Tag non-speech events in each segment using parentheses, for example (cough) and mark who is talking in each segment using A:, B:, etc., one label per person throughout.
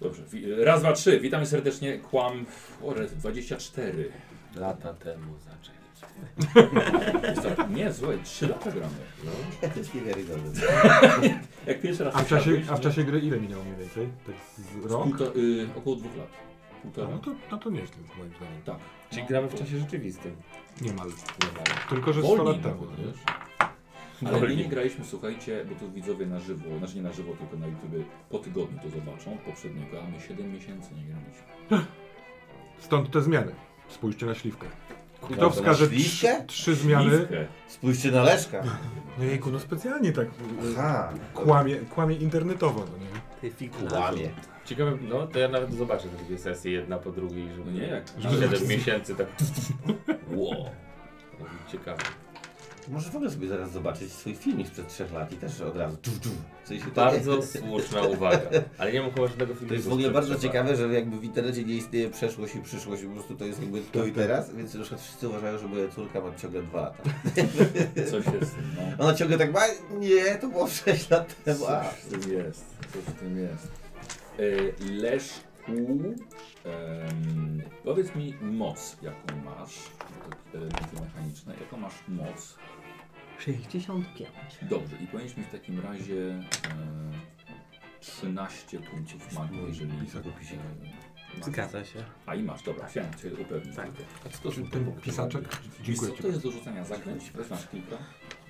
A: Dobrze. Wi- Raz, dwa, trzy. Witamy serdecznie. Kłam o, rety, 24.
B: Lata temu
C: (laughs)
B: zaczęliśmy.
A: Jest to niezłe. 3 lata gramy.
C: To jest niewiarygodne.
A: Jak pierwszy raz
D: A w, czasie,
A: słyszałeś,
D: a w
A: nie?
D: czasie gry ile minęło mniej więcej? Tak z
A: Z
D: rok?
A: półto, y, około dwóch lat.
D: A,
A: Półtora?
D: No to, no to nieźle moim zdaniem.
A: Tak.
B: Czyli
A: No.
B: gramy w czasie rzeczywistym.
D: Niemal.
B: Niemal.
D: Tylko, że 100
A: Wolniej
D: lat temu.
A: nawet,
D: nie?
A: wiesz? Ale my nie graliśmy, słuchajcie, bo tu widzowie na żywo, znaczy nie na żywo, tylko na YouTube po tygodniu to zobaczą, poprzedniego, a my 7 miesięcy nie graliśmy.
D: Stąd te zmiany. Spójrzcie na śliwkę.
C: Kurwa,
D: Kto
C: to
D: wskaże
C: na śliwkę?
D: trzy, trzy zmiany?
A: Liwkę.
C: Spójrzcie na Leszka.
D: No jejku, no specjalnie tak e,
C: Aha.
D: kłamie, kłamie internetowo. No nie?
C: Ty fikułamie.
B: Ciekawe, no to ja nawet zobaczę te dwie sesje, jedna po drugiej,
A: No
B: żeby
A: nie, jak...
B: na 7 miesięcy
C: (laughs)
B: tak. Ło. Ciekawe.
C: Może w ogóle sobie zaraz zobaczyć swój filmik sprzed trzech lat i też od razu dżu, dżu, coś się
B: Bardzo słuszna uwaga. Ale nie mam chyba żadnego filmu.
C: To jest w
B: (laughs)
C: ogóle bardzo ciekawe, że jakby w internecie nie istnieje przeszłość i przyszłość, po prostu to jest jakby tu i teraz, więc na przykład wszyscy uważają, że moja córka ma ciągle dwa lata.
A: Coś jest, no.
C: Ona ciągle tak ma, nie, to było sześć lat temu, a.
A: Coś w tym jest, coś w tym jest. E, Leszku, em, powiedz mi moc, jaką masz, to elementy mechaniczne, jaką masz moc?
E: 65.
A: Dobrze, i powinieneś mieć w takim razie e, 13 punktów magii, jeżeli... e,
B: Zgadza się.
A: A i masz, dobra, chciałem cię upewnić.
B: Tak.
A: tylko.
B: A co to
D: Czy
B: są
D: Ten pisaczek?
A: Wiesz co
D: Dziękuję ci.
A: to jest do rzucania zaklęć? Też masz kilka?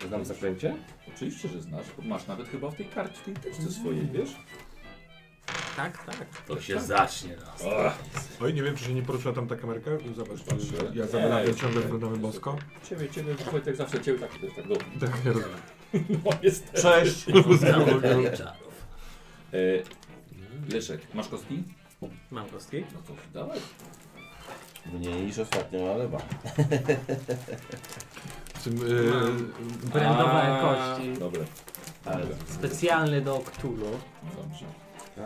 B: Znam zaklęcie?
A: Oczywiście, że znasz, bo masz nawet chyba w tej karcie, w tej teczce swojej,
B: Mm.
A: wiesz?
B: Tak, tak. To
A: Tak.
B: zacznie nas.
A: Ach,
D: Oj, nie wiem, czy się nie poruszyła tam ta kamerka. Zobacz, czy
A: Patrzę.
D: ja
A: Nie,
D: zabieram ciągle
A: nie,
D: wyglądamy
A: nie.
D: bosko.
A: ciebie, ciebie, tak zawsze ciebie tak, tak do...
D: Tak, ja rozumiem.
A: No niestety.
D: Cześć!
A: E, Leszek, masz kostki?
B: Mam kostki?
A: No to dawaj.
C: Mniej niż ostatnio, ale ma.
D: W tym, y,
E: Brandowe
B: A,
E: kości.
A: Dobra.
C: Ale-
A: Dobra.
E: Specjalny do Cthulhu.
A: Dobrze.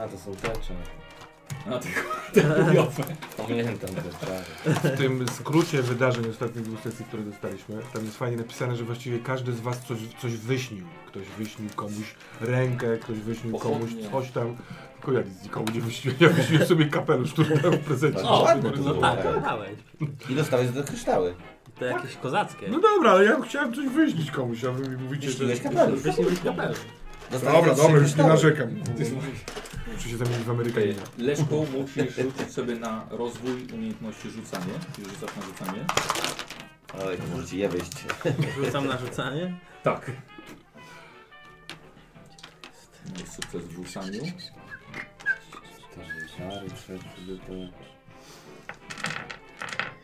B: A, to są tecze.
A: A ty kurde, chujowe.
B: Pamiętam te tak. czary.
D: w tym skrócie wydarzeń ostatnich dwóch sesji, które dostaliśmy, tam jest fajnie napisane, że właściwie każdy z was coś, coś wyśnił. Ktoś wyśnił komuś rękę, ktoś wyśnił komuś
A: Pochodnie.
D: coś tam. Tylko ja nic nikomu nie wyśniłem, ja wyśniłem sobie kapelusz, który miałem w prezencie.
C: O, ładne to
E: No
C: było.
E: tak, to dałeś.
C: I dostałeś do kryształy.
E: To jakieś kozackie.
D: No dobra, ale ja chciałem coś wyśnić komuś, a wy mi mówicie, że...
C: Wyśniłeś kapelusz. Tak,
E: Wyśniłeś kapelusz.
C: Dostałeś
D: Dobra,
C: trzy
D: dobra, już nie
C: kryształy.
D: narzekam. Muszę się zamienić w Amerykanina.
A: E, Leszku, musisz rzucić sobie na rozwój umiejętności rzucanie. Już rzucasz na rzucanie?
C: Oj, to możecie je wyjść.
E: Rzucam na rzucanie.
A: Tak. Miałeś No sukces w rzucaniu.
B: Czary, czary, to...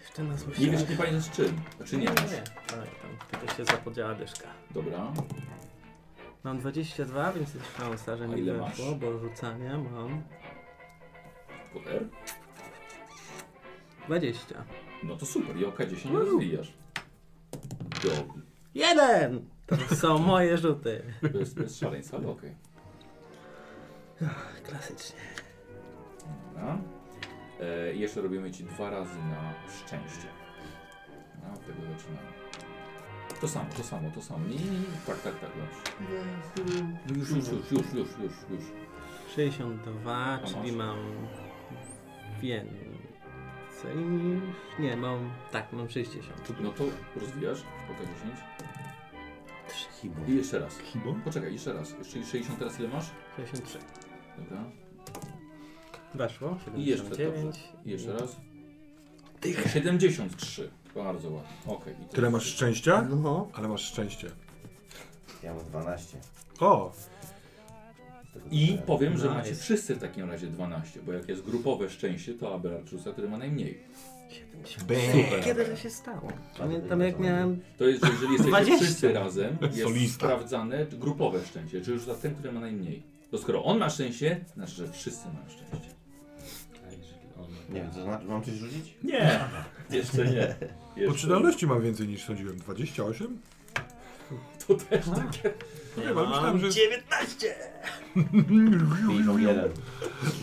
E: Jeszcze nas
A: Nie
E: musimy...
A: wiesz, nie pamiętasz czym. Czy nie masz?
E: Nie, pamiętam. Tylko się zapodziała dyszka.
A: Dobra.
E: Mam 22, więc jest szansa, że
A: A
E: mi
A: ile
E: weszło,
A: masz?
E: bo rzucania mam
A: Koper.
E: 20.
A: No to super, Joka 10 rozwijasz. Dobry.
E: Jeden! To są (laughs) moje rzuty.
A: Bez, bez szaleństwa, ale okej.
E: Klasycznie.
A: Dobra. No. E, jeszcze robimy ci dwa razy na szczęście. No, od tego zaczynamy. To samo, to samo, to samo. Nie, nie, nie. Tak, tak, tak, dobrze. No Już, już, już, już, już, już, już.
E: 62,
A: masz?
E: czyli mam więcej niż... Nie, mam... Tak, mam 60.
A: No to rozwijasz, po 10.
C: Hibu.
A: I jeszcze raz.
D: Kibo?
A: Poczekaj, jeszcze raz. Jeszcze 60 teraz ile masz?
E: 63.
A: Dobra.
E: Weszło?
A: I jeszcze,
E: 79.
A: I jeszcze raz. 73. Bardzo ładnie. Okej. i to
D: Tyle
A: jest-
D: masz szczęścia?
E: No.
D: Ale masz szczęście.
C: Ja mam 12.
D: O!
C: Z tego
A: I
C: dostałem.
A: powiem, że
E: Nice.
A: macie wszyscy w takim razie 12, bo jak jest grupowe szczęście, to Abelard rzuca, który ma najmniej.
E: 70.
D: Super.
E: Kiedy to się stało? Pamiętam jak miałem...
A: To jest, że jeżeli jesteście
E: 20.
A: wszyscy razem, jest
D: Solista.
A: sprawdzane grupowe szczęście, czyli rzuca ten, który ma najmniej. To skoro on ma szczęście, znaczy, że wszyscy mają szczęście.
C: Nie wiem, co znaczy, mam coś rzucić?
A: Nie, (laughs) jeszcze nie.
D: Poczynalności mam więcej niż sądziłem. 28?
A: To też
D: Tak.
A: takie.
D: Nie, ale myślałem, że...
E: 19!
C: 51.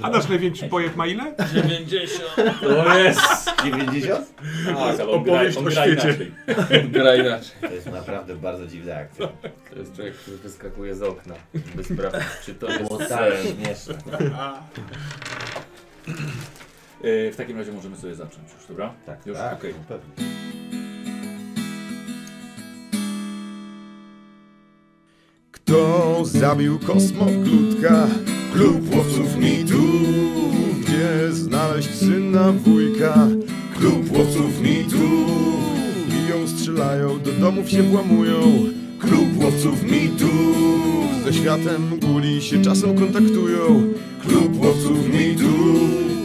D: A nasz największy pojeb ma ile?
A: tak.
B: 90!
A: (laughs) To jest!
C: 90?
A: Tak, ale on
D: Opowieść
A: gra- on
D: o
A: gra
D: świecie.
A: inaczej.
D: (laughs)
B: Gra inaczej.
C: To jest naprawdę bardzo dziwna akcja.
B: To jest człowiek, który wyskakuje z okna, by sprawdzić, czy to
C: Było
B: jest
C: tak
B: sen.
C: śmieszne.
A: E, w takim razie możemy sobie zacząć już, dobra?
C: Tak,
A: Już,
C: tak,
A: okej.
C: no pewnie.
F: Kto zabił kosmoglutka? Klub łowców mitu Gdzie znaleźć syna wujka? Klub łowców mitu Biją, strzelają, do domów się włamują Klub łowców mitu Ze światem guli się czasem kontaktują Klub łowców mitu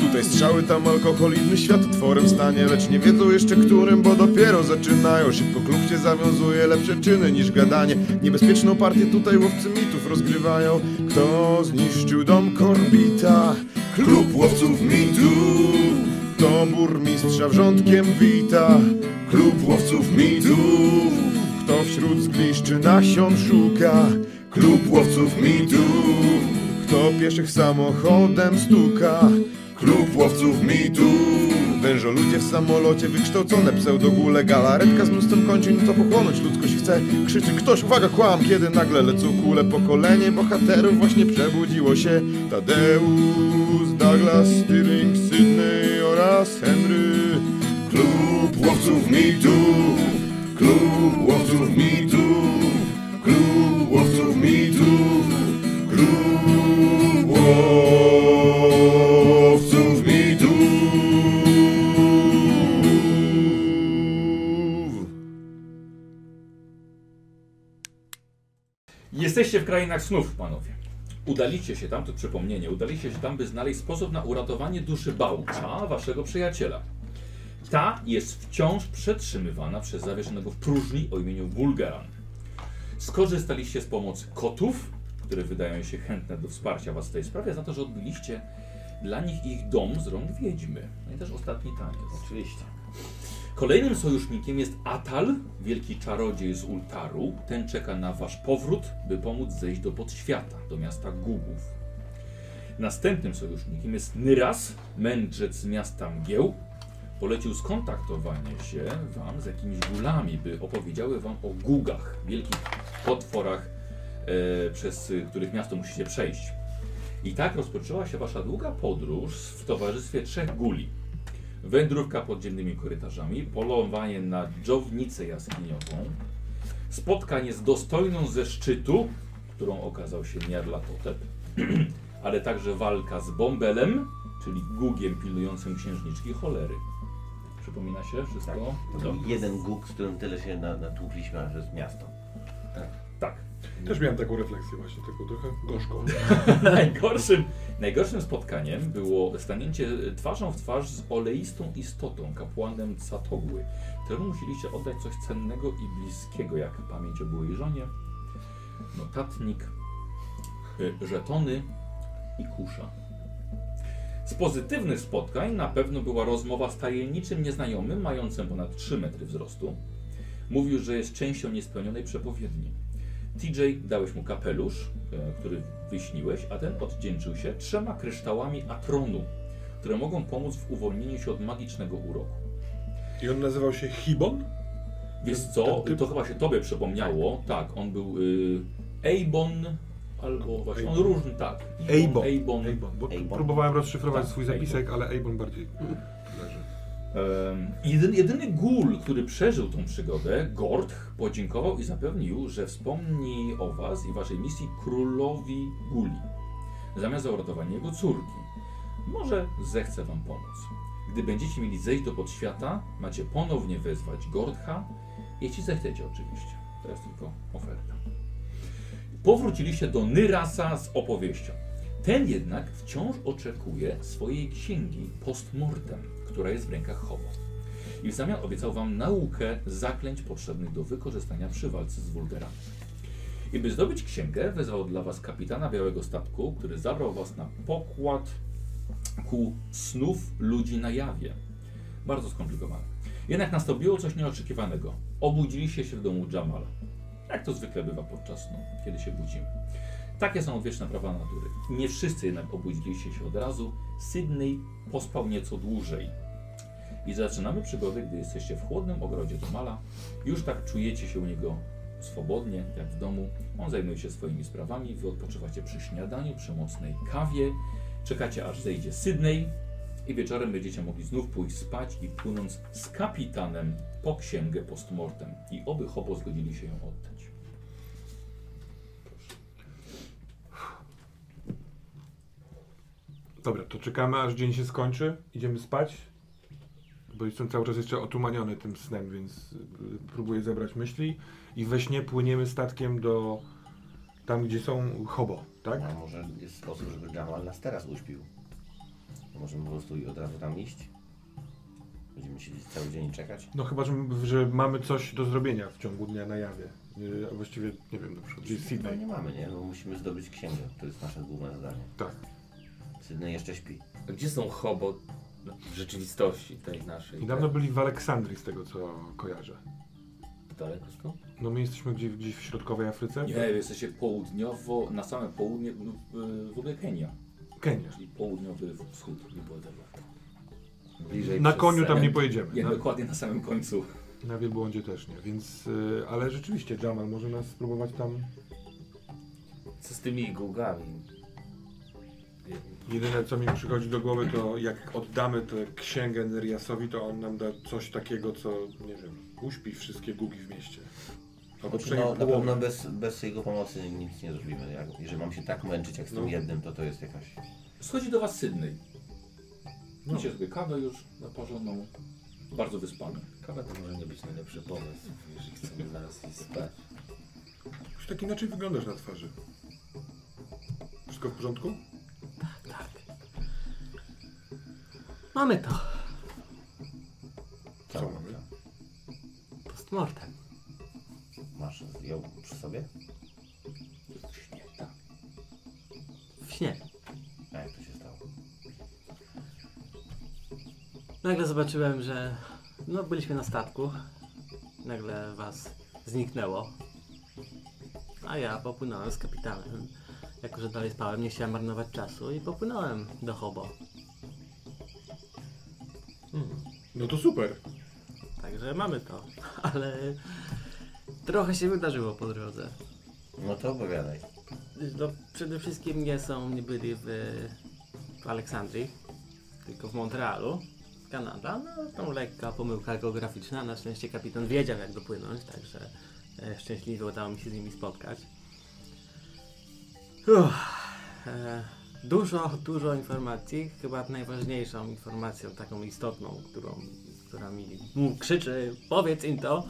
F: Tutaj strzały, tam alkohol, inny świat otworem stanie Lecz nie wiedzą jeszcze którym, bo dopiero zaczynają Szybko klub się zawiązuje, lepsze czyny niż gadanie Niebezpieczną partię tutaj łowcy mitów rozgrywają Kto zniszczył dom Korbita? Klub łowców mitów Kto burmistrza wrzątkiem wita? Klub łowców mitów Kto wśród zgliszczy nasion szuka? Klub łowców mitów kto pieszych samochodem stuka? Klub łowców mitu Wężo ludzie w samolocie, wykształcone pseudogule Galaretka z mnóstwem kończyn, co pochłonąć ludzkość chce Krzyczy ktoś, uwaga, kłam, kiedy nagle lecą kule Pokolenie bohaterów właśnie przebudziło się Tadeusz, Douglas, Stirling, Sydney oraz Henry Klub łowców mitu Klub łowców mitu Klub łowców mitu Klub łowców mitów.
A: Jesteście w krainach snów, panowie. Udaliście się tam, to przypomnienie, udaliście się tam, by znaleźć sposób na uratowanie duszy Bałcza, waszego przyjaciela. Ta jest wciąż przetrzymywana przez zawieszonego w próżni o imieniu Bulgaran. Skorzystaliście z pomocy kotów, które wydają się chętne do wsparcia was w tej sprawie, za to, że odbiliście dla nich ich dom z rąk wiedźmy. No i też ostatni taniec.
C: Oczywiście.
A: Kolejnym sojusznikiem jest Atal, wielki czarodziej z Ultaru. Ten czeka na wasz powrót, by pomóc zejść do podświata, do miasta Gugów. Następnym sojusznikiem jest Nyras, mędrzec z miasta Mgieł. Polecił skontaktowanie się wam z jakimiś gulami, by opowiedziały wam o Gugach, wielkich potworach, e, przez y, których miasto musicie przejść. I tak rozpoczęła się wasza długa podróż w towarzystwie trzech guli. Wędrówka podziemnymi korytarzami, polowanie na dżownicę jaskiniową, spotkanie z dostojną ze szczytu, którą okazał się Nierlatotep, (clears throat) ale także walka z Bombelem, czyli Gugiem pilnującym księżniczki cholery. Przypomina się wszystko? No.
C: To
A: Dobrze.
C: był jeden guk, z którym tyle się na- natłukliśmy, aż jest miasto.
A: Tak.
D: Też miałem taką refleksję właśnie, tylko trochę gorzką.
A: (laughs) Najgorszym, najgorszym spotkaniem było stanięcie twarzą w twarz z oleistą istotą, kapłanem Catogły, któremu musieliście oddać coś cennego i bliskiego, jak pamięć o byłej żonie, notatnik, y, żetony i kusza. Z pozytywnych spotkań na pewno była rozmowa z tajemniczym nieznajomym, mającym ponad 3 metry wzrostu. Mówił, że jest częścią niespełnionej przepowiedni. TJ dałeś mu kapelusz, e, który wyśniłeś, a ten oddzięczył się trzema kryształami atronu, które mogą pomóc w uwolnieniu się od magicznego uroku.
D: I on nazywał się Hibon?
A: Wiesz
D: Ten-
A: co,
D: ten typ-
A: to chyba się tobie przypomniało, tak, on był y, Eibon, albo właśnie, on
D: Eibon.
A: różny, tak.
D: Eibon.
A: Eibon.
D: Avon. Bo
C: Avon.
D: próbowałem rozszyfrować
A: Tak,
D: swój
A: Avon.
D: zapisek, ale Avon bardziej leży.
A: Em, Jedyny, jedyny gul, który przeżył tą przygodę, Gordch, podziękował i zapewnił, że wspomni o was i waszej misji królowi guli. Zamiast za uratowanie jego córki. Może zechce wam pomóc. Gdy będziecie mieli zejść do podświata, macie ponownie wezwać Gordcha, jeśli zechcecie oczywiście. To jest tylko oferta. Powróciliście do Nyrasa z opowieścią. Ten jednak wciąż oczekuje swojej księgi postmortem, która jest w rękach Hobo. I w zamian obiecał wam naukę zaklęć potrzebnych do wykorzystania przy walce z wulgarami. I by zdobyć księgę, wezwał dla was kapitana Białego Statku, który zabrał was na pokład ku snów ludzi na jawie. Bardzo skomplikowane. Jednak nastąpiło coś nieoczekiwanego. Obudziliście się w domu Jamala. Jak to zwykle bywa podczas snu, kiedy się budzimy. Takie są odwieczne prawa natury. Nie wszyscy jednak obudzili się od razu. Sydney pospał nieco dłużej. I zaczynamy przygodę, gdy jesteście w chłodnym ogrodzie Tomala. Już tak czujecie się u niego swobodnie, jak w domu. On zajmuje się swoimi sprawami, wy odpoczywacie przy śniadaniu, przy mocnej kawie. Czekacie aż zejdzie Sydney, I wieczorem będziecie mogli znów pójść spać i płynąc z kapitanem po księgę postmortem. I oby hobo zgodzili się ją oddać.
D: Dobra, to czekamy aż dzień się skończy, idziemy spać. Bo jestem cały czas jeszcze otumaniony tym snem, więc y, próbuję zebrać myśli. I we śnie płyniemy statkiem do tam, gdzie są hobo, tak?
C: A może jest sposób, żeby Jamal nas teraz uśpił? Możemy po prostu i od razu tam iść? Będziemy siedzieć cały dzień i czekać?
D: No chyba, że, że mamy coś do zrobienia w ciągu dnia na jawie. Y, A właściwie, nie wiem, na przykład gdzie jest
C: No
D: Sydney.
C: nie mamy, nie? No musimy zdobyć księgę. To jest nasze główne zadanie.
D: Tak.
C: Sydney jeszcze śpi.
D: No,
B: A Gdzie są hobo w rzeczywistości tej naszej?
D: Niedawno byli w Aleksandrii, z tego co kojarzę.
B: Daleko stąd?
D: No my jesteśmy gdzieś, gdzieś w środkowej Afryce?
A: Nie, wy jesteście południowo, na same południe, y, w ogóle Kenia,
D: Kenia.
A: czyli południowy wschód. Nie było tego.
C: Bliżej
D: Na
C: przez
D: koniu tam
C: sen.
D: nie pojedziemy.
A: Nie,
D: Na,
A: dokładnie na samym końcu.
D: na wielbłądzie też nie, więc... y, ale rzeczywiście, Jamal może nas spróbować tam...
B: Co z tymi gugami?
D: Jedyne co mi przychodzi do głowy to jak oddamy tę księgę Neriasowi, to on nam da coś takiego, co, nie wiem, uśpi wszystkie gugi w mieście. Albo przejmie
C: No, na
D: połowę.
C: pewno bez, bez jego pomocy nic nie zrobimy. Jak, jeżeli mam się tak męczyć jak z tym
D: No.
C: jednym, to to jest jakaś...
A: Schodzi do was Sydney.
D: No.
A: Macie sobie kawę już zaparzoną. Bardzo wyspany.
B: Kawa to może nie być najlepszy pomysł, jeżeli chcemy zaraz iść spać.
D: Już tak inaczej wyglądasz na twarzy. Wszystko w porządku?
E: Mamy to.
D: Co mamy?
E: Postmortem.
C: Masz ją przy sobie?
A: Śnie, tak.
E: W śnie.
C: A jak to się stało?
E: Nagle zobaczyłem, że no byliśmy na statku. Nagle was zniknęło. A ja popłynąłem z kapitanem. Jako, że dalej spałem, nie chciałem marnować czasu i popłynąłem do Hobo.
D: No to super.
E: Także mamy to. (laughs) Ale trochę się wydarzyło po drodze.
C: No to opowiadaj.
E: No, przede wszystkim nie są, nie byli w, w Aleksandrii, tylko w Montrealu, Kanada. No, tam lekka pomyłka geograficzna. Na szczęście kapitan wiedział, jak dopłynąć, także e, szczęśliwie udało mi się z nimi spotkać. Uff, e, dużo, dużo informacji. Chyba najważniejszą informacją, taką istotną, którą, która mi mu krzyczy, powiedz im to,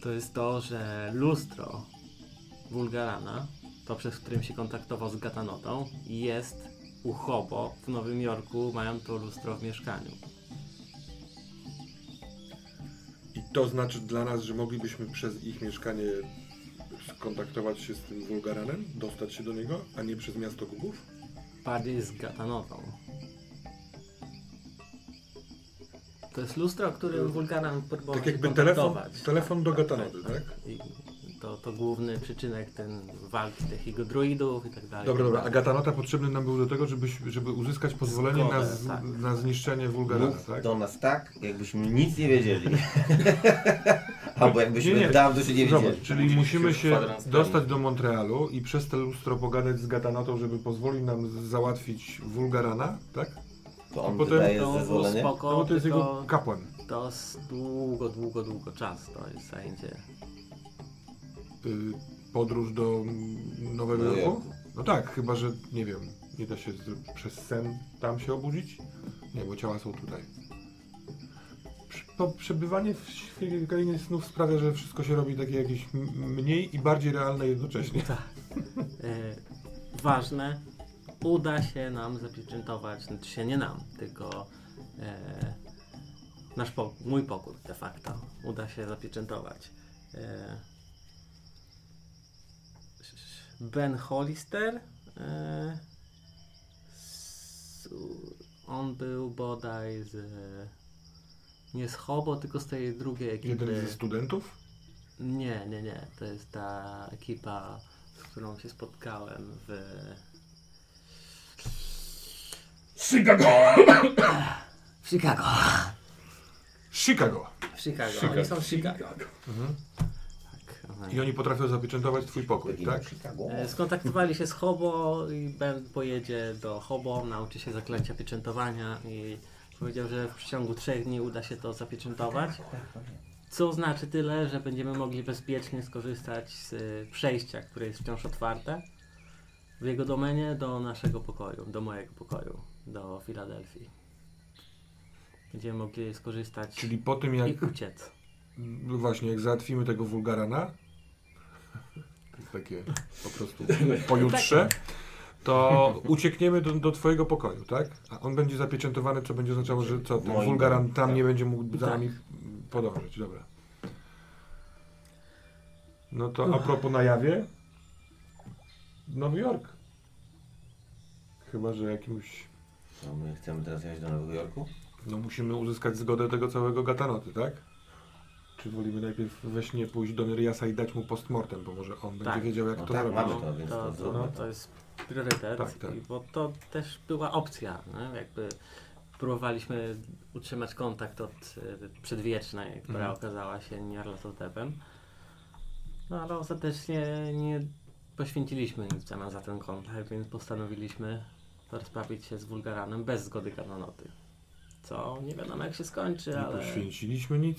E: to jest to, że lustro Bulgarana, to przez którym się kontaktował z Gatanotą, jest u Hobo w Nowym Jorku, mają to lustro w mieszkaniu.
D: I to znaczy dla nas, że moglibyśmy przez ich mieszkanie skontaktować się z tym wulgaranem, dostać się do niego, a nie przez miasto gugów?
E: Bardziej z Gatanotą. To jest lustro, którym Bulgaran próbował
D: Tak
E: się
D: jakby telefon,
E: kontaktować.
D: telefon do Gatanody, tak?
E: I to, to główny przyczynek ten walki tych jego druidów i tak dalej.
D: Dobra, dobra. A Gatanota potrzebny nam był do tego, żeby, żeby uzyskać pozwolenie na,
E: Zgodę,
D: z,
E: tak.
D: na zniszczenie wulgarana,
C: Mów
D: tak?
C: do nas tak, jakbyśmy nic nie
D: (laughs)
C: wiedzieli. Albo jakbyśmy
D: Nie, nie.
C: dawno się nie
D: Zobacz,
C: widzieli.
D: czyli musimy się
B: kwadrans
D: dostać do Montrealu i przez te lustro pogadać z Gatanotą, żeby pozwolił nam z- załatwić wulgarana, tak?
C: To on
D: potem-
C: wydaje
E: To było
C: zezwolenie.
D: No bo
E: spoko,
D: to jest
E: tylko
D: jego kapłan.
E: to z długo, długo, długo czas to jest zajęcie.
D: Y, podróż do mm, Nowego
C: No
D: Jorku? No tak, chyba że, nie wiem, nie da się z, przez sen tam się obudzić? Nie, bo ciała są tutaj. Przy- Po przebywanie w świecie krainie snów sprawia, że wszystko się robi takie jakieś m- mniej i bardziej realne jednocześnie.
E: E, ważne, uda się nam zapieczętować, znaczy się nie nam, tylko e, nasz po, mój pokój de facto uda się zapieczętować. E, ben Hollister e, z, on był bodaj z nie z Hobo, tylko z tej drugiej ekipy.
D: Jeden ze studentów?
E: Nie, nie, nie. To jest ta ekipa, z którą się spotkałem w.
A: Chicago!
E: W Chicago.
D: Chicago!
E: W Chicago. Oni są w Chicago.
A: Chicago.
E: Tak.
D: I oni potrafią zapieczętować twój pokój, tak?
E: E, Skontaktowali się z Hobo i Ben pojedzie do Hobo, nauczy się zaklęcia pieczętowania i powiedział, że w przeciągu trzech dni uda się to zapieczętować. tak, Co znaczy tyle, że będziemy mogli bezpiecznie skorzystać z y, przejścia, które jest wciąż otwarte w jego domenie do naszego pokoju, do mojego pokoju, do Filadelfii. Będziemy mogli skorzystać
D: Czyli po tym jak
E: i uciec.
D: No właśnie, jak załatwimy tego wulgarana, takie po
C: (laughs)
D: prostu pojutrze,
C: Tak.
D: to uciekniemy do, do twojego pokoju, tak? A on będzie zapieczętowany, co będzie oznaczało, że co, ten
C: Moim
D: wulgaran
C: domem,
D: tam
C: tak.
D: nie będzie mógł za
E: Tak.
D: nami podążyć, dobra. No to a propos na jawie, Nowy Jork. Chyba, że jakimś,
C: No, my chcemy teraz jechać do Nowego Jorku?
D: no musimy uzyskać zgodę tego całego gatanoty, tak? Czy wolimy najpierw we śnie pójść do Neriasa i dać mu postmortem, bo może on będzie
E: Tak.
D: wiedział jak
C: No
D: to
C: tak,
D: zrobić.
C: mamy to, więc
E: to,
C: to zróbmy
E: to,
C: to.
E: to jest priorytet,
D: Tak, tak.
E: I bo to też była opcja. No? Jakby próbowaliśmy utrzymać kontakt od y, przedwiecznej, która
D: Mhm.
E: okazała się Nierlatotepem. No ale ostatecznie nie poświęciliśmy nic w zamian za ten kontakt, więc postanowiliśmy rozprawić się z Wulgaranem bez zgody kanonoty. Co nie wiadomo jak się skończy,
D: Nie
E: ale
D: poświęciliśmy nic.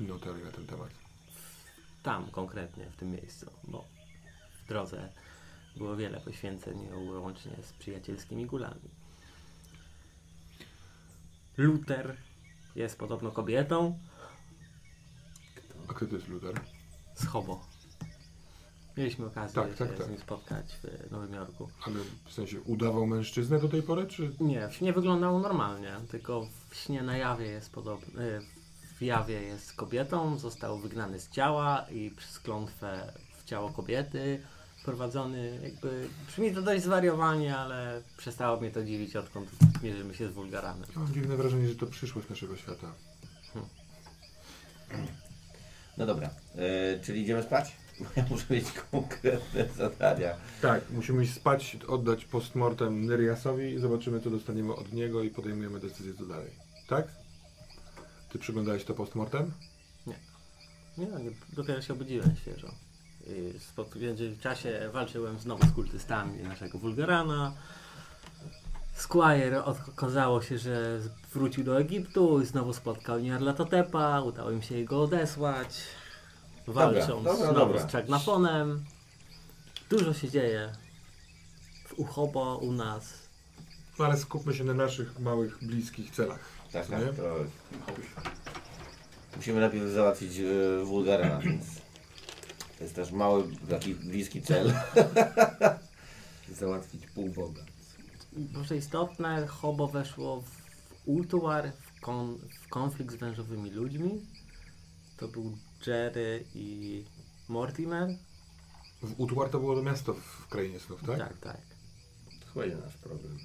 D: Inną teorię na ten temat.
E: tam konkretnie, w tym miejscu, bo w drodze było wiele poświęceń łącznie z przyjacielskimi gulami. Luther jest podobno kobietą
D: A kto to jest Luther?
E: z hobo. Mieliśmy okazję
D: Tak, tak,
E: się
D: tak.
E: z nim spotkać w Nowym Jorku.
D: Ale w sensie udawał mężczyznę do tej pory, czy...
E: Nie, w śnie wyglądał normalnie, tylko w śnie na jawie jest podobny. y, W jawie jest kobietą, został wygnany z ciała i przez klątwę w ciało kobiety prowadzony jakby. Brzmi to dość zwariowanie, ale przestało mnie to dziwić, odkąd mierzymy się z wulgaranem.
D: Ja mam dziwne wrażenie, że to przyszłość naszego świata.
C: No dobra, e, czyli idziemy spać? Bo ja muszę mieć konkretne zadania.
D: Tak, musimy iść spać, oddać postmortem Nyriasowi i zobaczymy, co dostaniemy od niego i podejmujemy decyzję, co dalej. Tak? Ty przyglądałeś to postmortem?
E: Nie, no, nie dopiero się obudziłem świeżo. I spod, w międzyczasie walczyłem znowu z kultystami naszego Wulgarana. Squire od- okazało się, że wrócił do Egiptu i znowu spotkał Nyarlathotepa. Udało im się go odesłać. Walczą
C: Dobra, dobra,
E: znowu
C: dobra.
E: z Czagnafonem. Dużo się dzieje. W Uchobo u nas.
D: No ale skupmy się na naszych małych, bliskich celach.
C: Tak,
D: co
C: tak,
D: nie?
C: to... Musimy najpierw załatwić e, wulgarana, więc... To jest też mały, taki bliski cel. (laughs)
B: Załatwić pół Boga.
E: Może istotne, Hobo weszło w ultuar, w, kon, w konflikt z wężowymi ludźmi. To był Jerry i Mortimer.
D: W Utwar to było to miasto w krainie snów, tak?
E: tak. tak.
B: To będzie nasz problem.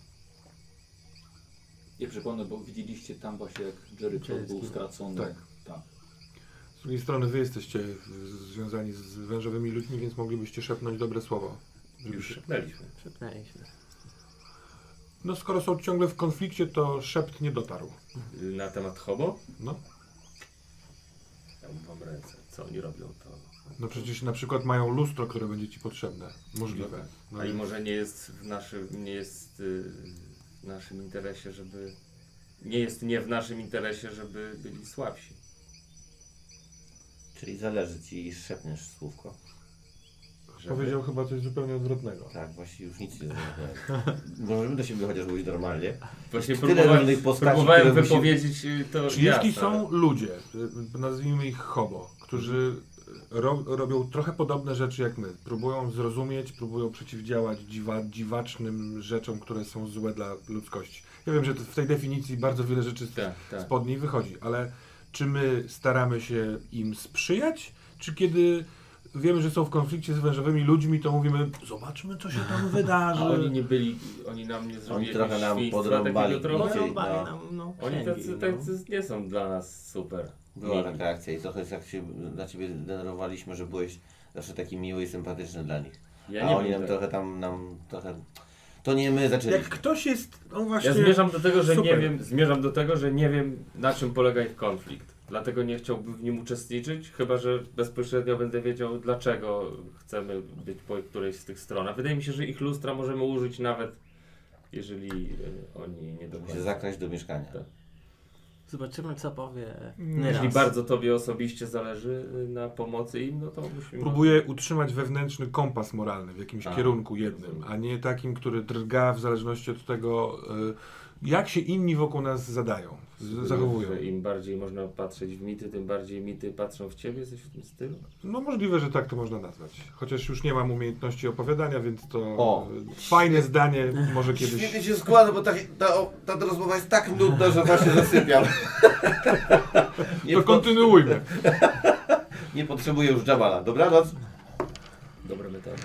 A: Ja przypomnę, bo widzieliście tam właśnie jak Jerry Crow
E: Jerry
A: był
E: Crow.
A: skracony.
D: Tak.
A: tak.
D: Z drugiej strony wy jesteście z- związani z wężowymi ludźmi, więc moglibyście szepnąć dobre słowo.
B: Już szepnęliśmy.
E: Przepnęliśmy.
D: No skoro są ciągle w konflikcie, to szept nie dotarł.
B: Y, Na temat hobo?
D: No,
B: Ja mam ręce. Co oni robią to?
D: no przecież na przykład mają lustro, które będzie ci potrzebne. Możliwe. No,
B: A i może nie jest w naszym, nie jest y, w naszym interesie, żeby... Nie jest nie w naszym interesie, żeby byli słabsi.
C: Czyli zależy ci i szepniesz słówko.
B: Żeby...
D: Powiedział chyba coś zupełnie odwrotnego.
C: Tak, właśnie już nic nie zrozumiałem. Możemy do siebie chociaż mówić normalnie.
B: Właśnie
C: Tyle
B: próbowałem,
C: różnych postaci,
B: próbowałem
C: które musi-
B: wypowiedzieć y, to
D: Czy jeśli
B: jasno, ale-
D: są ludzie, y, nazwijmy ich hobo, którzy ro, robią trochę podobne rzeczy jak my, próbują zrozumieć, próbują przeciwdziałać dziwa, dziwacznym rzeczom, które są złe dla ludzkości. Ja wiem, że to w tej definicji bardzo wiele rzeczy z,
B: Tak, tak.
D: spod niej wychodzi, ale czy my staramy się im sprzyjać, czy kiedy wiemy, że są w konflikcie z wężowymi ludźmi, to mówimy, zobaczmy, co się
B: (laughs)
D: tam
B: A oni
D: wydarzy.
B: nie byli, oni nam nie zrobili
C: Oni trochę
B: jakiegoś
C: nam
B: świństwa
C: podrąbali.
B: takiego trochę?
C: Dzisiaj,
E: Porąbali
C: no.
E: nam, no,
B: Oni
E: księgi,
B: tacy,
E: no.
B: tacy nie są dla nas super.
C: Była
B: Mili.
C: taka akcja i trochę jak się na ciebie denerwowaliśmy, że byłeś zawsze taki miły i sympatyczny dla nich.
B: Ja
C: A
B: nie
C: oni
B: wiem tak.
C: nam
B: tego.
C: trochę tam, nam trochę... To nie my
D: Jak
C: zaczęliśmy.
D: ktoś jest, on
B: Ja
D: właśnie...
B: zmierzam do tego, że
D: Super.
B: nie wiem, zmierzam do tego, że nie wiem na czym polega ich konflikt. Dlatego nie chciałbym w nim uczestniczyć, chyba że bezpośrednio będę wiedział, dlaczego chcemy być po którejś z tych stron. A wydaje mi się, że ich lustra możemy użyć nawet, jeżeli e, oni nie
C: Żeby się
B: dokładnie.
C: zakraść do mieszkania.
B: Tak.
E: Zobaczymy, co powie.
B: Jeśli
E: Neras.
B: bardzo tobie osobiście zależy e, na pomocy im, no to musimy.
D: Próbuję utrzymać wewnętrzny kompas moralny w jakimś
B: A,
D: kierunku jednym, a nie takim, który drga w zależności od tego, y, jak się inni wokół nas zadają, z- zachowują.
B: Że Im bardziej można patrzeć w mity, tym bardziej mity patrzą w ciebie, coś w tym stylu.
D: No możliwe, że tak to można nazwać. Chociaż już nie mam umiejętności opowiadania, więc to
C: O.
D: y, fajne zdanie może kiedyś...
C: Świetnie się składa, bo ta, ta, o- ta rozmowa jest tak nudna, że właśnie
B: (laughs)
C: zasypiam. Nie,
D: To
C: po,
D: kontynuujmy.
C: nie potrzebuję już Jabala. Dobranoc.
B: Dobra metoda.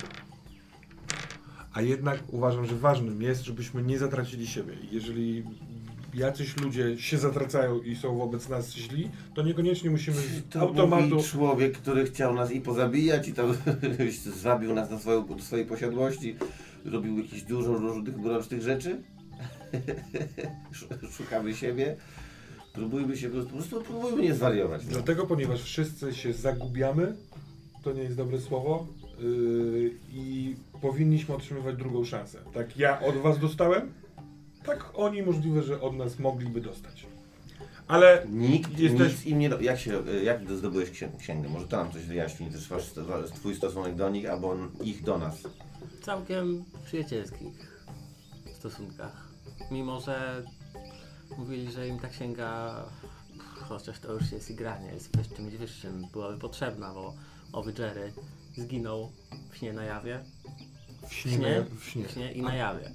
D: A jednak uważam, że ważnym jest, żebyśmy nie zatracili siebie. Jeżeli jacyś ludzie się zatracają i są wobec nas źli, to niekoniecznie musimy z
C: To
D: automatu...
C: mówi człowiek, który chciał nas i pozabijać, i tam (laughs) zabił nas na swoją, do swojej posiadłości, robił jakieś dużo różnych mrocznych rzeczy. (laughs) Sz- Szukamy siebie. Próbujmy się, po prostu- po prostu próbujmy nie zwariować. No.
D: Dlatego, ponieważ wszyscy się zagubiamy, to nie jest dobre słowo, yy, i powinniśmy otrzymywać drugą szansę. Tak ja od was dostałem, tak oni możliwe, że od nas mogliby dostać. Ale
C: Nikt
D: Jesteś-
C: nic im nie... ro- Jak, się, y, jak zdobyłeś księ- księgę? Może to nam coś wyjaśni, też wasz, sto- twój stosunek do nich, albo on- ich do nas.
E: Całkiem przyjacielskich stosunkach. Mimo, że mówili, że im ta księga, pff, chociaż to już jest igranie, jest wyż- czymś wyższym, byłaby potrzebna, bo owy Jerry zginął w śnie na jawie.
D: w
E: W śnie,
D: śnie, w śnie. Mhm.
E: w śnie i na jawie.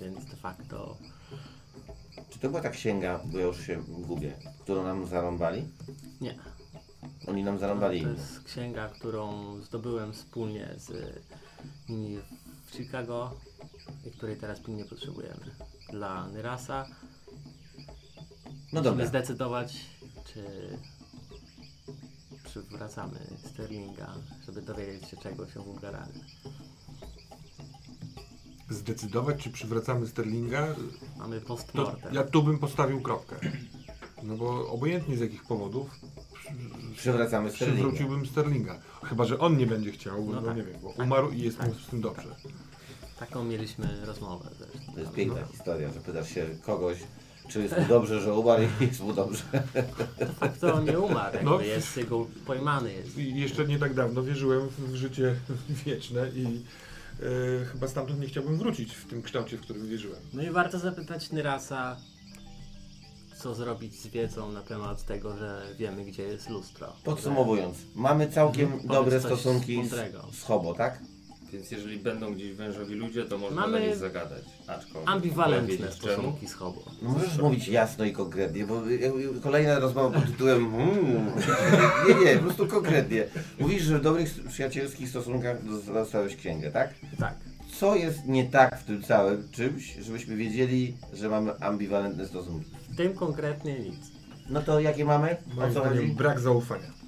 E: Więc de facto
C: Czy to była ta księga, bo ja już się gubię, którą nam zarąbali?
E: nie.
C: Oni nam
E: No To
C: zarąbali inne.
E: jest księga, którą zdobyłem wspólnie z nimi w Chicago i której teraz pilnie potrzebujemy. Dla Nyrasa
C: No
E: Musimy
C: dobra.
E: zdecydować, czy przywracamy Sterlinga, żeby dowiedzieć się czegoś o Wulgaranie.
D: Zdecydować, czy przywracamy Sterlinga,
E: Mamy
D: to
E: postmortem.
D: ja tu bym postawił kropkę. No bo obojętnie z jakich powodów
C: Przywracamy Sterlinga.
D: przywróciłbym Sterlinga. Chyba, że on nie będzie chciał, bo
E: No
D: no
E: tak.
D: nie wiem, bo
E: Tak.
D: umarł i jest mu
E: Tak.
D: z tym dobrze.
E: Taką mieliśmy rozmowę zresztą.
C: To jest
E: No.
C: piękna historia, że pytasz się kogoś, czy jest mu dobrze, że umarł (laughs) i jest mu dobrze.
E: De facto on nie umarł, jakby
D: No.
E: jest jego pojmany jest.
D: I jeszcze nie tak dawno wierzyłem w życie (laughs) wieczne i e, chyba stamtąd nie chciałbym wrócić w tym kształcie, w którym wierzyłem.
E: No i warto zapytać Nyrasa, co zrobić z wiedzą na temat tego, że wiemy gdzie jest lustro.
C: Podsumowując, mamy całkiem
E: Mhm.
C: dobre
E: Powiedz coś
C: stosunki
E: mądrego.
C: z, z Hobo, tak?
B: Więc jeżeli będą gdzieś wężowi ludzie, to można
E: Mamy
B: do nich zagadać. Aczkolwiek trzeba
E: Ambiwalentne
B: wiedzieć czemu.
E: stosunki z hobo.
C: No Możesz mówić jasno i konkretnie, bo y, y, kolejna rozmowa pod tytułem mm, Nie, nie, po prostu konkretnie. Mówisz, że w dobrych s- przyjacielskich stosunkach dosta- dostałeś księgę, tak?
E: Tak.
C: Co jest nie tak w tym całym czymś, żebyśmy wiedzieli, że mamy ambiwalentne stosunki?
E: W tym konkretnie nic.
C: No to jakie mamy? O
D: Moim
C: co
D: zdaniem
C: chodzi?
D: brak zaufania.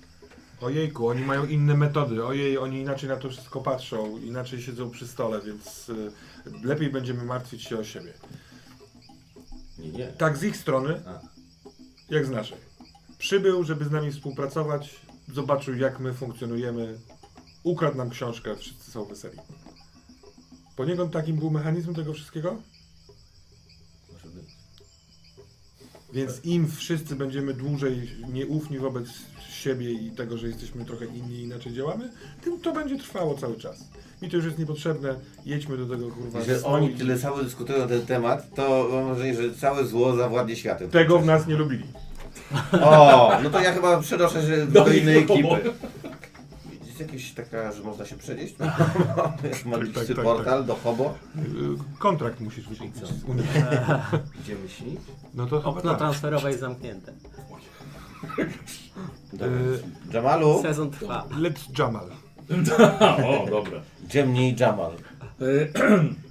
D: Ojejku, oni mają inne metody, ojej, oni inaczej na to wszystko patrzą, inaczej siedzą przy stole, więc y, lepiej będziemy martwić się o siebie.
B: Nie, nie.
D: Tak z ich strony,
B: A.
D: jak z naszej. Przybył, żeby z nami współpracować, zobaczył jak my funkcjonujemy, ukradł nam książkę, wszyscy są weseli. Poniekąd takim był mechanizm tego wszystkiego?
B: Może być.
D: Więc im wszyscy będziemy dłużej nieufni wobec siebie i tego, że jesteśmy trochę inni i inaczej działamy, tym to będzie trwało cały czas. Mi to już jest niepotrzebne, jedźmy do tego kurwa.
C: Że
D: stołu
C: oni
D: i-
C: tyle samo dyskutują na ten temat, to mam wrażenie, że całe zło zawładnie światem.
D: Tego w nas nie lubili.
C: O, no to ja chyba przenoszę się do,
A: Do
C: innej
A: nikogo.
C: ekipy. Jest jakaś taka, że można się No, przenieść? Jest magiczny
D: tak, tak,
C: portal do hobo.
D: Y, Kontrakt musisz wyciągnąć z Unii.
B: Idziemy śnić?
D: No to
E: Okno
D: chyba tak.
E: transferowe jest zamknięte.
C: Dobra.
D: Y,
C: Jamalu,
E: Sezon trwa.
D: Let's Jamal.
A: o, dobra.
C: Dziemniej Jamal.
A: E,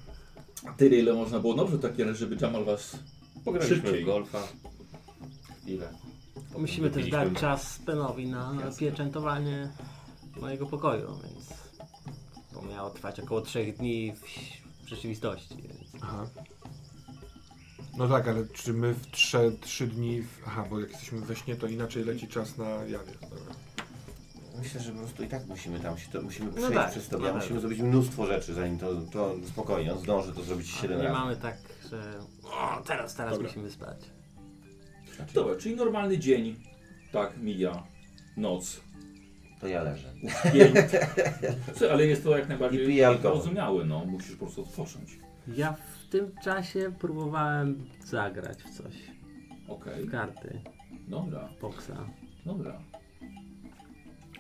A: (clears throat) Tyle ile można było. Dobrze takie, żeby Jamal was
B: Pograliśmy
A: Szybciej.
B: w golfa. Ile?
E: Musimy też
B: Wypiliśmy.
E: dać czas Benowi na
B: Jasne.
E: pieczętowanie mojego pokoju, więc to miało trwać około 3 dni w, w rzeczywistości. Więc
D: Aha. No tak, ale czy my w trze, trzy dni... W... Aha, bo jak jesteśmy we śnie, to inaczej leci czas na jawie. Dobra.
C: Myślę, że po prostu i tak musimy tam się, to musimy
E: No
C: przejść
E: tak,
C: przez to.
E: no
C: Ja
E: tak.
C: musimy zrobić mnóstwo rzeczy, zanim to, to spokojnie, on zdąży to zrobić 7
E: Nie
C: razy.
E: mamy tak, że o, teraz, teraz
D: Dobra.
E: musimy spać.
A: Dobra, czyli normalny dzień. Tak, mija. Noc.
C: To ja leżę.
A: Dzień. (laughs) Co, ale jest to jak
C: I
A: najbardziej
C: piję alkohol.
A: zrozumiałe, no. Musisz po prostu odpocząć.
E: Ja w tym czasie próbowałem zagrać w coś.
A: Okej.
E: W karty,
A: Dobra,
E: boksa.
A: dobra.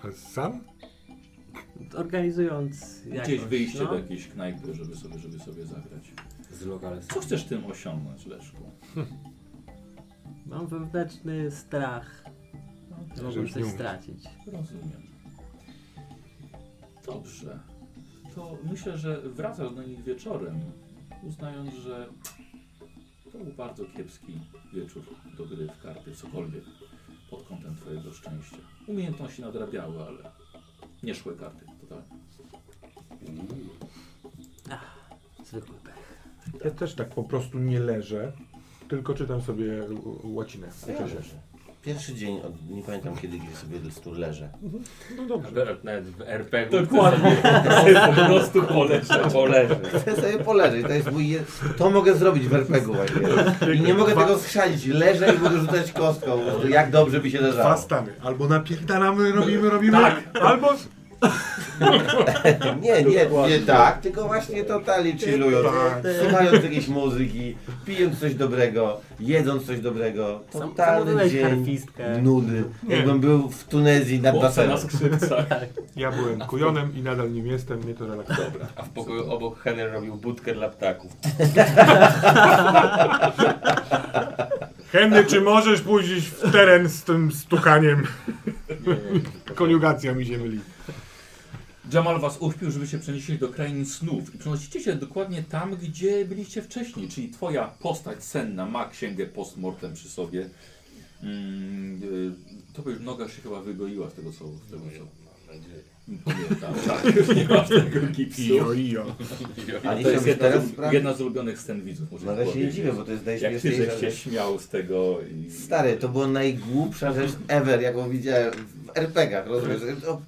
D: Ale sam?
E: Organizując jakoś,
A: Gdzieś wyjście tak.
E: no.
A: do jakiejś knajpy, żeby sobie, żeby sobie zagrać.
G: Z lokalem.
A: Co chcesz tym osiągnąć, Leszku?
E: Mam wewnętrzny strach, że
D: Że
E: mogłem
D: już nie
E: coś
D: umiesz.
E: stracić.
A: Rozumiem. Dobrze. To myślę, że wracasz do nich wieczorem, uznając, że to był bardzo kiepski wieczór do gry w karty, cokolwiek pod kątem Twojego szczęścia. Umiejętności nadrabiały, ale nie szły karty. Totalnie.
E: Zwykły pech.
D: Ja też tak po prostu nie leżę, tylko czytam sobie ł- łacinę.
C: To ja leżę. Pierwszy dzień, od, nie pamiętam kiedy gdzie sobie z tu leżę.
D: No dobrze.
B: Nawet w RPG.
A: Dokładnie.
B: Po prostu poleżę. Poleżę.
C: Chcę sobie poleżeć, to jest mój je... To mogę zrobić w RPG-u właśnie. I nie mogę tego schrzanić, leżę i mogę rzucać kostką. Po prostu Jak dobrze by się
D: Dwa
C: leżało.
D: stany. Albo napierdalamy, robimy, robimy, albo...
C: Nie, nie, nie tak, tylko właśnie totalnie chillując,
D: Tak.
C: słuchając jakiejś muzyki, pijąc coś dobrego, jedząc coś dobrego.
E: Sam-
C: Totalny
E: zamówiłeś
C: dzień
E: harfistkę.
C: nudy. Jakbym był w Tunezji nad
A: Chłopca
C: basenem.
A: na skrzypcach.
D: Ja byłem kujonem i nadal nim jestem, mnie to relaksuje.
B: A w pokoju obok Henry robił budkę dla ptaków.
D: Henry, czy możesz pójść gdzieś w teren z tym (laughs) stukaniem? Koniugacja mi się myli.
A: Jamal was uśpił, żeby się przenieść do krain snów i przenosicie się dokładnie tam, gdzie byliście wcześniej, czyli twoja postać senna ma księgę postmortem przy sobie. Mm, y, to by już noga się chyba wygoiła z tego co, z tego, co pamiętam. Tak, już (laughs) nie masz tego gipsu.
D: Ijo, ijo.
C: A
A: To
C: nie
A: jest
C: robisz
A: jedna,
C: teraz
A: z-
C: sprawy?
A: jedna z ulubionych scen widzów, może
C: No ja się nie dziwię, bo to jest
A: Jak ty żeś
C: najśmieszniejsze.
A: się śmiał z tego i...
C: Stary, to była najgłupsza rzecz ever, jaką widziałem w RPG-ach, rozumiesz?
A: Tak.
C: O,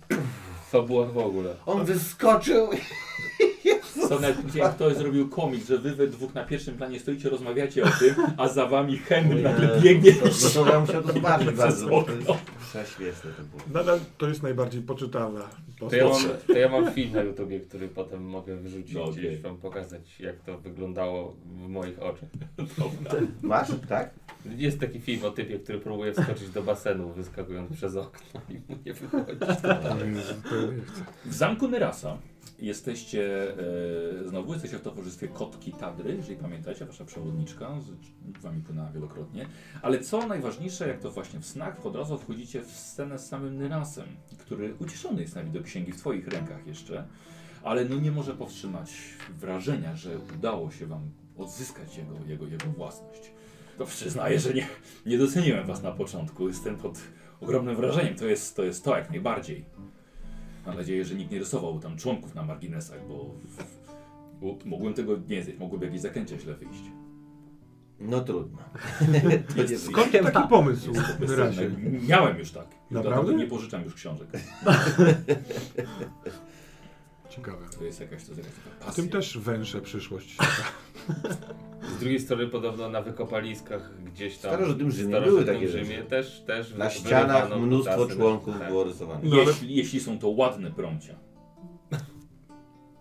B: Fabuła w ogóle.
C: On wyskoczył
A: (laughs) Co najpierw jak ktoś zrobił komik, że wy we dwóch na pierwszym planie stoicie, rozmawiacie o tym, a za wami Henry nagle biegnie i
C: No to ja musiał to zobaczyć
A: przez
C: bardzo.
A: okno.
C: Prześmieszne to było.
D: Nadal to jest najbardziej poczytalna
B: To ja,
D: postać.
B: mam, to ja mam film na YouTubie, który potem mogę wyrzucić
A: No, okej.
B: gdzieś wam pokazać, jak to wyglądało w moich oczach.
C: Masz, tak?
B: Jest taki film o typie, który próbuje wskoczyć do basenu, wyskakując przez okno i mu nie wychodzi.
A: W zamku Nerasa jesteście, e, znowu jesteście w towarzystwie kotki Tadry, jeżeli pamiętacie, wasza przewodniczka, z wami płynęła wielokrotnie. Ale co najważniejsze, jak to właśnie w snach, od razu wchodzicie w scenę z samym Nerasem, który ucieszony jest na widok księgi w twoich rękach jeszcze, ale no nie może powstrzymać wrażenia, że udało się wam odzyskać jego, jego, jego własność. To przyznaję, że nie, nie doceniłem was na początku, jestem pod ogromnym wrażeniem, to jest to, jest to jak najbardziej. Mam nadzieję, że nikt nie rysował tam członków na marginesach, bo w, w, mogłem tego nie zjeść, mogłyby jakieś zakręcia źle wyjść.
C: No (laughs) trudno. To nie
A: Jest-
D: Skąd taki pomysł?
A: Bez
D: Wyraźnie.
A: sensu. Miałem już tak. I
D: Naprawdę?
A: Dlatego nie pożyczam już książek.
D: Ciekawe.
A: To jest jakaś, to jest jakaś taka
D: W
A: pasja.
D: tym też węszę przyszłość.
B: Z drugiej strony podobno na wykopaliskach gdzieś tam.
C: W starożytnym Rzymie były
B: starożytnym
C: takie
B: Rzymie
C: rzeczy.
B: też, też
C: Na
B: wyrywano
C: ścianach mnóstwo
B: kutasy na-
C: członków
B: tak.
C: było rysowanych.
D: No, ale-
A: jeśli, jeśli są to ładne prącia.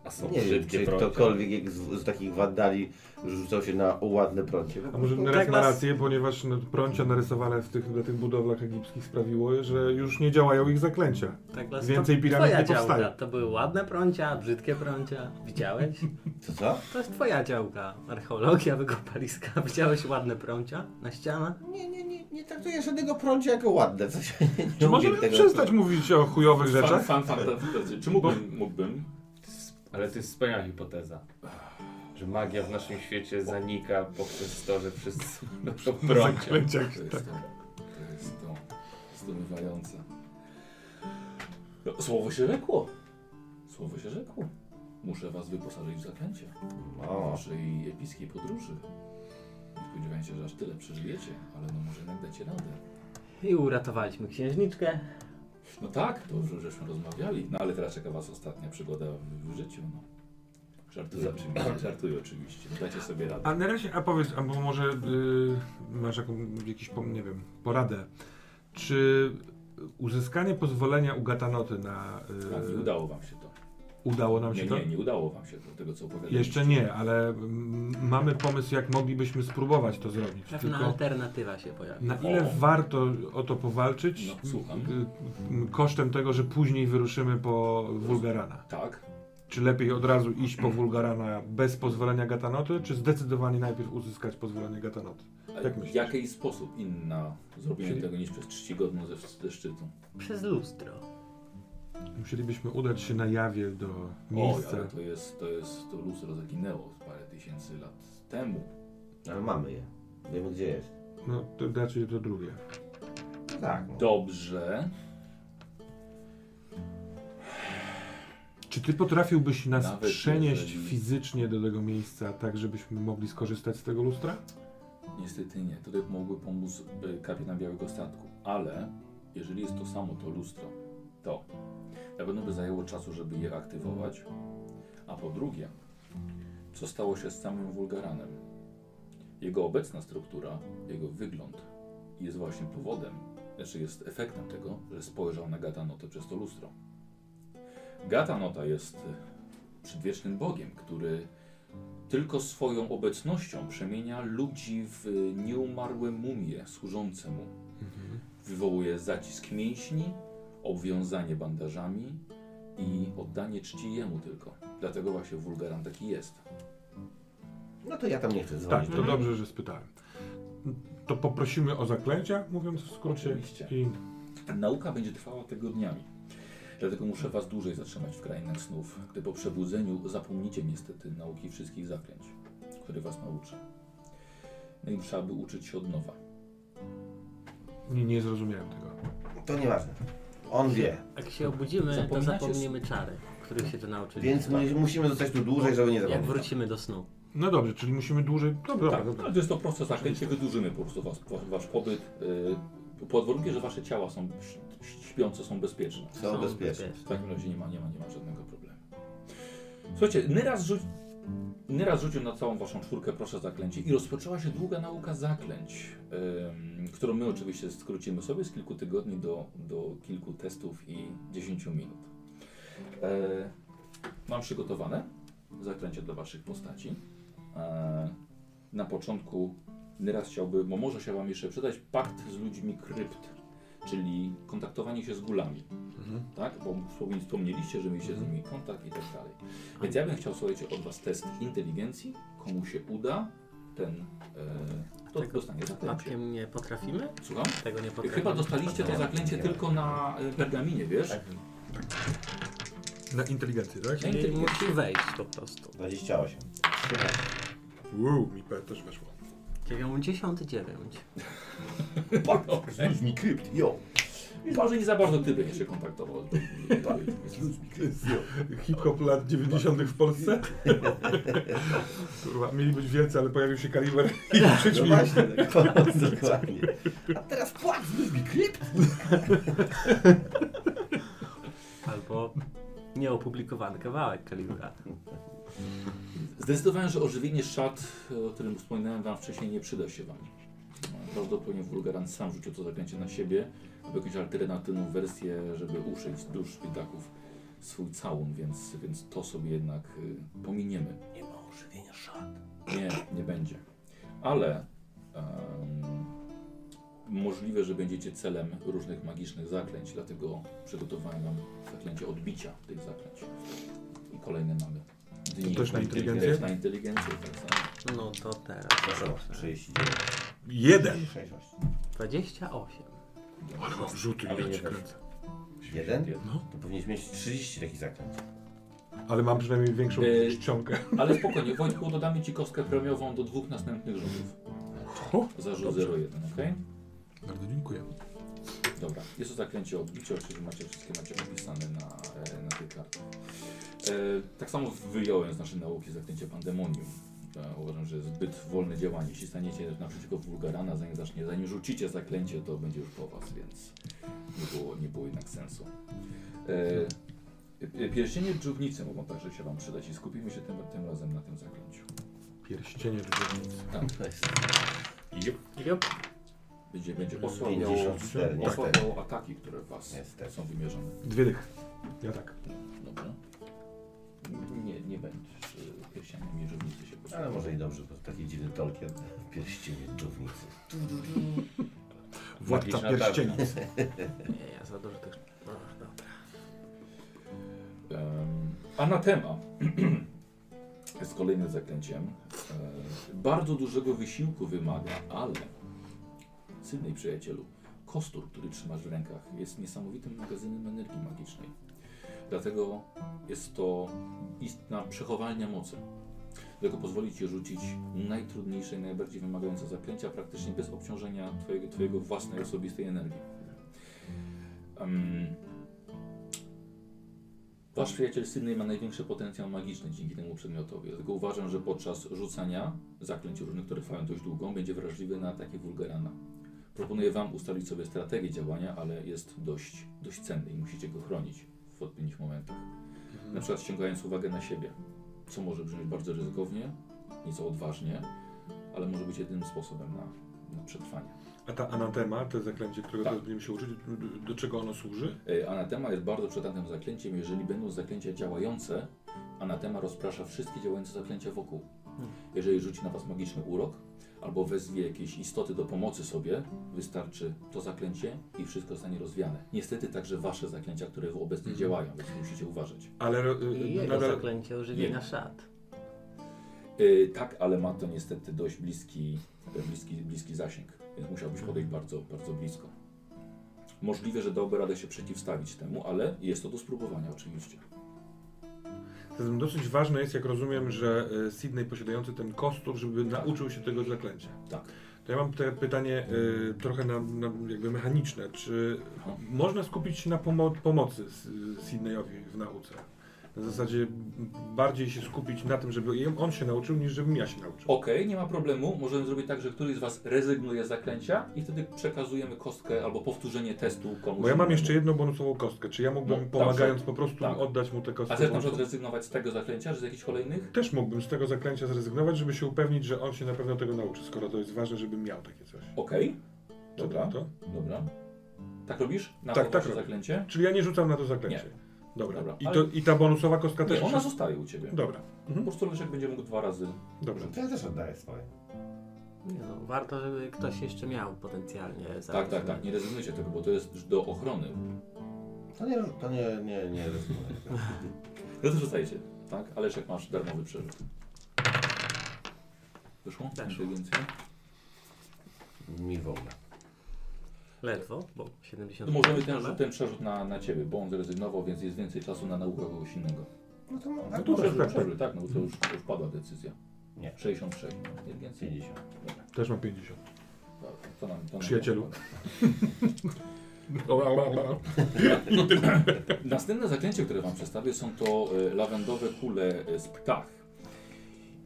B: A są
C: Nie wiem,
B: brzydkie
C: czy
B: prącie.
C: ktokolwiek jak z, z takich waddali rzucał się na ładne prącie.
D: A może
E: Tak
D: Nerek ma
E: nas-
D: rację, ponieważ no, prącia narysowane w tych, na tych budowlach egipskich sprawiło, że już nie działają ich zaklęcia.
E: Tak, Las,
D: Więcej
E: to
D: piramid
E: twoja
D: nie powstaje.
E: działka. To były ładne prącia, brzydkie prącia. Widziałeś?
C: Co, co?
E: To jest twoja działka. Archeologia, wykopaliska. (laughs) Widziałeś ładne prącia na ścianach?
C: Nie, nie, nie, nie traktuję żadnego prącia jako ładne. Coś, nie
D: Czy
C: lubię
D: możemy
C: tego.
D: przestać mówić o chujowych
A: Fan,
D: rzeczach?
A: fan, fan, fan, czy mógłbym? mógłbym?
B: Ale to jest wspaniała hipoteza. Że magia w naszym świecie zanika poprzez to, że wszyscy (laughs) to prącie.
D: Zaklęciach.
A: To jest to. To jest to. Zdumiewające. No, Słowo się rzekło. Słowo się rzekło. Muszę was wyposażyć w zaklęcie.
C: O,
A: naszej epickiej podróży. Spodziewałem spodziewałem się, że aż tyle przeżyjecie, ale no może jednak dacie radę.
E: I uratowaliśmy księżniczkę.
A: No tak, to już żeśmy rozmawiali. No ale teraz czeka was ostatnia przygoda w, w życiu, no. Żartuję oczywiście, żartuję oczywiście. No, Dacie sobie radę.
D: A na razie, a powiedz, albo może y, masz jaką, jakiś, pom- nie wiem, poradę. Czy uzyskanie pozwolenia u Gatanoty na... y,
A: Tak, nie udało wam się to.
D: udało nam
A: Nie,
D: się to?
A: nie, nie udało wam się to, tego co opowiadaliście.
D: Jeszcze nie, ale mm, mamy pomysł, jak moglibyśmy spróbować to zrobić.
E: Pewna
D: Tylko
E: alternatywa się pojawi.
D: na ile
A: O.
D: warto o to powalczyć
A: No, słucham.
D: y, y, kosztem tego, że później wyruszymy po Wulgarana?
A: Tak.
D: Czy lepiej od razu iść po Wulgarana bez pozwolenia Gatanoty, czy zdecydowanie najpierw uzyskać pozwolenie Gatanoty?
A: A
D: Jak
A: w
D: Tak myślisz?
A: jaki sposób inna zrobienie
D: Czyli-
A: tego niż przez czcigodną ze, ze szczytu?
E: Przez lustro.
D: Musielibyśmy udać się na jawie do
A: Oj,
D: miejsca.
A: ale to jest, to jest, to lustro zaginęło parę tysięcy lat temu.
C: Ale No, mamy je. Wiemy gdzie jest.
D: No to raczej to drugie.
C: No tak. No.
A: Dobrze.
D: Czy ty potrafiłbyś nas
A: Nawet
D: przenieść
A: jeżeli-
D: fizycznie do tego miejsca, tak żebyśmy mogli skorzystać z tego lustra?
A: Niestety nie. Tutaj mogły pomóc y, kapitan Białego Statku, ale jeżeli jest to samo to lustro, to na pewno by zajęło czasu, żeby je aktywować, a po drugie, co stało się z samym Wulgaranem. Jego obecna struktura, jego wygląd jest właśnie powodem, znaczy jest efektem tego, że spojrzał na Gatanotę przez to lustro. Gatanota jest y, przedwiecznym bogiem, który tylko swoją obecnością przemienia ludzi w nieumarłe mumie służące mu. Wywołuje zacisk mięśni, obwiązanie bandażami i oddanie czci jemu tylko. Dlatego właśnie wulgaran taki jest.
C: no to ja tam nie chcę
D: Tak,
C: dzwonić. no.
D: to dobrze, że spytałem. To poprosimy o zaklęcia, mówiąc w skrócie.
A: Oczywiście.
D: I
A: Nauka będzie trwała tygodniami. Dlatego muszę was dłużej zatrzymać w krainach snów, gdy po przebudzeniu zapomnicie niestety nauki wszystkich zaklęć, które was nauczy. No i trzeba by uczyć się od nowa.
D: nie, nie zrozumiałem tego.
C: To nieważne. On wie.
E: Jak się obudzimy, to
A: Zapominacie
E: zapomnimy czary, których się tu nauczyliśmy.
C: Więc mu- musimy zostać tu dłużej, żeby nie
E: Jak
C: zapomnieć.
E: wrócimy do snu.
D: No dobrze, czyli musimy dłużej. Dobra,
A: Tak,
D: dobra.
A: ale to jest to proste zaklęcie, wydłużymy po prostu was, wa- wasz pobyt, yy, pod warunkiem, że wasze ciała są ś- śpiące, są bezpieczne.
C: Są bezpieczne.
A: W takim razie nie ma, nie ma, nie ma żadnego problemu. Słuchajcie, Nyraz, rzuć, Nyraz rzucił na całą waszą czwórkę proszę zaklęcie i rozpoczęła się długa nauka zaklęć, ym, którą my oczywiście skrócimy sobie z kilku tygodni do, do kilku testów i 10 minut. E, mam przygotowane zaklęcie dla waszych postaci. E, na początku Nyraz chciałby, bo może się wam jeszcze przydać, pakt z ludźmi krypt, czyli kontaktowanie się z gulami tak? Bo wspomnieli- wspomnieliście, że mieliście z nimi kontakt i tak dalej. Więc ja bym chciał, słuchajcie, od Was test inteligencji. Komu się uda, ten e, to
E: Tego-
A: dostanie zaklęcie.
E: Przypadkiem nie potrafimy?
A: Słucham?
E: Tego nie potrafimy.
A: Chyba dostaliście to zaklęcie tylko na e, pergaminie, wiesz?
D: Na inteligencję, tak?
A: Na
E: Czyli
A: inteligencję.
E: musi wejść po prostu.
C: 28.
D: Wow, mi pe- też weszło.
E: 99.
A: Okej.
C: mi krypt, jo.
A: Więc Może nie za bardzo ty będziesz się kontaktował. Tak.
D: Hip-hop lat 90. w Polsce? Kurwa, mieli być wielcy, ale pojawił się kaliber i
C: No
D: przyćmił.
C: właśnie, tak, (laughs) dokładnie. A teraz płacz, znów mi krypt.
E: Albo nieopublikowany kawałek kalibra.
A: Zdecydowałem, że ożywienie szat, e, o którym wspominałem Wam wcześniej, nie przyda się Wam. E, Prawdopodobnie Wulgaran sam rzucił to zaklęcie na siebie, albo jakąś alternatywną wersję, żeby uszyć z dusz biedaków swój całun, więc, więc to sobie jednak y, pominiemy. Nie ma ożywienia szat. Nie, nie będzie. Ale em, możliwe, że będziecie celem różnych magicznych zaklęć, dlatego przygotowałem Wam zaklęcie odbicia tych zaklęć. I kolejne mamy. Dni.
D: To też na inteligencję?
A: Też na inteligencję, tak samo.
E: No to teraz.
C: Proszę,
E: proszę.
C: 39.
D: Jeden!
C: 6,
E: 28.
D: Ale mam rzuty,
B: Ale
D: ja
B: nie
D: cię
B: weszło.
D: kręcę.
C: Jeden?
D: No.
C: To powinieneś mieć 30 takich zaklęć.
D: Ale mam przynajmniej większą
A: Yy.
D: czcionkę.
A: Ale spokojnie, Wojtku, dodamy Ci kostkę premiową do dwóch następnych rzutów.
D: O,
A: Za rzut
D: dobrze.
A: 0,1, ok?
D: Bardzo dziękuję.
A: Dobra, jest to zaklęcie odbicia, oczywiście macie wszystkie macie opisane na, e, na tych kartach. E, tak samo wyjąłem z naszej nauki zaklęcie pandemonium. Ja uważam, że zbyt wolne działanie. Jeśli staniecie naprzeciwko Wulgarana, zanim, zacznie, zanim rzucicie zaklęcie, to będzie już po was, więc nie było, nie było jednak sensu. E, e, pierścienie dżownicy mogą także się wam przydać i skupimy się tym, tym razem na tym zaklęciu.
D: Pierścienie drzewnicy.
B: Jep.
E: Jop.
A: Będzie, będzie osłabiało,
C: 54, Mm, niestety.
A: osłabiało ataki, które w was
C: Niestety.
A: są wymierzone.
D: Dwie dych. Ja tak.
A: Dobrze. Nie, nie będziesz e, pierścieniem i żywnicy się
C: Ale
A: potrzebne.
C: może i dobrze, bo taki dziwny Tolkien. Pierścienie dżownicy.
D: Władca
B: Magiczna tarcza.
D: pierścieni.
E: Nie, ja za dużo tych... Ach, dobra.
A: Em, Anatema (clears throat) jest kolejnym zaklęciem. E, Bardzo dużego wysiłku wymaga, ale synej przyjacielu, kostur, który trzymasz w rękach, jest niesamowitym magazynem energii magicznej. Dlatego jest to istna przechowalnia mocy. Dlatego pozwoli Ci rzucić najtrudniejsze i najbardziej wymagające zaklęcia, praktycznie bez obciążenia twojego, twojego własnej osobistej energii. Em, Wasz przyjaciel Sydney ma największy potencjał magiczny dzięki temu przedmiotowi. Dlatego uważam, że podczas rzucania zaklęć różnych, które trwają dość długo, będzie wrażliwy na ataki wulgarana. Proponuję Wam ustalić sobie strategię działania, ale jest dość, dość cenny i musicie go chronić w odpowiednich momentach. Na przykład ściągając uwagę na siebie, co może brzmieć bardzo ryzykownie, nieco odważnie, ale może być jedynym sposobem na, na przetrwanie.
D: A ta anatema, to zaklęcie, którego
A: Tak.
D: teraz będziemy się uczyć, do, do- do czego ono służy?
A: Y, Anatema jest bardzo przydatnym zaklęciem. Jeżeli będą zaklęcia działające, anatema rozprasza wszystkie działające zaklęcia wokół. Jeżeli rzuci na was magiczny urok, albo wezwie jakieś istoty do pomocy sobie, wystarczy to zaklęcie i wszystko zostanie rozwiane. Niestety także wasze zaklęcia, które obecnie
D: Mhm.
A: działają, więc musicie uważać.
D: Ale ro- y,
E: I jego
D: nadal
E: zaklęcie ożywienia szat.
A: Y, tak, ale ma to niestety dość bliski, e, bliski, bliski zasięg, więc musiałbyś podejść bardzo, bardzo blisko. Możliwe, że dałby radę się przeciwstawić temu, ale jest to do spróbowania oczywiście.
D: zatem dosyć ważne jest, jak rozumiem, że y, Sydney posiadający ten kostur, żeby nauczył się tego zaklęcia.
A: Tak.
D: To ja mam te pytanie y, trochę na, na jakby mechaniczne. Czy
A: Aha.
D: można skupić się na pomo pomocy S- Sydneyowi w nauce? Na zasadzie bardziej się skupić na tym, żeby jem- on się nauczył, niż żebym ja się nauczył.
A: Okej, nie ma problemu. Możemy zrobić tak, że któryś z Was rezygnuje z zaklęcia i wtedy przekazujemy kostkę albo powtórzenie testu komuś.
D: Bo ja mam
A: innemu.
D: jeszcze jedną bonusową kostkę. Czy ja mógłbym,
A: No,
D: pomagając
A: dobrze.
D: po prostu,
A: Tak.
D: oddać mu tę kostkę?
A: A chcesz na
D: bonusową?
A: przykład rezygnować z tego zaklęcia, czy z jakichś kolejnych?
D: Też mógłbym z tego zaklęcia zrezygnować, żeby się upewnić, że on się na pewno tego nauczy, skoro to jest ważne, żebym miał takie coś.
A: Okej.
D: Co
A: Dobra,
D: to?
A: dobra. Tak robisz? Na
D: Tak,
A: tak,
D: tak robię.
A: zaklęcie?
D: Czyli ja nie rzucam na to zaklęcie. Dobra.
A: Dobra,
D: I,
A: ale-
D: to, I ta bonusowa kostka też.
A: Nie, ona
D: przez-
A: zostaje u Ciebie.
D: Dobra.
A: Po
D: Mhm.
A: prostu Leszek będzie mógł dwa razy.
D: Dobrze.
C: No To ja też oddaję swoje.
E: Nie no, warto, żeby ktoś jeszcze miał potencjalnie za-
A: Hmm. Tak, tak, tak. Nie rezygnujcie tego, bo to jest do ochrony.
C: To nie, to nie, nie, nie rozumiem.
A: No to rzucajcie. Tak, a Leszek masz darmowy przerzut. Wyszło?
E: Weszło.
A: Inteligencja?
C: Mi wolno.
E: Ledwo, bo 70...
A: To No możemy ten, rzut- ten przerzut na, na ciebie, bo on zrezygnował, więc jest więcej czasu na naukę kogoś innego.
C: No to
A: No
C: mam.
A: to
D: tak,
A: przerzut,
D: tak,
A: przerzut, tak, no bo to już, już padła decyzja.
C: Nie.
A: 66. Nie więcej.
C: 50.
A: Dobra,
D: Też mam 50.
A: dobra, to nam, to nam
D: Przyjacielu. (laughs)
A: Następne zaklęcie, które Wam przedstawię, są to e, lawendowe kule e, z ptach.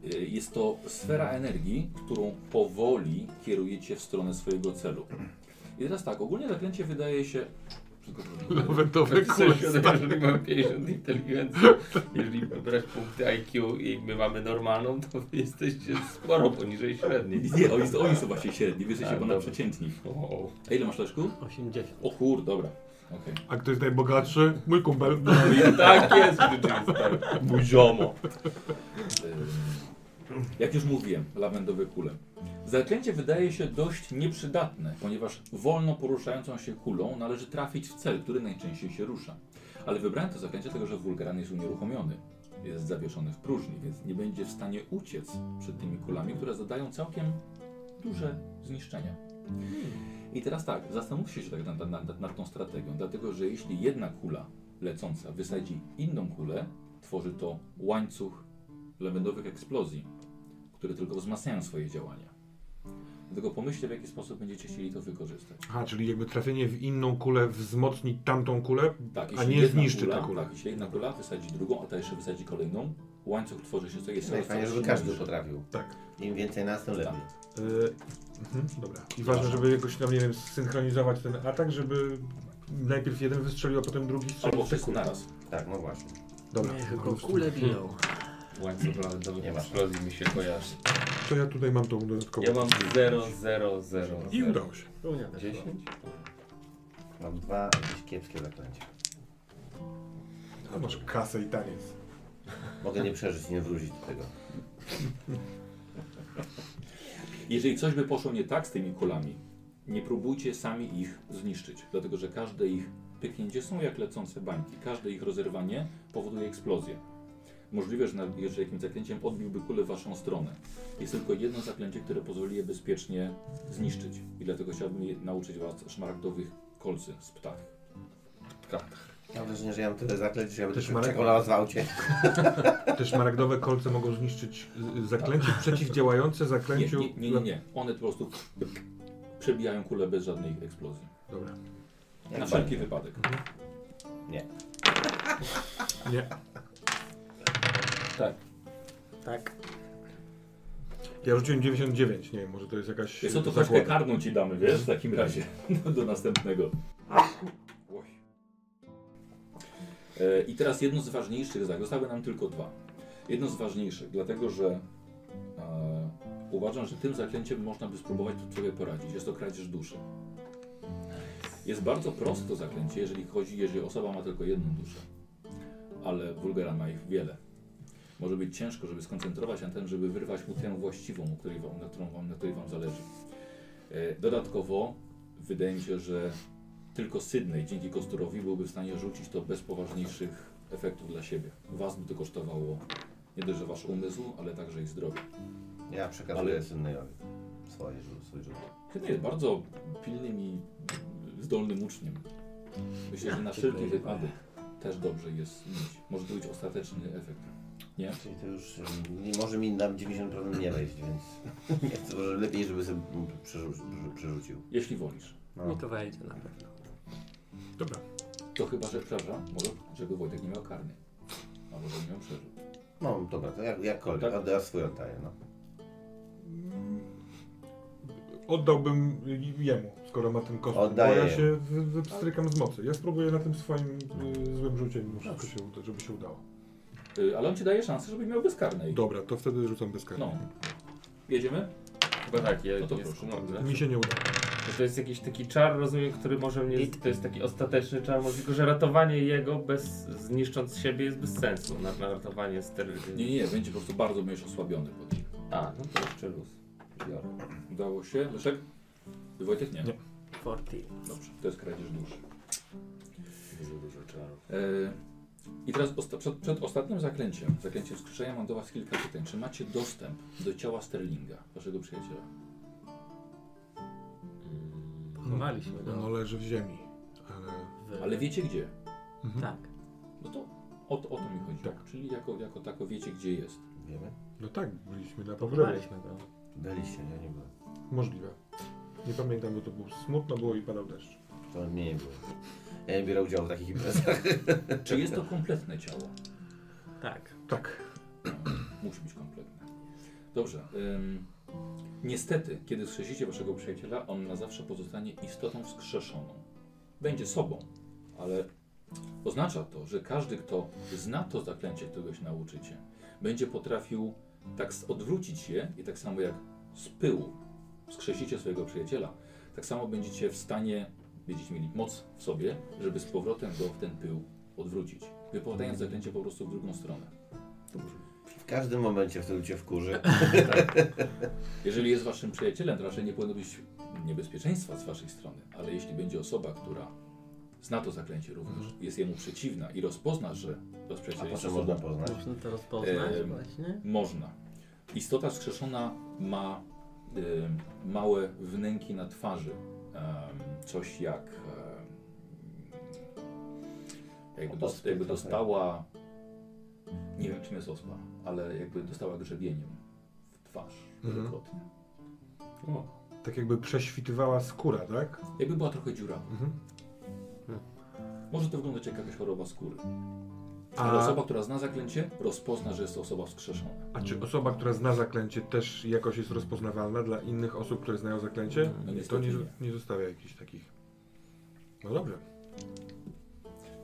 A: E, Jest to sfera energii, którą powoli kierujecie w stronę swojego celu. I teraz tak, ogólnie zaklęcie wydaje się.
B: Lawendowe
A: Znaczy,
B: kule. Jeżeli mam 50 inteligencji, jeżeli brać punkty IQ i my mamy normalną, to wy jesteście sporo poniżej średniej.
A: Nie, oni, oni są właśnie średni, wy jesteście
B: A,
A: ponadprzeciętni.
B: O,
A: A ile masz leszku?
E: 80.
A: O kur, dobra. Okej.
D: A kto jest najbogatszy? Mój
A: (laughs)
D: kumpel.
B: tak jest rzeczywistość. Mój ziomo.
A: Ym, Jak już mówiłem, lawendowe kule. Zaklęcie wydaje się dość nieprzydatne, ponieważ wolno poruszającą się kulą należy trafić w cel, który najczęściej się rusza. Ale wybrałem to zaklęcie dlatego, że wulgaran jest unieruchomiony. Jest zawieszony w próżni, więc nie będzie w stanie uciec przed tymi kulami, które zadają całkiem duże zniszczenia. I teraz tak, zastanówcie się tak nad, nad, nad, nad tą strategią, dlatego że jeśli jedna kula lecąca wysadzi inną kulę, tworzy to łańcuch lawendowych eksplozji, które tylko wzmacniają swoje działania. Dlatego pomyślcie, w jaki sposób będziecie chcieli to wykorzystać.
D: Aha, czyli jakby trafienie w inną kulę wzmocni tamtą kulę.
A: Tak,
D: nie zniszczy ta kula.
A: Tak, jeśli jedna kula wysadzi drugą, a ta jeszcze wysadzi kolejną, łańcuch tworzy się co jest coraz
C: Najfajniej, No żeby
A: silniejszy.
C: każdy potrafił.
D: Tak.
C: Im więcej nas, tym lepiej.
D: Y, mhm, dobra. I ważne, żeby jakoś tam, nie wiem, synchronizować ten atak, żeby najpierw jeden wystrzelił, a potem drugi strzelił.
A: Albo wszyscy naraz.
C: Tak, no właśnie.
D: Dobra.
E: Niech
D: po
E: go
D: prostu.
E: kule
A: Hmm.
E: biją.
B: Łańcuch lawendowych
C: Nie ma.
B: eksplozji mi się kojarzy.
D: To ja tutaj mam tą dodatkową.
B: Ja mam 0, 0, 0.
D: I udało się.
E: Równia też
B: 10?
C: Mam dwa jakieś kiepskie zaklęcia.
D: A masz kasę i taniec.
C: Mogę nie przeżyć, nie wrócić do tego.
A: Jeżeli coś by poszło nie tak z tymi kulami, nie próbujcie sami ich zniszczyć, dlatego że każde ich pyknięcie są jak lecące bańki. Każde ich rozerwanie powoduje eksplozję. Możliwe, że nawet jeszcze jakimś zaklęciem odbiłby kulę w waszą stronę. Jest tylko jedno zaklęcie, które pozwoli je bezpiecznie zniszczyć. I dlatego chciałbym je nauczyć was szmaragdowych kolcy z ptach.
C: Mam wrażenie, że ja mam tyle zaklęć, że ja będę
D: Też Marek?
C: czekał na was w aucie.
D: Te szmaragdowe kolce mogą zniszczyć y, zaklęcie przeciwdziałające
A: Nie,
D: zaklęciu.
A: Tak. nie, nie, nie, nie. One po prostu przebijają kulę bez żadnej eksplozji.
D: Dobra.
A: Na wszelki wypadek.
D: Nie.
B: Tak.
E: Tak.
D: Ja rzuciłem 99, nie wiem, może to jest jakaś.
A: Jest to
D: zagłada.
A: troszkę karną ci damy, wiesz, w takim razie. (laughs) Do, do następnego. Oj. E, I teraz jedno z ważniejszych zadań, zostały nam tylko dwa. Jedno z ważniejszych, dlatego że e, uważam, że tym zaklęciem można by spróbować tu sobie poradzić. Jest to kradzież duszy. Jest bardzo proste to zaklęcie, jeżeli chodzi, jeżeli osoba ma tylko jedną duszę, ale Wulgara ma ich wiele. Może być ciężko, żeby skoncentrować się na tym, żeby wyrwać mu tę właściwą, o której wam, na, którą wam, na której wam zależy. E, Dodatkowo wydaje mi się, że tylko Sydney dzięki Kosturowi byłby w stanie rzucić to bez poważniejszych efektów dla siebie. Was by to kosztowało nie dość, że wasz umysł, ale także i zdrowie.
C: Ja przekazuję Synnejowi swoje rzut, swój rzut.
A: Sydney jest bardzo pilnym i zdolnym uczniem. Myślę, że na wszelki wypadek też dobrze jest mieć. Może to być ostateczny efekt. Nie?
C: Czyli to już ym, nie może mi nam 90% nie wejść, więc (laughs) nie chcę, może lepiej, żeby sobie mm, przerzu- przerzu- przerzucił.
A: Jeśli wolisz.
C: No.
E: Mi to wejdzie na pewno.
D: Dobra.
A: To chyba, że przepraszam, może żeby Wojtek nie miał karny. A może nie miał przerzut.
C: No dobra, to jak, jakkolwiek,
A: Tak?
C: tak? ja swój oddaję, no.
D: Oddałbym jemu, skoro ma ten koszt.
C: Oddaję
D: Bo ja
C: jemu.
D: się wy- wypstrykam z mocy. Ja spróbuję na tym swoim y, złym rzucie, mimo wszystko się uda, żeby się udało.
A: Y, Ale on ci daje szansę, żebyś miał bezkarnej.
D: Dobra, to wtedy rzucam bez
A: No.
D: karty.
A: Jedziemy?
B: Chyba tak, ja
A: No to
B: nie
A: proszę.
B: skumam.
D: Mi się nie uda.
B: Że To jest jakiś taki czar, rozumiem, który może mnie. To jest taki ostateczny czar, może tylko że ratowanie jego bez zniszcząc siebie jest bez sensu. Na, na ratowanie ster.
A: Nie, nie, będzie po prostu bardzo będziesz osłabiony po tym.
B: A, no to jeszcze luz. Biorę.
A: Udało się. Leszek? Wojtek nie.
D: Nie.
E: 40.
A: Dobrze, to jest kradzież duszy.
B: Dużo, dużo czarów.
A: E, I teraz osta- przed, przed ostatnim zaklęciem, zaklęciem skrzeszenia mam do Was kilka pytań. Czy macie dostęp do ciała Sterlinga, Waszego przyjaciela?
E: Chowaliśmy
D: No,
E: go.
D: leży w ziemi. Ale
E: W...
A: Ale wiecie gdzie?
E: Tak.
A: No to o, to- o to mi chodzi.
D: Tak.
A: Czyli jako, jako tako wiecie gdzie jest.
C: Wiemy?
D: no tak, byliśmy na pogrzebie.
E: Chowaliśmy
A: no.
E: go.
C: Byliście, ja nie byłem.
D: Możliwe. Nie pamiętam, bo to było smutno było i padał deszcz.
C: To mnie nie było. Ja nie biorę udziału w takich imprezach.
A: Czy jest to kompletne ciało?
E: Tak.
D: Tak.
A: Musi być kompletne. Dobrze. ym, niestety, kiedy skrzesicie waszego przyjaciela, on na zawsze pozostanie istotą wskrzeszoną. Będzie sobą, ale oznacza to, że każdy, kto zna to zaklęcie, którego się nauczycie, będzie potrafił tak s- odwrócić je i tak samo jak z pyłu skrzesicie swojego przyjaciela, tak samo będziecie w stanie, będziecie mieli moc w sobie, żeby z powrotem go w ten pył odwrócić. Wypowiadając zaklęcie po prostu w drugą stronę.
C: W każdym momencie, w którym cię wkurzy.
A: Jeżeli jest waszym przyjacielem, to raczej nie powinno być niebezpieczeństwa z waszej strony, ale jeśli będzie osoba, która zna to zaklęcie również, jest jemu przeciwna i rozpozna, że wasz
C: Mhm. A
A: przyjaciel jest
C: potem
A: osobą-
C: można poznać.
E: Można to rozpoznać
A: Tak. Em,
E: właśnie.
A: Można. Istota skrzeszona ma y, małe wnęki na twarzy. Em, coś jak. em, jakby, dos,
C: Ospy
A: jakby
C: trochę.
A: dostała. Nie wiem, czym jest ospa, ale jakby dostała grzebieniem w twarz
D: Mhm.
A: wielokrotnie.
B: O,
D: Tak jakby prześwitywała skóra, tak?
A: Jakby była trochę dziurawa.
D: Mhm.
A: Może to wyglądać jak jakaś choroba skóry. Ale
D: A-
A: osoba, która zna zaklęcie, rozpozna, że jest to osoba wskrzeszona.
D: A czy osoba, która zna zaklęcie, też jakoś jest rozpoznawalna dla innych osób, które znają zaklęcie?
A: No
D: to
A: niestety
D: nie,
A: nie.
D: nie zostawia jakichś takich. No dobrze.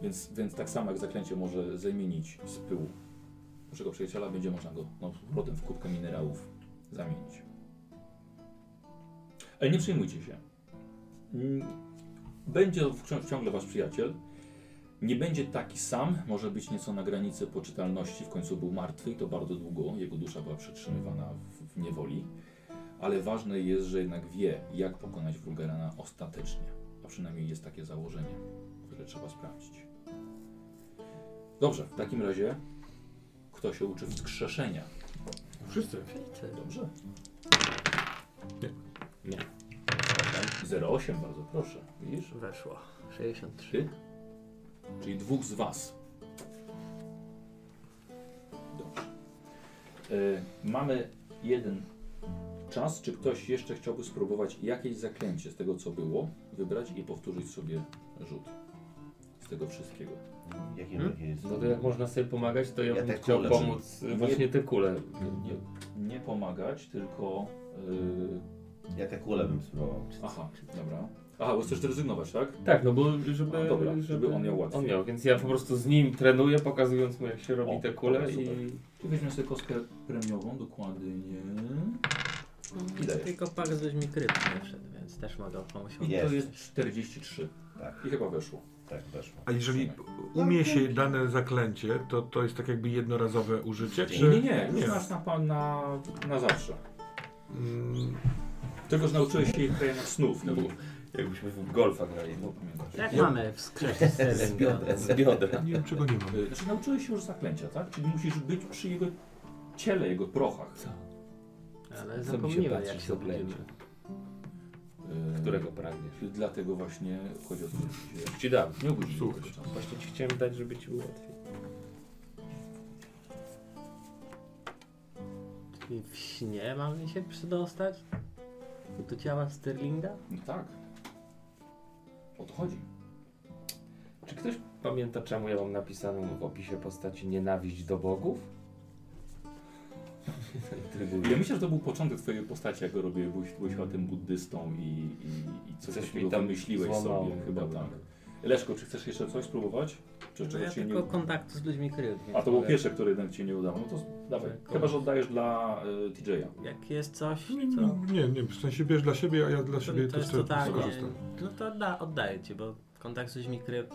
A: Więc, więc tak samo jak zaklęcie może zamienić z pyłu naszego przyjaciela, będzie można go no, z powrotem w kubkę minerałów zamienić. Ale nie przejmujcie się. Mm, Będzie to wciąż- ciągle wasz przyjaciel. Nie będzie taki sam, może być nieco na granicy poczytalności. W końcu był martwy i to bardzo długo. Jego dusza była przetrzymywana w, w niewoli. Ale ważne jest, że jednak wie, jak pokonać Wulgarana ostatecznie. A przynajmniej jest takie założenie które trzeba sprawdzić. Dobrze, w takim razie kto się uczy wskrzeszenia?
D: Wszyscy.
A: Dobrze.
D: Nie.
B: Nie.
A: 08, bardzo proszę. Widzisz?
E: Weszło. 63.
A: Ty? Czyli dwóch z was. Dobrze. Y, mamy jeden czas. Czy ktoś jeszcze chciałby spróbować jakieś zaklęcie z tego, co było, wybrać i powtórzyć sobie rzut z tego wszystkiego?
C: Jakie
B: Hmm?
C: jakie jest?
B: No to jak można sobie pomagać, to ja,
C: Ja
B: bym
C: te
B: chciał
C: kule,
B: pomóc e, właśnie te kule.
A: Nie, nie pomagać, tylko. Yy...
C: Ja te kule bym spróbował.
A: Aha, dobra. Aha, bo chcesz rezygnować, tak?
B: Tak, no bo żeby,
A: A, dobra, żeby on miał łatwiej.
B: On miał, więc ja po prostu z nim trenuję, pokazując mu jak się robi
A: O,
B: te kule
A: dobra,
B: i...
A: super. Tu weźmiemy sobie kostkę premiową, dokładnie. I dajesz.
E: Tylko parę żeś mi kryp nie wszedł, więc też mogę pomóc.
A: I
C: Jest.
A: to jest 43.
C: Tak.
A: I chyba weszło.
C: Tak, weszło.
D: A jeżeli umie się dane zaklęcie, to to jest tak jakby jednorazowe użycie?
A: Nie,
D: Czy...
A: nie, nie, już masz na, pan na, na zawsze.
D: Mm,
A: Tylko, że nauczyłeś się ich krainach snów. No bo
C: Jakbyśmy w golfa grali.
A: no, pamiętasz.
E: Jak Tak mamy
B: (laughs)
E: wskrzesić Serendiona?
C: Z biodra.
D: nie wiem, czego nie mam.
A: Y, Znaczy, nauczyłeś się już zaklęcia, tak? Czyli musisz być przy jego ciele, jego prochach.
E: Ale
B: Co mi się
E: zapomniałem
B: patrzy
E: jak
B: w
E: się
B: oględzie?
E: oględzimy.
A: Y,
B: Którego pragniesz?
A: Dlatego właśnie chodzi o to, że się
B: Ci dam.
A: nie obudzisz
D: Słuchaj.
A: tego czasu.
B: Właśnie ci chciałem dać, żeby ci było łatwiej.
E: Czyli w śnie mamy się przydostać? Do ciała Sterlinga?
A: No tak. O to chodzi.
B: Czy ktoś pamięta, czemu ja mam napisaną w opisie postaci nienawiść do bogów?
A: Ja myślę, że to był początek twojej postaci, jak go robię, byłeś, byłeś chyba tym buddystą i, i, i coś,
B: Coś
A: takiego
B: mi tam
A: wymyśliłeś
B: złamało,
A: sobie chyba
B: dobra.
A: tak. Leszko, czy chcesz jeszcze coś spróbować? Czy
E: No
A: czegoś
E: ja
A: się
E: tylko
A: nie...
E: kontaktu z ludźmi krył.
A: A to było pierwsze, które jednak ci nie udało. No to dawaj.
E: Tylko-
A: Chyba, że oddajesz dla y, TJ-a.
E: Jak jest coś, co...
D: Nie, nie, nie, w sensie bierz dla siebie, a ja dla
E: To,
D: siebie
E: to jest
D: też
E: totalnie.
D: skorzystam.
E: No to da, oddaję ci, bo kontakt z ludźmi kryp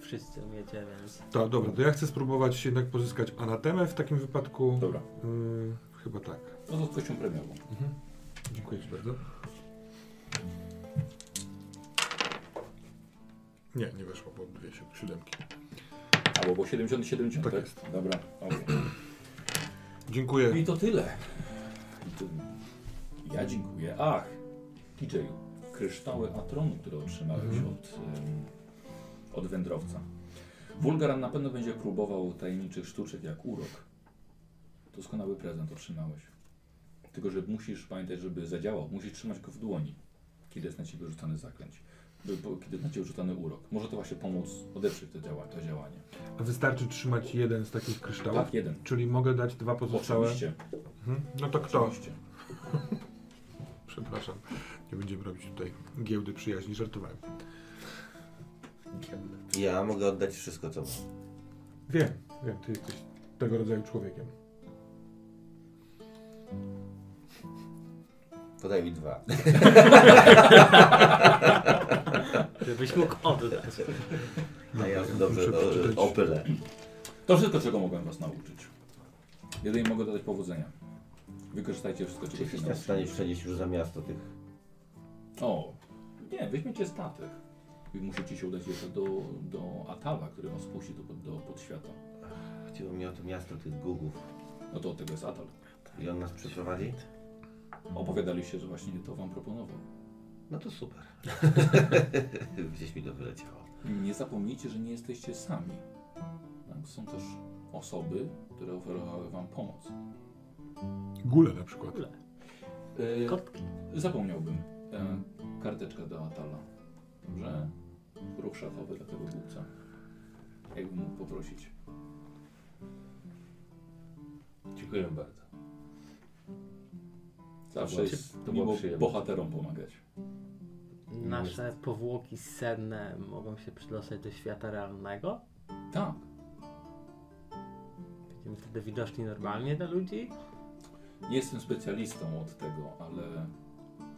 E: wszyscy umiecie, więc.
D: To, dobra, to ja chcę spróbować jednak pozyskać anatemę w takim wypadku.
A: Dobra.
D: Mm, chyba tak.
A: No to z kością premiową.
D: Dziękuję Ci bardzo. Nie, nie weszło, bo dwie si- siódemki.
A: Albo było 77, tak?
D: Tak jest.
A: Dobra, okej.
D: Dziękuję.
A: I to tyle. I tu... Ja dziękuję. Ach, DJ-u, kryształy Atronu, które otrzymałeś
D: Mhm.
A: od, em, od wędrowca. Wulgaran na pewno będzie próbował tajemniczych sztuczek jak urok. Doskonały prezent otrzymałeś. Tylko, że musisz pamiętać, żeby zadziałał, musisz trzymać go w dłoni, kiedy jest na ciebie rzucany zaklęć. By- bo- Kiedy jest na ciebie rzucany urok. Może to właśnie pomóc odeprzeć to, działa, to działanie.
D: A wystarczy trzymać jeden z takich kryształów?
A: Tak, jeden.
D: Czyli mogę dać dwa pozostałe?
A: Oczywiście.
D: Mhm. No to kto?
A: Oczywiście.
D: Przepraszam. Nie będziemy robić tutaj giełdy przyjaźni, żartowałem.
C: Ja mogę oddać wszystko, co mam.
D: Wiem, wiem, ty jesteś tego rodzaju człowiekiem.
C: Podaj mi dwa.
E: Żebyś mógł oddać.
B: (laughs)
C: A ja
D: No, muszę
C: dobrze no,
D: przeczytać.
C: o, opylę.
A: To wszystko, czego mogłem was nauczyć. Jedynie mogę dodać powodzenia. Wykorzystajcie wszystko,
C: Czy
A: czego się
C: jesteś w stanie
A: nauczyliście.
C: przenieść już za miasto tych...
A: O, nie, weźmiecie statek. I musicie się udać jeszcze do, do Atala, który was puści do, pod- do podświata.
C: Chodziło mi o to miasto tych gugów.
A: No to od tego jest Atal.
C: I on nas przeprowadzi?
A: Opowiadaliście, że właśnie to wam proponował.
C: No to super. (laughs) Gdzieś mi to wyleciało.
A: Nie zapomnijcie, że nie jesteście sami. Tak? Są też osoby, które oferowały wam pomoc.
D: Gule na przykład.
A: Yy,
E: Kotki.
A: Zapomniałbym. E, karteczka do Atala. Dobrze? Ruch szachowy dla tego głupca. Jakbym mógł poprosić.
B: Dziękuję bardzo.
A: Zawsze
B: była-
A: jest
B: to była
A: miło
B: przyjemność.
A: bohaterom pomagać.
E: Nasze powłoki senne mogą się przydostać do świata realnego?
A: Tak.
E: Będziemy wtedy widoczni normalnie dla ludzi?
A: Nie jestem specjalistą od tego, ale,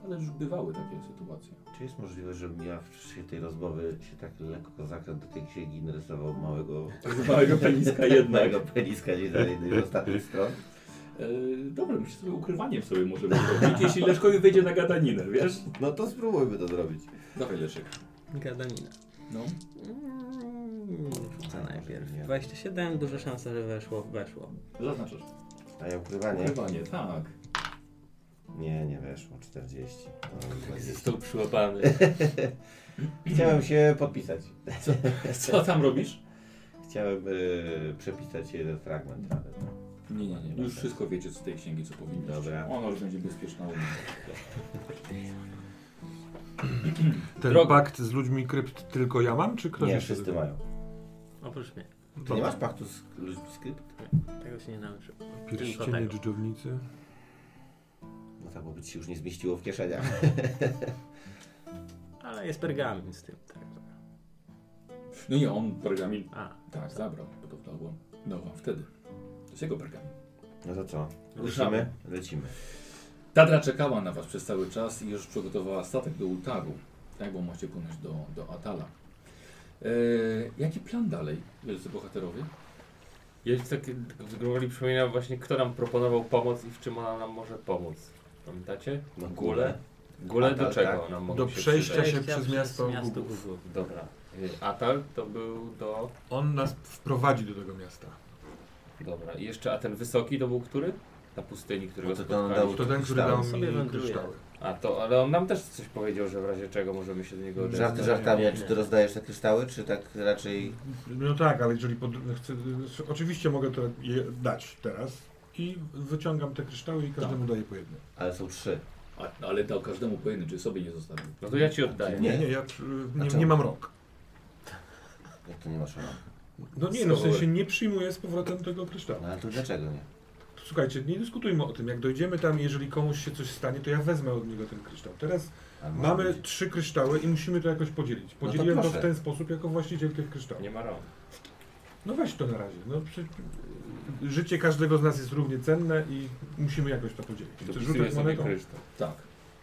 A: ale już bywały takie sytuacje.
C: Czy jest możliwość, żebym ja w czasie tej rozmowy się tak lekko zakręt do tej księgi narysował małego...
A: Małego Tak, (laughs)
C: (laughs)
A: peniska
C: Małego peniska gdzieś na jednej z ostatnich stron?
A: Yy, dobra, myślę sobie ukrywaniem sobie możemy zrobić, jeśli Leszkowi wyjdzie na gadaninę, wiesz?
C: No to spróbujmy to zrobić.
A: Dawaj Leszek.
E: Gadanina.
A: No.
E: Mm, Rzucę najpierw.
C: Nie.
E: 27, duże szanse, że weszło, weszło.
A: Zaznaczasz.
C: A ja ukrywanie?
A: Ukrywanie, tak. (laughs)
C: Nie, nie weszło. 40. No, 20.
B: Został przyłapany.
C: (laughs) Chciałem się podpisać.
A: Co tam robisz?
C: Chciałem y, przepisać jeden fragment, ale no.
A: Nie, nie, nie. Już wszystko wiecie z tej księgi, co powinno.
C: Dobra.
A: Ona już będzie bezpieczna. u mnie.
D: Ten
A: Drogo.
D: pakt z ludźmi krypt tylko ja mam, czy ktoś
C: Nie,
D: jeszcze?
C: wszyscy mają.
E: (laughs) Oprócz mnie.
C: Ty
D: To
C: nie masz paktu z ludźmi skrypt?
E: Tego się nie nauczyłem. Tylko
D: Pierścienie
E: tego.
D: dżdżownicy.
C: No tak, bo by ci się już nie zmieściło w kieszeniach. (laughs)
E: Ale jest pergamin z tym, tak. także.
A: No nie, on pergamin.
E: A,
A: Tak, zabrał. Bo to było. No, wam wtedy. To jest jego pergamin.
C: No to co?
A: Ruszamy.
C: Lecimy? Lecimy.
A: Tadra czekała na was przez cały czas i już przygotowała statek do Utaru, tak, bo macie płynąć do, do Atala. E, jaki plan dalej, wielcy bohaterowie?
B: Ja już tak z gruboli przypominam właśnie, kto nam proponował pomoc i w czym ona nam może pomóc. Pamiętacie?
C: No
B: Gule.
C: A,
B: Gule do
C: tak,
B: czego
C: tak.
B: nam mogą
D: Do
B: się
D: przejścia
B: przydać?
D: się przez miasto Gugów.
B: Gugów, Dobra. Y, Atal to był do...
D: On nas wprowadzi do tego miasta.
B: Dobra. I jeszcze, a ten wysoki to był który? Na pustyni, którego
C: No to ten
B: spotkaliśmy.
D: To ten, który dał
C: Kryształy.
E: Sobie
D: mi
E: wędruje.
D: kryształy.
B: A to, ale on nam też coś powiedział, że w razie czego możemy się do niego
C: Żarty
B: odezwać.
C: żartami, a czy ty rozdajesz te kryształy, czy tak raczej...
D: No tak, ale jeżeli pod... chcę... Oczywiście mogę to je dać teraz. I wyciągam te kryształy i
E: Tak.
D: każdemu daję po jednym.
C: Ale są trzy.
A: A, no, ale dał każdemu po jednym, czy sobie nie zostawił.
B: No to ja ci oddaję.
C: Nie.
D: Nie, nie, ja przy- nie,
C: czemu?
D: nie mam rąk.
C: Jak to nie masz rąk?
D: No nie, no w
B: Skoro-
D: sensie nie przyjmuję z powrotem tego kryształu.
C: No ale to dlaczego nie?
D: Słuchajcie, nie dyskutujmy o tym. Jak dojdziemy tam, jeżeli komuś się coś stanie, to ja wezmę od niego ten kryształ. Teraz
C: Ale może
D: mamy
C: być.
D: trzy kryształy i musimy to jakoś podzielić. Podzieliłem No to
C: proszę.
D: w ten sposób jako właściciel tych kryształów.
B: Nie ma rąk.
D: No weź to na razie. No, przy... Życie każdego z nas jest równie cenne i musimy jakoś to podzielić. Chcesz
B: Dopisuję
D: rzucać
B: sobie
D: monetą?
B: kryształ.
A: Tak.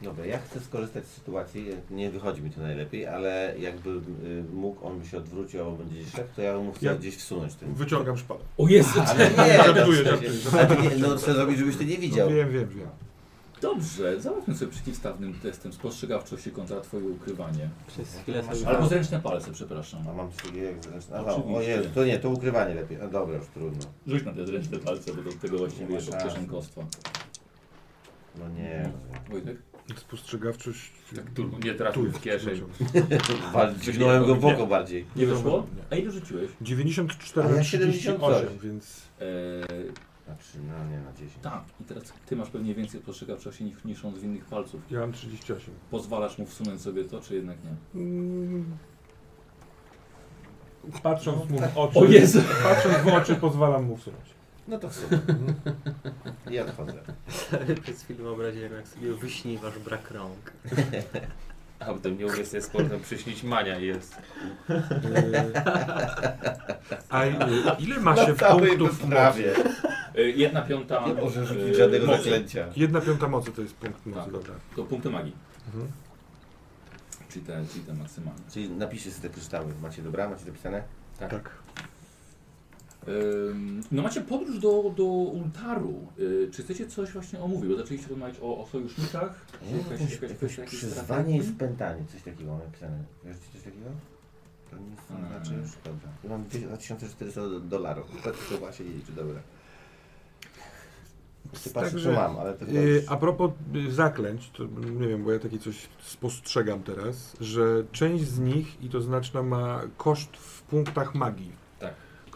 C: Dobra, ja chcę skorzystać z sytuacji, nie wychodzi mi to najlepiej, ale jakby y, mógł, on by się odwrócił, albo będzie szedł, to ja mu chcę
D: Ja-
C: gdzieś wsunąć
D: (laughs)
C: ten...
D: Wyciągam szpadę.
A: O Jezu!
C: Ale nie,
D: Żartuję,
C: no,
D: żartuję,
C: ale
D: żartuję.
C: ty nie, no chcę zrobić, żebyś ty nie
D: No,
C: widział.
D: wiem, wiem, wiem.
A: Dobrze, załatwmy sobie przeciwstawnym testem spostrzegawczości kontra twoje ukrywanie.
E: przez chwilę sobie
A: Albo zręczne palce, przepraszam.
C: A mam sobie jak zresztą. Aha,
A: Oczywiście.
C: no, o Jezu, to nie, to ukrywanie lepiej. No dobra, już trudno.
A: Rzuć na te zręczne palce, bo do tego właściwie
C: Nie ma
A: jest
C: szans.
A: kieszonkostwa.
C: No nie.
A: Wojtek?
D: Spostrzegawczość...
B: Tak tu nie trafił w kieszeń.
C: Wal- Dźgnąłem go w oko bardziej.
A: Nie
D: Dobra,
A: wyszło?
D: nie.
A: A ile rzuciłeś?
D: 94
C: A ja
D: na
C: 78,
D: 38, więc...
A: Eee,
C: Znaczy, no nie, na 10.
A: tak, i teraz ty masz pewnie więcej spostrzegawczości niż, niż on z innych palców.
D: Ja mam 38.
A: Pozwalasz mu wsunąć sobie to, czy jednak nie?
D: Mm. Patrząc mu w oczy,
A: O Jezu!
D: patrząc w oczy pozwalam mu wsunąć.
C: No to
A: (laughs)
C: w sumie. I odchodzę.
E: (laughs) przez chwilę wyobraziłem, jak sobie wyśni wasz brak rąk.
B: A potem nie umie sobie z portem przyśnić mania jest.
D: E, A y, ile ma się
C: Na całej
D: punktów mocy?
C: wyprawie.
A: Eee, jedna piąta...
C: Nie może rzucić
A: eee,
C: żadnego
A: mocy.
C: zaklęcia.
D: Jedna piąta mocy to jest punkt mocy,
A: Tak.
D: dobra.
A: To punkty magii.
D: Mhm.
A: Czyli te, czyli te maksymalne.
C: Czyli napiszcie sobie te kryształy. Macie dobra? Macie dopisane?
D: Tak.
A: Ym, No macie podróż do, do Ultaru. Yy, Czy chcecie coś właśnie omówić? Bo zaczęliście rozmawiać o, o sojusznikach. Czy
C: Nie,
A: jakaś-
C: E, jakieś,
A: jakaś-
C: jakieś
A: jakieś
C: przyzwanie
A: strategie?
C: i spętanie. Coś takiego mam napisane. Wiesz coś takiego? To nie jest
A: Hmm.
C: znaczy już. Dobra. Ja mam 2400 do- dolarów. To tylko właśnie nie liczy, dobra. Ty patrzysz,
D: Także,
C: co mam, ale to chyba
D: Y,
C: już-
D: a propos y, zaklęć, to nie wiem, bo ja takie coś spostrzegam teraz, że część z nich, i to znaczna, ma koszt w punktach magii.
B: Tak.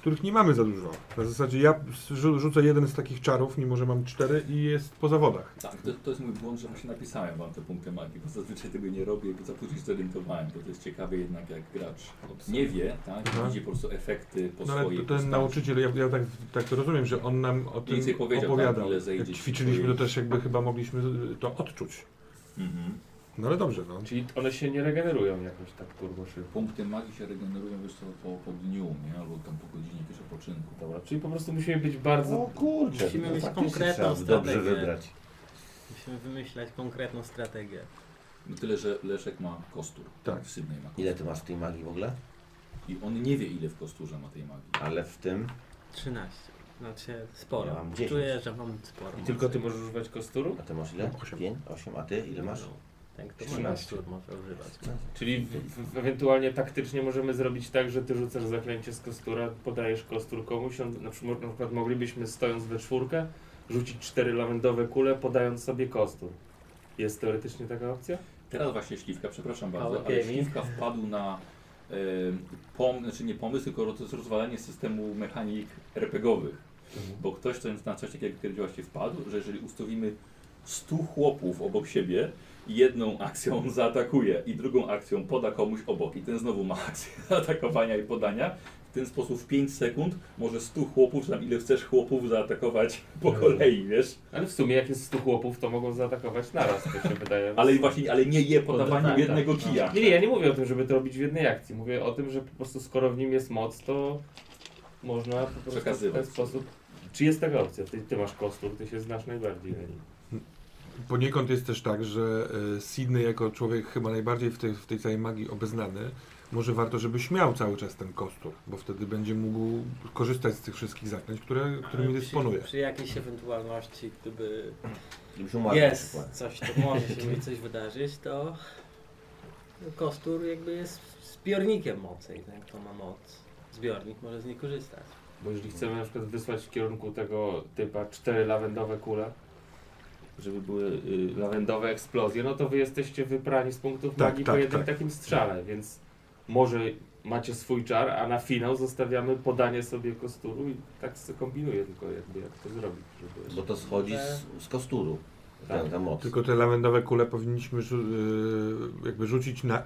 D: których nie mamy za dużo. Na zasadzie ja rzu- rzucę jeden z takich czarów, mimo że mam cztery i jest po zawodach.
A: Tak, to, to jest mój błąd, że właśnie napisałem wam te punkty magii, bo zazwyczaj tego nie robię i za później się zorientowałem, bo to jest ciekawe jednak jak gracz nie wie, tak,
D: Aha.
A: widzi po prostu efekty po
D: Mhm. No ale
A: swojej
D: ten
A: postaci.
D: nauczyciel, ja, ja tak, tak to rozumiem, że on nam o tym
A: Więcej powiedział,
D: opowiadał.
A: tak, ile zejdzie
D: Jak
A: ci
D: ćwiczyliśmy, to
A: twojej-
D: też jakby chyba mogliśmy to odczuć.
A: Mhm.
D: No ale dobrze, no.
B: Czyli one się nie regenerują jakoś tak turbo szybko.
A: Punkty magii się regenerują wiesz co, po, po dniu, nie? albo tam po godzinie jakiegoś odpoczynku.
B: Dobra, czyli po prostu musimy być bardzo...
C: O kurczę,
E: Musimy
C: no
E: mieć
C: faktycznie
E: konkretną
C: trzeba dobrze
E: strategię.
C: wybrać.
E: Musimy wymyślać konkretną strategię.
A: No tyle, że Leszek ma kostur.
D: Tak.
A: W Sydney ma kostur.
C: Ile ty masz tej magii w ogóle?
A: I on nie wie ile w kosturze ma tej magii.
C: Ale w tym
E: 13. Znaczy sporo.
C: Ja mam 10.
E: Czuję, że mam sporo.
B: I tylko ty możesz używać kosturu?
C: A ty masz ile?
D: Osiem.
C: 5, 8, a ty ile masz?
E: No, ten, kto
B: 13.
E: 13. ma może używać.
B: Czyli w, w, ewentualnie taktycznie możemy zrobić tak, że ty rzucasz zaklęcie z kostura, podajesz kostur komuś, on, na, przykład, na przykład moglibyśmy stojąc we czwórkę rzucić cztery lawendowe kule, podając sobie kostur. Jest teoretycznie taka opcja?
A: Teraz właśnie Śliwka, przepraszam
E: Mały
A: bardzo, ale
E: piemi.
A: Śliwka wpadł na e, pom, znaczy nie pomysł, tylko roz- rozwalanie systemu mechanik RPGowych.
E: Mhm.
A: Bo ktoś co na coś takiego kiedyś właśnie wpadł, że jeżeli ustawimy 100 chłopów obok siebie i jedną akcją zaatakuje i drugą akcją poda komuś obok i ten znowu ma akcję (laughs) atakowania i podania, w ten sposób w 5 sekund może 100 chłopów, czy tam ile chcesz chłopów zaatakować po
E: Mhm.
A: kolei, wiesz?
B: Ale w sumie jak jest 100 chłopów, to mogą zaatakować naraz, to się wydaje.
A: Ale właśnie, ale nie je
E: No
A: podawaniem
E: tak,
A: jednego
E: tak, no.
A: kija.
B: Nie, nie, ja nie mówię o tym, żeby to robić w jednej akcji. Mówię o tym, że po prostu skoro w nim jest moc, to można po prostu w ten
A: Przekazywać.
B: sposób. Czy jest taka opcja? Ty, ty masz kostur, ty się znasz najbardziej na nim.
D: Poniekąd jest też tak, że e, Sydney jako człowiek chyba najbardziej w tej, w tej całej magii obeznany, może warto, żebyś miał cały czas ten kostur, bo wtedy będzie mógł korzystać z tych wszystkich zaklęć, które, którymi
E: Ale
D: dysponuje.
E: Przy, przy jakiejś ewentualności, gdyby
C: Gdybyś umarł na
E: jest
C: przykład.
E: coś, to może się mi coś wydarzyć, to kostur jakby jest zbiornikiem mocy. i Jak to ma moc, zbiornik może z niej korzystać.
B: Bo jeżeli chcemy na przykład wysłać w kierunku tego typa cztery lawendowe kule, żeby były y, lawendowe eksplozje, no to wy jesteście wyprani z punktów
D: Tak,
B: magii
D: tak,
B: po jednym
D: tak.
B: takim strzale, więc może macie swój czar, a na finał zostawiamy podanie sobie kosturu i tak sobie kombinuję tylko jakby jak to zrobić. Żeby...
C: Bo to schodzi z, z kosturu.
B: Tak.
C: Ta, ta moc.
D: Tylko te lawendowe kule powinniśmy rzu- e, jakby rzucić na,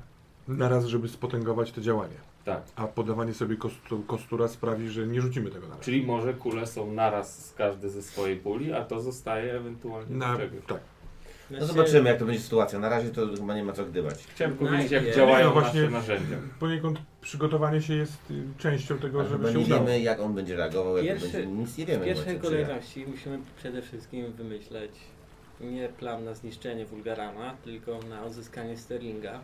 D: na raz, żeby spotęgować to działanie.
B: Tak.
D: A podawanie sobie kostu, kostura sprawi, że nie rzucimy tego na raz.
B: Czyli może kule są naraz z każdy ze swojej puli, a to zostaje ewentualnie
D: Na,
B: do czegoś.
D: tak.
C: No zobaczymy jak to będzie sytuacja. Na razie to chyba nie ma co gdybać.
B: Chciałem powiedzieć, jak
E: Najpierw-
B: działają
D: No właśnie-
B: nasze narzędzia.
D: Poniekąd przygotowanie się jest y, częścią tego,
C: A chyba
D: żeby się
C: nie
D: udało.
C: wiemy jak on będzie reagował, jak
E: Pierwszy-
C: on będzie. Nic nie
E: W
C: wiemy.
E: pierwszej
C: bo co przyda.
E: kolejności musimy przede wszystkim wymyśleć nie plan na zniszczenie Wulgarana, tylko na odzyskanie Sterlinga,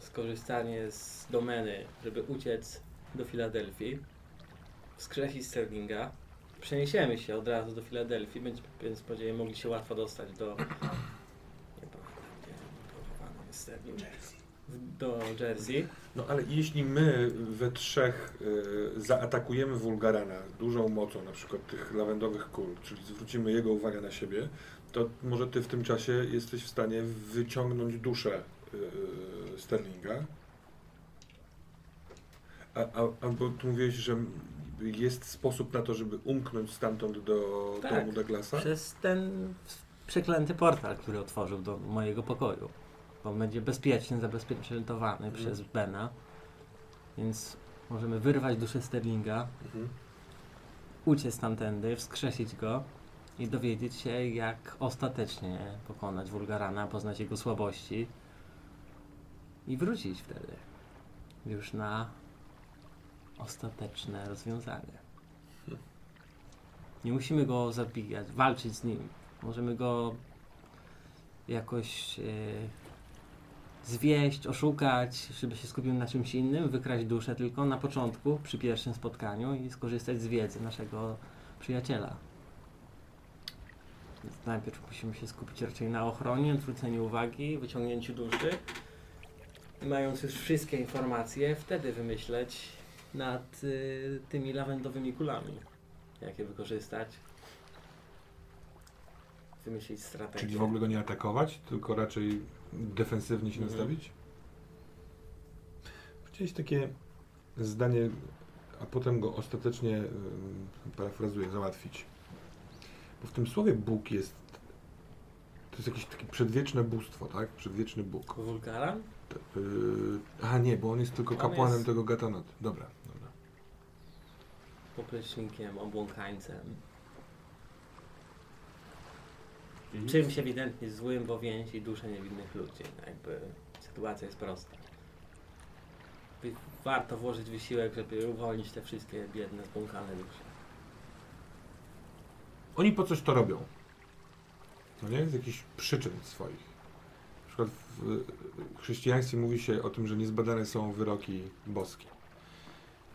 E: skorzystanie z domeny, żeby uciec do Filadelfii, wskrzesić Sterlinga, przeniesiemy się od razu do Filadelfii, będziemy, więc będziemy mogli się łatwo dostać do... Nie pamiętam, gdzie blokowany jest Sterling. W- Do Jersey.
D: No ale jeśli my we trzech y, zaatakujemy Wulgarana dużą mocą, na przykład tych lawendowych kul, czyli zwrócimy jego uwagę na siebie, to może ty w tym czasie jesteś w stanie wyciągnąć duszę y, Sterlinga. A, a, albo tu mówiłeś, że jest sposób na to, żeby umknąć stamtąd do
E: Tak.
D: domu Douglasa?
E: Przez ten przeklęty portal, który otworzył do mojego pokoju. Bo on będzie bezpiecznie zabezpieczony przez Bena. Więc możemy wyrwać duszę Sterlinga,
D: Mhm.
E: uciec tamtędy, wskrzesić go i dowiedzieć się, jak ostatecznie pokonać Wulgarana, poznać jego słabości i wrócić wtedy już na ostateczne rozwiązanie. Nie musimy go zabijać, walczyć z nim. Możemy go jakoś e, zwieść, oszukać, żeby się skupił na czymś innym, wykraść duszę tylko na początku, przy pierwszym spotkaniu i skorzystać z wiedzy naszego przyjaciela. Więc najpierw musimy się skupić raczej na ochronie, odwróceniu uwagi, wyciągnięciu duszy. I Mając już wszystkie informacje, wtedy wymyśleć nad y, tymi lawendowymi kulami jak je wykorzystać, wymyślić strategię.
D: Czyli w ogóle go nie atakować, tylko raczej defensywnie się
E: Mhm.
D: nastawić? Gdzieś takie zdanie a potem go ostatecznie, ym, parafrazuję, załatwić. Bo w tym słowie Bóg jest, to jest jakieś takie przedwieczne bóstwo, tak? Przedwieczny Bóg.
E: Wulkaran?
D: T- Yy, a nie, bo on jest tylko
E: On
D: kapłanem
E: jest-
D: tego gatanat. Dobra, dobra.
E: Poplecznikiem, obłąkańcem.
D: Mhm.
E: Czymś ewidentnie złym, bo więzi dusze niewinnych ludzi. No Jakby sytuacja jest prosta. Jakby Warto włożyć wysiłek, żeby uwolnić te wszystkie biedne, zbłąkane dusze.
D: Oni po coś to robią. No nie? Z jakichś przyczyn swoich. Na przykład w w chrześcijaństwie mówi się o tym, że niezbadane są wyroki boskie.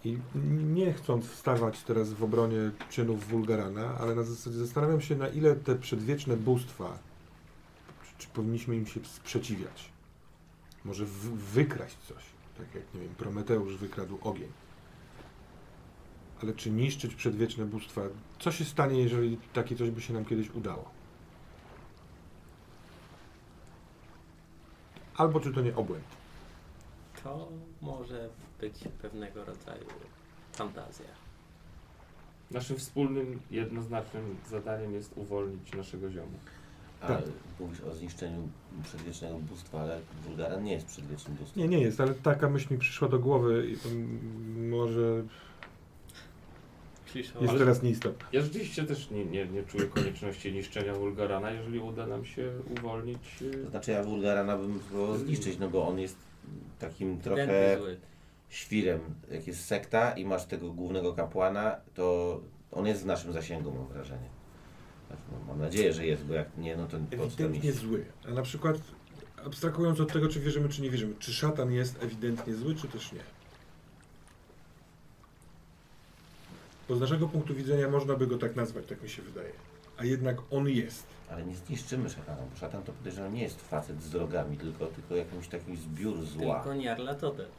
D: I nie chcąc wstawać teraz w obronie czynów wulgarana, ale na zasadzie zastanawiam się, na ile te przedwieczne bóstwa, czy, czy powinniśmy im się sprzeciwiać. Może w, wykraść coś, tak jak, nie wiem, Prometeusz wykradł ogień. Ale czy niszczyć przedwieczne bóstwa? Co się stanie, jeżeli takie coś by się nam kiedyś udało? Albo czy to nie obłęd?
E: To może być pewnego rodzaju fantazja.
B: Naszym wspólnym, jednoznacznym zadaniem jest uwolnić naszego zioma.
C: Ale
D: Tak.
C: mówisz o zniszczeniu przedwiecznego bóstwa, ale Wulgaran nie jest przedwiecznym bóstwem.
D: Nie, nie jest, ale taka myśl mi przyszła do głowy i mm, może
E: Kliszą,
D: jest
B: ale-
D: teraz nieistotna.
B: Ja rzeczywiście też nie, nie, nie czuję konieczności niszczenia Wulgarana, jeżeli uda nam się uwolnić.
C: To
B: e,
C: znaczy ja Wulgarana bym próbował zniszczyć, no bo on jest takim
E: ewidentnie
C: trochę
E: zły.
C: świrem. Jak jest sekta i masz tego głównego kapłana, to on jest w naszym zasięgu, mam wrażenie. Znaczy, no, mam nadzieję, że jest, bo jak nie, no to po co tam
D: Ewidentnie
C: iść?
D: zły. A na przykład, abstrahując od tego, czy wierzymy, czy nie wierzymy, czy szatan jest ewidentnie zły, czy też nie? Bo z naszego punktu widzenia można by go tak nazwać, tak mi się wydaje. A jednak on jest.
C: Ale nie zniszczymy szatana, bo szatan to podejrzewam nie jest facet z drogami, tylko, tylko jakimś takim zbiór zła.
E: Tylko nie Arlatotep.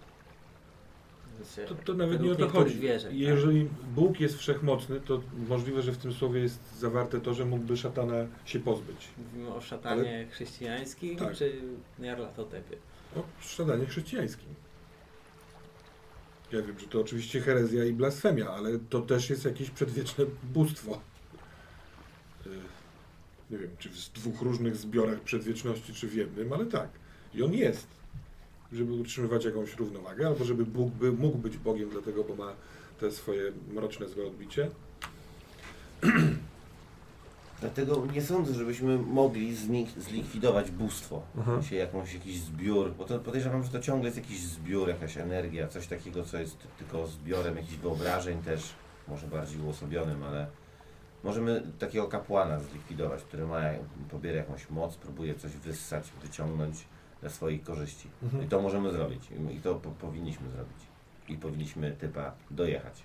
D: To, to nawet nie o to
E: Według
D: chodzi.
E: niektórych wierzeń, tak.
D: Jeżeli Bóg jest wszechmocny, to możliwe, że w tym słowie jest zawarte to, że mógłby szatana się pozbyć.
E: Mówimy o szatanie chrześcijańskim
D: Tak.
E: czy Jarlatotepie?
D: O No, szatanie chrześcijańskim. Ja wiem, że to oczywiście herezja i blasfemia, ale to też jest jakieś przedwieczne bóstwo. Y, Nie wiem, czy w dwóch różnych zbiorach przedwieczności, czy w jednym, ale tak. I on jest. Żeby utrzymywać jakąś równowagę, albo żeby Bóg by, mógł być Bogiem, dlatego, bo ma te swoje mroczne, złe odbicie.
C: Dlatego nie sądzę, żebyśmy mogli znik- zlikwidować bóstwo,
D: Aha.
C: się jakąś, jakiś zbiór, bo to podejrzewam, że to ciągle jest jakiś zbiór, jakaś energia, coś takiego, co jest tylko zbiorem jakichś wyobrażeń też, może bardziej uosobionym, ale możemy takiego kapłana zlikwidować, który ma, pobiera jakąś moc, próbuje coś wyssać, wyciągnąć dla swojej korzyści.
D: Mhm.
C: I to możemy zrobić i- i to po- powinniśmy zrobić. I powinniśmy typa dojechać.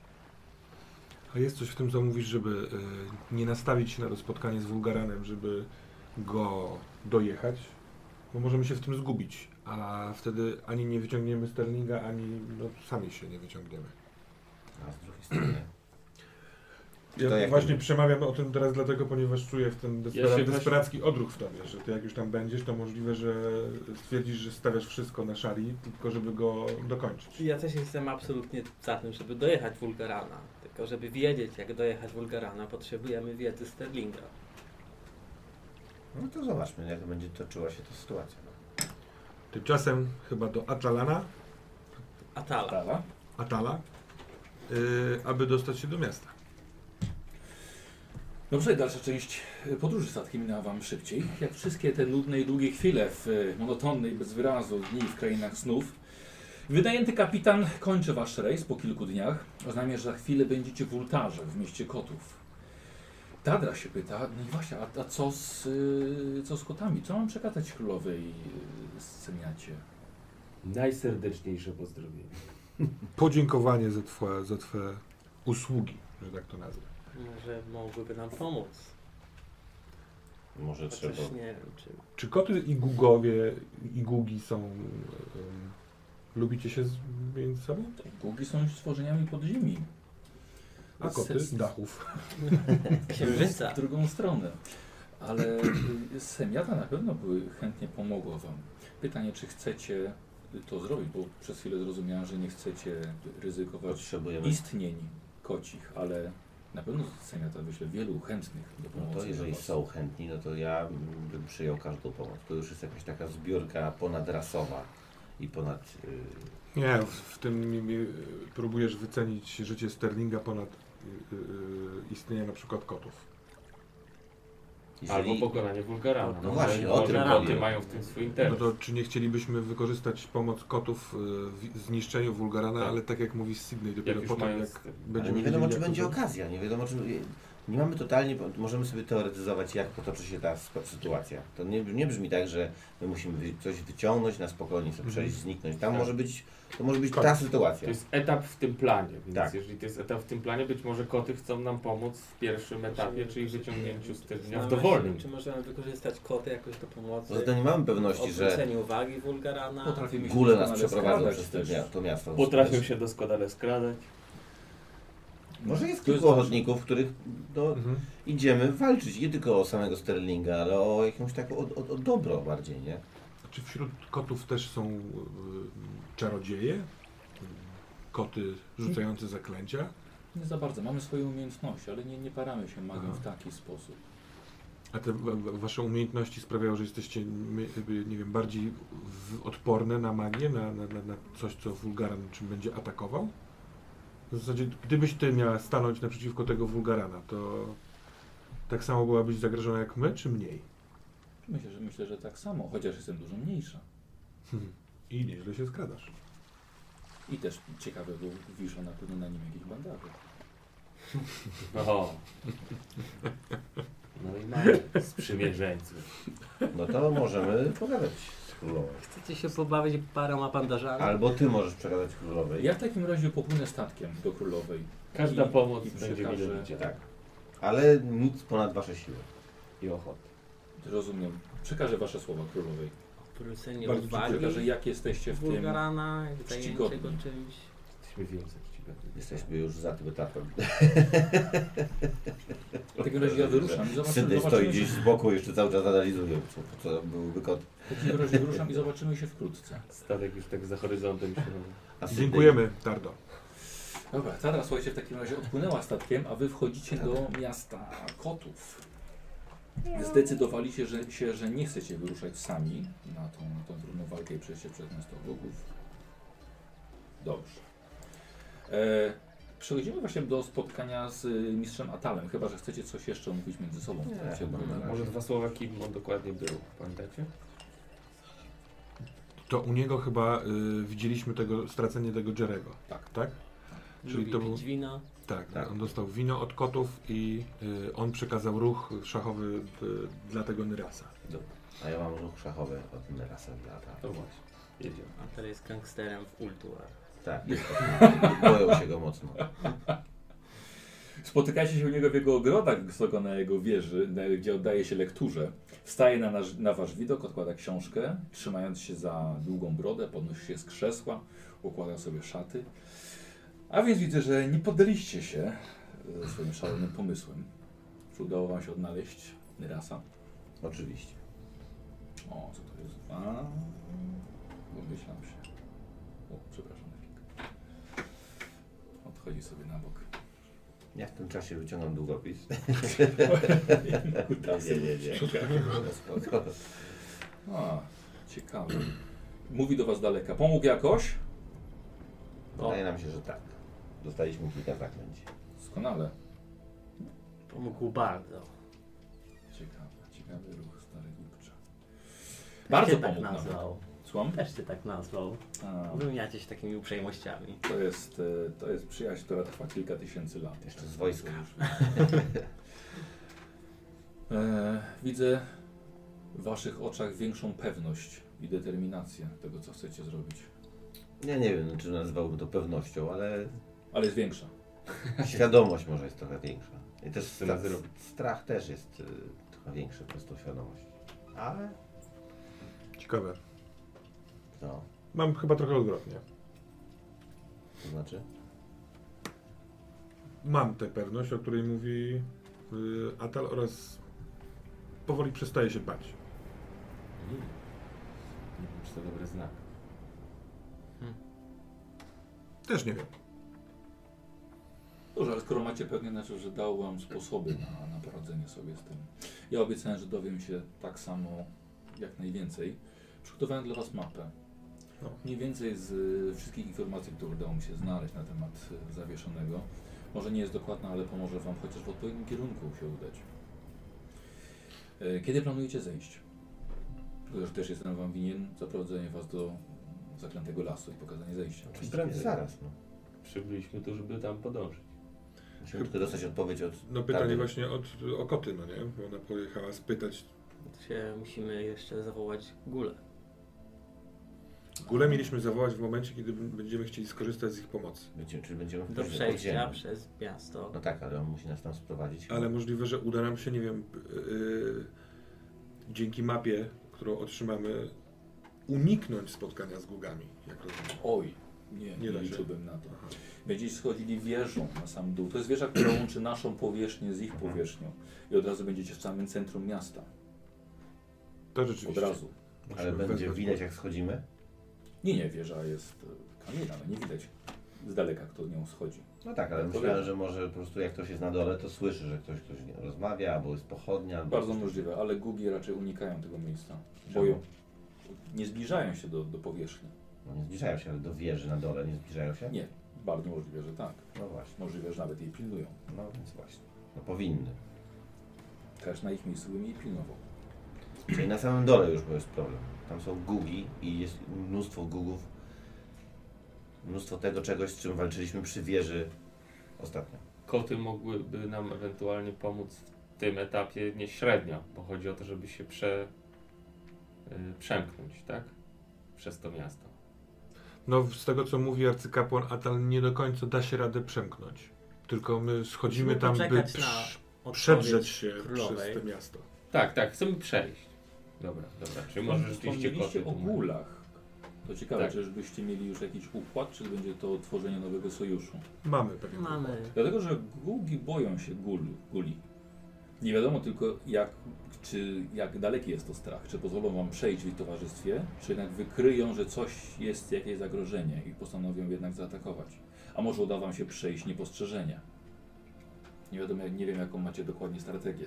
D: A jest coś w tym, co mówisz, żeby y, nie nastawić się na to spotkanie z Wulgaranem, żeby go dojechać? Bo możemy się w tym zgubić, a wtedy ani nie wyciągniemy Sterlinga, ani no, sami się nie wyciągniemy.
C: A z drugiej strony...
D: Ja
C: To jak
D: właśnie
C: mówisz?
D: przemawiam o tym teraz dlatego, ponieważ czuję w tym
B: się
D: despera-
B: właśnie-
D: desperacki odruch w tobie, że ty jak już tam będziesz, to możliwe, że stwierdzisz, że stawiasz wszystko na szali, tylko żeby go dokończyć.
E: Ja też jestem absolutnie za tym, żeby dojechać Wulgarana. Tylko żeby wiedzieć, jak dojechać Wulgarana, potrzebujemy wiedzy Sterlinga.
C: No to zobaczmy, jak będzie toczyła się ta sytuacja. No.
D: Tymczasem chyba do Atalana,
E: Atala.
A: Dala.
D: Atala, y, aby dostać się do miasta.
A: Dobrze, No dalsza część y, podróży statkiem minęła Wam szybciej. Jak wszystkie te nudne i długie chwile w e, monotonnej, bez wyrazu dni w krainach snów. Wynajęty kapitan kończy Wasz rejs po kilku dniach. Oznajmia, że za chwilę będziecie w Ultarze, w mieście kotów. Tadra się pyta, no i właśnie, a, a co, z, y, co z kotami? Co mam przekazać królowej y, sceniacie?
B: Najserdeczniejsze pozdrowienia.
D: podziękowanie za twoje, za twoje usługi, że tak to nazwę.
E: Może mogłyby nam pomóc.
C: Może trzeba...
E: Chociaż nie wiem, czy...
D: Czy koty i gugowie, i gugi są... em, lubicie się z, między sobą?
A: Gugi są stworzeniami podziemi.
D: A koty?
A: Ses-
D: Z dachów.
E: Księżyca.
A: w drugą stronę. (clears throat) Ale y, Semiada na pewno by chętnie pomogła Wam. Pytanie, czy chcecie to zrobić, bo przez chwilę zrozumiałem, że nie chcecie ryzykować
C: Potrzebujemy.
A: istnień kocich, ale na pewno z Senata wyślę wielu chętnych do
C: No
A: pomocy.
C: to jeżeli
A: dla was.
C: są chętni, no to ja mm, bym przyjął każdą pomoc. To już jest jakaś taka zbiórka ponadrasowa i ponad... y,
D: Nie, w, w tym y, y, próbujesz wycenić życie Sterlinga ponad y, y, y, istnienie na przykład kotów.
C: jeżeli-
B: Albo pokonanie Bulgarana.
E: No
B: Może-
C: właśnie, o
B: może
C: tym
B: koty
C: mówię.
B: mają w tym swój
D: No
B: interes.
D: to czy nie chcielibyśmy wykorzystać pomoc kotów y, w zniszczeniu Wulgarana,
B: Tak.
D: ale tak jak mówi Sydney,
B: Jak
D: dopiero
B: już
D: potem
B: mają...
D: jak
C: Ale
D: będziemy
C: nie wiadomo, czy
D: wiedzieli, jak
C: będzie
D: to było.
C: okazja, nie wiadomo, czy... Nie mamy totalnie, bo możemy sobie teoretyzować, jak potoczy się ta sp- sytuacja. To nie, nie brzmi tak, że my musimy wy- coś wyciągnąć, na spokojnie sobie przejść, zniknąć. Tam
B: Tak.
C: może być, to może być ta
D: Koniec.
B: To
C: sytuacja.
B: jest etap w tym planie, więc
C: Tak.
B: jeżeli to jest etap w tym planie, być może koty chcą nam pomóc w pierwszym etapie, czyli wyciągnięciu Sterlinga w
E: Zastanawiam
B: dowolnym.
E: się, Czy możemy wykorzystać koty jakoś do pomocy?
C: Poza tym nie mamy pewności, że
E: Odwróceniu uwagi Wulgarana.
A: Potrafimy się
C: góle nas
A: doskonale
C: przeprowadzą
A: skradać
C: przez to,
A: też.
C: mia- to miasto.
B: Potrafią się doskonale skradać.
C: Może jest
A: To jest
C: kilku ochotników, których no,
D: Mhm.
C: idziemy walczyć nie tylko o samego Sterlinga, ale o jakąś taką, o, o, o dobro bardziej, nie?
D: Czy wśród kotów też są y, czarodzieje? Y, Koty rzucające zaklęcia?
A: Nie za bardzo, mamy swoje umiejętności, ale nie, nie paramy się magią
D: Aha.
A: w taki sposób.
D: A te wa- wa- wasze umiejętności sprawiają, że jesteście, my- y, nie wiem, bardziej w- odporne na magię, na, na, na, na coś, co wulgaran czym będzie atakował? W zasadzie, gdybyś ty miała stanąć naprzeciwko tego wulgarana, to tak samo byłabyś zagrożona jak my, czy mniej?
A: Myślę, że myślę, że tak samo, chociaż jestem dużo mniejsza.
D: I nieźle się skradasz.
A: I też ciekawe, bo wiszą na pewno na nim jakieś bandaże.
B: Oho. No i mamy sprzymierzeńców.
C: No to możemy pogadać z królową.
E: Chcecie się pobawić paroma bandażami?
C: Albo ty możesz przekazać królowej.
A: Ja w takim razie popłynę statkiem do królowej.
B: Każda
A: I-
B: pomoc
A: i
B: będzie
A: przekażę-
B: mile widziana.
C: Tak. Ale nic ponad wasze siły.
B: I ochotę.
A: Rozumiem. Przekażę wasze słowa królowej.
E: Odwrócenie
A: Bardzo ci
E: uwagi
A: przekażę, jak jesteście w tym.
E: Wulgarana, zajęcie go
A: czcigodni.
E: czymś.
B: Jesteśmy więcej czcigodni.
C: Jesteśmy już za tym etapem.
A: W takim razie ja wyruszam i zobaczymy,
C: (laughs) Sydney stoi
A: zobaczymy się,
C: gdzieś z boku, jeszcze cały czas analizuje, co, co byłby kot.
A: w takim razie wyruszam i zobaczymy się wkrótce.
B: Statek już tak za horyzontem się robi.
C: A Sydney-
D: Dziękujemy, Tardo.
A: Dobra, Tara, słuchajcie, w takim razie odpłynęła statkiem, a wy wchodzicie do miasta kotów. Zdecydowaliście że, się, że nie chcecie wyruszać sami na tą, na tą trudną walkę i przejście przez miasto Bogów. Dobrze. E, przechodzimy właśnie do spotkania z y, mistrzem Atalem, chyba że chcecie coś jeszcze omówić między sobą. w
C: Nie,
A: trakcie
C: chyba
A: walki.
C: nie.
B: Może dwa słowa, kim on dokładnie był, pamiętacie?
D: To u niego chyba y, widzieliśmy tego, stracenie tego Jerego.
A: Tak.
D: Tak? Czyli
E: Lubi
D: to
E: pić
D: był-
E: wino.
D: Tak,
C: Tak.
D: on dostał wino od kotów i y, on przekazał ruch szachowy y, dla tego Nyrasa.
C: Dobra. A ja mam ruch szachowy od Nerasa lata.
B: To właśnie. Jedziemy.
E: A teraz jest gangsterem w Ultuar.
C: Tak, jest kot. boją się go mocno.
A: Spotykacie się u niego w jego ogrodach, wysoko na jego wieży, na- gdzie oddaje się lekturze. Wstaje na, nasz, na wasz widok, odkłada książkę, trzymając się za długą brodę, podnosi się z krzesła, układa sobie szaty. A więc widzę, że nie poddaliście się e, swoim szalonym pomysłem. Czy udało wam się odnaleźć Nyrasa?
C: Oczywiście.
A: O, co to jest? A, domyślam się. O, przepraszam. na chwilkę. Odchodzi sobie na bok.
C: Ja w tym czasie wyciągam długopis.
A: Kutasy.
C: Spoko.
A: A, ciekawe. Mówi do was daleka. Pomógł jakoś?
B: No,
C: Wydaje nam się, że tak. Dostaliśmy kilka zaklęć.
A: Doskonale.
E: Pomógł bardzo.
A: Ciekawe, ciekawy ruch stary głupcza. Bardzo
E: Też się tak
A: pomógł nam.
E: nazwał.
A: Słucham?
E: Też się tak nazwał. No.
A: A,
E: Wymieniacie się takimi uprzejmościami.
A: to, jest, e, to jest przyjaźń, która trwa kilka tysięcy lat.
C: Jeszcze z wojska.
A: (laughs) E, widzę w waszych oczach większą pewność i determinację tego, co chcecie zrobić.
C: Ja nie wiem, czy nazwałbym to pewnością, ale
A: Ale jest większa.
C: Świadomość może jest trochę większa. I też
B: Co ma
C: strach,
B: zrobić?
C: strach też jest y, trochę większy przez tą świadomość. Ale
D: Ciekawe.
C: no,
D: Mam chyba trochę odwrotnie.
C: to znaczy
D: Mam tę pewność, o której mówi y, Atal oraz powoli przestaje się bać.
B: Nie wiem, czy to dobry znak.
D: Też nie wiem.
A: Dobrze, ale skoro macie pewnie znaczy, że dał wam sposoby na, na poradzenie sobie z tym. Ja obiecałem, że dowiem się tak samo jak najwięcej. Przygotowałem dla was mapę.
D: No.
A: Mniej więcej z y, wszystkich informacji, które udało mi się znaleźć na temat y, zawieszonego. Może nie jest dokładna, ale pomoże wam chociaż w odpowiednim kierunku się udać. Y, Kiedy planujecie zejść? To już też jestem wam winien za prowadzenie was do zaklętego lasu i pokazanie zejścia.
C: Oczywiście
B: Prawie.
C: nie zaraz, no.
B: Przybyliśmy tu, żeby tam podążyć.
C: Musimy tylko dostać odpowiedź od...
D: No pytanie
C: Tardy.
D: właśnie od, o koty, no nie? Bo ona pojechała spytać.
E: To się musimy jeszcze zawołać gulę.
D: W ogóle mieliśmy zawołać w momencie, kiedy b- będziemy chcieli skorzystać z ich pomocy.
C: Będziemy, czy będziemy
E: Do
C: wchodzić
E: przejścia
C: podziemia.
E: przez miasto.
C: No tak, ale on musi nas tam sprowadzić.
D: Ale możliwe, że uda nam się, nie wiem, yy, dzięki mapie, którą otrzymamy, uniknąć spotkania z gugami, jak rozumiem.
A: Oj, nie, nie,
D: Nie da się.
A: liczyłbym na to.
D: Aha.
A: Będziecie schodzili wieżą na sam dół. To jest wieża, która łączy naszą powierzchnię z ich
D: Mhm.
A: powierzchnią. I od razu będziecie w samym centrum miasta.
D: To
A: Od
D: rzeczywiście.
A: razu.
C: Ale
D: Musimy
C: będzie
D: wezwać
C: widać jak schodzimy?
A: Nie, nie, wieża jest e, kamienna, no nie widać z daleka, kto nią schodzi.
C: No tak, ale myślałem, że może po prostu jak ktoś jest na dole, to słyszy, że ktoś, ktoś nie rozmawia, albo jest pochodnia, albo...
A: Bardzo
C: coś-
A: możliwe, ale gugi raczej unikają tego miejsca.
C: Czemu?
A: Boją. Nie zbliżają się do, do powierzchni.
C: No nie zbliżają się, ale do wieży na dole nie zbliżają się?
A: Nie. Bardzo możliwe, że tak.
C: No właśnie,
A: Możliwe, że nawet jej pilnują.
C: no więc właśnie. No powinny.
A: Też na ich miejscu bym jej pilnował.
C: Czyli na samym dole już jest problem. Tam są gugi i jest mnóstwo gugów. Mnóstwo tego czegoś, z czym walczyliśmy przy wieży ostatnio.
B: Koty mogłyby nam ewentualnie pomóc w tym etapie nie średnio, bo chodzi o to, żeby się prze, y, przemknąć, tak? Przez to miasto.
D: No z tego, co mówi arcykapłan Atal, nie do końca da się radę przemknąć. Tylko my schodzimy
E: Musimy
D: tam, by
E: poczekać na
D: prz-
E: odpowiedź
D: przedrzeć się
E: królowej.
D: przez to miasto.
B: Tak, tak, chcemy przejść. Dobra, dobra. Czy może rzeczywiście koty
A: Wspomnieliście o
B: tu-
A: gulach. To ciekawe,
B: Tak.
A: czyżbyście mieli już jakiś układ, czy będzie to tworzenie nowego sojuszu?
D: Mamy pewien
E: Mamy.
A: Dlatego, że gugi boją się gul, guli. Nie wiadomo tylko, jak, czy, jak daleki jest to strach. Czy pozwolą wam przejść w ich towarzystwie, czy jednak wykryją, że coś jest jakieś zagrożenie i postanowią jednak zaatakować. A może uda wam się przejść niepostrzeżenie. Nie wiadomo, nie wiem jaką macie dokładnie strategię.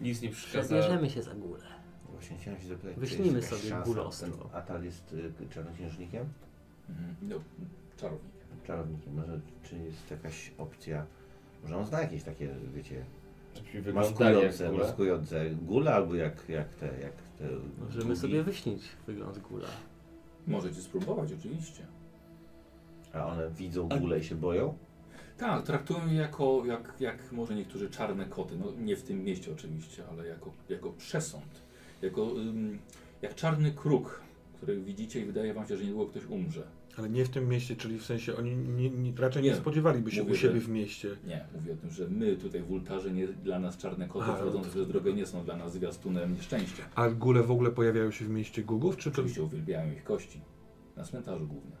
B: Nic nie przeszkadza.
E: Przebierzemy się za gulę.
C: No Właśnie chciałem się zapytać, czy
E: Wyśnijmy
C: jest jakaś
E: sobie
C: szansa,
E: górostwo.
C: ten Atal jest y, czarnoksiężnikiem?
A: Mhm. No, czarownik.
C: Czarownikiem. Może, czy jest jakaś opcja, może on zna jakieś takie, wiecie,
B: Żebyśmy wyglądali jak
C: maskujące, no.
B: gule.
C: maskujące gule albo jak, jak te, jak te
E: Możemy
C: gugi.
E: sobie wyśnić wygląd gula.
A: Możecie spróbować, oczywiście.
C: A one widzą gule i się boją?
A: Tak, traktują je jako, jak, jak może niektórzy czarne koty, no nie w tym mieście oczywiście, ale jako, jako przesąd, jako, ym, jak czarny kruk, który widzicie i wydaje wam się, że niedługo ktoś umrze.
D: Ale nie w tym mieście, czyli w sensie oni nie, nie, raczej nie,
A: Nie.
D: spodziewaliby się
A: Mówię,
D: u siebie
A: że-
D: w mieście.
A: Nie, mówię o tym, że my tutaj w Ultarze, nie, dla nas czarne koty
D: A,
A: wchodzące
D: no to-
A: przez drogę nie są dla nas zwiastunem nieszczęścia.
D: A góle w ogóle pojawiają się w mieście gugów, czy to...
A: Oczywiście uwielbiają ich kości, na cmentarzu głównie.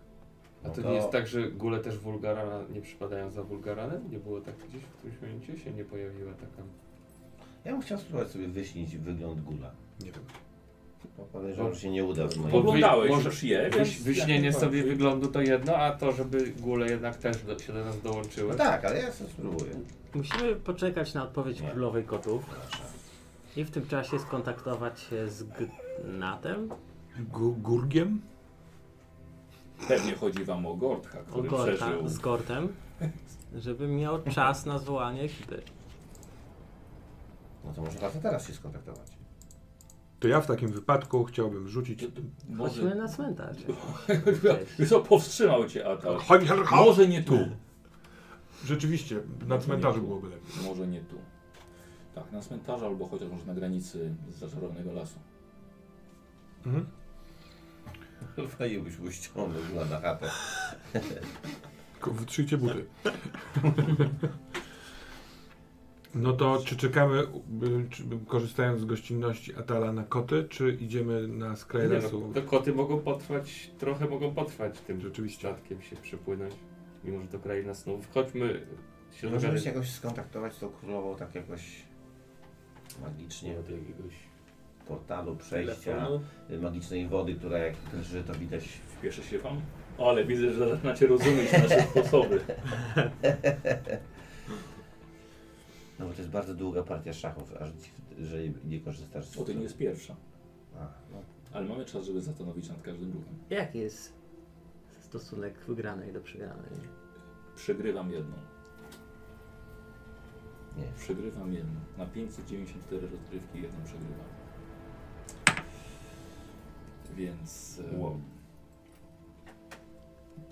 B: A to
C: No
B: nie jest tak, że gule też Wulgarana nie przypadają za Wulgaranem? Nie było tak gdzieś w którymś momencie się nie pojawiła taka...
C: Ja bym chciał spróbować sobie wyśnić wygląd gula.
D: Nie wiem.
C: Bo Podejrzewam, że się nie uda w moim...
B: Bo-
A: Oglądałeś
B: może-
A: już je,
B: Wyś,
A: więc
B: wyśnienie
A: jak
B: sobie
A: najbardziej.
B: wyglądu to jedno, a to, żeby gule jednak też do, się do nas
C: No
B: dołączyły.
C: tak, ale ja sobie spróbuję.
E: Musimy poczekać na odpowiedź
C: Nie.
E: królowej kotów. I w tym czasie skontaktować się z Gnatem.
D: Gu, gurgiem?
A: Pewnie chodzi wam o Gordha,
E: O
A: który przeżył.
E: Gorta, z Gortem. Żeby miał czas na zwołanie ekipy.
C: No to może warto teraz się skontaktować. (laughs)
D: To ja w takim wypadku chciałbym rzucić...
E: Chodźmy na cmentarz.
A: (laughs) Co powstrzymał cię atak?
D: Chodź, chodź, chodź.
A: Może nie tu.
D: Rzeczywiście, na cmentarzu byłoby lepiej.
A: Może nie tu. Tak, na cmentarzu albo chociaż może na granicy z zaczarownego lasu.
D: Mhm.
C: Waliłbyś łyścią do gula na chatę.
D: Tylko wytrzyjcie buty. No to czy czekamy, by- czy, by- korzystając z gościnności Atala na koty, czy idziemy na skraj
B: Nie,
D: lasu?
B: no, to koty mogą potrwać, trochę mogą potrwać tym
D: Rzeczywiście.
B: statkiem się przepłynąć, mimo że to kraina snów. Chodźmy się
C: Możemy
B: dogadać
C: się jakoś skontaktować z tą królową tak jakoś magicznie.
B: od jakiegoś
C: portalu, przejścia,
G: Telefonu.
C: y, magicznej wody, która jak drży, to widać.
G: Spieszę się wam. Ale widzę, że zaczynacie
A: (laughs)
G: rozumieć nasze sposoby.
C: No bo to jest bardzo długa partia szachów, aż dziw- że nie korzystasz z
A: O, to nie jest pierwsza.
C: A, no.
A: Ale mamy czas, żeby zastanowić się nad każdym ruchem.
E: Jaki jest stosunek wygranej do przegranej?
A: Przegrywam jedną.
C: Nie.
A: Przegrywam jedną. Na 594 rozgrywki jedną przegrywam. Więc... e,
C: Wow.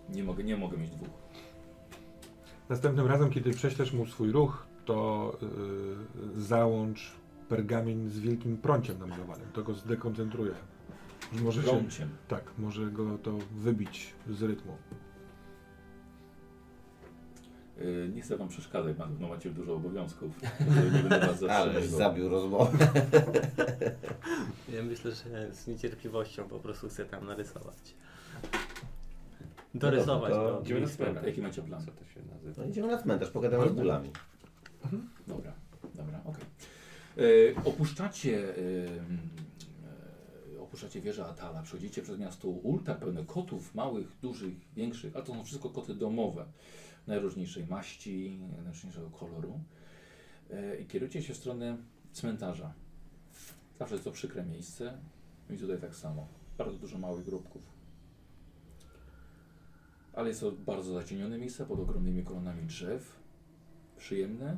A: Nie mogę, nie mogę mieć dwóch.
D: Następnym razem, kiedy prześlesz mu swój ruch, to yy, załącz pergamin z wielkim prąciem namalowanym. To go zdekoncentruje. Może się,
A: Prąciem.
D: tak, może go to wybić z rytmu.
A: Y, Nie chcę wam przeszkadzać, na pewno macie dużo obowiązków. Nie będę was
C: Ale
A: zatrzymywał.
C: zabił rozmowę.
E: Ja myślę, że z niecierpliwością po prostu chcę tam narysować.
C: Dorysować
E: Dorysować
C: No
E: go.
C: to go.
B: Idziemy na cmentarz.
A: Jaki macie plan?
B: Co to się nazywa?
C: No idziemy na cmentarz, pogadamy z bólami.
A: Dobra, dobra, okej. Y, Opuszczacie, y, y, opuszczacie wieżę Atala, przechodzicie przez miasto Ulta, pełne kotów, małych, dużych, większych, ale to są wszystko koty domowe, najróżniejszej maści, najróżniejszego koloru. Y, I kierujecie się w stronę cmentarza. Zawsze jest to przykre miejsce i tutaj tak samo. Bardzo dużo małych grobków. Ale jest to bardzo zacienione miejsce pod ogromnymi kolonami drzew. Przyjemne,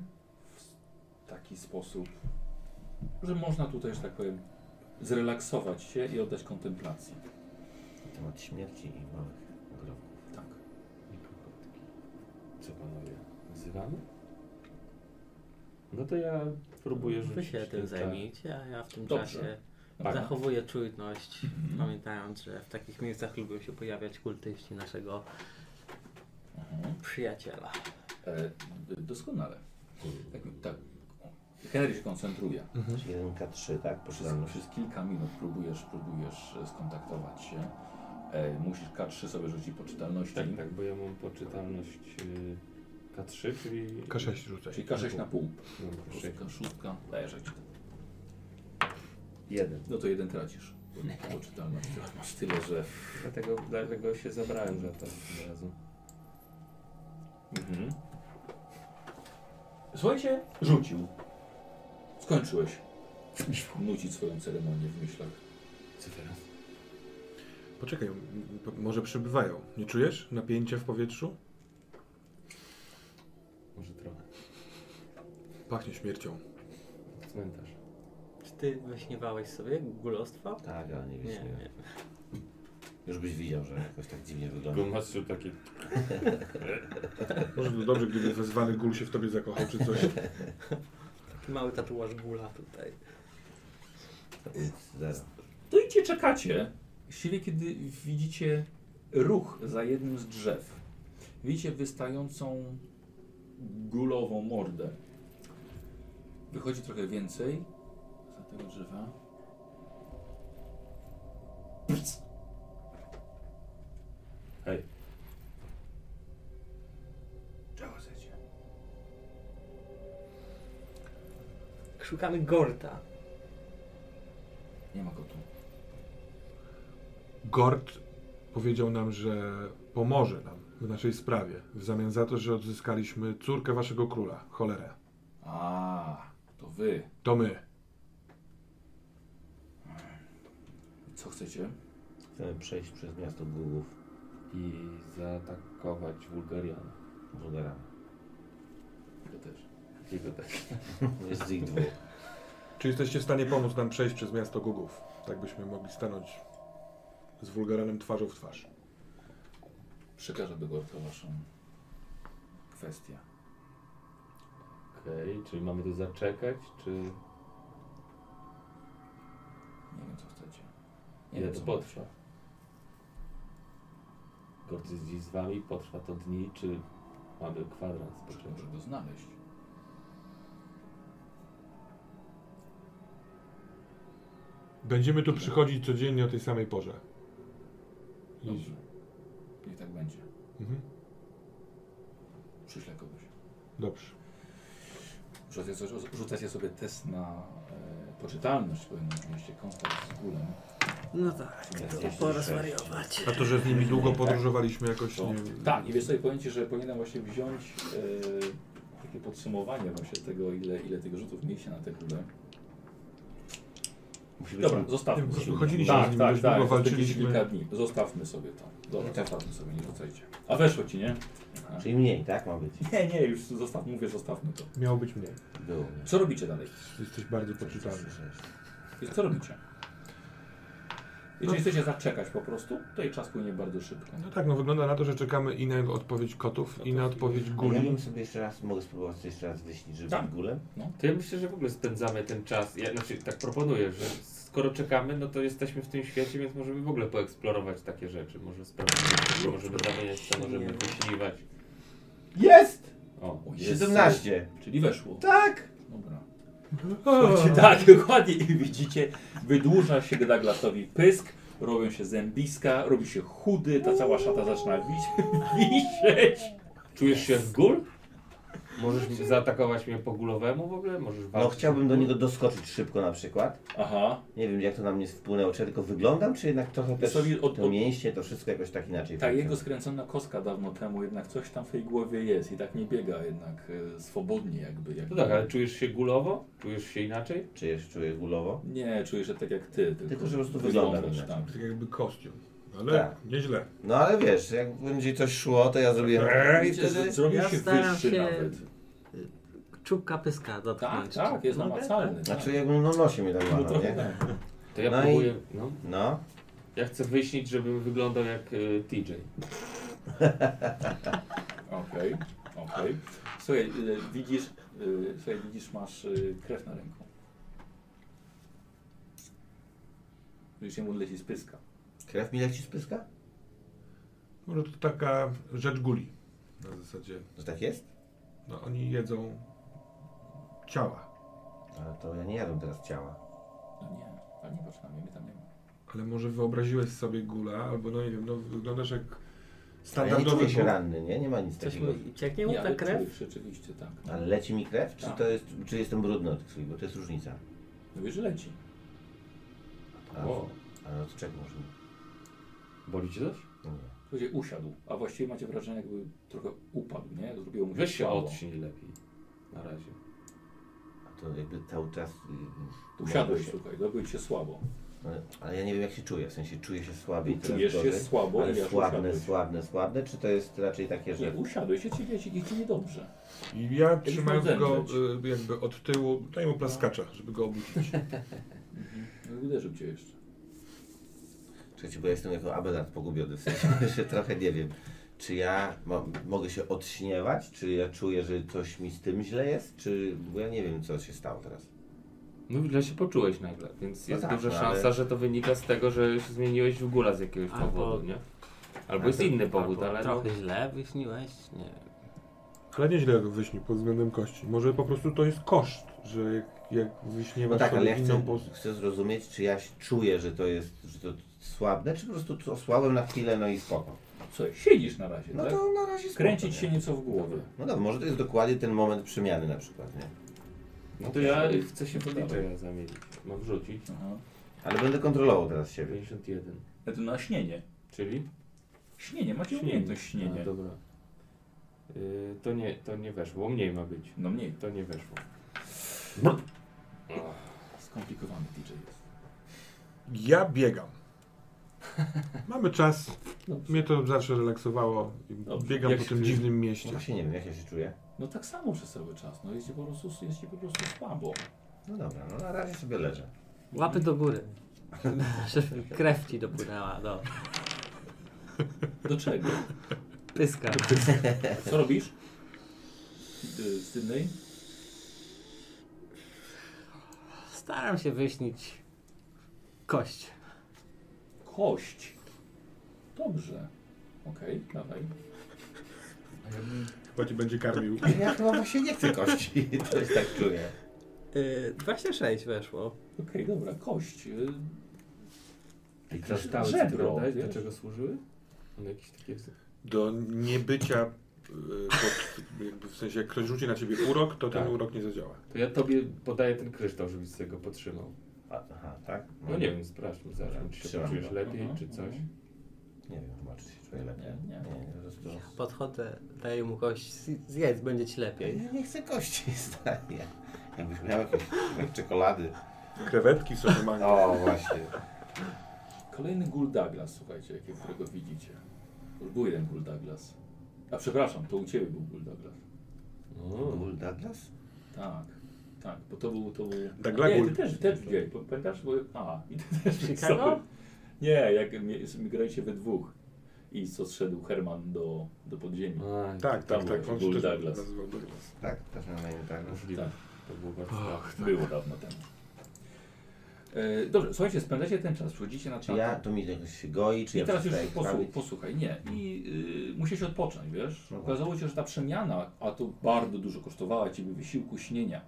A: taki sposób, że można tutaj, że tak powiem, zrelaksować się i oddać kontemplacji.
C: Temat śmierci i małych grobków.
A: Tak.
B: Co panowie? Wzywamy? No to ja próbuję rzucić.
E: Wy się tym
B: tak.
E: zajmijcie, a ja w tym
A: Dobrze. Tak.
E: czasie
A: Dobra.
E: zachowuję czujność, pamiętając, że w takich miejscach lubią się pojawiać kultyści naszego
A: Mhm.
E: przyjaciela.
A: E, d- doskonale. Tak, tak. Henry się koncentruje.
C: Czyli 1K3, No Znaczy tak?
A: Przez,
C: Poszedłem.
A: przez kilka minut próbujesz, próbujesz e, skontaktować się. E, musisz K3 sobie rzucić poczytalności.
B: Tak, tak, bo ja mam poczytalność y, K3, czyli...
D: K6 rzucaj.
A: Czyli K6 na pół.
B: No, K6.
A: Szóstka, szóstka. Dajesz jak ci to.
C: Jeden.
A: No to jeden
C: (laughs)
A: tracisz. Poczytalność. Masz tyle, że...
B: Dlatego, dlatego się zabrałem za to od razu.
A: Mhm. Słuchajcie, rzucił. Skończyłeś. Nuci swoją ceremonię w myślach.
B: Co teraz?
D: Poczekaj, m- m- może przybywają. Nie czujesz napięcia w powietrzu?
B: Może trochę.
D: Pachnie śmiercią.
B: Cmentarz.
E: Czy ty wyśniewałeś sobie gulostwa?
C: Tak, ale nie
E: Nie,
C: wiesz.
E: nie.
C: Już byś widział, że jakoś tak dziwnie wygląda.
B: Gumasu taki...
D: Może by dobrze, gdyby wezwany gul się w tobie zakochał czy coś.
E: Taki mały tatuaż gula tutaj.
C: Zero.
A: To idzie, czekacie. Właściwie kiedy widzicie ruch za jednym z drzew. Widzicie wystającą gulową mordę. Wychodzi trochę więcej za tego drzewa. Pst.
B: Hej.
A: Czego chcecie?
E: Szukamy Gorta.
A: Nie ma go tu.
D: Gord powiedział nam, że pomoże nam w naszej sprawie. W zamian za to, że odzyskaliśmy córkę waszego króla, cholerę.
A: A, to wy.
D: To my.
A: Co chcecie?
C: Chcemy przejść przez miasto Gugów
B: I zaatakować Wulgariana.
C: Bulgarami.
A: Ja też.
B: Jego
A: (laughs)
B: też.
C: tak. Jest z ich dwóch.
D: Czy jesteście w stanie pomóc nam przejść przez miasto Gugów? Tak byśmy mogli stanąć z wulgaranem twarzą w twarz.
A: Przekażę do Gorka waszą kwestię.
B: Okej, czyli mamy tu zaczekać, czy...
A: Nie wiem, co chcecie. Nie
B: Ile
A: wiem, co
B: to potrwa? Gord jest dziś z wami, potrwa to dni, czy mamy kwadrans? po
A: Czy
B: czym?
A: może go znaleźć?
D: Będziemy tu przychodzić codziennie o tej samej porze. I-
A: Dobrze. Niech tak będzie.
D: Mhm.
A: Przyślę kogoś.
D: Dobrze.
A: Rzucacie, sobie- rzucacie sobie test na e, poczytalność, powinien oczywiście kontakt z gólem.
E: No tak, to pora zwariować.
D: A to, że z nimi długo podróżowaliśmy jakoś,
A: To,
D: nie wiem.
A: tak, i wiesz co, i powiem Ci, że powinienem właśnie wziąć e, takie podsumowanie właśnie tego, ile, ile tych rzutów mieliście na te kule.
C: Musi być
A: Dobra, zostawmy
D: Nie,
A: sobie.
D: wychodziliśmy
A: tak,
D: z nim
A: tak,
D: dość
A: tak,
D: długo,
A: spędziliście
D: walczyliśmy.
A: kilka dni. Zostawmy sobie to. Dobra,
C: Tak.
A: zostawmy sobie, nie rzucajcie. A weszło Ci, nie? (laughs)
C: Czyli mniej, tak ma być?
A: Nie, nie, już zostaw, mówię, zostawmy to.
D: Miało być mniej.
C: Było.
A: Co robicie dalej?
D: Jesteś bardzo poczytalny.
A: Co robicie? Jeżeli chcecie zaczekać po prostu, to i czas płynie bardzo szybko.
D: No tak, no wygląda na to, że czekamy i na odpowiedź kotów, i na odpowiedź
C: Ja
D: guli.
C: bym sobie jeszcze raz, mogę spróbować sobie jeszcze raz wyśnić, żeby
A: Tak.
C: tak. gulem?
B: To ja myślę, że w ogóle spędzamy ten czas. Ja znaczy, tak proponuję, że skoro czekamy, no to jesteśmy w tym świecie, więc możemy w ogóle poeksplorować takie rzeczy. Może sprawdzić, co możemy zamieniać, co możemy
E: Nie.
B: wyśliwać.
C: Jest!
B: O,
A: O, jest.
C: 17!
A: Czyli weszło.
C: Tak!
A: Dobra.
D: O,
A: Tak, (laughs) dokładnie. I widzicie, wydłuża się Gedaglasowi pysk, robią się zębiska, robi się chudy, ta cała szata zaczyna wis- (laughs) wisieć.
B: Czujesz się jak gól? Możesz mi- zaatakować mnie po gulowemu w ogóle? Możesz
C: No
B: walczyć
C: chciałbym
B: jak
C: do
B: gól?
C: niego doskoczyć szybko na przykład.
A: Aha.
C: Nie wiem jak to na mnie wpłynęło, czy tylko wyglądam, czy jednak trochę też
A: Sobie od-
C: to
A: od-
C: mięśnie, to wszystko jakoś tak inaczej.
A: Ta
C: funkcjonuje.
A: jego skręcona kostka dawno temu, jednak coś tam w tej głowie jest i tak nie biega jednak e, swobodnie jakby. Jak...
B: No tak, ale czujesz się gulowo? Czujesz się inaczej?
C: Czy jeszcze czuję gulowo?
A: Nie, czuję się tak jak ty. Tylko,
C: Tylko, że po prostu wygląda
A: wyglądasz
C: inaczej.
D: Tak jakby kostium. Ale
C: Tak.
D: nieźle.
C: No ale wiesz, jak będzie coś szło, to ja zrobiłem tak i
A: Widzicie,
C: wtedy...
A: że Zrobił
E: Ja
A: się
E: staram
A: wyższy
E: się-
A: nawet.
E: Czubka pyska
A: Tak,
E: dotknąć.
A: tak, jest
E: Mogę?
A: namacalny. tak.
C: Znaczy jakbym no nosi mnie tak
A: No
C: łamał,
A: trochę
C: nie?
A: tak.
B: To ja
C: No i-
B: próbuję. No.
C: No.
B: Ja chcę wyśnić, żebym wyglądał jak y, TJ.
A: Okej, okej. Słuchaj, y, widzisz, y, słuchaj, widzisz, masz y, krew na ręku. Widzisz, mu leci z pyska.
C: Krew mi leci z pyska?
D: Może to taka rzecz guli. Na zasadzie,
C: To tak jest?
D: no oni jedzą ciała.
C: Ale to ja nie jadłem teraz ciała.
A: No nie, tak nie patrz na mnie, mnie tam nie ma.
D: Ale może wyobraziłeś sobie gula, albo no nie wiem, no wyglądasz jak
C: Ale ja nie
D: standardowy
C: czuję się
D: gul.
C: ranny, nie? Nie ma nic
E: Coś
C: takiego.
E: mu cieknie mu
A: Nie,
E: ta
A: ale
E: krew?
A: czujesz rzeczywiście tak.
C: Ale leci mi krew? Czy
A: Tak.
C: to jest... Czy jestem brudny od krwi? Bo to jest różnica.
A: No wiesz, że leci.
C: A,
B: O,
C: ale od czego może mi?
B: boli cię coś?
C: Nie.
A: Słuchajcie, usiadł, a właściwie macie wrażenie, jakby trochę upadł, nie? Zrobiło mu
B: Weź się
A: słabo.
B: odciń lepiej. Na razie.
C: A to jakby cały czas... y, y,
A: Usiadłeś,
C: się.
A: słuchaj, zrobiło ci się słabo.
C: Ale, ale ja nie wiem jak się czuję, w sensie czuję się słabiej. coraz
A: Czujesz się
C: gorzej,
A: słabo
C: Ale
A: i aż
C: słabne,
A: usiadłeś.
C: słabne, słabne, czy to jest raczej takie,
A: Nie,
C: że...
A: usiadłeś, ja ci wiecie, idzie niedobrze.
D: I ja trzymając
A: miał
D: go
A: zemdleć.
D: y, jakby od tyłu, daj mu plaskacza, żeby go obudzić.
A: No i Uderzył cię jeszcze.
C: Słuchajcie, bo ja jestem jako abelant pogubiony, w sensie (laughs) że trochę nie wiem, czy ja mo- mogę się odśniewać, czy ja czuję, że coś mi z tym źle jest, czy... bo ja nie wiem, co się stało teraz.
B: No źle się poczułeś nagle, więc
C: No
B: jest
C: tak,
B: duża
C: no,
B: szansa,
C: ale-
B: że to wynika z tego, że się zmieniłeś w góla z jakiegoś
E: Albo-
B: powodu, nie? Albo jest inny powód,
E: Albo
B: ale... no-
E: Trochę źle wyśniłeś? Nie.
D: (laughs) Ale nieźle go wyśni pod względem kości. Może po prostu to jest koszt, że jak, jak
C: No
D: wyśniewasz
C: tak, ale
D: sobie
C: ja
D: inną
C: chcę,
D: pozycję.
C: chcę zrozumieć, czy ja się czuję, że to jest, że to słabne, czy po prostu to osłabłem na chwilę, no i spoko.
A: Słuchaj, siedzisz na razie,
C: No
A: tak?
C: to na razie spoko.
A: Kręcić
C: nie?
A: się nieco w głowie.
C: No dobra, może to jest dokładnie ten moment przemiany na przykład, nie?
B: No to ja chcę się wyliczenia zamienić. Mam wrzucić.
A: Aha.
C: Ale będę kontrolował teraz siebie.
B: 51.
A: Ale to na śnienie.
B: Czyli?
A: Śnienie, macie
B: Śnienie.
A: umiejętność śnienie.
B: A, dobra. Y, to, nie, to nie weszło, bo mniej ma być.
A: No mniej.
B: To nie weszło.
A: Skomplikowany DJ jest.
D: Ja biegam. (laughs) Mamy czas. Mnie to zawsze relaksowało. i
A: Dobrze.
D: Biegam
B: Jak
D: po
B: się
D: tym
B: czujesz?
D: dziwnym mieście.
C: Właśnie nie wiem, jak ja się czuję.
A: No tak samo przez cały czas. No jest ci po prostu, jest ci po prostu słabo.
C: No dobra, no na razie sobie leżę.
E: Łapy do góry. (laughs) Żeby krew ci dopłynęła no. do
A: Do czego?
E: pyska.
A: Co robisz? Y, Sydney?
E: Staram się wyśnić kość.
A: Kość. Dobrze. Okej, dawaj.
D: Chyba cię będzie karmił.
C: Ja chyba właśnie nie chcę kości, (laughs) to jest tak czuję.
E: Yy, 26 weszło.
A: Okej, dobra, kość. Y,
B: I
A: kryształy, co ty
B: prawda?
A: dodałeś, do
B: Do
A: czego
B: czego służyły? One jakieś takie...
D: Do niebycia y, pod, jakby w sensie jak ktoś rzuci na ciebie urok, to
B: Tak.
D: ten urok nie zadziała.
B: To ja tobie podaję ten kryształ, żebyś sobie go potrzymał.
C: A, aha, tak?
B: No nie wiem, sprawdźmy zaraz, czy się
C: Trzymam
B: czujesz
C: go.
B: lepiej,
A: Mhm,
B: czy coś.
A: mhm.
C: Nie wiem, chyba czy się czuję lepiej.
A: Nie, nie.
C: po prostu-
E: Podchodzę, daję mu kość, zjedz, będzie ci lepiej.
C: Ja nie chcę kości, (laughs) stanie. Jakbyś miał jakieś (laughs) jakieś czekolady.
D: Krewetki sobie mają.
C: O, właśnie.
A: Kolejny Gul Douglas, słuchajcie, jakie- którego widzicie. Już był jeden Gul Douglas. A przepraszam, to u ciebie był Gul Douglas.
B: O,
C: Bull Douglas?
A: Tak, tak, bo to był, to był...
D: Douglas
A: nie,
D: Gul.
A: ty też, też widziałeś, bo pamiętasz, bo... A, i ty też
E: Chicago?
A: Nie, jak mi- mi graliście we dwóch i co zszedł Herman do, do podziemi.
B: Aj,
D: Tak, tak,
A: Tam
D: tak.
A: był
D: On się też
A: Douglas.
D: nazywał Douglas.
C: Tak, też miałem na imię Douglas.
B: możliwe.
A: Tak.
B: To było bardzo tak.
A: Było dawno temu. E, dobrze, słuchajcie, spędzacie ten czas, przychodzicie na
C: Czy
A: czatę.
C: ja, to mi jakoś się goi, czy
A: I
C: ja tak.
A: teraz już
C: przestaję
A: posłuchaj,
C: krwawić?
A: posłuchaj, nie. I y, musisz odpocząć, wiesz?
C: Aha.
A: Okazało się, że ta przemiana, a to bardzo dużo kosztowała ciebie wysiłku, śnienia,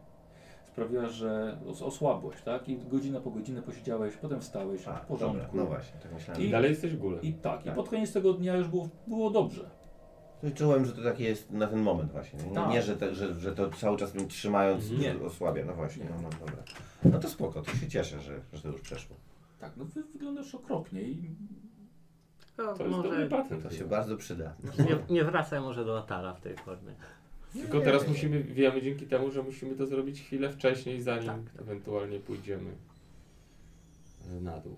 A: sprawiła, że os- osłabłeś, tak? I godzina po godzinę posiedziałeś, potem wstałeś,
C: A,
A: w porządku.
C: Dobra, no właśnie, tak myślałem.
A: I-
B: I dalej jesteś gulem.
A: I tak, i
C: Tak.
A: pod koniec tego dnia już było, było dobrze.
C: No i czułem, że to takie jest na ten moment właśnie. Nie,
A: Tak. Mhm.
C: nie że, te, że, że to cały czas mnie trzymając
A: Nie.
C: osłabia. No właśnie,
A: Nie.
C: no, no dobra. No to spoko, to się cieszę, że, że to już przeszło.
A: Tak, no wy wyglądasz okropnie i
E: Tylko
B: To jest dobry
E: może
B: patent.
C: To się
B: chyba.
C: bardzo przyda.
E: nie, nie wracaj może do Atala w tej formie.
B: Tylko teraz musimy, wiemy dzięki temu, że musimy to zrobić chwilę wcześniej, zanim
E: Tak, tak.
B: ewentualnie pójdziemy e, na dół.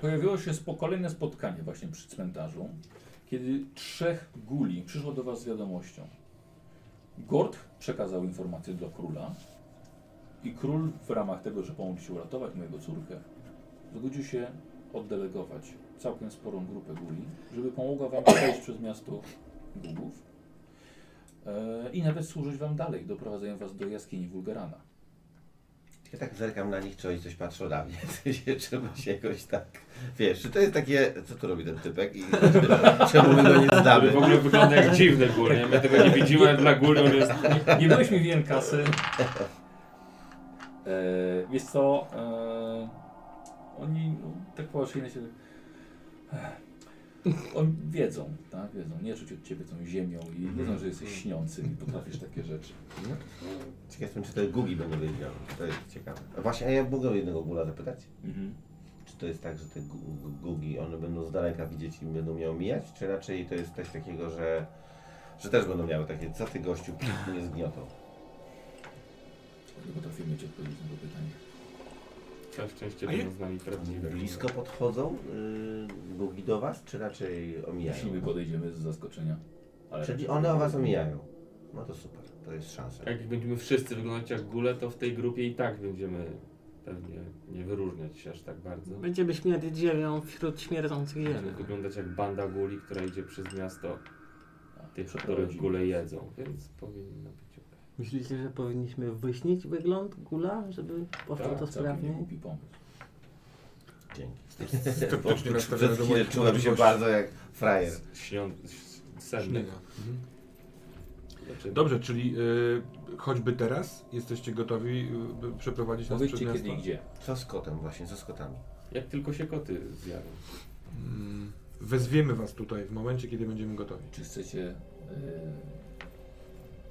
A: Pojawiło się spo- kolejne spotkanie właśnie przy cmentarzu, kiedy trzech guli przyszło do was z wiadomością. Gord przekazał informację do króla i król w ramach tego, że pomógł ci uratować mojego córkę, zgodził się oddelegować całkiem sporą grupę guli, żeby pomogła wam przejść przez miasto Gugów e, i nawet służyć wam dalej, doprowadzając was do jaskini Wulgarana.
C: Ja tak zerkam na nich, czy oni coś patrzą na mnie, (laughs) czy się, czy my się jakoś tak... Wiesz, czy to jest takie, co tu robi ten typek i (laughs) czemu my go nie
B: Który
C: znamy?
B: w ogóle wygląda jak dziwny gul, nie? My tego nie widzimy, dla guli on jest...
A: Nie byłeś mi winien kasy. E, wiesz co, e, oni, no, tak po się... Ech. E, Oni wiedzą, tak, wiedzą, nie czuć od ciebie tą ziemią i
C: Mhm.
A: wiedzą, że jesteś śniącym i potrafisz takie rzeczy.
C: Ciekaw jestem, czy to Gugi będą wiedział. To jest ciekawe. A właśnie, a ja mogę jednego Gula zapytać?
A: Mhm.
C: Czy to jest tak, że te gu- gu- gugi, one będą z daleka widzieć i będą miały mijać? Czy raczej to jest coś takiego, że, że też będą miały takie, co ty gościu, nie zgniotą?
A: Nie potrafimy mieć odpowiedzi na to pytanie.
B: Całe szczęście
D: A je-
B: będą z nami
C: Oni
B: prawdziwe.
C: blisko podchodzą yy, gugi do was, czy raczej
A: Jeśli my
C: omijają?
A: podejdziemy z zaskoczenia. Ale
C: Czyli one o was omijają. No to super, to jest szansa.
B: Tak Jak będziemy wszyscy wyglądać jak gule, to w tej grupie i tak będziemy pewnie nie wyróżniać się aż tak bardzo.
E: Będziemy śmierdzieć ziemią wśród śmierdzących
B: Będziemy
E: ziemi.
B: wyglądać jak banda guli, która idzie przez miasto
A: Tak,
B: tych, których
A: przeprowadzimy.
B: gule jedzą, więc powinno być ok.
E: Myślicie, że powinniśmy wyśnić wygląd gula, żeby poszło
B: Tak,
A: Całkiem
E: to
A: nie
E: sprawniej?
A: głupi pomysł.
C: Dzięki.
D: Sceptycznie nastawiony
C: Przez
D: do
C: chwilę
D: moich
C: czułem się
D: możliwości.
C: bardzo jak frajer.
B: Śnią... sennych.
D: Śnienia.
B: Znaczy,
D: Mhm. Dobrze, czyli y, choćby teraz jesteście gotowi y, przeprowadzić nas przez
A: Powiedzcie kiedy
D: miasto?
A: i gdzie.
C: Co z kotem właśnie, co z kotami?
B: Jak tylko się koty zjawią.
D: Mm, Wezwiemy was tutaj w momencie, kiedy będziemy gotowi.
A: Czy chcecie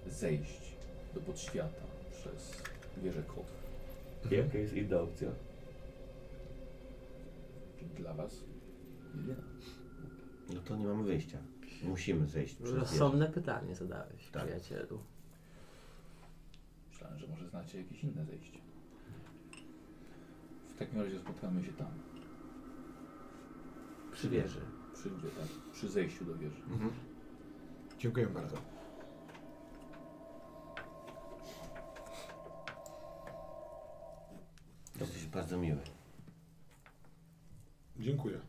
A: y, zejść do podświata przez wieżę kot?
B: Jaka jest inna opcja?
A: Dla was? Jedyna.
C: No to nie mamy wyjścia. Musimy zejść przez wieżę.
E: Rozsądne pytanie zadałeś,
C: Tak.
E: przyjacielu.
A: Myślałem, że może znacie jakieś inne zejście. W takim razie spotkamy się tam.
C: Przy wieży.
A: Przy, gdzie, tak? przy zejściu do wieży.
D: Mhm. Dziękuję bardzo.
C: Jesteś bardzo miły. (laughs)
D: Dziękuję.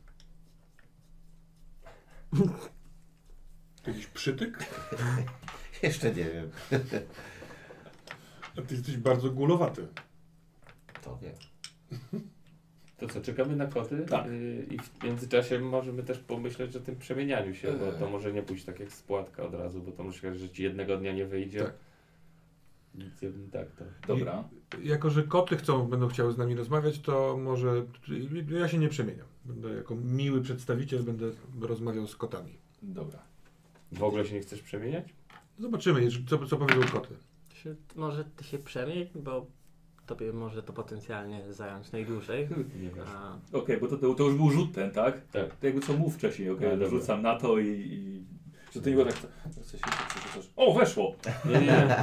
D: Jakiś przytyk?
C: Jeszcze nie wiem.
D: A ty jesteś bardzo gulowaty.
C: To wiem.
B: To co, czekamy na koty?
A: Tak.
B: Y, I w międzyczasie możemy też pomyśleć o tym przemienianiu się, bo
C: E.
A: Eee.
B: to może nie pójść tak jak spłatka od razu, bo to może się że ci jednego dnia nie wyjdzie.
D: Tak.
B: Nic jednym tak to.
A: Dobra,
D: Jako, że koty chcą, będą chciały z nami rozmawiać, to może no ja się nie przemieniam. Będę jako miły przedstawiciel, będę rozmawiał z kotami.
A: dobra.
B: W ogóle się nie chcesz przemieniać?
D: Zobaczymy, co, co powiedzą koty.
E: Się, może ty się przemień, bo tobie może to potencjalnie zająć najdłużej.
B: Nie wiesz.
E: A,
G: Okej, bo to, to, to już był rzut ten, tak?
B: Tak.
G: To jakby co mów wcześniej, okej,
B: No, dobra.
G: rzucam na to i... i... Że ty niego tak... tak coś- coś- coś- O,
B: (laughs)
G: weszło!
B: Nie, nie,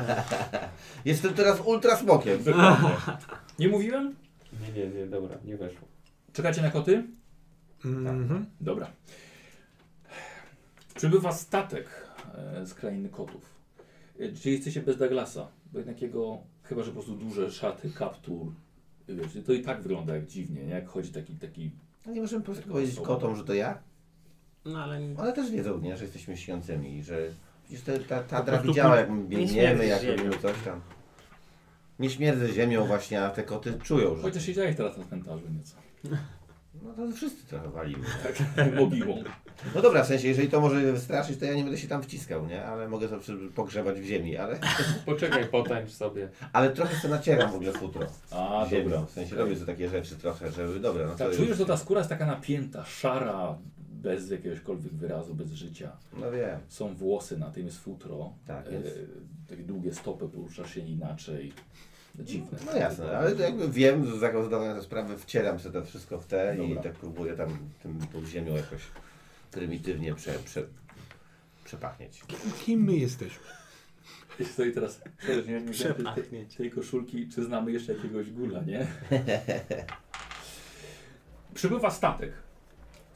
C: Jestem teraz ultra smokiem.
G: Dokładnie. Nie mówiłem?
B: nie, nie, nie, dobra, nie weszło.
A: Czekacie na koty?
D: Mhm.
A: Dobra. Przybywa statek e, z krainy kotów. E, Czy jesteście bez Douglasa? Bo jednak jego, chyba że po prostu duże szaty, kaptur. Wiecie, to i tak wygląda jak dziwnie, nie? jak chodzi taki, taki...
C: No nie możemy po prostu powiedzieć kotom, że to ja?
E: no ale nie,
C: One też wiedzą, nie? Że jesteśmy śniącymi i że... Przecież te, ta, ta
D: Po
C: Tadra
D: prostu
C: widziała,
D: kur-
C: jak my biegniemy,
E: śmierdzi
C: jak
E: ziemią.
C: robimy coś tam. Nie śmierdzę ziemią właśnie, a te koty czują, że...
A: Chociaż siedziałeś teraz na cmentarzu nieco.
C: No to wszyscy trochę walimy.
A: Tak, mogiłą.
C: No dobra, w sensie, jeżeli to może wystraszyć, to ja nie będę się tam wciskał, nie? Ale mogę sobie przy- pogrzebać w ziemi, ale...
B: Poczekaj, potańcz sobie.
C: Ale trochę sobie nacieram w ogóle futro.
A: A,
C: Ziemią.
A: dobra.
C: W sensie robię sobie takie rzeczy trochę, żeby... Dobra, no to
A: Tak,
C: już...
A: czujesz, że ta skóra jest taka napięta, szara, bez jakiegośkolwiek wyrazu, bez życia.
C: No wiem.
A: Są włosy na tym, jest futro.
C: Tak,
A: E,
C: więc...
A: Takie długie stopy, poruszasz się inaczej. Dziwne.
C: No jasne, ale to jakby wiem, że za- zdawania tę sprawę, wcieram sobie to wszystko w te i
A: Dobra.
C: tak próbuję tam tym, tą ziemią jakoś prymitywnie prze, prze, przepachnieć.
D: Kim my jesteśmy?
A: Wiesz co, i teraz też nie wiem, tej,
E: Przepachnieć.
A: tej koszulki, czy znamy jeszcze jakiegoś gula, (laughs) nie? Przybywa statek.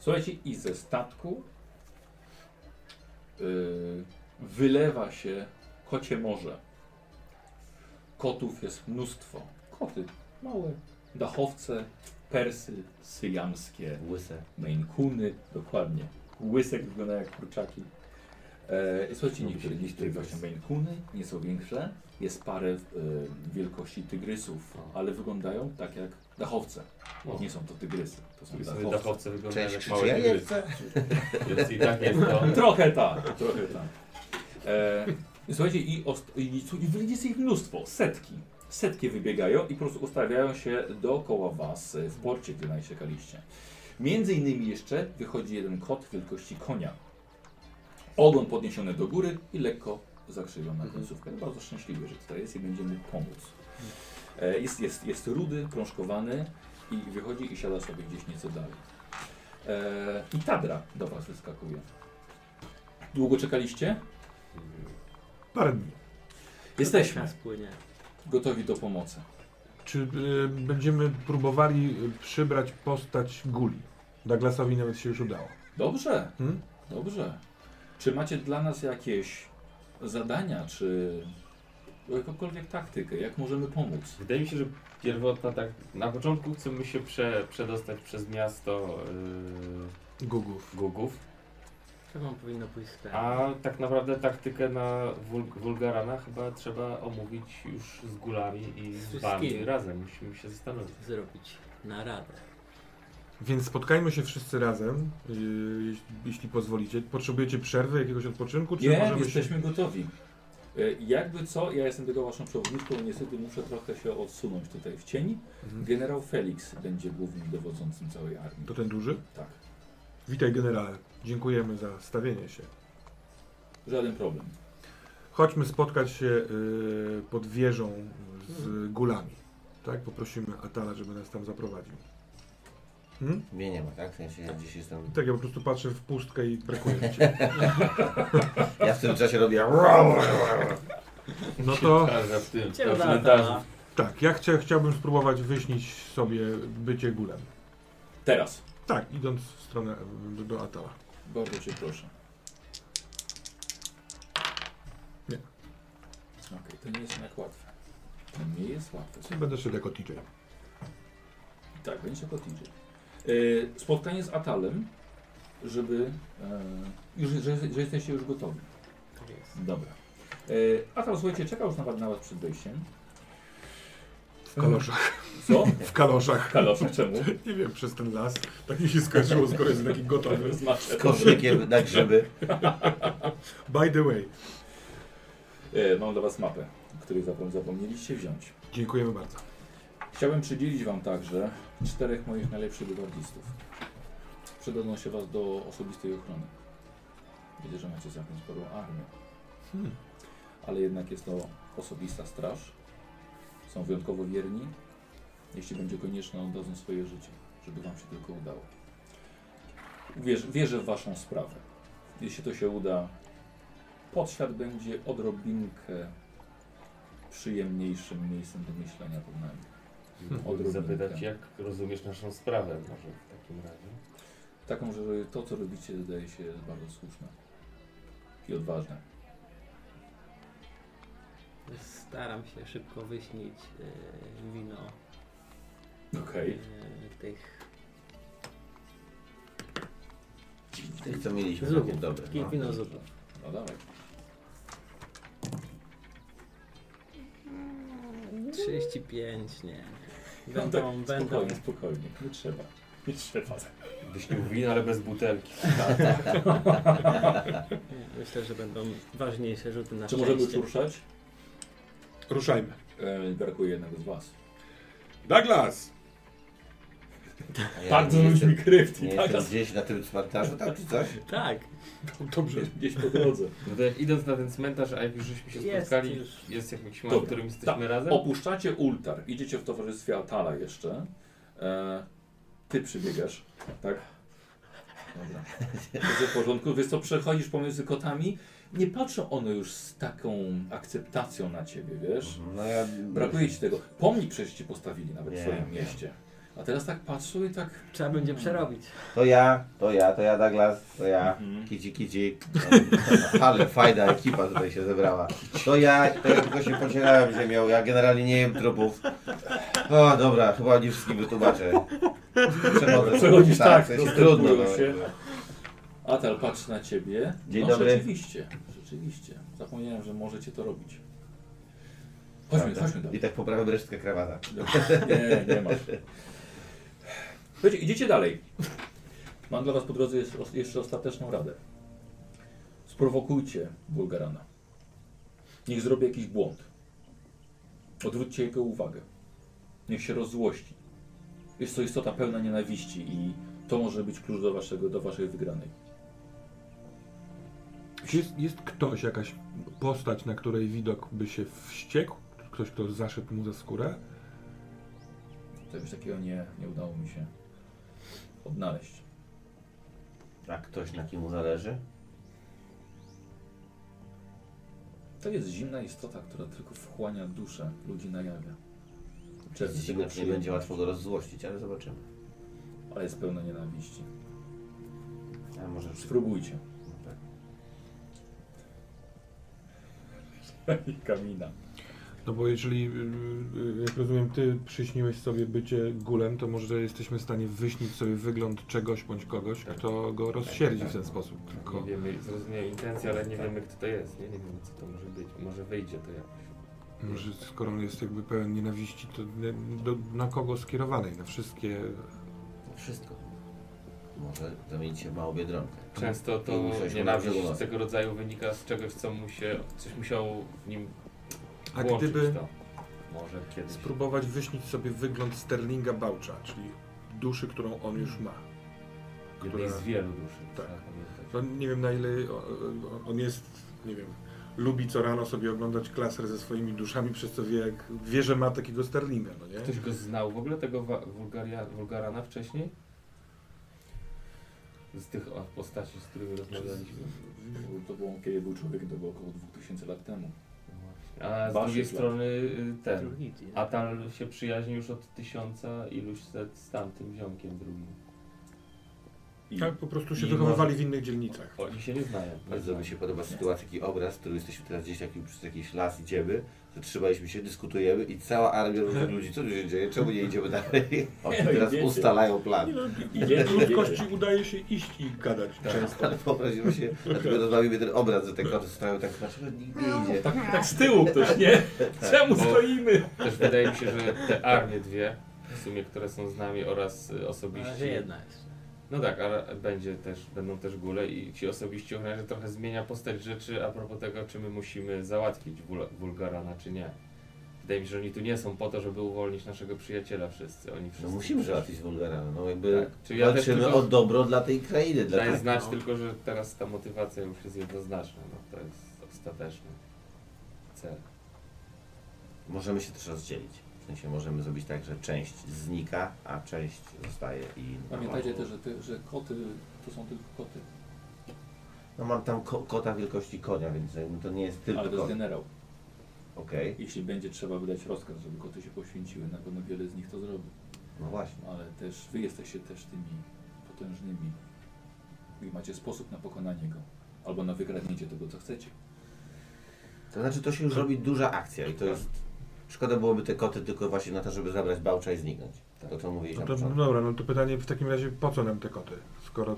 A: Słuchajcie, i ze statku yy, wylewa się kocie morze. Kotów jest mnóstwo. Koty, małe, dachowce, persy syjamskie,
C: Łyse.
A: Maine Coony, dokładnie. Łysek wygląda jak kurczaki. E, słuchajcie, niektóre, niektóre właśnie Maine Coony, nie są większe. Jest parę e, wielkości tygrysów, ale wyglądają tak jak dachowce.
B: O.
A: Nie są to tygrysy, to są
B: Sobie
A: dachowce.
B: dachowce wyglądają
C: Cześć,
B: jak
C: czy
B: małe
C: ja nie
B: dziury.
C: chcę?
B: Więc i tak jest to.
A: Trochę tak, trochę tak. E, słuchajcie, i, ost- i, i wyjdzie z ich mnóstwo, setki. Setki wybiegają i po prostu ustawiają się dookoła was e, w porcie, gdzie najsiekaliście. Między innymi jeszcze wychodzi jeden kot wielkości konia. Ogon podniesiony do góry i lekko zakrzywiona końcówka. Bardzo szczęśliwy, że tutaj jest i będzie mógł pomóc. E, Jest, jest, jest rudy, krążkowany i wychodzi i siada sobie gdzieś nieco dalej. E, I Tadra do was wyskakuje. Długo czekaliście?
D: Parę dni.
A: Jesteśmy
E: czas płynie.
A: gotowi do pomocy.
D: Czy y, będziemy próbowali y, przybrać postać Guli? Douglasowi nawet się już udało.
A: Dobrze,
D: Hmm?
A: dobrze. Czy macie dla nas jakieś zadania, czy jakąkolwiek taktykę? Jak możemy pomóc?
B: Wydaje mi się, że pierwotna tak. Na początku chcemy się prze, przedostać przez miasto
D: Gugów.
B: yy, Gugów,
E: Chyba powinno pójść w ten.
B: a tak naprawdę taktykę na wul, Wulgarana chyba trzeba omówić już z gulami i
E: Z
B: z wami
E: wszystkimi.
B: razem. Musimy się zastanowić.
E: Zrobić naradę.
D: Więc spotkajmy się wszyscy razem, y, jeś- jeśli pozwolicie. Potrzebujecie przerwy, jakiegoś odpoczynku? Czy
A: Nie,
D: możemy
A: jesteśmy
D: Się...
A: gotowi. E, Jakby co, ja jestem tego waszą przewodniczką, niestety muszę trochę się odsunąć tutaj w cień.
D: Mhm.
A: Generał Felix będzie głównym dowodzącym całej armii.
D: To ten duży?
A: Tak,
D: Witaj generale. Dziękujemy za stawienie się.
A: żaden problem.
D: Chodźmy spotkać się y, pod wieżą z gulami. Tak? Poprosimy Atala, żeby nas tam zaprowadził. Hmm?
C: Mnie nie ma, tak? W sensie ja dziś jestem...
D: Tak, ja po prostu patrzę w pustkę i brakuje cię.
C: Ja w tym czasie robię... (laughs)
D: No to
B: Każda w Tak, tym,
E: Cię
B: w
E: uda,
B: cmentarzu.
D: tak, ja chcia, chciałbym spróbować wyśnić sobie bycie gulem.
A: Teraz,
D: Tak, idąc w stronę y, do, do Atala.
A: bardzo cię proszę.
D: Nie.
A: Okej, to nie jest jednak łatwe. To nie jest łatwe.
D: Nie będę szedł jako TJ.
A: Tak, będzie jako TJ. Yy, spotkanie z Atalem, żeby. Yy, już, że, że jesteście już gotowi.
E: Tak jest.
A: Dobra. Yy, Atal, słuchajcie, czekał już na, na was przed wejściem.
D: W kaloszach.
A: Co? (laughs)
D: W kaloszach.
A: Kalosza, czemu?
D: Nie wiem, przez ten las. Tak mi się skojarzyło, skoro jest taki gotowy.
A: Z maszerem.
C: Z koszykiem na grzyby.
D: By the way.
A: Yy, mam dla was mapę, której zapom- zapomnieliście wziąć.
D: Dziękujemy bardzo.
A: Chciałbym przydzielić wam także czterech moich najlepszych gwardistów. Przydadzą się was do osobistej ochrony. Widzę, że macie całkiem sporą armię. Ale jednak jest to osobista straż. Są wyjątkowo wierni. Jeśli będzie konieczne, oddadzą swoje życie, żeby wam się tylko udało. Wierzę, wierzę w waszą sprawę. Jeśli to się uda, podświat będzie odrobinkę przyjemniejszym miejscem do myślenia pod nami.
B: Mogę
A: Odrobinkę.
B: zapytać, jak rozumiesz naszą sprawę może w takim razie?
A: Taką, Tak że to, co robicie, wydaje się bardzo słuszne i odważne.
E: Staram się szybko wyśnić e, wino
A: Okej.
E: e, tych
C: I co mieliśmy?
E: Zupy.
C: Takie dobre.
E: Takie
C: no.
E: wino zupy.
A: No dawaj.
E: 35, nie.
A: No
E: Będą,
A: (laughs) tak,
E: będą.
A: spokojnie, spokojnie. Nie trzeba. Nie trzeba.
B: Wyśnił win, ale bez butelki.
E: Myślę, że będą ważniejsze rzuty na
A: Czy możemy już
E: szczęście.
A: ruszać?
D: Ruszajmy.
A: E, brakuje jednego z was.
D: Douglas!
C: A ja
A: Bardzo
C: nie
A: lubi
C: jestem-
A: krypti,
C: Nie
A: tak?
C: jestem gdzieś na tym cmentarzu, tam czy coś?
E: Tak,
D: Dobrze.
A: Gdzieś, gdzieś po drodze. (laughs)
B: Kurde, No jak idąc na ten cmentarz, a jak już żeśmy się
E: Jest
B: spotkali,
E: już.
B: jest jakiś
A: Dobra.
B: moment, w którym jesteśmy razem?
A: Opuszczacie ultar, idziecie w towarzystwie Atala jeszcze. E, ty przybiegasz, tak? Dobra. Jest w porządku. Wiesz co, przechodzisz pomiędzy kotami, nie patrzą one już z taką akceptacją na ciebie, wiesz?
C: No ja...
A: Brakuje ci tego. Pomnik przecież ci postawili nawet w
C: Nie,
A: swoim
C: nie.
A: mieście. A teraz tak patrzą i tak...
E: trzeba będzie przerobić.
C: To ja, to ja, to ja Douglas, to ja.
A: Mhm.
C: Kidzi, kidzi. No, Ale fajna ekipa tutaj się zebrała. To ja, to ja tylko się pocierałem ziemią, ja generalnie nie jem trupów. O, dobra, chyba nie wszystkim wytłumaczę. Przechodzę.
A: Przechodzisz tak,
C: w sensie
A: dostępują
C: trudno. No.
A: się. Atal patrzy na ciebie.
C: Dzień
A: no
C: dobry.
A: rzeczywiście, rzeczywiście. Zapomniałem, że możecie to robić. Chodźmy, chodźmy dalej.
C: I tak poprawiam resztkę krawata.
A: Nie, nie masz. Słuchajcie, idziecie dalej. Mam dla was po drodze jeszcze, jeszcze ostateczną radę. Sprowokujcie Bulgarana. Niech zrobi jakiś błąd. Odwróćcie jego uwagę. Niech się rozzłości. Jest to istota pełna nienawiści i to może być klucz do, waszego, do waszej wygranej.
D: Czy Jest, jest ktoś, jakaś postać, na której widok by się wściekł? Ktoś, kto zaszedł mu za skórę?
A: Czegoś takiego nie, nie udało mi się odnaleźć.
C: A ktoś na kim mu zależy?
A: To jest zimna istota, która tylko wchłania duszę ludzi na jawie.
C: Przez
A: jego
C: nie będzie łatwo go rozzłościć, ale zobaczymy.
A: ale jest pełna nienawiści.
C: A może
A: Spróbujcie. (laughs)
C: Tak.
A: Kamina.
D: No bo jeżeli, y, y, jak rozumiem, ty przyśniłeś sobie bycie gulem, to może jesteśmy w stanie wyśnić sobie wygląd czegoś bądź kogoś, kto go rozsierdzi w ten sposób. Tylko
B: Nie wiemy, zrozumiałem intencję, ale nie wiemy kto to jest, nie? Nie wiemy co to może być, może wyjdzie to jakoś.
D: może skoro on jest jakby pełen nienawiści, to nie- do, na kogo skierowanej? Na wszystkie...
C: Wszystko. Może zamienić się w małą biedronkę.
B: Często to
C: I musiałeś mu
B: nienawiść
C: nabrzuć.
B: tego rodzaju wynika z czegoś, co mu się, coś musiało w nim
D: A
B: włączyć
D: gdyby
B: to. Może kiedyś.
D: spróbować wyśnić sobie wygląd Sterlinga Baucha, czyli duszy, którą on już ma.
B: Jednej z wielu duszy,
D: Tak.
B: trzeba pamiętać.
D: No, nie wiem na ile o- o- on jest, nie wiem, lubi co rano sobie oglądać klaser ze swoimi duszami, przez co wie, jak, wie że ma takiego Sterlinga, no nie?
B: Ktoś go znał w ogóle, tego wa- Wulgaria, Wulgarana wcześniej? Z tych o, postaci, z którymi rozmawialiśmy.
A: To było, kiedy był człowiek, to było około 2000 lat temu.
B: A z
A: Waszy
B: drugiej
A: plan.
B: strony y, ten.
E: Drugi dzień.
B: Atal się przyjaźni już od tysiąca iluś set z tamtym ziomkiem drugim.
A: I
D: Tak, po prostu się
B: I
D: wychowywali w innych dzielnicach.
B: Oni się nie znają. Nie
C: Bardzo
B: znają.
C: mi się podoba sytuacja, taki obraz, który jesteśmy teraz gdzieś jakim, przez jakiś las idziemy, zatrzymaliśmy się, dyskutujemy i cała armia różnych ludzi, co tu się dzieje, czemu nie idziemy
B: (laughs)
C: dalej? Oni
A: No i
C: teraz
A: wiecie.
C: ustalają plan.
A: no, idzie,
D: Ludzkości udaje się iść i gadać
A: Tak.
D: często.
C: Ale wyobraziłem się, dlatego rozmawiamy ten obraz, że te koty stoją tak, dlaczego nikt nie
B: No,
C: idzie?
A: Tak, tak z tyłu ktoś, nie?
D: Tak.
A: Czemu
B: Bo-
A: stoimy?
B: Też wydaje mi się, że te armie dwie, w sumie, które są z nami oraz y,
E: Na razie
B: osobiści.
E: jedna jeszcze.
B: No tak, ale będzie też, będą też góle i ci osobiści ochroniarze trochę zmienia postać rzeczy a propos tego, czy my musimy załatwić Wul- Wulgarana, czy nie. Wydaje mi się, że oni tu nie są po to, żeby uwolnić naszego przyjaciela wszyscy. Oni wszyscy
C: No musimy załatwić Wulgara, no jakby
B: Tak. Czyli
C: tak.
B: ja też
C: walczymy
B: tylko
C: o dobro dla tej krainy. Dla
B: daję
C: tej...
B: znać
E: no.
B: tylko, że teraz ta motywacja już jest jednoznaczna. No, to jest ostateczny cel.
C: Możemy się też rozdzielić. W sensie możemy zrobić tak, że część znika, a część zostaje i...
A: Pamiętajcie też, że, ty, że koty to są tylko koty,
C: No mam tam ko kota wielkości konia, więc jakby to nie jest tylko
A: ale to jest
C: kot.
A: generał.
C: Okej,
A: Jeśli będzie trzeba wydać rozkaz, żeby koty się poświęciły, na pewno wiele z nich to zrobi.
C: no właśnie.
A: Ale też wy jesteście też tymi potężnymi i macie sposób na pokonanie go. Albo na wykradnięcie tego, co chcecie.
C: To znaczy to się już robi duża akcja i to jest... Szkoda byłoby te koty tylko właśnie na to, żeby zabrać bałcza i zniknąć. Tak. To co mówiłeś
D: No
C: na
D: to no
C: początku.
D: dobra, no to pytanie w takim razie po co nam te koty? Skoro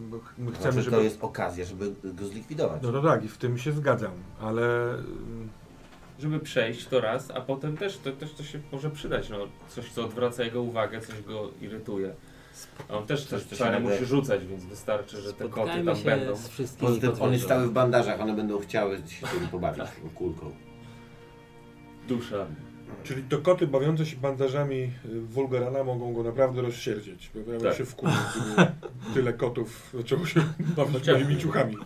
D: mm, ch- my chcemy,
C: Znaczy,
D: żeby...
C: to jest okazja, żeby go zlikwidować.
D: No to tak, i w tym się zgadzam, ale... mm,
B: Żeby przejść to raz, a potem też to, też to się może przydać. No, coś, co odwraca jego uwagę, coś go irytuje. A on też coś
C: Coś, co się
B: czarne
C: nagle-
B: musi rzucać, więc wystarczy, że te koty
E: Spotkajmy
B: tam będą.
E: się z wszystkimi
D: no
C: Poza tym one stały
E: potwierdzą.
C: w bandażach, one będą chciały się tym pobawić
A: Tak.
C: tą kulką.
B: Dusza.
D: Czyli to koty bawiące się bandażami y, Wulgarana mogą go naprawdę rozsierdzieć, bo ja bym
B: Tak.
D: się wkurzył, (laughs) gdyby tyle kotów zaczęło się bawić
B: Chociaż-
D: moimi ciuchami.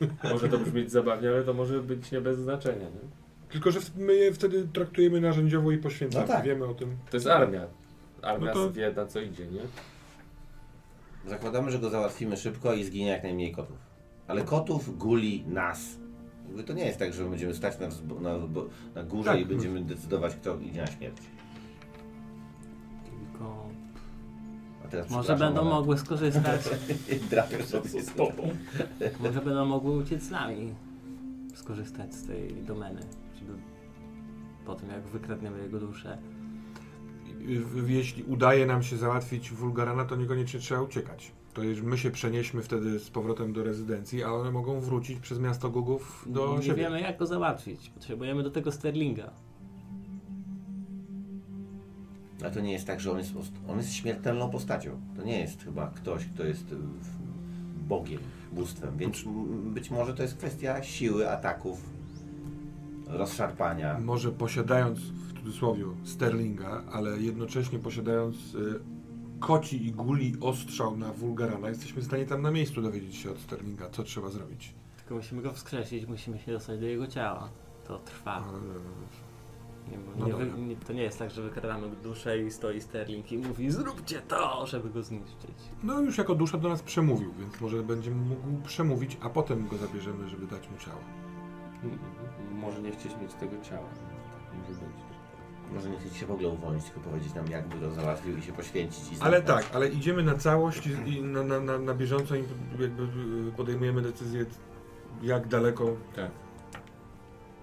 B: No, Może to brzmieć zabawnie, ale to może być nie bez znaczenia. Nie?
D: Tylko, że w- my je wtedy traktujemy narzędziowo i poświęcamy,
C: No tak.
D: wiemy o tym.
B: To jest armia. Armia
D: No to-
B: wie na co idzie, nie?
C: Zakładamy, że go załatwimy szybko i zginie jak najmniej kotów. Ale kotów guli nas. Jakby to nie jest tak, że my będziemy stać na, wzbo- na, wzbo- na górze
E: no.
D: Tak.
C: i będziemy decydować, kto idzie na śmierć.
E: Tylko
C: A teraz
E: może
C: przepraszam,
E: będą
C: ale-
E: mogły skorzystać,
C: (laughs) Drapię sobie
G: Z tobą.
E: może będą mogły uciec z nami. Skorzystać z tej domeny, żeby po tym jak wykradniemy jego duszę.
D: Y, w- Jeśli udaje nam się załatwić Wulgarana, to niekoniecznie trzeba uciekać. To już my się przenieśmy wtedy z powrotem do rezydencji, a one mogą wrócić przez miasto Gugów do
E: nie
D: siebie.
E: wiemy jak go załatwić. Potrzebujemy do tego Sterlinga.
C: Ale to nie jest tak, że on jest, ost- on jest śmiertelną postacią. To nie jest chyba ktoś, kto jest y, w- bogiem, bóstwem. Więc m- być może to jest kwestia siły, ataków, rozszarpania.
D: Może posiadając w cudzysłowie Sterlinga, ale jednocześnie posiadając y, koci i guli ostrzał na Wulgarana, jesteśmy w stanie tam na miejscu dowiedzieć się od Sterlinga, co trzeba zrobić.
E: Tylko musimy go wskrzesić, musimy się dostać do jego ciała. To
D: E,
E: trwa. Nie, bo
D: No
E: nie wy,
D: dobra.
E: nie, to nie jest tak, że wykradamy duszę i stoi Sterling i mówi zróbcie to, żeby go zniszczyć.
D: No już jako dusza do nas przemówił, więc może będzie mógł przemówić, a potem go zabierzemy, żeby dać mu ciało.
B: M- m- Może nie chcieć mieć tego ciała. Tak Może być.
C: Może nie chcecie się w ogóle uwolnić, tylko powiedzieć nam, jakby go załatwił i się poświęcić. I
D: Ale
C: zniknąć.
D: tak, ale idziemy na całość i- i na, na, na, na bieżąco i jakby y, podejmujemy decyzję, jak daleko
B: Tak.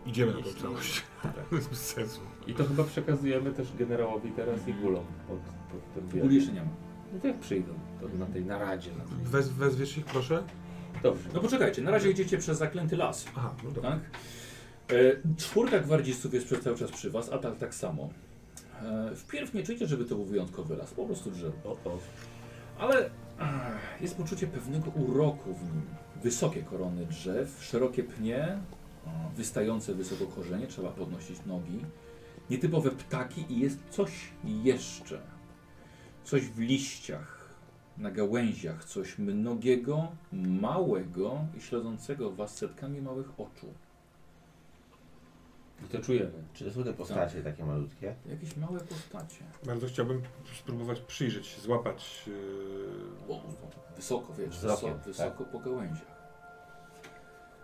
D: idziemy na tą
E: Jeśli-
D: całość. To jest (laughs) bez sensu.
B: I to chyba przekazujemy też generałowi teraz i gulom pod, pod tym
A: Guli
B: wielkim.
A: jeszcze nie ma.
B: No to jak przyjdą to na tej naradzie. Na tej...
D: Wez, wezwiesz ich, proszę?
B: Dobrze.
A: No poczekajcie, na razie idziecie przez zaklęty las.
D: Aha, no dobra.
A: Tak? E, czwórka gwardzistów jest przez cały czas przy was, a tak, tak samo. E, wpierw nie czujecie, żeby to był wyjątkowy las, po prostu drzewo.
B: O, o.
A: Ale ach, jest poczucie pewnego uroku w nim. Wysokie korony drzew, szerokie pnie, o, wystające wysoko korzenie, trzeba podnosić nogi. Nietypowe ptaki i jest coś jeszcze. Coś w liściach, na gałęziach, coś mnogiego, małego i śledzącego was setkami małych oczu.
B: I to czujemy.
C: Czy to są te postacie takie malutkie?
A: Jakieś małe postacie.
D: Bardzo chciałbym spróbować przyjrzeć się, złapać. Yy...
A: O, wysoko, wiesz,
C: Wzrokiem, tak.
A: wysoko, wysoko po gałęziach.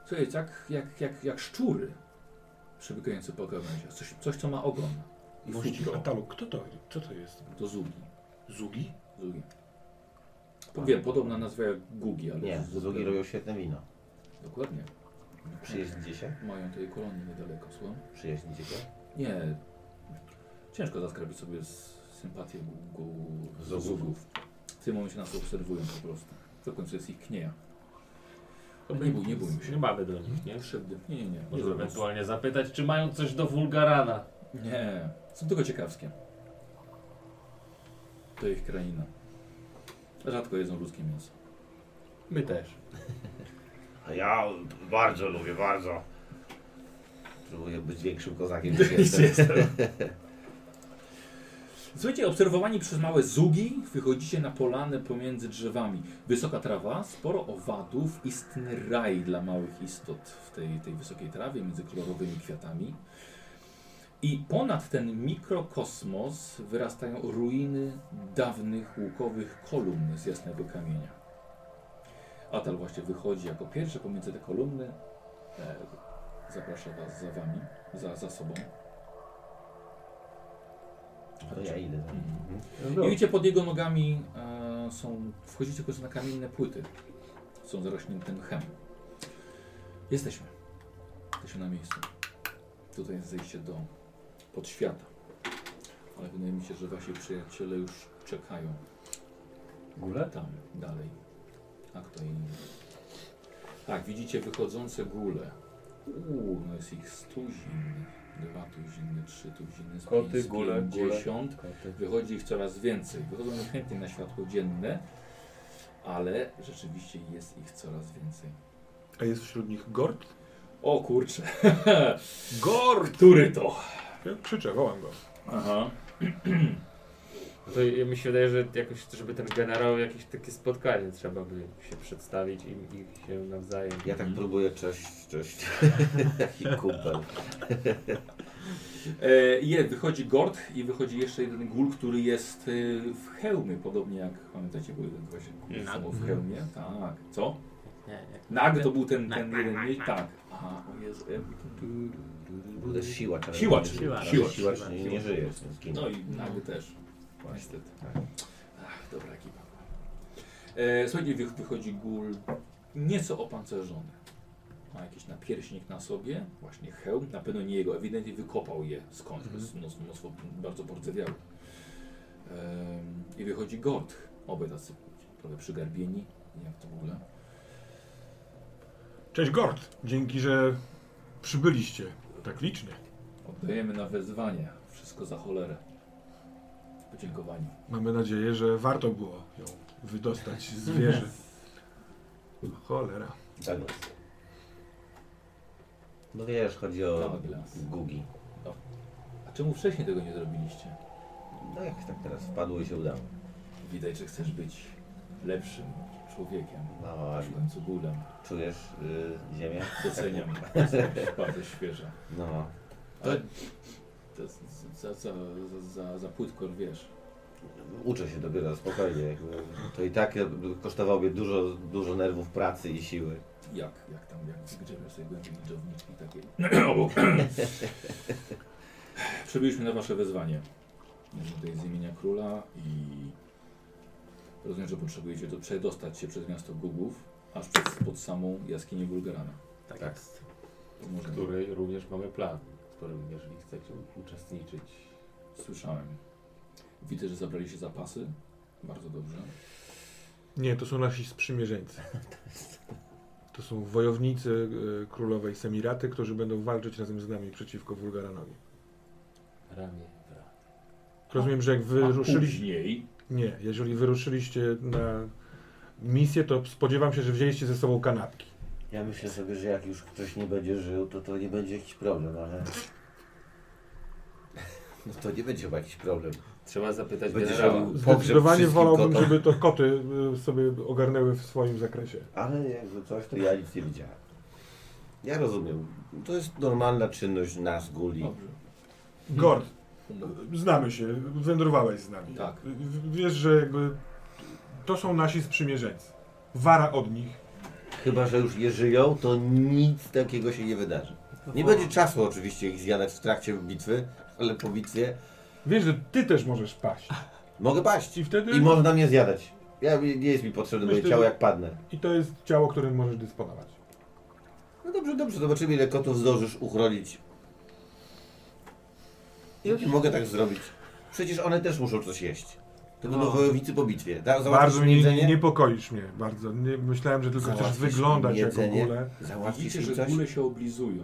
A: Słuchaj, tak jak, jak, jak szczury przebiegające po gałęziach. Coś, coś co ma ogon. I
D: Mości
A: futro.
D: Atalu, kto to? Co to jest?
A: To zugi.
D: Zugi?
A: zugi. Po- Wiem, podobna nazwa jak gugi, ale...
C: Tak. Nie,
A: z-
C: drugi robią świetne wino.
A: Dokładnie.
C: Przyjeździcie się?
A: Mają tej kolonii niedaleko, słucham?
C: Przyjeździcie się?
A: Nie. Ciężko zaskrabić sobie z sympatię gu, gu,
C: Zugów.
A: zugów. W tym momencie nas obserwują po prostu. W końcu jest ich knieja. Nie bój, nie bój się.
B: Nie mamy do nich, nie?
A: Nie, krzywdy. Nie, nie, nie. Nie
B: Może
A: zrobią
B: ewentualnie zapytać, czy mają coś do wulgarana.
A: Nie, są tylko ciekawskie. To ich kraina. Rzadko jedzą ludzkie mięso.
B: My też.
C: Ja bardzo lubię, bardzo. Próbuję być większym
A: (laughs)
C: kozakiem niż
A: Oczywiście
C: jestem.
A: jestem. Słuchajcie, obserwowani przez małe zugi, wychodzicie na polanę pomiędzy drzewami. Wysoka trawa, sporo owadów, istny raj dla małych istot w tej, tej wysokiej trawie między kolorowymi kwiatami. I ponad ten mikrokosmos wyrastają ruiny dawnych łukowych kolumn z jasnego kamienia. Atal właśnie wychodzi jako pierwszy pomiędzy te kolumny. E, zaprasza Was za Wami, za, za sobą.
C: To No ja idę.
B: No
A: I widzicie Mhm. pod jego nogami e, są, wchodzicie tylko na kamienne płyty. Są zarośnięte mchem. Jesteśmy. Jesteśmy na miejscu. Tutaj jest zejście do podświata. Ale wydaje mi się, że wasi przyjaciele już czekają. Gule? Tam, dalej. A kto inny? Tak, widzicie wychodzące gule. Uuu, no jest ich stu zimny, dwa tuziny, trzy tuziny, z
B: Koty,
A: pięć, z
B: gule, gule.
A: pięćdziesiąt. Wychodzi ich coraz więcej. Wychodzą chętnie na światło dzienne, ale rzeczywiście jest ich coraz więcej.
D: A jest wśród nich Gord?
A: O kurczę, (laughs)
D: Gord!
A: który to?
D: Ja krzyczę, wołam go.
A: Aha.
B: No To ja- mi się wydaje, że jakoś, żeby ten generał jakieś takie spotkanie trzeba by się przedstawić i, i się nawzajem.
C: Ja tak próbuję, cześć,
A: (laughs)
C: cześć. Jaki kumpel.
A: E, je, wychodzi Gord i wychodzi jeszcze jeden gul, który jest y, w hełmie, podobnie jak pamiętacie, był jeden właśnie gul
E: Nag.
A: samo w hełmie. Tak, co?
E: Nie, nie.
A: Nag to był ten, ten
E: Nag.
A: jeden mieć, tak. Aha, o Jezu. e,
C: Kurde, siła. czarna.
A: Siłacz.
E: Siłacz.
C: Siłacz,
E: Siłacz.
C: nie, nie żyje. Zginął.
A: No i Nag też.
C: Właśnie.
A: Niestety. Ach, dobra ekipa. E, słuchajcie, wych- wychodzi gul nieco opancerzony. Ma jakiś napierśnik na sobie, właśnie hełm, na pewno nie jego, ewidentnie wykopał je skądś, bo jest mnóstwo, mnóstwo bardzo porcewiały. Em, I wychodzi Gord, obaj tacy trochę przygarbieni, nie wiem jak to w ogóle.
D: Cześć Gord! Dzięki, że przybyliście. Tak licznie.
A: Oddajemy na wezwanie, wszystko za cholerę. Podziękowanie.
D: Mamy nadzieję, że warto było ją wydostać z wieży. (laughs) Cholera.
C: Douglas. Tak. No wiesz, chodzi o
A: Douglas.
C: Gugi.
A: A czemu wcześniej tego nie zrobiliście?
C: No jak tak teraz wpadło i się udało.
A: Widać, że chcesz być lepszym człowiekiem.
C: No,
A: Aż
E: Tak.
C: aż
A: w końcu gulem.
C: czujesz y, ziemię?
A: Doceniam.
E: Tak.
A: Bardzo świeże.
C: No.
A: Ale to jest za, za, za, za, za płytko wiesz.
C: Uczę się dopiero, spokojnie. Jakby. To i tak y, kosztowałoby dużo, dużo nerwów pracy i siły.
A: Jak, jak tam, jak grzebiesz sobie głębi widowniczki
E: (coughs)
A: takiej obok. Przybyliśmy na wasze wezwanie. Jestem Tutaj z imienia króla i rozumiem, że potrzebujecie do, przedostać się przez miasto Gugów, aż przed, pod samą jaskinię Bulgarana.
E: Tak,
C: Tak.
E: jest.
A: To może
B: Który również mamy plan, w którym jeżeli chcecie uczestniczyć.
A: Słyszałem. Widzę, że zabraliście zapasy. Bardzo dobrze.
D: Nie, to są nasi (laughs) sprzymierzeńcy. To są wojownicy e, królowej Semiraty, którzy będą walczyć razem z nami przeciwko Wulgaranowi.
B: Ramię w ramię.
D: Rozumiem, że jak
A: A
D: wyruszyliście...
A: później
D: Nie, jeżeli wyruszyliście na misję, to spodziewam się, że wzięliście ze sobą kanapki.
C: Ja myślę sobie, że jak już ktoś nie będzie żył, to to nie będzie jakiś problem, ale... No to nie będzie chyba jakiś problem.
B: Trzeba zapytać
C: Będziesz
B: generała.
C: robił- Pogrzeb
D: Zdecydowanie
C: wszystkim
D: wolałbym,
C: kotom.
D: żeby to koty y, sobie ogarnęły w swoim zakresie.
C: Ale jakby coś, to ja nic nie widziałem. Ja rozumiem. To jest normalna czynność nas, guli.
A: Dobrze.
D: Gord,
A: Umów-
D: znamy się, wędrowałeś z nami.
A: Tak.
D: W- Wiesz, że jakby to są nasi sprzymierzeńcy. Wara od nich.
C: Chyba, że już je żyją, to nic takiego się nie wydarzy. Nie będzie czasu oczywiście ich zjadać w trakcie bitwy, ale po bitwie
D: Wiesz, że ty też możesz paść.
C: mogę paść.
D: I wtedy...
C: I można mnie zjadać. Ja, nie jest mi potrzebne moje
D: Myślę,
C: ciało,
D: że-
C: jak padnę.
D: I to jest ciało, którym możesz dysponować.
C: No dobrze, dobrze, zobaczymy ile kotów zdążysz uchronić. Ja nie mogę tak zrobić. Przecież one też muszą coś jeść. To będą
E: No.
C: wojownicy po bitwie. Da,
D: Bardzo
C: załatwisz mi
D: mnie
C: jedzenie?
D: niepokoisz mnie, bardzo. Nie, myślałem, że tylko chcesz
C: Załatwisz mi
D: wyglądać jako
C: jedzenie?
D: gule.
C: Załatwisz
A: Widzicie,
C: mi
A: że
C: coś?
A: góle się oblizują,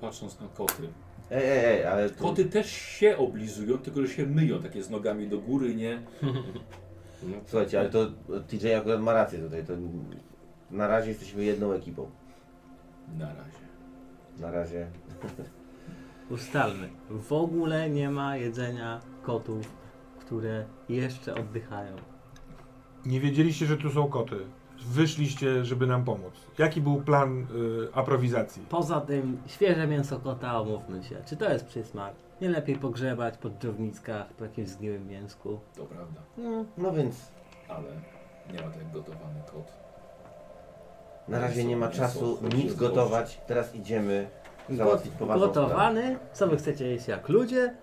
A: patrząc na koty.
C: Ej, ej, ej, ale... to-
A: Koty też się oblizują, tylko że się myją, takie z nogami do góry, nie?
C: Słuchajcie, ale to TJ akurat ma rację tutaj. To na razie jesteśmy jedną ekipą.
A: Na razie.
C: Na razie.
E: ustalmy. W ogóle nie ma jedzenia kotów, które jeszcze oddychają.
D: Nie wiedzieliście, że tu są koty. Wyszliście, żeby nam pomóc. Jaki był plan y, aprowizacji?
E: Poza tym świeże mięso kota, omówmy się. Czy to jest przysmak? Nie lepiej pogrzebać po dżowniskach, po jakimś zgniłym mięsku.
A: To prawda,
C: No, no więc
A: ale nie ma tak jak gotowany kot.
C: na razie nie ma czasu nic gotować. Teraz idziemy załatwić poważną sprawę.
E: Gotowany? Co wy chcecie jeść jak ludzie?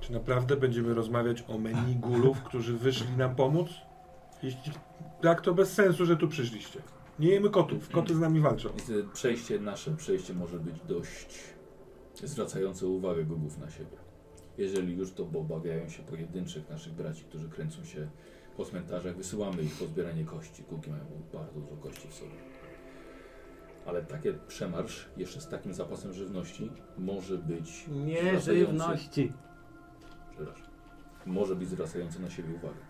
D: Czy naprawdę będziemy rozmawiać o menu gulów, którzy wyszli nam pomóc? Jeśli tak, to bez sensu, że tu przyszliście. Nie jemy kotów, koty z nami walczą.
A: Niestety przejście, nasze przejście może być dość zwracające uwagę gogów na siebie. Jeżeli już, to obawiają się pojedynczych naszych braci, którzy kręcą się po cmentarzach. Wysyłamy ich po zbieranie kości. Gugi mają bardzo dużo kości w sobie. Ale taki przemarsz jeszcze z takim zapasem żywności może być
E: Nie
A: zwracający-
E: żywności.
A: przepraszam, może być zwracający na siebie uwagę.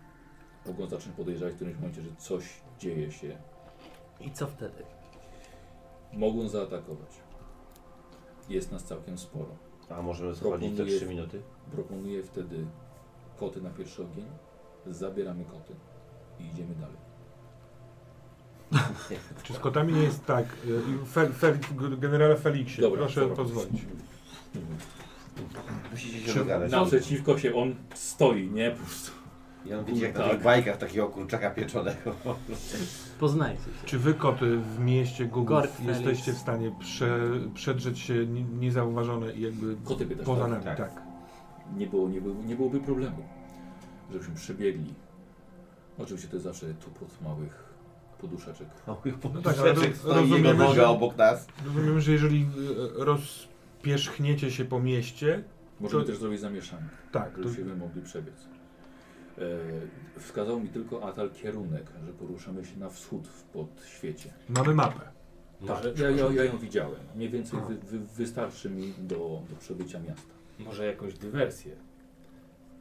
A: Mogą zacząć podejrzewać w którymś momencie, że coś dzieje się.
E: I co wtedy?
A: Mogą zaatakować. Jest nas całkiem sporo.
C: A możemy schodzić te
A: Proponuję-
C: 3 minuty?
A: Proponuję wtedy koty na pierwszy ogień, zabieramy koty i idziemy dalej.
D: Czy z kotami nie jest tak? Y, Fel, fel, generale Feliksie,
A: Dobra,
D: proszę
A: dobra.
D: pozwolić.
C: Musicie się
D: Czy-
C: dogadać.
A: Naprzeciwko się on stoi, nie? Po prostu.
C: Ja wiecie, jak na
A: Tak.
C: tych bajkach takiego kurczaka (laughs) pieczonego.
E: Poznajcie się.
D: Czy wy, koty w mieście
E: Gord
D: Gugów,
E: Felix.
D: jesteście w stanie prze, przedrzeć się ni- niezauważone i jakby
A: Koty pytasz,
D: poza
A: tak?
D: nami?
C: Tak.
D: Tak.
A: Nie, było, nie, było, nie byłoby problemu, żebyśmy przebiegli. Oczywiście to jest zawsze tupot małych poduszeczek.
D: No tak,
C: Kurczeczek
D: ale ro-
C: stoi jego
D: rozumiemy,
C: noga
D: że,
C: obok nas.
D: rozumiem, że jeżeli y, rozpierzchniecie się po mieście,
A: Możemy
D: To-
A: też zrobić zamieszanie,
D: tak, to
A: żebyśmy mogli przebiec. E, wskazał mi tylko Atal kierunek, że poruszamy się na wschód w podświecie.
D: mamy mapę.
A: Tak,
B: Może,
A: ja, ja, ja ją widziałem. Mniej więcej wy, wy, wystarczy mi do, do przebycia miasta.
B: może jakąś dywersję.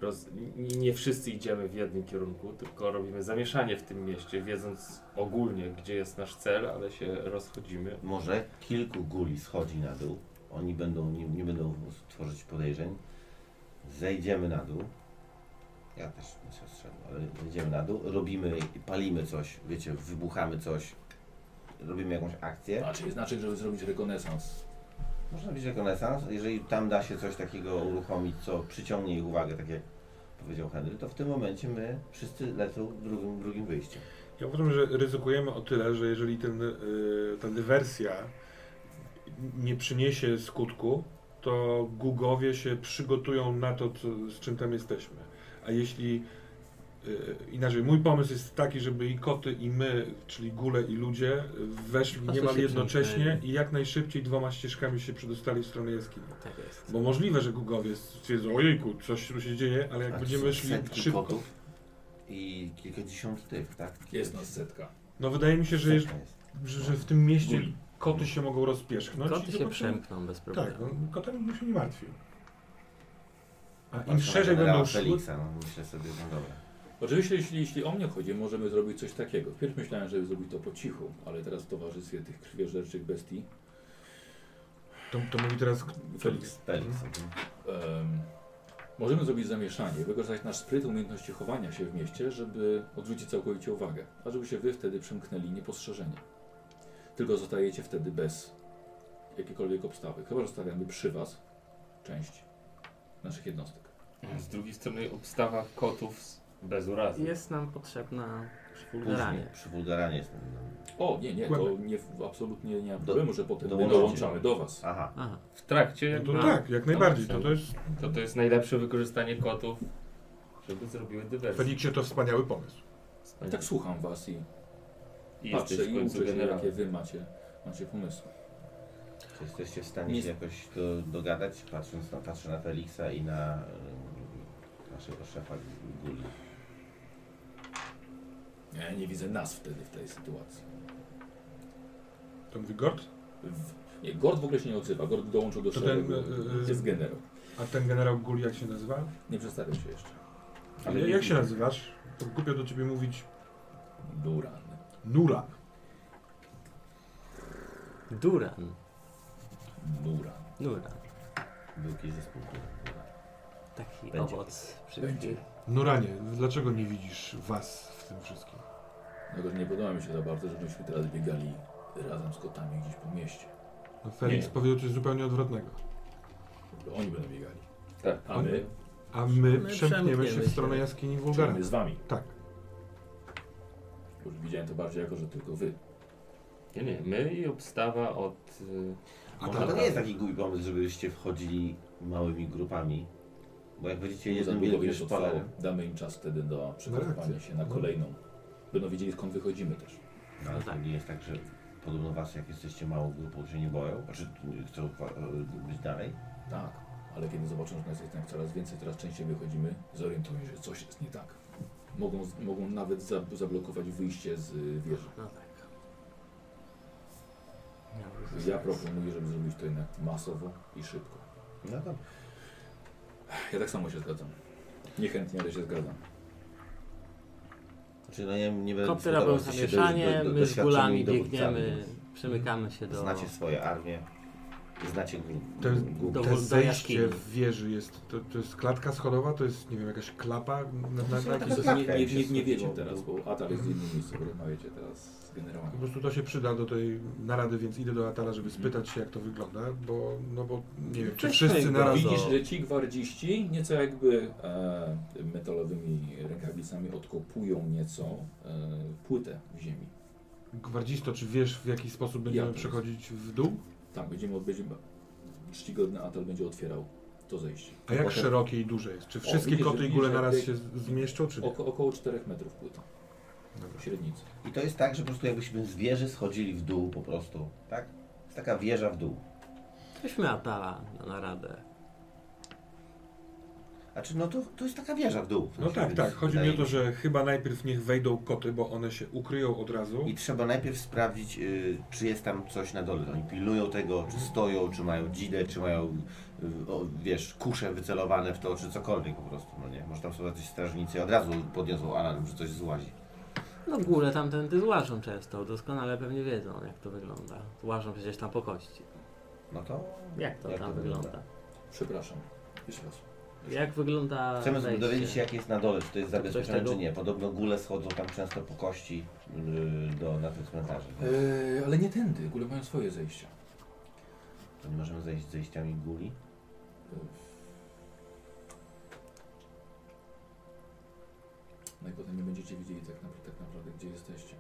B: Roz... n- Nie wszyscy idziemy w jednym kierunku, tylko robimy zamieszanie w tym mieście, wiedząc ogólnie, gdzie jest nasz cel, ale się rozchodzimy.
C: Może kilku guli schodzi na dół. Oni będą, nie, nie będą tworzyć podejrzeń. Zejdziemy na dół. Ja też bym się ostrzegł, ale zejdziemy na dół. Robimy, palimy coś, wiecie, wybuchamy coś. Robimy jakąś akcję.
A: Znaczy, znaczy, żeby zrobić rekonesans.
C: Można być rekonesans. Jeżeli tam da się coś takiego uruchomić, co przyciągnie ich uwagę, tak jak powiedział Henry, to w tym momencie my wszyscy lecą drugim, drugim wyjściem.
D: Ja uważam, że ryzykujemy o tyle, że jeżeli ten, y, ta dywersja nie przyniesie skutku, to Gugowie się przygotują na to, co, z czym tam jesteśmy. A jeśli y, inaczej, mój pomysł jest taki, żeby i koty, i my, czyli gule i ludzie, y, weszli
E: Po prostu
D: niemal
E: się
D: jednocześnie
E: przeniknęli.
D: i jak najszybciej dwoma ścieżkami się przedostali w stronę jaskini.
E: Tak jest.
D: Bo możliwe, że Gugowie stwierdzą, ojejku, coś tu się dzieje, ale jak
C: A to są
D: będziemy szli
C: setki
D: szybko.
C: kotów I kilkadziesiąt tych, tak?
A: Jest nas setka.
D: No wydaje mi się, że
C: Setka jest.
D: że, że w tym mieście
A: Guli.
D: koty się mogą rozpierzchnąć. i
E: Koty się
D: zobaczymy-
E: przemkną bez problemu.
D: Tak, no, kotami bym się nie martwił. A
C: Patrzę na
D: im szerzej
C: generała
D: będą szły...
C: Feliksa, no myślę sobie, no dobra.
A: Oczywiście, jeśli, jeśli o mnie chodzi, możemy zrobić coś takiego. Wpierw myślałem, żeby zrobić to po cichu, ale teraz w towarzystwie tych krwiożerczych bestii
D: To, to mówi teraz k-
C: Felix. Felix.
A: em, możemy zrobić zamieszanie, wykorzystać nasz spryt, umiejętności chowania się w mieście, żeby odwrócić całkowicie uwagę, a żeby się wy wtedy przymknęli niepostrzeżenie. Tylko zostajecie wtedy bez jakiejkolwiek obstawy. Chyba, że zostawiamy przy was część naszych jednostek.
B: Z drugiej strony obstawa kotów z- bez urazy.
E: Jest nam potrzebna
C: Później,
E: szwulgaranie.
C: przy Wulgaranie jestem. no.
A: O, nie, nie, to
D: Kłębek.
A: nie, absolutnie nie ma
C: Do-
A: problemu, że potem my
C: dołączycie.
A: dołączamy do was.
C: Aha.
E: Aha.
B: W trakcie
D: No
B: jakby,
D: to tak, jak najbardziej. To, to jest...
B: to, to jest najlepsze wykorzystanie kotów, żeby zrobiły dywersję.
D: Feliksie to wspaniały pomysł.
A: Ja tak słucham was i
B: I
A: patrzę
B: jesteś w
A: i
B: końcu
A: uczę się, jakie
B: generałem.
A: wy macie, macie pomysły.
C: Czy jesteście w stanie
A: Nie-
C: się jakoś do, dogadać, patrząc na, patrzę na Feliksa i na y, naszego szefa Guli.
A: Ja nie widzę nas wtedy w tej sytuacji.
D: To mówi Gord?
A: W, nie, Gord w ogóle się nie odzywa, Gord dołączył do
D: To ten...
A: szeregu,
D: y,
A: jest
D: y,
A: generał.
D: a ten generał Gul jak się nazywa?
A: Nie przedstawił się jeszcze.
B: Ale
D: Ale
B: nie
D: jak się
B: widzę.
D: nazywasz? To głupio do ciebie mówić
A: Był ranny.
D: Nura.
E: Duran.
A: Był ranny.
E: Duran.
C: Był jakiś zespół. który-
E: Taki
C: Będzie.
E: owoc.
A: Będzie.
D: Nuranie, dlaczego nie widzisz was w tym wszystkim?
A: No to nie podoba mi się za bardzo, żebyśmy teraz biegali razem z kotami gdzieś po mieście.
D: No Felix
A: Nie.
D: powiedział coś zupełnie odwrotnego.
A: Bo oni będą biegali.
G: Tak.
A: A my,
D: A my,
E: My
D: przemkniemy się
E: przemkniemy
D: w stronę
E: się.
D: jaskini
A: czyli
D: Wulgara.
A: my z wami.
D: Tak.
A: Już widziałem to bardziej jako, że tylko wy.
B: Nie, nie, my i obstawa od... y,
D: A
C: Może
D: tak,
C: to nie jest taki głupi pomysł, żebyście wchodzili małymi grupami. Bo jak będziecie jednym
A: Zabudowie
C: wielkim
A: się odpalało.
C: szpalerem...
A: Damy im czas wtedy do przygotowania
D: reakcję.
A: się na
D: No.
A: kolejną. Będą wiedzieli skąd wychodzimy też.
C: No ale to nie jest tak, że podobno was, jak jesteście małą grupą, to się nie boją? Znaczy, chcą wa- e, być dalej?
A: Tak, ale kiedy zobaczą, że nas jest tam coraz więcej, coraz częściej wychodzimy, zorientują się, że coś jest nie tak. Mogą, mogą nawet za- zablokować wyjście z y, wieży.
E: No tak.
A: Ja proponuję, żeby zrobić to jednak masowo i szybko.
C: No dobra.
A: Ja tak samo się zgadzam. Niechętnie, ale się zgadzam.
C: Znaczy, no ja nie będę
E: Koptera było
C: dyskutował, jesteście
E: zamieszanie,
C: do- do-
E: my z
C: doświadczonymi
E: gulami
C: dowódcami,
E: biegniemy,
C: więc
E: przymykamy się do...
C: Znacie swoje armie, znacie gru-
D: To jest-
C: grupy.
E: do-
D: Te
E: do
D: zejście
E: jaskini.
D: w wieży jest, to, to jest klatka schodowa, to jest, nie wiem, jakaś klapa na, na, na
A: To
D: jakiś...
A: jest-
C: tak,
A: nie,
C: tak,
A: nie,
C: się
A: nie, nie wiecie
C: skupiło.
A: teraz, bo Atar jest w innym miejscu, bo rozmawiacie teraz z generałem.
D: Po prostu to się przyda do tej narady, więc idę do Atala, żeby spytać się, jak to wygląda, bo, no bo nie wiem, czy
E: Cześć,
D: wszyscy
A: Znaczy,
E: cześć,
D: na raz...
E: Bardzo-
A: Widzisz, że ci gwardziści nieco jakby e, metalowymi rękawicami odkopują nieco e, płytę w ziemi.
D: Gwardzisto, czy wiesz, w jaki sposób będziemy
A: Ja to-
D: przechodzić w dół?
A: Tak, będziemy odwiedzić. Czcigodny Atal będzie otwierał to zejście.
D: A jak
A: Potem-
D: szerokie i duże jest? Czy wszystkie
A: widzisz,
D: koty
A: że-
D: i gule
A: że-
D: naraz
A: że-
D: się z- zmieszczą, czy nie?
A: Oko, około 4 metrów płyta,
D: Dobra.
A: średnicy.
C: I to jest tak, że po prostu jakbyśmy z wieży schodzili w dół po prostu, tak? Jest taka wieża w dół.
E: Weźmy Atala na naradę.
C: Znaczy, no to, to jest taka wieża w dół. w
D: No
C: sensie,
D: tak,
C: więc
D: tak. Chodzi mi
C: wydaje
D: o to, że chyba najpierw niech wejdą koty, bo one się ukryją od razu.
C: I trzeba najpierw sprawdzić, y, czy jest tam coś na dole. Oni pilnują tego,
D: Mhm.
C: czy stoją, czy mają dzidę, czy mają, y, o, wiesz, kusze wycelowane w to, czy cokolwiek po prostu, no nie? Może tam są jacyś strażnicy i od razu podniosą alarm, że coś złazi.
E: No góle tamtędy złażą często, doskonale pewnie wiedzą jak to wygląda. Złażą przecież tam po kości.
C: No to...
E: Jak to
C: Jak
E: tam
C: to
E: wygląda?
A: Przepraszam, jeszcze raz.
E: Jak wygląda
C: Chcemy
E: wejście?
C: dowiedzieć się, jak jest na dole, czy to jest
E: Czy ktoś
C: zabezpieczone,
E: tego-
C: czy nie. Podobno góle schodzą tam często po kości y, do, na tych cmentarzy.
A: Eee, ale nie tędy, w ogóle mają swoje zejścia.
C: To nie możemy zejść zejściami guli?
A: Eee. No i potem nie będziecie widzieli tak naprawdę, tak naprawdę gdzie jesteście.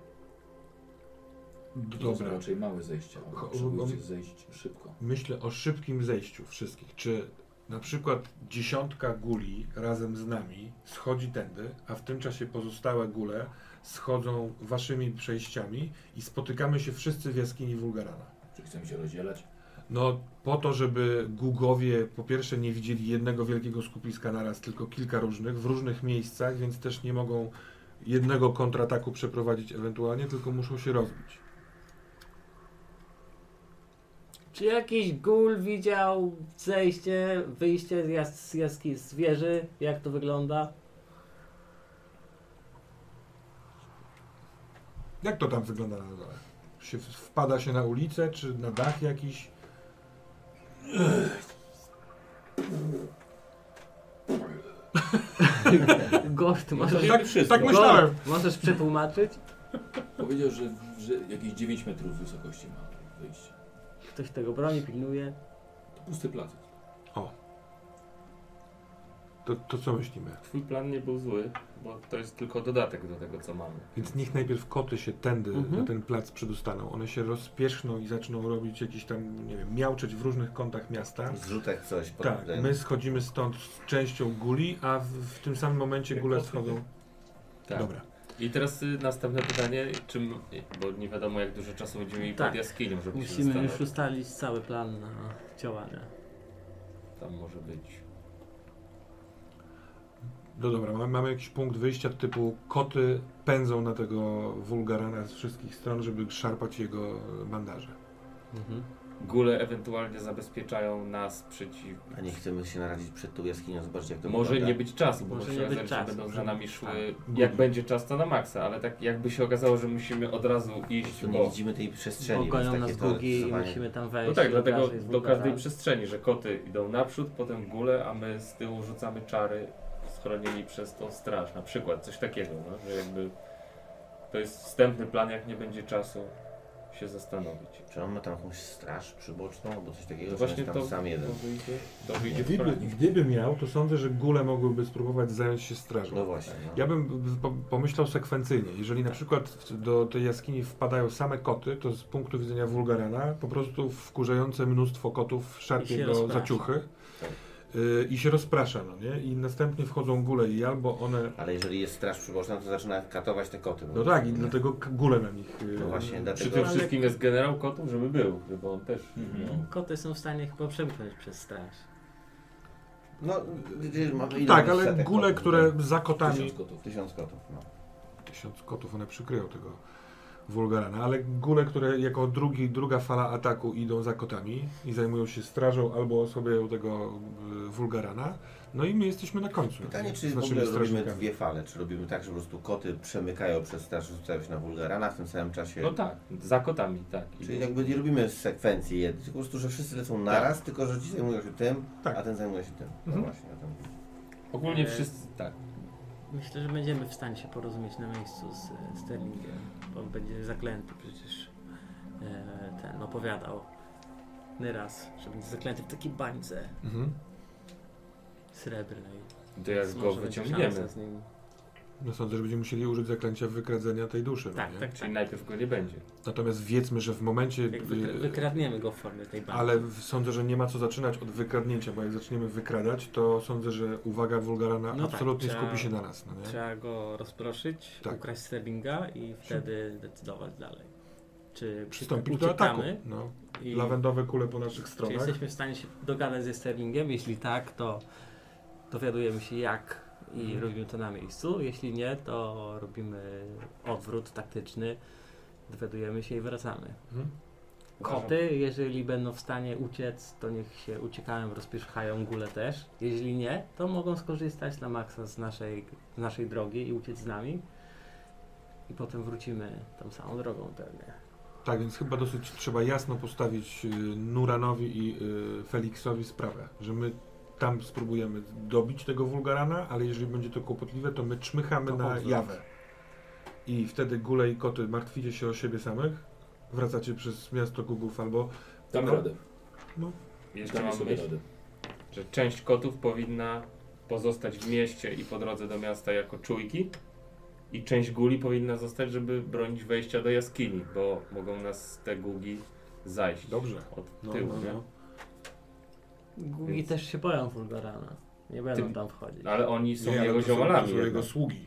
A: To są
D: Dobra.
A: raczej małe zejścia, ale
D: Ho-
A: potrzebujecie
D: on-
A: zejść szybko.
D: Myślę o szybkim zejściu wszystkich. Czy na przykład dziesiątka guli razem z nami schodzi tędy, a w tym czasie pozostałe gule schodzą waszymi przejściami i spotykamy się wszyscy w jaskini Wulgarana.
A: Czy chcemy się rozdzielać?
D: No po to, żeby Gugowie po pierwsze nie widzieli jednego wielkiego skupiska naraz, tylko kilka różnych, w różnych miejscach, więc też nie mogą jednego kontrataku przeprowadzić ewentualnie, tylko muszą się rozbić.
E: Czy jakiś gul widział zejście, wyjście z, jas z jaski z wieży? Jak to wygląda?
D: Jak to tam wygląda na dole? Się wpada się na ulicę, czy na dach jakiś?
E: Gość, możesz,
D: tak,
B: wszystko.
D: tak myślałem.
E: Gold, możesz przetłumaczyć?
A: Powiedział, że, że jakieś 9 metrów wysokości ma wyjście.
E: Ktoś tego broni, pilnuje.
A: To pusty plac.
D: To, to co myślimy?
B: Twój plan nie był zły, bo to jest tylko dodatek do tego, co mamy.
D: Więc niech najpierw koty się tędy
E: Mhm.
D: na ten plac przedostaną. One się rozpieszną i zaczną robić jakieś tam, nie wiem, miauczeć w różnych kątach miasta.
C: Zrzutek coś pod
D: Tak,
C: ten...
D: my schodzimy stąd z częścią guli, a w, w tym samym momencie gule schodzą.
B: Tak.
D: Dobra.
B: I teraz y, następne pytanie, czym, bo nie wiadomo jak dużo czasu będziemy mieli
E: Tak.
B: pod jaskinią, żeby
E: Musimy
B: się
E: już
B: zastanowić.
E: ustalić cały plan na działania.
B: Tam może być.
D: No dobra, mamy, mamy jakiś punkt wyjścia typu koty pędzą na tego wulgarana z wszystkich stron, żeby szarpać jego bandaże.
E: Mhm.
B: Góle ewentualnie zabezpieczają nas przeciw.
C: A nie chcemy się narazić przed tą jaskinią, zobaczyć jak to
B: Może
C: wygląda.
B: nie być czasu, bo
E: Może
B: może
E: nie być czasu,
B: będą za
E: może-
B: nami szły.
D: tak.
B: Jak będzie czas, to na maksa, ale tak jakby się okazało, że musimy od razu iść,
C: Tu nie
B: bo...
C: widzimy tej przestrzeni.
E: Bo
C: więc takie
E: gonią nas gugi i
C: teoretyzowanie-
E: musimy tam wejść.
B: No tak,
E: i
B: dlatego
E: jest
B: do każdej
E: bugara.
B: przestrzeni, że koty idą naprzód, potem góle, a my z tyłu rzucamy czary schronieni przez tą straż, na przykład, coś takiego, no, że jakby to jest wstępny plan, jak nie będzie czasu się zastanowić.
C: Czy on ma tam jakąś straż przyboczną albo coś takiego?
B: To
C: Czy
B: właśnie
C: on jest
B: to,
C: Tak, tam sam jeden.
B: to wyjdzie, to wyjdzie w
D: Gdyby,
B: plan.
D: gdyby miał, to sądzę, że góle mogłyby spróbować zająć się strażą.
C: No właśnie. No.
D: tak, Ja bym po- pomyślał sekwencyjnie. Jeżeli na przykład w- do tej jaskini wpadają same koty, to z punktu widzenia Wulgarana po prostu wkurzające mnóstwo kotów
E: I się
D: szarpie go
E: rozprasza.
D: za ciuchy
C: Tak.
D: y, i się rozprasza, no nie? I następnie wchodzą góle i albo one...
C: Ale jeżeli jest straż przyboczna, to zaczyna katować te koty.
D: No tak, i dlatego k- góle na nich... y,
C: No właśnie,
B: Przy
C: dlatego...
B: tym wszystkim jest generał kotów, żeby był, żeby on też
A: Mhm.
B: no,
E: Koty są w stanie chyba przemknąć przez straż.
C: No, gdzieś mamy ile
D: Tak,
C: mamy
D: ale
C: setek
D: góle,
C: kotów,
D: które
C: tak?
D: za kotami...
A: Tysiąc gotów.
C: Tysiąc kotów, no.
D: Tysiąc kotów, one przykryją tego Wulgarana, ale góle, które jako drugi, druga fala ataku idą za kotami i zajmują się strażą albo osłabiają tego y, Wulgarana, no i my jesteśmy na końcu.
C: Pytanie,
D: nie?
C: czy
D: Z
C: w
D: naszymi
C: ogóle robimy
D: strażnikami.
C: dwie fale? Czy robimy tak, że po prostu koty przemykają przez straż, rzucają się na wulgarana w tym samym czasie?
B: no tak, za kotami, tak. I
C: Czyli jakby nie robimy sekwencji jednej, tylko po prostu, że wszyscy lecą naraz, tylko że ci zajmują się tym,
D: Tak.
C: a ten zajmuje się tym. No
D: Mhm.
C: właśnie, o tym.
B: ogólnie wszyscy, tak.
E: Myślę, że będziemy w stanie się porozumieć na miejscu z e, Sterlingiem. On będzie zaklęty przecież e, ten opowiadał nieraz, że będzie zaklęty w takiej bańce
D: Mhm.
E: srebrnej.
B: To jak
E: Więc
B: go
E: może będzie
B: wyciągniemy,
E: szansa z nim.
D: No sądzę, że będziemy musieli użyć zaklęcia wykradzenia tej duszy. no
E: Tak,
D: nie?
E: tak, tak.
B: czyli najpierw go nie będzie.
D: Natomiast wiedzmy, że w momencie...
E: Jak wykra-
D: y,
E: wykradniemy go w formie tej bańki.
D: Ale w- sądzę, że nie ma co zaczynać od wykradnięcia, bo jak zaczniemy wykradać, to sądzę, że uwaga Wulgarana
E: No tak,
D: absolutnie
E: trzeba-
D: skupi się na nas. No nie?
E: Trzeba go rozproszyć,
D: Tak.
E: ukraść Sterlinga i wtedy decydować dalej. Czy
D: Przystąpić do ataku.
E: uciekamy
D: No.
E: i
D: Lawendowe kule po naszych
E: czy
D: stronach.
E: jesteśmy w stanie się dogadać ze Sterlingiem? Jeśli tak, to dowiadujemy się jak i robimy to na miejscu. Jeśli nie, to robimy odwrót taktyczny, dowiadujemy się i wracamy.
D: Mhm.
E: Koty, jeżeli będą w stanie uciec, to niech się uciekają, rozpieszchają gule też. Jeżeli nie, to mogą skorzystać na maksa z naszej, z naszej drogi i uciec z nami. I potem wrócimy tą samą drogą pewnie.
D: Tak, więc chyba dosyć trzeba jasno postawić y, Nuranowi i y, Feliksowi sprawę, że my tam spróbujemy dobić tego Wulgarana, ale jeżeli będzie to kłopotliwe, to my czmychamy
E: To
D: na
E: odwrót.
D: jawę. I wtedy gule i koty martwicie się o siebie samych, wracacie przez miasto Gugów albo...
A: Dam
D: No.
A: radę.
B: Jeszcze
A: Damy
B: mam
A: sobie
B: myśl,
A: radę.
B: że część kotów powinna pozostać w mieście i po drodze do miasta jako czujki i część guli powinna zostać, żeby bronić wejścia do jaskini, bo mogą nas te gugi zajść
D: Dobrze.
B: od
D: No,
B: tyłu,
D: no, no.
E: Gugi
B: Więc-
E: też się boją Fulgarana. Nie będą
B: Tym-
E: tam wchodzić.
B: nie? Ale oni są
D: no. Nie, ale
B: jego
D: to są-
B: ziomalami.
D: To są jego
B: jednak.
D: sługi.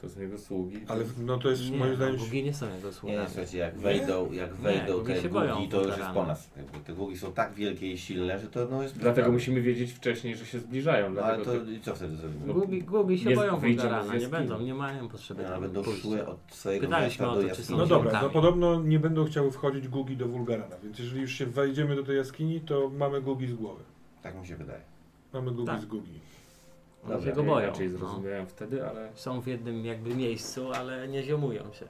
B: To są jego sługi.
D: Ale w- no to jest
E: Nie,
D: moim
E: no,
D: zdaniem...
E: Gugi nie są jego
C: Nie,
E: sługami.
C: nie, słuchajcie, jak wejdą, jak wejdą
E: gugi
C: te
E: się
C: gugi,
E: boją
C: to już jest
E: Wulgarana.
C: po nas. Jakby te gugi są tak wielkie i silne, że to no jest...
B: Dlatego musimy wiedzieć wcześniej, że się zbliżają.
C: No ale
B: Dlatego
C: to i co wtedy zrobimy?
E: Gugi, gugi się
B: Nie
E: boją
B: wyjdziemy z
E: Fulgarana, nie
B: jaskini.
E: będą, nie mają potrzeby
C: Nie,
E: tam
C: One będą
E: pójścia.
C: szły od swojego
E: Pytaliśmy
C: miasta
E: o
C: do
E: to, czy są
C: jaskini.
D: No dobra,
E: ziomkami.
D: no podobno nie będą chciały wchodzić Gugi do Wulgarana, więc jeżeli już się wejdziemy do tej jaskini, to mamy Gugi z głowy.
C: Tak mi się wydaje.
D: Mamy Gugi
E: Tak.
D: z Gugi.
E: One
C: Dobra,
E: się go
B: ja
E: boją.
B: Inaczej
E: No.
B: zrozumiałem wtedy, ale
E: Są w jednym jakby miejscu, ale nie ziomują się.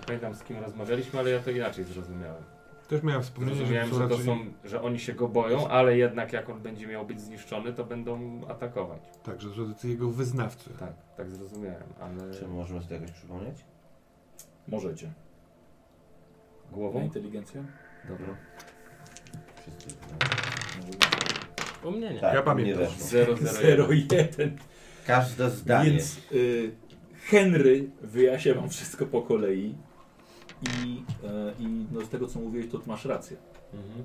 B: nie pamiętam z kim rozmawialiśmy, ale ja to inaczej zrozumiałem.
D: Też miałem wspomnienie, że,
B: Zrozumiałem,
D: to są
B: że, to
D: raczej,
B: są, że oni się go boją, ale jednak jak on będzie miał być zniszczony, to będą atakować.
D: tak, że są tacy jego wyznawcy.
B: Tak, tak zrozumiałem, ale
C: Czy możemy sobie jakoś przypomnieć?
A: Możecie. Na
C: No
B: głową?
A: inteligencję?
C: tak,
B: Dobra.
C: Wszyscy. no.
A: Może
E: U mnie nie.
C: Tak,
D: Ja
C: u
D: pamiętam.
C: mnie weszło.
A: 0,1.
C: Każde zdanie.
A: Więc y, Henry wyjaśnia wam wszystko po kolei. I, y, i no z tego co mówiłeś, to masz rację.
B: Mhm.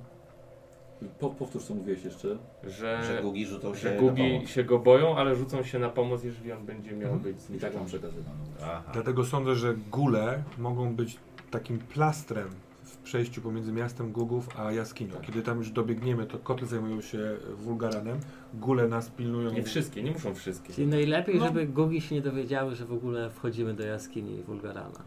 A: Po, powtórz co mówiłeś jeszcze.
B: Że,
D: E,
C: Że gugi rzucą się
B: że
C: na
B: gugi
C: pomoc.
B: się go boją, ale rzucą się na pomoc, jeżeli on będzie miał
D: Mhm.
B: być
A: I tak wam
B: zniszczony.
A: przekazywano.
C: Aha.
D: Dlatego sądzę, że góle mogą być takim plastrem w przejściu pomiędzy miastem Gugów a jaskinią. Kiedy tam już dobiegniemy, to koty zajmują się Wulgaranem, góle nas pilnują.
B: Nie wszystkie, nie muszą wszystkie.
E: Czyli najlepiej,
D: No.
E: żeby gugi się nie dowiedziały, że w ogóle wchodzimy do jaskini Wulgarana.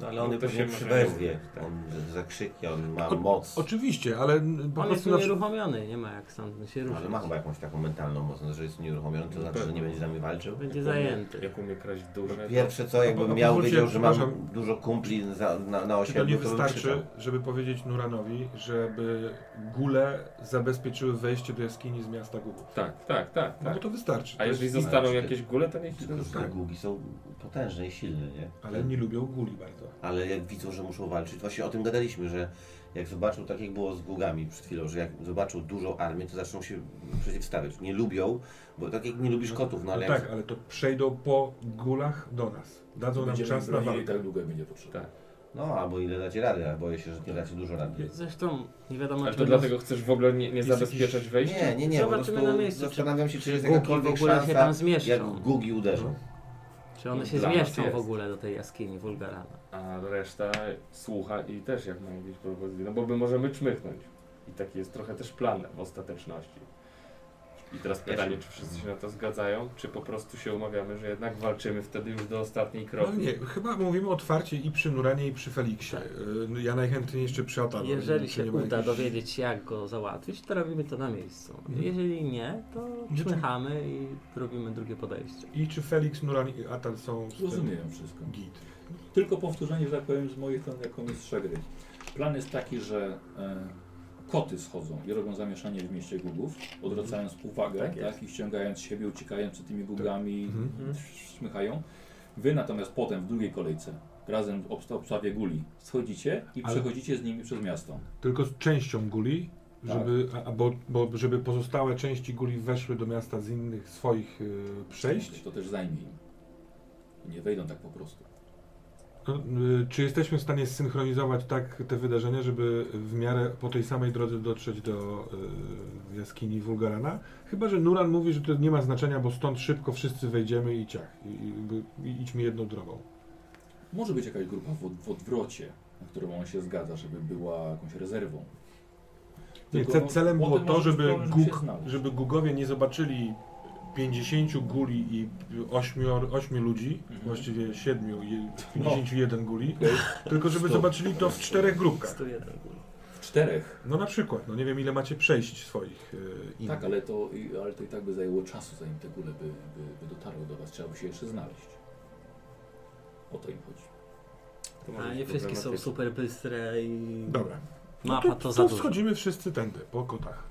C: No ale on
B: No to
C: to
B: się
C: się
B: może
C: przybezwie.
B: nie- tak.
C: On zakrzyki, on ma
D: O-
C: moc.
D: Oczywiście, ale n- po
E: On jest
D: prostu na przykład...
E: unieruchomiony, nie ma jak stąd się ruszyć.
C: Ale ma chyba jakąś taką mentalną moc, no, że jest nieruchomiony, to znaczy, że nie będzie z nami walczył.
E: Będzie zajęty.
B: Jak umie kraść
C: No,
B: w duszę.
C: Pierwsze co,
D: No po-
C: jakbym miał
D: pozwólcie,
C: wiedział, że mam
D: przepraszam.
C: dużo kumpli za, na, na
D: Czy to
C: osiedlu,
D: nie
C: bym
D: wystarczy,
C: krzyczał.
D: żeby powiedzieć Nuranowi, żeby góle zabezpieczyły wejście do jaskini z miasta Gugu?
B: Tak, tak, tak,
D: No bo
B: tak.
D: to wystarczy.
B: A
D: To
B: jeżeli
D: jest-
B: zostaną
C: znaczy,
B: jakieś góle, to niech
C: Tylko, że te gugi są potężne i silne, nie?
D: Tak. Ale nie lubią guli bardzo.
C: Ale jak widzą, że muszą walczyć, właśnie o tym gadaliśmy, że jak zobaczą, tak jak było z gugami przed chwilą, że jak zobaczą dużą armię, to zaczną się przeciwstawiać. Nie lubią, bo tak jak nie lubisz kotów, no ale jak
D: tak, ale to przejdą po gulach do nas. Dadzą nam
A: Będziemy
D: czas na
A: bronili
D: walkę.
A: tak długo, jak będzie potrzeba.
B: Tak.
C: No, albo ile dacie rady, ale boję się, że nie dacie dużo rady.
E: Zresztą nie wiadomo,
B: Ale
E: czy
B: to
E: będą-
B: dlatego chcesz w ogóle nie, nie
D: Jest
B: zabezpieczać wejścia?
C: Nie, nie, nie, po
E: Zobaczymy
C: prostu
E: na miejscu, czy
C: zastanawiam się, czy jest
E: gugi
C: jakakolwiek
E: w ogóle się
C: szansa,
E: tam zmieszczą.
C: jak gugi uderzą.
E: czy one się
B: Dla nas
E: zmieszczą
B: jest.
E: w ogóle do tej jaskini Wulgarana.
B: A reszta słucha i też jak ma jakieś propozycje, no bo my możemy czmychnąć. I taki jest trochę też plan w ostateczności. I teraz pytanie, czy wszyscy się na to zgadzają, czy po prostu się umawiamy, że jednak walczymy wtedy już do ostatniej
D: No
B: kropli.
D: nie, chyba mówimy otwarcie i przy Nuranie, i przy Feliksie.
A: Tak.
D: Y, Ja najchętniej jeszcze przy Atalu.
E: Jeżeli
D: Czy
E: się
D: nie ma
E: uda
D: jakichś-
E: dowiedzieć się, jak go załatwić, to robimy to na miejscu.
D: Mhm.
E: Jeżeli nie, to
D: Nie, to-
E: przymychamy i robimy drugie podejście.
D: I czy Felix, Nuran i Atal są z tym
A: Rozumiem wszystko.
D: git?
A: Tylko powtórzenie, że tak powiem, z moich stron jako mistrza gry. Plan jest taki, że e, koty schodzą i robią zamieszanie w mieście gugów, odwracając uwagę
E: Tak
A: tak
E: jest.
A: i ściągając siebie, uciekając przed tymi gugami,
D: Mhm.
A: smychają. Wy natomiast potem w drugiej kolejce razem w obsta- obstawie guli schodzicie i
D: Ale-
A: przechodzicie z nimi przez miasto.
D: Tylko z częścią guli,
A: Tak.
D: żeby, a, a bo, bo, żeby pozostałe części guli weszły do miasta z innych swoich y, przejść.
A: To też zajmie im. Nie wejdą tak po prostu.
D: No, y, czy jesteśmy w stanie zsynchronizować tak te wydarzenia, żeby w miarę po tej samej drodze dotrzeć do y, jaskini Wulgarana? Chyba, że Nuran mówi, że to nie ma znaczenia, bo stąd szybko wszyscy wejdziemy i ciach. I, i, i idźmy jedną drogą.
A: Może być jakaś grupa w, od- w odwrocie, na którą on się zgadza, żeby była jakąś rezerwą.
D: Nie,
A: Tylko
D: ce-
A: no,
D: celem było
A: potem
D: to,
A: może być
D: żeby,
A: problem, się
D: Gug,
A: znaleźć.
D: żeby Gugowie nie zobaczyli 50 guli i 8, ludzi,
A: Mhm. No.
D: właściwie 7 i 51 guli, tylko żeby zobaczyli to w czterech grupkach.
E: 101 gul.
A: W czterech
D: No na przykład, no nie wiem ile macie przejść swoich yy,
A: Tak, ale to, i- ale to i tak by zajęło czasu, zanim te kule by, by, by dotarły do was. Trzeba by się jeszcze znaleźć. O to im chodzi.
B: To może
E: A
B: być
E: nie wszystkie są
B: problematyczne.
E: super bystre i
D: Dobra, no
E: mapa
D: to,
E: to, za
D: to
E: dużo.
D: schodzimy wszyscy tędy, po kotach.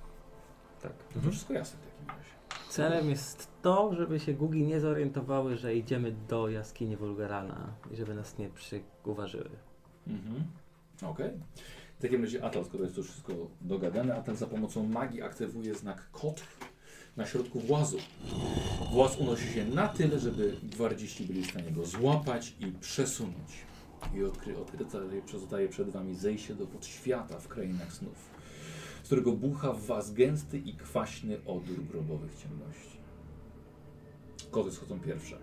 B: Tak.
A: To
D: Mhm.
A: wszystko jasne w takim razie.
E: Celem jest to, żeby się gugi nie zorientowały, że idziemy do jaskini Wulgarana i żeby nas nie przyuważyły.
A: Mhm. Okej. W takim razie Atal, skoro jest to wszystko dogadane, a ten za pomocą magii aktywuje znak kotr na środku włazu. Właz unosi się na tyle, żeby gwardziści byli w stanie go złapać i przesunąć. I odkry, odkryta pozostaje przed wami zejście do podświata w krainach snów, z którego bucha w was gęsty i kwaśny odór grobowych ciemności. Koty schodzą pierwsze.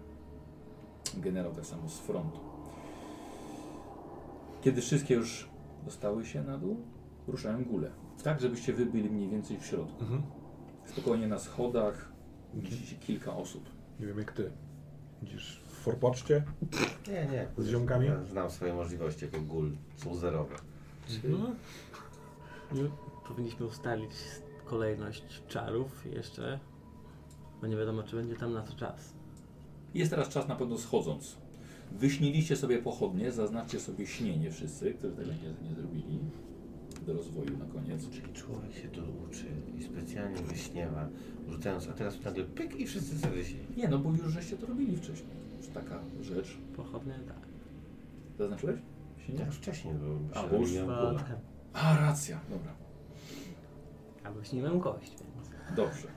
A: Generał tak samo z frontu. Kiedy wszystkie już dostały się na dół, ruszałem gulę. Tak, żebyście wy byli mniej więcej w środku.
D: Mhm.
A: Spokojnie na schodach mieści się kilka osób.
D: Nie wiem jak ty. Idziesz w forpoczcie?
E: No.
C: Nie, nie.
D: Z ziomkami?
C: Ja Znam swoje możliwości jako gul. Są zerowe.
D: No.
E: Powinniśmy ustalić kolejność czarów jeszcze, bo nie wiadomo, czy będzie tam na to czas.
A: Jest teraz czas na pewno schodząc. Wyśniliście sobie pochodnie, zaznaczcie sobie śnienie wszyscy, którzy tego nie, nie zrobili. Do rozwoju na koniec.
C: Czyli człowiek się to uczy i specjalnie wyśniewa, rzucając, a teraz nagle pyk i wszyscy sobie wyśnieją.
A: Nie, no bo już żeście to robili wcześniej. Już taka rzecz.
E: Pochodnie tak.
A: Zaznaczyłeś? Śnienie?
C: Tak już wcześniej
A: A,
C: było.
A: bo już
C: gula.
E: Potem.
A: A, racja. Dobra.
E: Albo śniłem gość, więc.
A: Dobrze.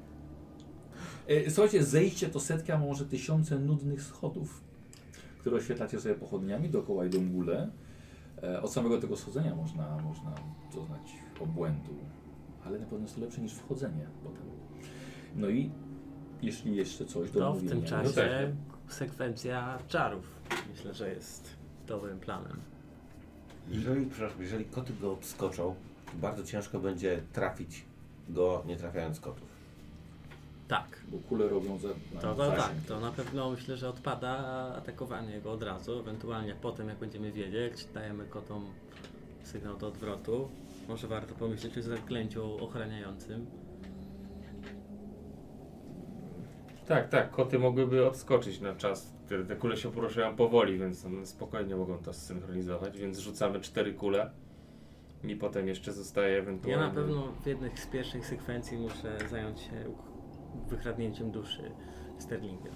A: E, Słuchajcie, zejście to setki, a może tysiące nudnych schodów, które oświetlacie sobie pochodniami dookoła i do mgule. E, Od samego tego schodzenia można, można doznać obłędu, ale na pewno jest to lepsze niż wchodzenie potem. No i jeśli jeszcze coś do
E: To w
A: omówienia-
E: tym
B: No tak,
E: czasie sekwencja czarów. Myślę, że jest dobrym planem.
C: Jeżeli, przepraszam, jeżeli koty go obskoczą, to bardzo ciężko będzie trafić go, nie trafiając kotów.
E: Tak.
A: Bo kule robią za. na
E: To, to tak,
A: zasięg.
E: to na pewno myślę, że odpada atakowanie go od razu, ewentualnie potem jak będziemy wiedzieć, dajemy kotom sygnał do odwrotu. Może warto pomyśleć o zaklęciu ochraniającym.
B: Tak, tak, koty mogłyby odskoczyć na czas. Te, te kule się poruszają powoli, więc one spokojnie mogą to zsynchronizować, więc rzucamy cztery kule i potem jeszcze zostaje
E: Ja
B: ewentualnie...
E: na pewno w jednych z pierwszych sekwencji muszę zająć się uk- wykradnięciem duszy Sterlinga.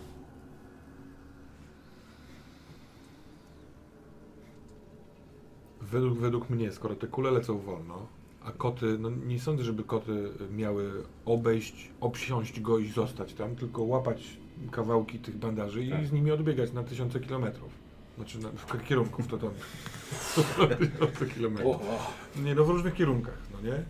D: Według, według mnie, skoro te kule lecą wolno, a koty, no nie sądzę, żeby koty miały obejść, obsiąść go i zostać tam, tylko łapać kawałki tych bandaży i
B: Tak.
D: z nimi odbiegać na tysiące kilometrów. Znaczy na, w k- kierunków to tam. (laughs) tysiące
A: O,
D: kilometrów.
A: o,
D: Nie, no w różnych kierunkach, no nie?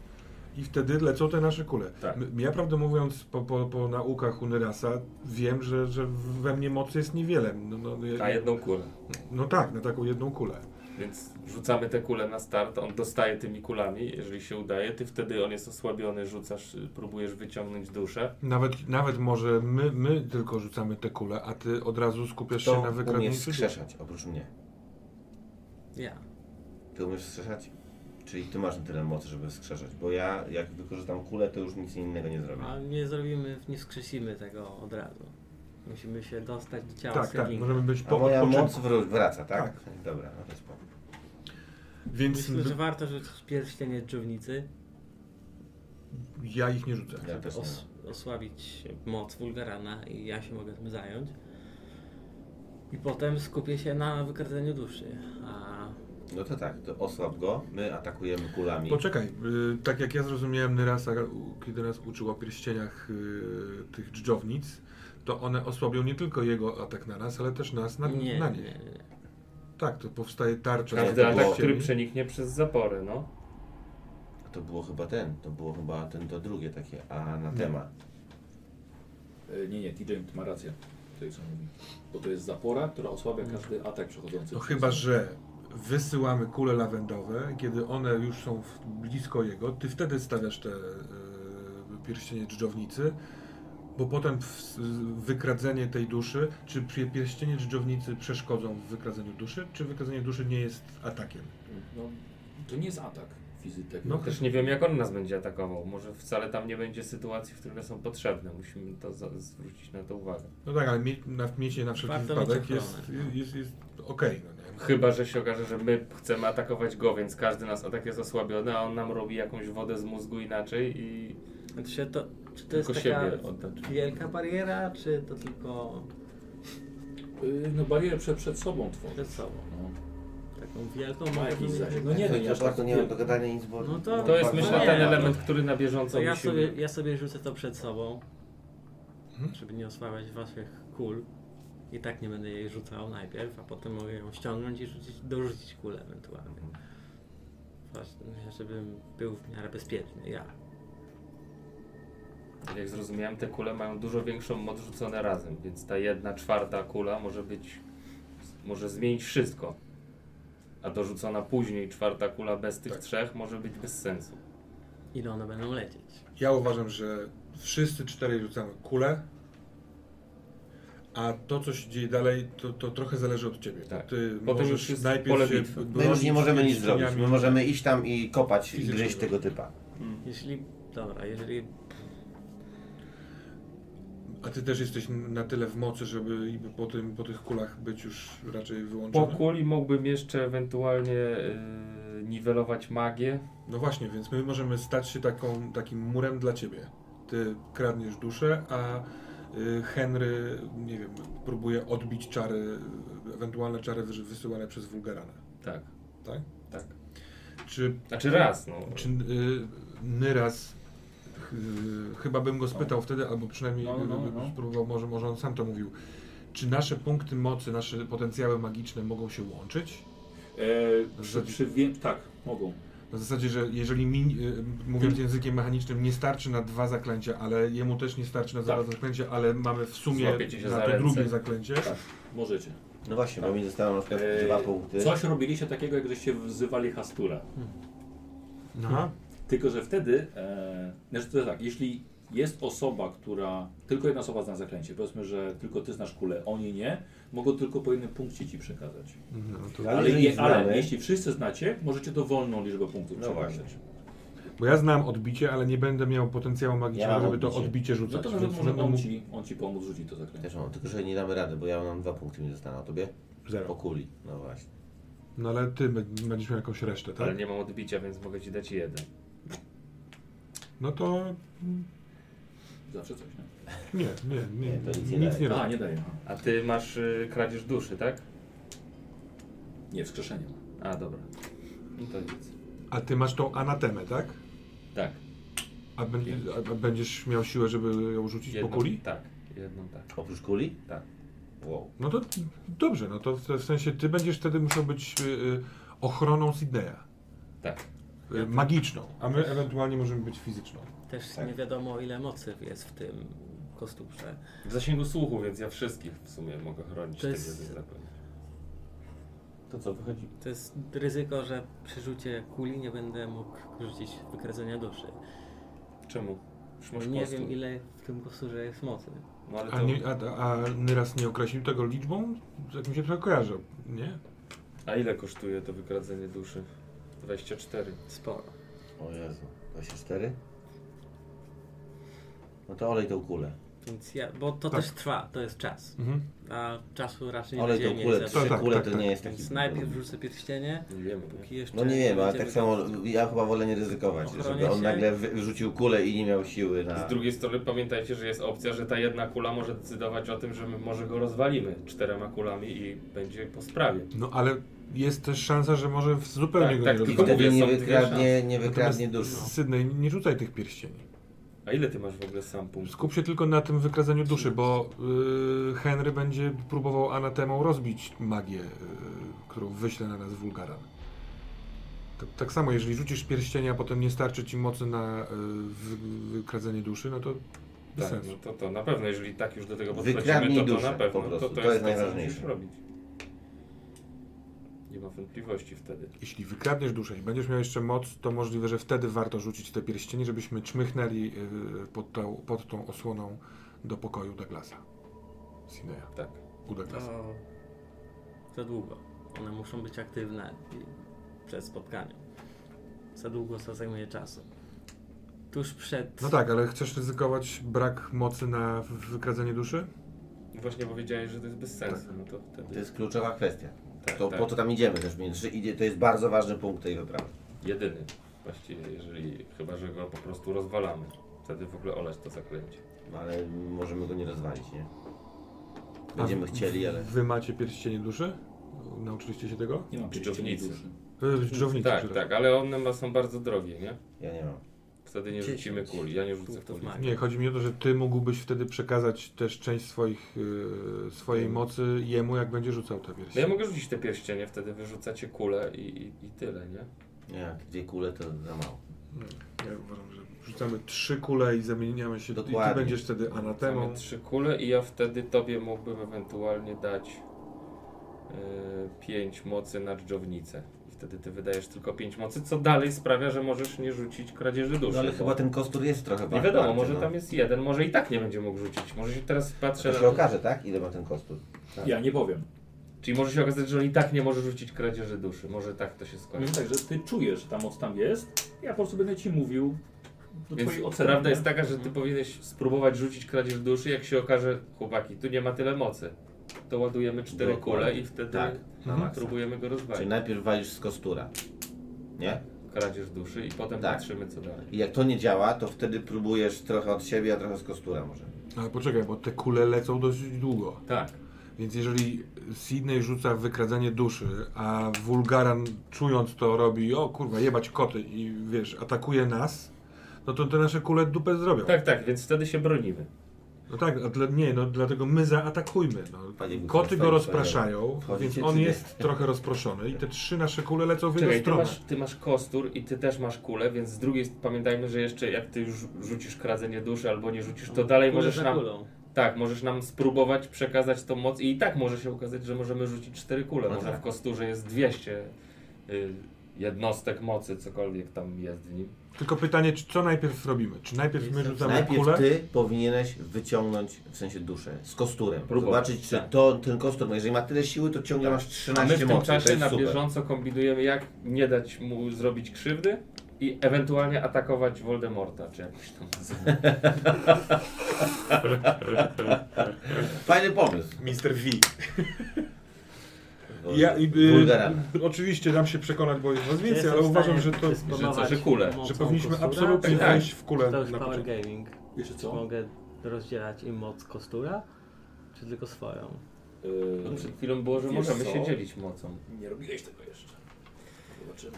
D: I wtedy lecą te nasze kule.
B: Tak.
D: M- Ja prawdę mówiąc, po, po, po naukach Unyrasa wiem, że, że we mnie mocy jest niewiele. No, no, ja-
B: Na jedną kulę.
D: no tak, na taką jedną kulę.
B: Więc rzucamy te kule na start, on dostaje tymi kulami, jeżeli się udaje, ty wtedy on jest osłabiony, rzucasz, y, próbujesz wyciągnąć duszę.
D: Nawet, nawet może my, my tylko rzucamy te kule, a ty od razu skupiasz się
C: Kto
D: na
C: umie
D: wykradnięciu.
C: wskrzeszać, oprócz mnie?
E: Ja.
C: Ty umiesz wskrzeszać? Czyli ty masz na tyle mocy, żeby wskrzeszać, bo ja jak wykorzystam kulę, to już nic innego nie zrobię.
E: A nie zrobimy, nie skrzesimy tego od razu. Musimy się dostać do ciała
D: Tak, tak,
E: Sterlinga.
D: możemy być
C: A
D: po
C: moja moc
D: odpoczynku.
C: wró- wraca, tak? Dobra, no to spoko.
D: Więc
E: Myślę, że
D: wy-
E: warto rzucić pierścienie dżownicy,
D: ja ich nie
A: Tak,
D: rzucę.
C: Ja też nie.
E: os osłabić moc Wulgarana i ja się mogę tym zająć. I potem skupię się na wykradzeniu duszy. A
C: No to tak, to osłab go, my atakujemy kulami.
D: Poczekaj, y, tak jak ja zrozumiałem Nyrasa, u- kiedy nas uczył o pierścieniach y, tych dżdżownic, to one osłabią nie tylko jego atak na nas, ale też nas na,
E: nie,
D: na
E: nie,
D: nie.
E: nie.
D: Tak, to powstaje tarcza. z
B: Każdy
C: to
D: tych
B: atak,
C: było-
B: który
D: pierścieni.
B: przeniknie przez zapory, no.
C: To było chyba ten, to było chyba ten, to drugie takie, anatema.
A: e, nie, nie, TJ ma rację. Tutaj co mówi. Bo to jest zapora, która osłabia
E: Mm.
A: każdy atak przechodzący.
D: No
A: przez-
D: chyba, że wysyłamy kule lawendowe, kiedy one już są w, blisko jego, ty wtedy stawiasz te y, pierścienie dżdżownicy, bo potem w, s- wykradzenie tej duszy, czy pie- pierścienie dżdżownicy przeszkodzą w wykradzeniu duszy, czy wykradzenie duszy nie jest atakiem?
A: No, to nie jest atak fizytek.
D: No,
B: Też nie wiem, jak on nas będzie atakował. Może wcale tam nie będzie sytuacji, w których są potrzebne. Musimy to za- zwrócić na to uwagę.
D: No tak, ale mie, na, miecie na wszelki
E: Warto mieć
D: wypadek jest,
E: ochronę.
D: jest, jest, jest okej, no nie?
B: Chyba, że się okaże, że my chcemy atakować go, więc każdy nas atak jest osłabiony, a on nam robi jakąś wodę z mózgu inaczej i
E: Znaczy się to, czy to
B: tylko
E: jest taka
B: siebie otaczy.
E: wielka bariera, czy to tylko
A: Y, no barierę przed, przed sobą tworzy.
E: przed sobą?
A: No.
E: Taką wielką
A: Ma
E: mogę
A: jakiś
E: mieć-
A: zasięg. No nie,
C: To
A: no ja
C: ja bardzo
A: tak-
C: nie mam do gadania nic, bo...
E: No to-
B: To jest,
C: bardzo-
B: myślę,
E: nie,
B: ten
E: no.
B: element, który na bieżąco
E: To ja
B: musimy...
E: sobie, ja sobie rzucę to przed sobą,
C: Mhm.
E: żeby nie osłabiać waszych kul. I tak nie będę jej rzucał najpierw, a potem mogę ją ściągnąć i rzucić, dorzucić kulę ewentualnie.
C: Mhm.
E: Ważne, żebym był w miarę bezpieczny, ja.
B: Tak Jak zrozumiałem, te kule mają dużo większą moc rzucone razem, więc ta jedna czwarta kula może być, może zmienić wszystko. A dorzucona później czwarta kula bez tych
D: Tak.
B: trzech może być bez sensu.
E: Ile one będą lecieć?
D: Ja uważam, że wszyscy czterej rzucamy kulę, a to, co się dzieje dalej, to, to trochę zależy od ciebie.
B: Tak.
D: Ty
B: Potem
D: możesz
B: już jest
D: najpierw
B: pole
D: się
B: bitwy. My
C: My już
D: bronić
C: nie możemy nic
D: pierścieniami.
C: zrobić, No. my możemy iść tam i kopać i
D: Fizycznie
C: gryźć
D: dobrze.
C: tego typa.
E: Jeśli, tak. dobra, jeżeli
D: A ty też jesteś na tyle w mocy, żeby i po, tym, po tych kulach być już raczej
B: Po
D: wyłączony.
B: kuli mógłbym jeszcze ewentualnie yy, niwelować magię.
D: No właśnie, więc my możemy stać się taką, takim murem dla ciebie. Ty kradniesz duszę, a y, Henry, nie wiem, próbuje odbić czary, ewentualne czary wyż- wysyłane przez Wulgarana.
B: Tak,
D: Tak?
B: tak.
D: Czy
B: Znaczy raz, no.
D: Czy y, Nyras, y, chyba bym go spytał wtedy, albo przynajmniej
A: No, no,
D: y,
A: no.
D: spróbował, może, może on sam to mówił. Czy nasze punkty mocy, nasze potencjały magiczne mogą się łączyć?
A: E, przy, przy wie... Tak, mogą.
D: Na zasadzie, że jeżeli mi, y, mówiąc
A: Hmm.
D: językiem mechanicznym, nie starczy na dwa zaklęcia, ale jemu też nie starczy na dwa
A: Tak.
D: zaklęcia, ale mamy w sumie
B: Złapiecie się
D: na
B: za
D: to
B: ręce.
D: drugie zaklęcie.
A: Możecie.
C: No właśnie, bo mi zostało na przykład
A: Eee,
C: dwa punkty.
A: Coś robiliście takiego, jak żeście wzywali Hastura.
D: Aha.
A: Tylko, że wtedy, e, znaczy to tak, jeśli jest osoba, która. Tylko jedna osoba zna zaklęcie. Powiedzmy, że tylko ty znasz kulę, oni nie. Mogą tylko po jednym punkcie ci przekazać.
D: No to,
C: Ale
A: Ale,
C: jeżeli
A: je, ale
C: znamy-
A: jeśli wszyscy znacie, możecie dowolną liczbę punktów
C: No
A: przekazać.
D: bo ja znam odbicie, ale nie będę miał potencjału magicznego,
C: Ja mam
D: żeby to
C: odbicie.
D: odbicie
A: No
D: rzucać.
A: to może,
D: więc
A: może
D: będę
A: on,
D: mógł-
A: ci, on ci pomóc rzucić to zaklęcie.
C: Też mam, tylko że nie damy rady, bo ja mam dwa punkty mi zostaną, a tobie? Po
D: Zero.
C: kuli, no właśnie.
D: No ale ty be- będziesz miał jakąś resztę, tak?
B: Ale nie mam odbicia, więc mogę ci dać jeden.
D: No to
A: Zawsze coś, nie?
D: nie, nie, nie.
C: Nie, to nic nie
D: nic
C: daje.
D: nie
A: A,
D: robię.
A: nie daje. aha.
B: A ty masz y, kradzież duszy, tak?
A: Nie, wskrzeszenie ma.
B: A, dobra. No to nic.
D: A ty masz tą anatemę, tak?
B: Tak.
D: A, będ- a- a będziesz miał siłę, żeby ją rzucić po kuli?
B: Tak. Jedną tak.
C: Oprócz kuli?
B: Tak.
C: Wow.
D: No to dobrze, no to w, w sensie ty będziesz wtedy musiał być y, y, ochroną Sydneya.
B: Tak.
D: Y, magiczną. A my ewentualnie możemy być fizyczną.
E: Też
C: Tak.
E: nie wiadomo ile mocy jest w tym kostubrze.
B: W zasięgu słuchu, więc ja wszystkich w sumie mogę chronić.
E: To
B: tak
E: jest-
B: jakby zapewne.
C: To co, wychodzi?
E: To jest ryzyko, że przy rzucie kuli nie będę mógł rzucić wykradzenia duszy.
B: Czemu? Już masz
E: nie
B: kostur.
E: wiem ile w tym kosturze jest mocy.
B: No ale
D: A,
B: to...
D: nie, a, a Nyras nie określił tego liczbą? Z jakim się kojarzę, nie?
B: A ile kosztuje to wykradzenie duszy? 24.
E: Sporo.
C: O Jezu, 24? No to olej tą kulę.
E: Więc ja, bo to
D: Tak.
E: też trwa, to jest czas.
D: Mhm.
E: A czasu raczej nie
C: Olej
E: będzie
C: tą
E: mieć.
C: kulę,
E: za
C: trzy
D: Tak,
E: dużo.
D: tak,
C: kule
D: tak,
C: to
D: tak.
C: nie jest taki...
E: Więc najpierw rzucę pierścienie,
B: Nie wiemy. nie?
E: póki jeszcze...
C: No nie wiem, ale
E: będziemy-
C: tak samo ja chyba wolę nie ryzykować,
E: Ochronię
C: żeby on
E: się.
C: nagle wy- wyrzucił kulę i nie miał siły na...
B: Z drugiej strony pamiętajcie, że jest opcja, że ta jedna kula może decydować o tym, że my może go rozwalimy czterema kulami i będzie po sprawie.
D: No ale jest też szansa, że może w- zupełnie
B: Tak,
D: go
B: tak,
D: nie
C: I
B: tylko
D: rozumiem.
B: mówię,
C: wtedy nie
B: są dwie
C: wykradnie,
B: szanse.
C: nie wykradnie duszy.
D: Sydney, nie rzucaj tych pierścieni.
B: A ile ty masz w ogóle sam punktów?
D: Skup się tylko na tym wykradzeniu duszy, bo y, Henry będzie próbował anatemą rozbić magię, y, którą wyśle na nas wulgaran. Tak, tak samo, jeżeli rzucisz pierścienia, a potem nie starczy ci mocy na y, wy, wykradzenie duszy, no to bez
B: Tak,
D: sensu.
B: no to, to na pewno, jeżeli tak już do tego
C: Wykradnij
B: podchodzimy, to, to
C: duszę,
B: na pewno.
C: po prostu.
B: To,
C: To jest
B: to, jest to, co
C: najważniejsze.
B: musisz robić. Nie ma wątpliwości wtedy.
D: Jeśli wykradniesz duszę i będziesz miał jeszcze moc, to możliwe, że wtedy warto rzucić te pierścienie, żebyśmy czmychnęli y, pod, tą, pod tą osłoną do pokoju Douglasa. Sineja,
B: Tak.
D: u Douglasa.
E: To za długo. One muszą być aktywne i- przed spotkaniem. Za długo to zajmuje czasu. Tuż przed.
D: No tak, ale chcesz ryzykować brak mocy na w- wykradzenie duszy?
B: Właśnie powiedziałeś, że to jest bez sensu, no to wtedy...
C: Tak. To jest kluczowa kwestia.
B: Tak,
C: To
B: tak.
C: po to tam idziemy też. między- idzie- To jest bardzo ważny punkt tej wyprawy.
B: Jedyny. Właściwie, jeżeli... Chyba, że go po prostu rozwalamy. Wtedy w ogóle olać to zaklęcie.
C: No ale możemy go nie rozwalić, nie? Będziemy
D: A w-
C: chcieli, ale...
D: Wy macie pierścienie duszy? Nauczyliście się tego?
A: Nie mam pierścieni
B: Dżdżownicy.
A: duszy.
D: Y, Dżownicy,
B: Tak,
D: przepraszam.
B: tak, ale one ma, są bardzo drogie, nie?
C: Ja nie mam.
B: Wtedy nie rzucimy
E: Dziesięć
B: kuli, ja nie rzucę
E: punktów
B: kuli.
E: magii.
D: Nie, chodzi mi o to, że ty mógłbyś wtedy przekazać też część swoich, y, swojej mocy jemu, jak będzie rzucał te
B: No ja
D: pierścienie.
B: mogę rzucić te pierścienie, wtedy wyrzucacie kulę i, i, i tyle, nie?
C: Nie, dwie kule to za mało.
D: Ja uważam, że rzucamy trzy kule i zamieniamy się. I
C: Dokładnie.
D: ty będziesz wtedy anatemą.
B: Mamy trzy kule i ja wtedy tobie mógłbym ewentualnie dać yy, pięć mocy na dżdżownicę. I wtedy ty wydajesz tylko pięć mocy, co dalej sprawia, że możesz nie rzucić kradzieży duszy.
C: No ale
B: bo-
C: chyba ten kostur jest trochę
B: Nie
C: wa-
B: wiadomo,
C: warty,
B: może
C: no.
B: tam jest jeden, może i tak nie będzie mógł rzucić. Może się teraz patrzę
C: To
B: na...
C: się okaże, tak? Ile ma ten kostur? Tak.
A: Ja nie powiem.
B: Czyli może się okazać, że on i tak nie może rzucić kradzieży duszy. Może tak to się skończy.
C: Mhm.
A: Powiem tak, że ty czujesz, że ta moc tam jest. Ja po prostu będę ci mówił do
B: Więc
A: twojej oceny.
B: prawda
A: nie?
B: jest taka, że
C: Mhm.
B: ty powinieneś spróbować rzucić kradzież duszy, jak się okaże, chłopaki, tu nie ma tyle mocy. To ładujemy cztery
C: Dokładnie.
B: kule i wtedy No,
C: Tak, na
D: Mhm.
C: maksa.
B: próbujemy go
C: Czyli
B: rozwalić.
C: najpierw walisz z kostura. Nie?
B: Kradzież duszy i potem
C: Tak.
B: patrzymy co dalej.
C: I jak to nie działa, to wtedy próbujesz trochę od siebie, a trochę z kostura może.
D: Ale poczekaj, bo te kule lecą dosyć długo.
B: Tak,
D: Więc jeżeli Sydney rzuca wykradzenie duszy, a Wulgaran czując to robi, o kurwa, jebać koty i wiesz, atakuje nas, no to te nasze kule dupę zrobią.
B: tak, tak, więc wtedy się bronimy.
D: No tak, a dla, nie, no dlatego my zaatakujmy. No.
C: Panie Wójcie,
D: Koty go
C: panie-
D: rozpraszają,
C: wchodzicie
D: więc
C: czy
D: on
C: nie?
D: jest trochę rozproszony i te trzy nasze kule lecą w jego
B: Czekaj, ty
D: stronę.
B: masz, ty masz kostur i ty też masz kulę, więc z drugiej pamiętajmy, że jeszcze jak ty już rzucisz kradzenie duszy albo nie rzucisz,
C: No,
B: to dalej
E: Kulę
B: możesz
E: za
B: nam,
E: kulą.
B: tak, możesz nam spróbować przekazać tą moc i i tak może się okazać, że możemy rzucić cztery kule.
C: No
B: Może
C: tak.
B: w kosturze jest 200 y, jednostek mocy, cokolwiek tam jest w nim.
D: Tylko pytanie, czy co najpierw robimy? Czy najpierw my rzucamy
C: Najpierw
D: kulę?
C: ty powinieneś wyciągnąć, w sensie duszę, z kosturem.
B: Próbować,
C: Zobaczyć, czy
B: tak.
C: to, ten kostur, ma- jeżeli ma tyle siły, to ciągle masz
B: A
C: 13
B: my w tym
C: mocy, to
B: czasie
C: jest
B: na
C: super.
B: bieżąco kombinujemy, jak nie dać mu zrobić krzywdy i ewentualnie atakować Voldemorta, czy y, jakś tam nazywa.
C: Fajny pomysł.
H: Mister V.
D: Ja, i,
C: Wulgarami.
D: y, oczywiście dam się przekonać, bo jest was
E: Jestem
D: więcej, ale
E: w
D: uważam,
E: stanie
D: że to...
E: dysponować
B: że co, że kule,
E: mocą
D: Że powinniśmy
E: kostura,
D: absolutnie
E: czy
B: tak.
D: wejść w kulę
E: To już
D: na
E: power
D: początek.
E: gaming.
A: Jeszcze
E: Czy
B: No.
A: co?
E: mogę rozdzielać im moc kostura, czy tylko swoją?
B: No,
A: Yy,
B: Przed chwilą było, że
A: Wiesz
B: możemy
A: co?
B: się dzielić mocą.
A: nie robiłeś tego jeszcze. Zobaczymy.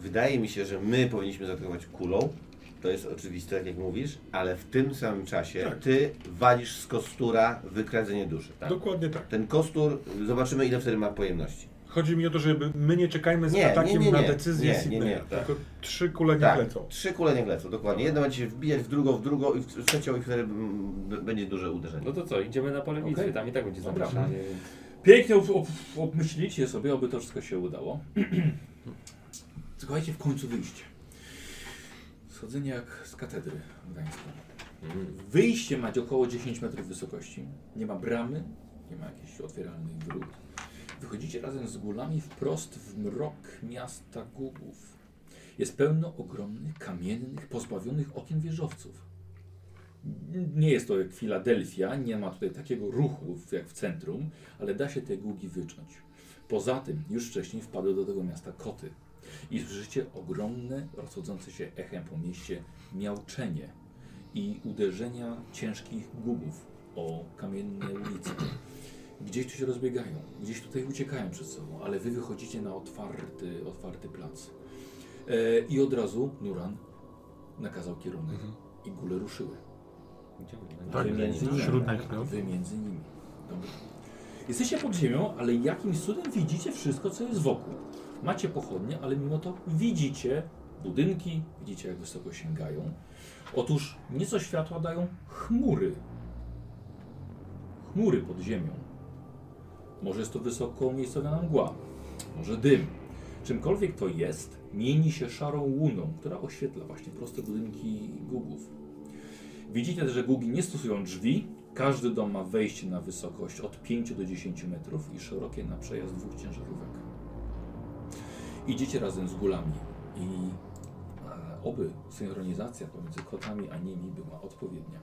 C: Wydaje mi się, że my powinniśmy zaatakować kulą. To jest oczywiste, tak jak mówisz, ale w tym samym czasie
D: Tak.
C: ty walisz z kostura wykradzenie duszy.
D: Dokładnie tak.
C: Ten kostur, zobaczymy ile wtedy ma pojemności.
D: Chodzi mi o to, żeby my nie czekajmy z
C: Nie, nie,
D: atakiem
C: nie, nie.
D: na decyzję
C: Nie, nie,
D: Sydneya,
C: nie, tak.
D: tylko trzy kule nie
C: tak,
D: lecą.
C: trzy kule niech lecą, dokładnie. Jedna będzie się wbijać w drugą, w drugą i w trzecią i wtedy mm, b- będzie duże uderzenie.
B: No to co, idziemy na polewicę,
A: Okej.
B: tam i tak będzie
A: Dobra.
B: zamieszanie. więc-
A: Pięknie ob, ob, obmyślicie sobie, aby to wszystko się udało. (clears throat) Słuchajcie, w końcu wyjście. Schodzenie jak z katedry w Gdańsku. Wyjście macie około 10 metrów wysokości. Nie ma bramy, nie ma jakichś otwieralnych dróg. Wychodzicie razem z gulami wprost w mrok miasta Gugów. Jest pełno ogromnych, kamiennych, pozbawionych okien wieżowców. Nie jest to jak Filadelfia, nie ma tutaj takiego ruchu w- jak w centrum, ale da się te gugi wyczuć. Poza tym już wcześniej wpadły do tego miasta koty i słyszycie ogromne, rozchodzące się echem po mieście miauczenie i uderzenia ciężkich gugów o kamienne ulice. Gdzieś tu się rozbiegają, gdzieś tutaj uciekają przed sobą, ale wy wychodzicie na otwarty, otwarty plac. E, I od razu Nuran nakazał kierunek i gule ruszyły.
D: Tak,
A: Wy między nimi.
D: wśród nich, no.
A: Wy między nimi. Dobra. Jesteście pod ziemią, ale jakimś cudem widzicie wszystko, co jest wokół. Macie pochodnie, ale mimo to widzicie budynki, widzicie jak wysoko sięgają. Otóż nieco światła dają chmury. Chmury pod ziemią. Może jest to wysoko umiejscowiona mgła, może dym. Czymkolwiek to jest, mieni się szarą łuną, która oświetla właśnie proste budynki gugów. Widzicie też, że gugi nie stosują drzwi. Każdy dom ma wejście na wysokość od 5 do 10 metrów i szerokie na przejazd dwóch ciężarówek. Idziecie razem z gulami i e, oby synchronizacja pomiędzy kotami a nimi była odpowiednia.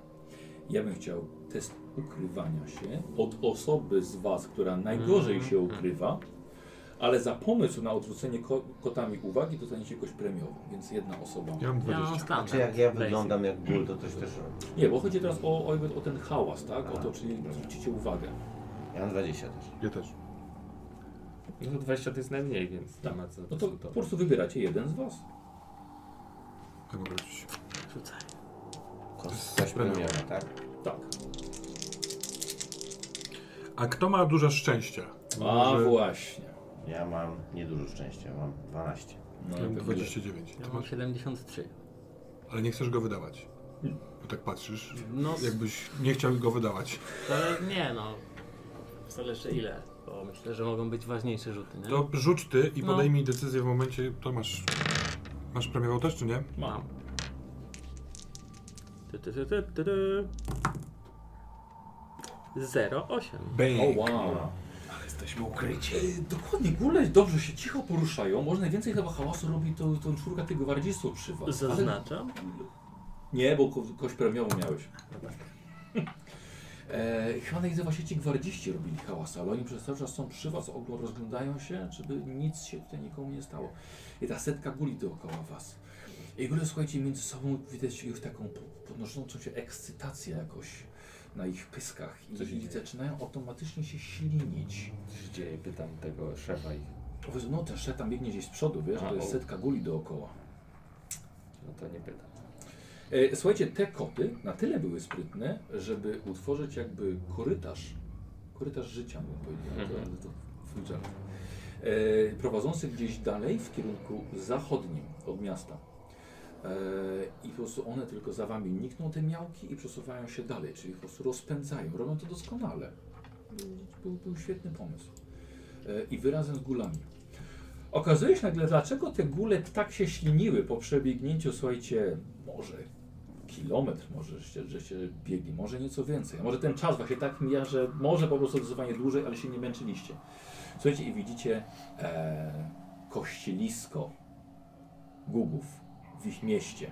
A: Ja bym chciał test ukrywania się od osoby z Was, która najgorzej się ukrywa, ale za pomysł na odwrócenie ko kotami uwagi dostaniecie jakoś premiową, więc jedna osoba.
D: Ja mam
E: Ja mam
D: 20.
E: standard.
C: Czy jak ja
E: basic.
C: wyglądam jak ból, to coś też...
A: Nie, bo chodzi teraz o, o, jakby o ten hałas, tak? O to, czy zwrócicie uwagę.
C: Ja mam 20 też.
D: Ja też.
B: No to 20 to jest najmniej, więc
A: Tak.
B: nie ma co
A: No to po
B: dyskutować.
A: prostu wybieracie jeden z was.
D: Ja mogę rzucić.
E: Rzucaj.
C: Kos- Coś premiera, tak?
A: Tak.
D: A kto ma dużo szczęścia?
A: A
D: Może-
A: właśnie.
C: Ja mam niedużo szczęścia, mam 12.
A: No,
D: Ja mam
A: to
D: 29.
E: Ja
D: Ty
E: mam
D: masz?
E: 73.
D: Ale nie chcesz go wydawać. Bo tak patrzysz,
E: No, s-
D: jakbyś nie chciał go wydawać.
E: ale nie no. Zależy ile, bo myślę, że mogą być ważniejsze rzuty, nie?
D: To rzuć ty i
E: No.
D: podejmij decyzję w momencie, to masz... Masz premiową też, czy nie?
E: Mam. Ty, ty, ty, ty, ty, ty. 08.
A: O
D: Bang!
A: wow.
H: Ale jesteśmy ukryci.
A: E, Dokładnie, góle dobrze się cicho poruszają. Może najwięcej chyba hałasu robi to, tą czwórka tych gwardzistów przy was.
E: Zaznaczam.
A: Nie, bo ko kość premiową
B: (laughs)
A: miałeś. E, chyba najwięcej właśnie ci gwardziści robili hałas, ale oni przez cały czas są przy was, oglą- rozglądają się, żeby nic się tutaj nikomu nie stało. I ta setka guli dookoła was. I w ogóle słuchajcie, między sobą widać już taką po- podnoszącą się ekscytację jakoś na ich pyskach
B: Co się
A: i, i
B: dzieje?
A: zaczynają automatycznie się ślinić.
B: Co się dzieje? Pytam tego szefa ich.
A: Powiedz, no ten szatan biegnie gdzieś z przodu, wiesz,
B: A,
A: to jest
B: o.
A: setka guli dookoła.
B: No to nie pytam.
A: E, Słuchajcie, te koty na tyle były sprytne, żeby utworzyć jakby korytarz, korytarz życia, bym powiedział,
B: Mhm.
A: to, to Fitzgerald, e, prowadzący gdzieś dalej w kierunku zachodnim od miasta. E, I po prostu one tylko za wami nikną te miałki i przesuwają się dalej, czyli po prostu rozpędzają. Robią to doskonale. Był, był świetny pomysł. E, I wy razem z gulami. Okazuje się nagle, dlaczego te góle tak się śliniły po przebiegnięciu, słuchajcie, może kilometr, może żeście, żeście biegli, może nieco więcej. A może ten czas właśnie tak mija, że może po prostu zdecydowanie dłużej, ale się nie męczyliście. Słuchajcie i widzicie e, kościelisko Gugów w ich mieście,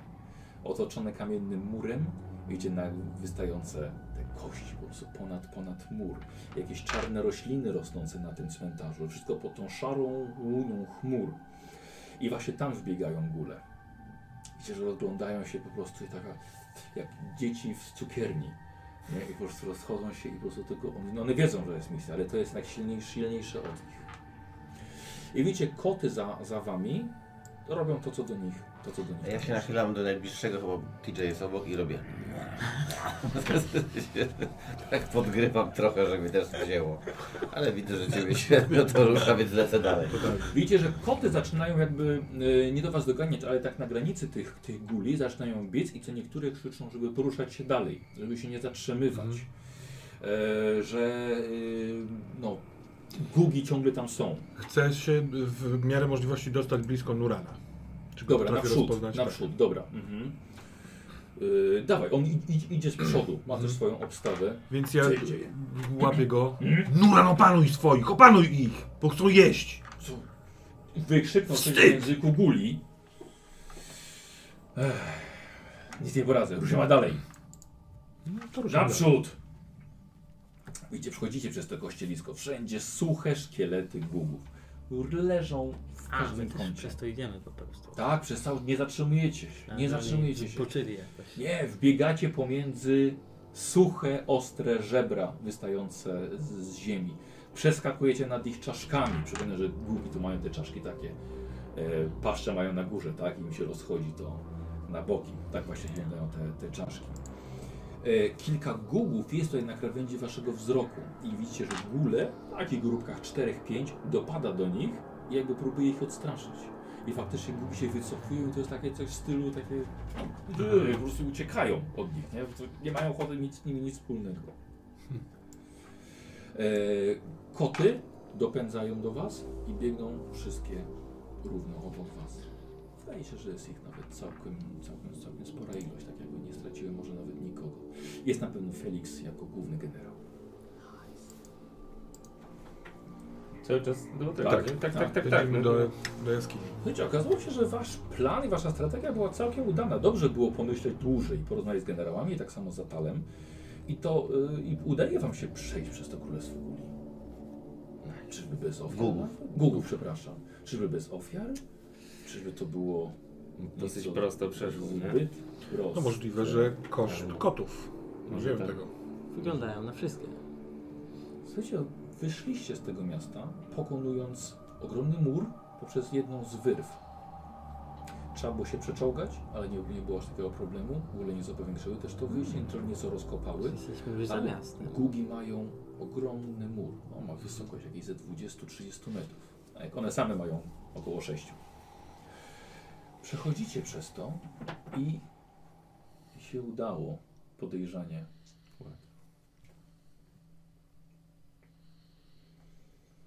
A: otoczone kamiennym murem, gdzie na wystające te kości po prostu ponad, ponad mur. Jakieś czarne rośliny rosnące na tym cmentarzu, wszystko pod tą szarą łunią chmur. I właśnie tam wbiegają góle. Widzicie, że rozglądają się po prostu i taka, jak dzieci w cukierni. Nie? I po prostu rozchodzą się i po prostu tylko one, no one wiedzą, że jest misja, ale to jest najsilniejsze silniejsze od nich. I widzicie, koty za, za wami robią to, co do nich. To, co do nich
C: A Ja się nachylam do najbliższego, bo TJ jest obok i robię. (laughs) tak podgrywam trochę, żeby też wzięło. Ale widzę, że ciebie (laughs) średnio to rusza, więc lecę dalej.
A: Widzicie, że koty zaczynają jakby e, nie do was doganiać, ale tak na granicy tych, tych guli zaczynają biec i co niektóre krzyczą, żeby poruszać się dalej, żeby się nie zatrzymywać. E, że e, no, gugi ciągle tam są.
D: Chcę się w miarę możliwości dostać blisko Nurana. Czy go
A: Dobra,
D: potrafię
A: naprzód,
D: rozpoznać? Tak.
A: naprzód, dobra. Mhm. E, dawaj, on i- i- idzie z przodu, ma
D: Mhm.
A: też swoją obstawę.
D: Więc ja
A: Co się dzieje?
D: łapię go. Nuran, opanuj swoich, opanuj ich, bo chcą jeść.
A: Co? Wykrzyknął coś w
D: Wstyd!
A: języku guli. Ech, nic nie poradzę, ruszyła dalej.
D: No to ruszamy.
A: Naprzód! Widzicie, wchodzicie przez to kościelisko. Wszędzie suche szkielety gugów. Leżą w
I: A, my
A: każdym
I: też
A: kącie.
I: przez no to idziemy po prostu.
A: Tak, przez cały... Nie zatrzymujecie się. Nie zatrzymujecie się.
I: Poczyli jakoś.
A: Nie, wbiegacie pomiędzy suche, ostre żebra wystające z, z ziemi. Przeskakujecie nad ich czaszkami. Przypomnę, że gugi tu mają te czaszki takie. E, paszcze mają na górze, tak? I im się rozchodzi to na boki. Tak właśnie wyglądają te, te czaszki. E, kilka gugów jest tutaj na krawędzi waszego wzroku. I widzicie, że gule w takich grupkach 4-5 dopada do nich i jakby próbuje ich odstraszyć. I faktycznie gugi się wycofują i to jest takie coś w stylu takie Yy, po prostu uciekają od nich, nie? Po prostu Nie mają ochoty mieć z nimi nic wspólnego. E, koty dopędzają do was i biegną wszystkie równo obok was. Wydaje się, że jest ich nawet całkiem, całkiem, całkiem spora ilość, tak jakby nie straciły może nawet nikogo. Jest na pewno Felix jako główny generał.
B: Cały czas do tego,
A: Tak,
B: nie? tak, tak, tak, tak.
D: Będziemy
B: no.
D: do, do jaskini.
A: Słuchajcie, No okazało się, że wasz plan i wasza strategia była całkiem udana. Dobrze było pomyśleć dłużej, porozmawiać z generałami, tak samo z Atalem. I to y, i udaje wam się przejść przez to królestwo Guli. Czyżby bez ofiar?
C: Gugów.
A: Gugów, przepraszam. Czyżby bez ofiar? Czyżby to było
B: Dosyć
A: nieco
B: prosto przeszło, nie?
A: Zbyt proste.
D: No możliwe, że koszt kotów. Nie
B: Hmm. Może
D: wiem
B: tak.
D: tego.
I: Wyglądają na wszystkie.
A: Słuchajcie, no, wyszliście z tego miasta, pokonując ogromny mur poprzez jedną z wyrw. Trzeba było się przeczołgać, ale nie, nie było aż takiego problemu. W ogóle nieco powiększyły też to wyjście, które nieco rozkopały.
I: Jesteśmy już Mm. za
A: Ale
I: miastem.
A: Gugi mają ogromny mur. On ma wysokość jakiejś ze 20-30 metrów. A jak one same mają około 6. Przechodzicie przez to i się udało podejrzanie.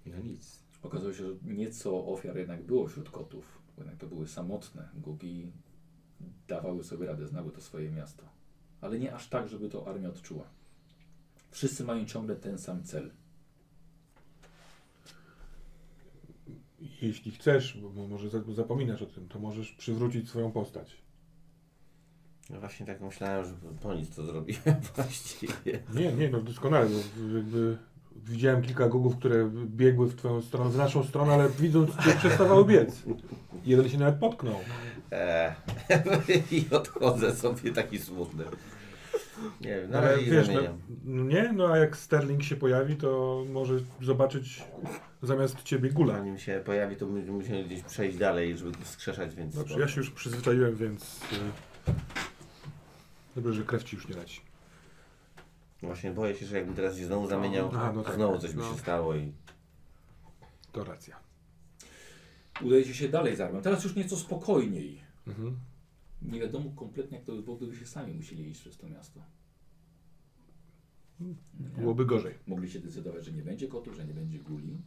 B: No nic.
A: Okazało się, że nieco ofiar jednak było wśród kotów. bo Jednak to były samotne. Gugi dawały sobie radę, znały to swoje miasto. Ale nie aż tak, żeby to armia odczuła. Wszyscy mają ciągle ten sam cel.
D: Jeśli chcesz, bo bo może za- zapominasz o tym, to możesz przywrócić swoją postać.
C: No właśnie tak myślałem, że po nic to zrobiłem (laughs) właściwie.
D: Nie, nie, no doskonale. No, jakby widziałem kilka gugów, które biegły w twoją stronę, w naszą stronę, ale widząc cię przestawały biec. Jeden się nawet potknął.
C: Eee. I odchodzę sobie taki smutny. Nie wiem, na
D: ale
C: razie wiesz,
D: wiesz, no,
C: zamieniam.
D: nie, no a jak Sterling się pojawi, to może zobaczyć zamiast ciebie gula.
C: Zanim się pojawi, to będziemy musieli gdzieś przejść dalej, żeby go wskrzeszać, więc...
D: Dobrze, ja się już przyzwyczaiłem, więc... y, Dobrze, że krew ci już nie leci.
C: Właśnie boję się, że jakbym teraz się znowu zamieniał,
D: Aha, no
C: to
D: tak,
C: znowu
D: tak,
C: coś by
D: no.
C: się stało i...
D: To racja.
A: Udajecie się dalej z armią. Teraz już nieco spokojniej.
D: Mhm.
A: Nie wiadomo kompletnie, jak to by było, gdybyście sami musieli iść przez to miasto.
D: Byłoby gorzej.
A: Mogli się decydować, że nie będzie kotów, że nie będzie guli.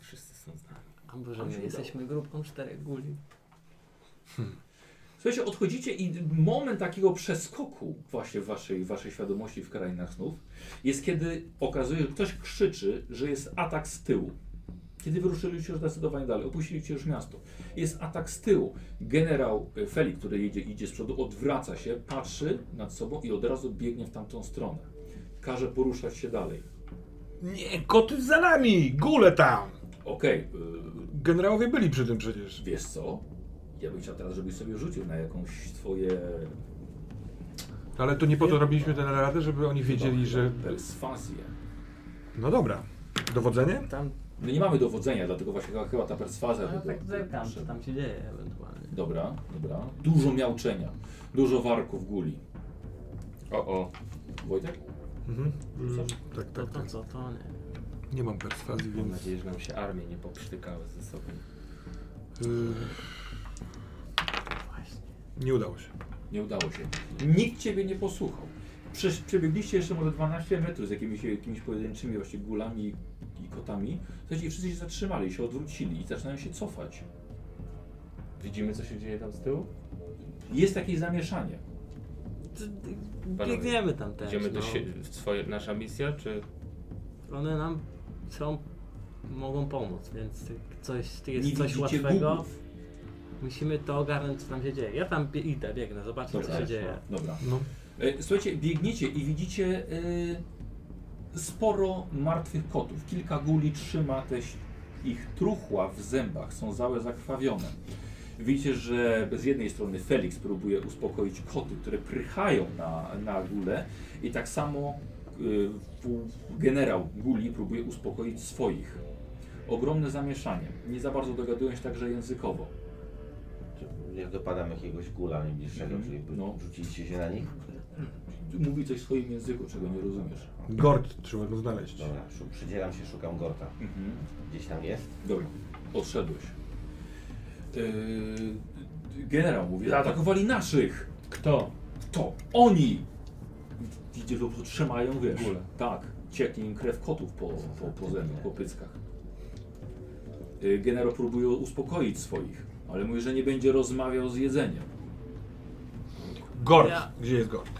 B: Wszyscy są z nami.
E: A Boże,
A: Nam
E: my
A: się
E: jesteśmy grupką czterech guli.
A: Słuchajcie, odchodzicie i moment takiego przeskoku właśnie w waszej, waszej świadomości w krainach snów jest kiedy okazuje się, że ktoś krzyczy, że jest atak z tyłu. Kiedy wyruszyliście już zdecydowanie dalej, opuściliście już miasto. Jest atak z tyłu. Generał e, Felik, który jedzie, idzie z przodu, odwraca się, patrzy nad sobą i od razu biegnie w tamtą stronę. Każe poruszać się dalej.
D: Nie, koty za nami! Gule tam!
A: Okej, y,
D: Generałowie byli przy tym przecież.
A: Wiesz co? Ja bym chciał teraz, żebyś sobie rzucił na jakąś twoje
D: Ale to nie po to robiliśmy tę radę, żeby oni wiedzieli, że...
A: perswazję.
D: No dobra. Dowodzenie?
E: Tam,
A: My No nie mamy dowodzenia, dlatego właśnie chyba- chyba ta perswazja...
E: no,
A: by była-
E: tak zerkam, co tam się dzieje ewentualnie.
A: Dobra, dobra. Dużo miauczenia, dużo warków guli.
B: O, o.
A: Wojtek?
D: Mhm. Mm, tak,
E: To
D: tak,
E: to
D: tak.
E: co, to nie.
D: Nie mam perswazji,
B: Mam
D: więc...
B: nadzieję, że nam się armie nie poprztykały ze sobą.
D: y,
E: Właśnie.
D: nie udało się.
A: Nie udało się. Nikt ciebie nie posłuchał. Przesz- Przebiegliście jeszcze może 12 metrów z jakimiś, jakimiś pojedynczymi właśnie gulami i kotami. Słuchajcie, i wszyscy się zatrzymali, się odwrócili i zaczynają się cofać.
B: Widzimy, co się dzieje tam z tyłu?
A: Jest jakieś zamieszanie.
E: Ty- ty- Biegniemy tam też.
B: Idziemy do
E: no.
B: sie- w swoje, nasza misja, czy...
E: One nam są, mogą pomóc, więc coś, ty
A: nie
E: jest coś
A: widzicie
E: łatwego.
A: bugów.
E: Musimy to ogarnąć, co tam się dzieje. Ja tam bie- idę, biegnę, zobaczę,
A: Dobra.
E: co się dzieje.
A: Dobra.
D: No.
A: E, Słuchajcie, biegniecie i widzicie e, sporo martwych kotów. Kilka guli trzyma też ich truchła w zębach, są całe zakrwawione. Widzicie, że z jednej strony Felix próbuje uspokoić koty, które prychają na, na gulę i tak samo e, w- generał guli próbuje uspokoić swoich. Ogromne zamieszanie. Nie za bardzo dogadują się także językowo.
C: Czy Jak dopadam jakiegoś gula najbliższego,
A: Mhm.
C: czyli by-
A: No.
C: rzuciliście się na nich?
A: Mówi coś w swoim języku, czego nie rozumiesz.
D: Gord trzeba go znaleźć.
C: Dobra, szu- przydzielam się, szukam Gorta.
A: Mhm.
C: Gdzieś tam jest?
A: Dobra, odszedłeś. Yy, generał mówi, zaatakowali naszych!
B: Kto?
A: To oni! Widzisz, że po prostu trzymają, wiesz.
B: Gulę.
A: Tak, cieknie im krew kotów po, po, po zębach, po pyckach. Yy, generał próbuje uspokoić swoich, ale mówi, że nie będzie rozmawiał z jedzeniem.
D: Gord!
E: Ja-
D: Gdzie jest Gord?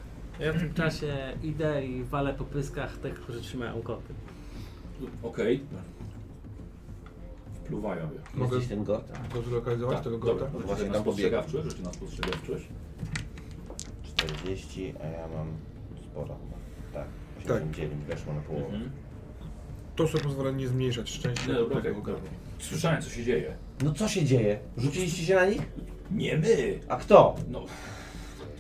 E: Ja w tym czasie idę i walę po pyskach tych, którzy trzymają koty.
A: Okej. Wpluwają je. Tak,
D: Mogę-
C: Jesteś ten Gort?
D: Go zlokalizować, tego
A: dobra,
D: Gorda?
C: No
A: rzućcie
C: właśnie
A: na
C: tam pobiegłem.
A: spostrzegawczość, rzućcie na spostrzegawczość.
C: 40, a ja mam sporo chyba. Tak,
D: Tak.
C: 89 weszło na połowę.
A: Mhm.
D: To sobie pozwala nie zmniejszać szczęścia.
A: Nie, dobra,
D: tego
A: okej,
D: Gorda.
A: Słyszałem, co się dzieje.
C: No co się dzieje? Rzuciliście się na nich?
A: Nie my!
C: A kto?
A: No,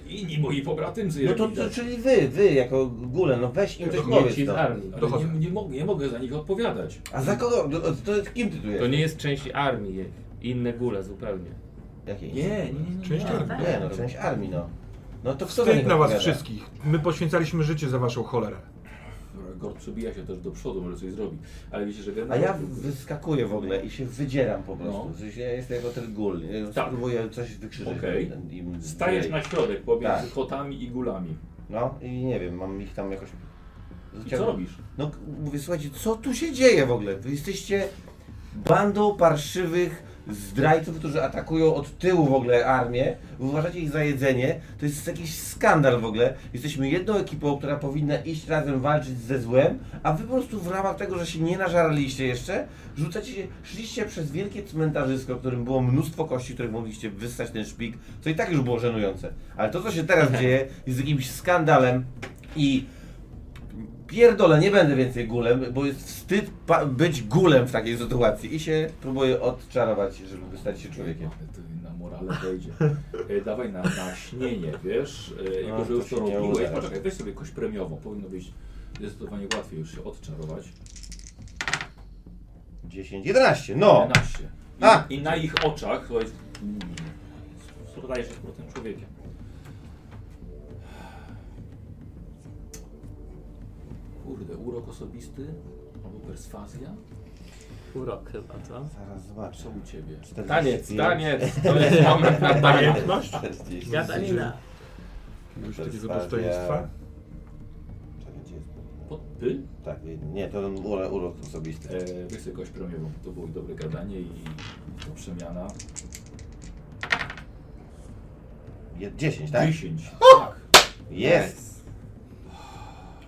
A: inni moi pobratymcy.
C: No
A: jak
C: to, to
A: widać.
C: czyli wy, wy jako gule, no weź im coś
B: To
C: powiedz.
B: ci z
C: No.
B: armii.
A: Ale
D: Dochodzę.
A: nie, nie, mogę, nie mogę za nich odpowiadać.
C: A za kogo? To, to kim ty tu jesteś?
B: To nie jest część armii, jej. inne góle zupełnie.
C: Jakiej?
A: Nie, nie, nie. nie.
D: Część armii.
C: Nie, no część armii, no. No to kto za
D: Wstyd
C: nich
D: na was
C: odpowiada?
D: wszystkich. My poświęcaliśmy życie za waszą cholerę.
A: Dobra, Gord przebija się też do przodu, może coś zrobi. Ale wiecie, że
C: A
A: generał...
C: ja wyskakuję w ogóle i się wydzieram po prostu.
A: No.
C: W sensie Ja jestem jako ten gul. Ja
A: Tak.
C: Spróbuję coś wykrzyczeć.
A: Okej.
C: im- im-
A: Stajesz na środek pomiędzy
C: Tak.
A: kotami i gulami.
C: No i nie wiem, mam ich tam jakoś...
A: I co robisz?
C: No k- mówię, słuchajcie, co tu się dzieje w ogóle? Wy jesteście bandą parszywych zdrajców, którzy atakują od tyłu w ogóle armię. Wy uważacie ich za jedzenie. To jest jakiś skandal w ogóle. Jesteśmy jedną ekipą, która powinna iść razem walczyć ze złem, a wy po prostu w ramach tego, że się nie nażarliście jeszcze, rzucacie się, szliście przez wielkie cmentarzysko, w którym było mnóstwo kości, których mogliście wyssać ten szpik, co i tak już było żenujące. Ale to, co się teraz dzieje, jest jakimś skandalem i Pierdolę, nie będę więcej gulem, bo jest wstyd pa- być gulem w takiej sytuacji i się próbuję odczarować, żeby stać się człowiekiem.
A: Ale to No, na morale wejdzie. E, dawaj na, na śnienie, wiesz? E, jako,
C: No,
A: że już
C: to
A: to
C: się nie
A: robiłeś.
C: uda.
A: Poczekaj, weź sobie kość premiową. Powinno być zdecydowanie łatwiej już się odczarować.
C: 10, 11, no!
A: 11. I,
C: A!
A: I na ich oczach, słuchaj, stajesz się z powrotem człowiekiem. Kurde, urok osobisty albo perswazja?
E: Urok chyba, co?
C: Zaraz zobaczę.
A: Co u ciebie?
C: 45,
B: Taniec, taniec! No. (laughs) To jest moment na taniec.
D: Jedność?
C: 40,
E: Gadanina.
D: Jakiegoś
C: To jest
D: takiego
C: bardziej-
D: dostojeństwa?
C: Czekaj, gdzie jest?
A: Podpy?
C: Tak, nie- nie, to ura- urok osobisty.
A: E, wysokość promiową. To było i dobre gadanie i i to przemiana.
C: Je- 10, tak?
A: 10. Tak.
C: Jest!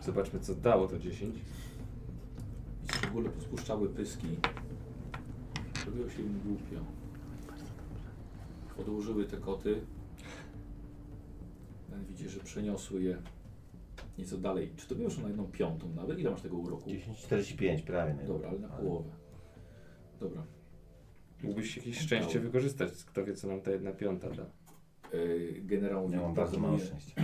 B: Zobaczmy, co dało to 10.
A: I w ogóle spuszczały pyski. Robiło się im głupio. Podłożyły te koty. Ten Widzi, że przeniosły je nieco dalej. Czy to już na jedną piątą nawet? Ile masz tego uroku?
C: 10, 45 prawie. Nie?
A: Dobra, ale na połowę. Dobra.
B: Mógłbyś jakieś szczęście wykorzystać. Kto wie, co nam ta jedna piąta da.
A: Yy, Generał
C: Ja
A: mówi,
C: mam bardzo mało
A: proponuję-
C: szczęścia.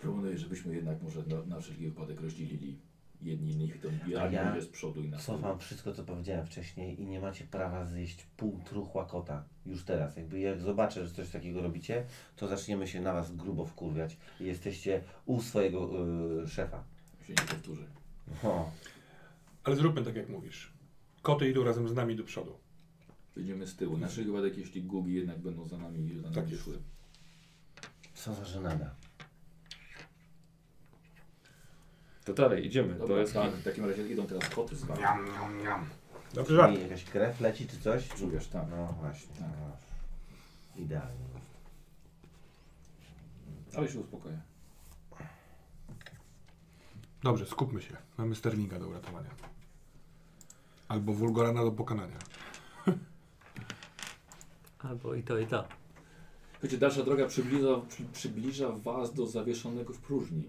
A: Proponuję, żebyśmy jednak może na, na wszelki wypadek rozdzielili jedni innych i to
C: A ja?
A: ja mówię z przodu i na
C: Cofam wszystko, co powiedziałem wcześniej i nie macie prawa zjeść pół truchła kota. Już teraz. Jakby jak zobaczę, że coś takiego robicie, to zaczniemy się na was grubo wkurwiać. I jesteście u swojego y, szefa.
A: się nie powtórzy.
C: O,
D: Ale zróbmy tak, jak mówisz. Koty idą razem z nami do przodu.
A: Będziemy z tyłu. Na wszelki wypadek, jeśli gugi jednak będą za nami za nami
D: Tak jest.
A: szły.
C: co za żenada.
B: To dalej, idziemy.
A: Dobra,
B: to jest
A: tak, w takim razie idą teraz koty z wami.
D: Dobrze, żart.
C: Mi jakaś krew leci czy coś?
A: Czujesz, tak.
C: No właśnie.
A: Tak.
C: no właśnie. Idealnie.
A: Ale się uspokoję.
D: Dobrze, skupmy się. Mamy sterlinga do uratowania. Albo wulgorana do pokonania.
I: Albo i to, i to.
A: Słuchajcie, dalsza droga przybliża, przy, przybliża was do zawieszonego w próżni.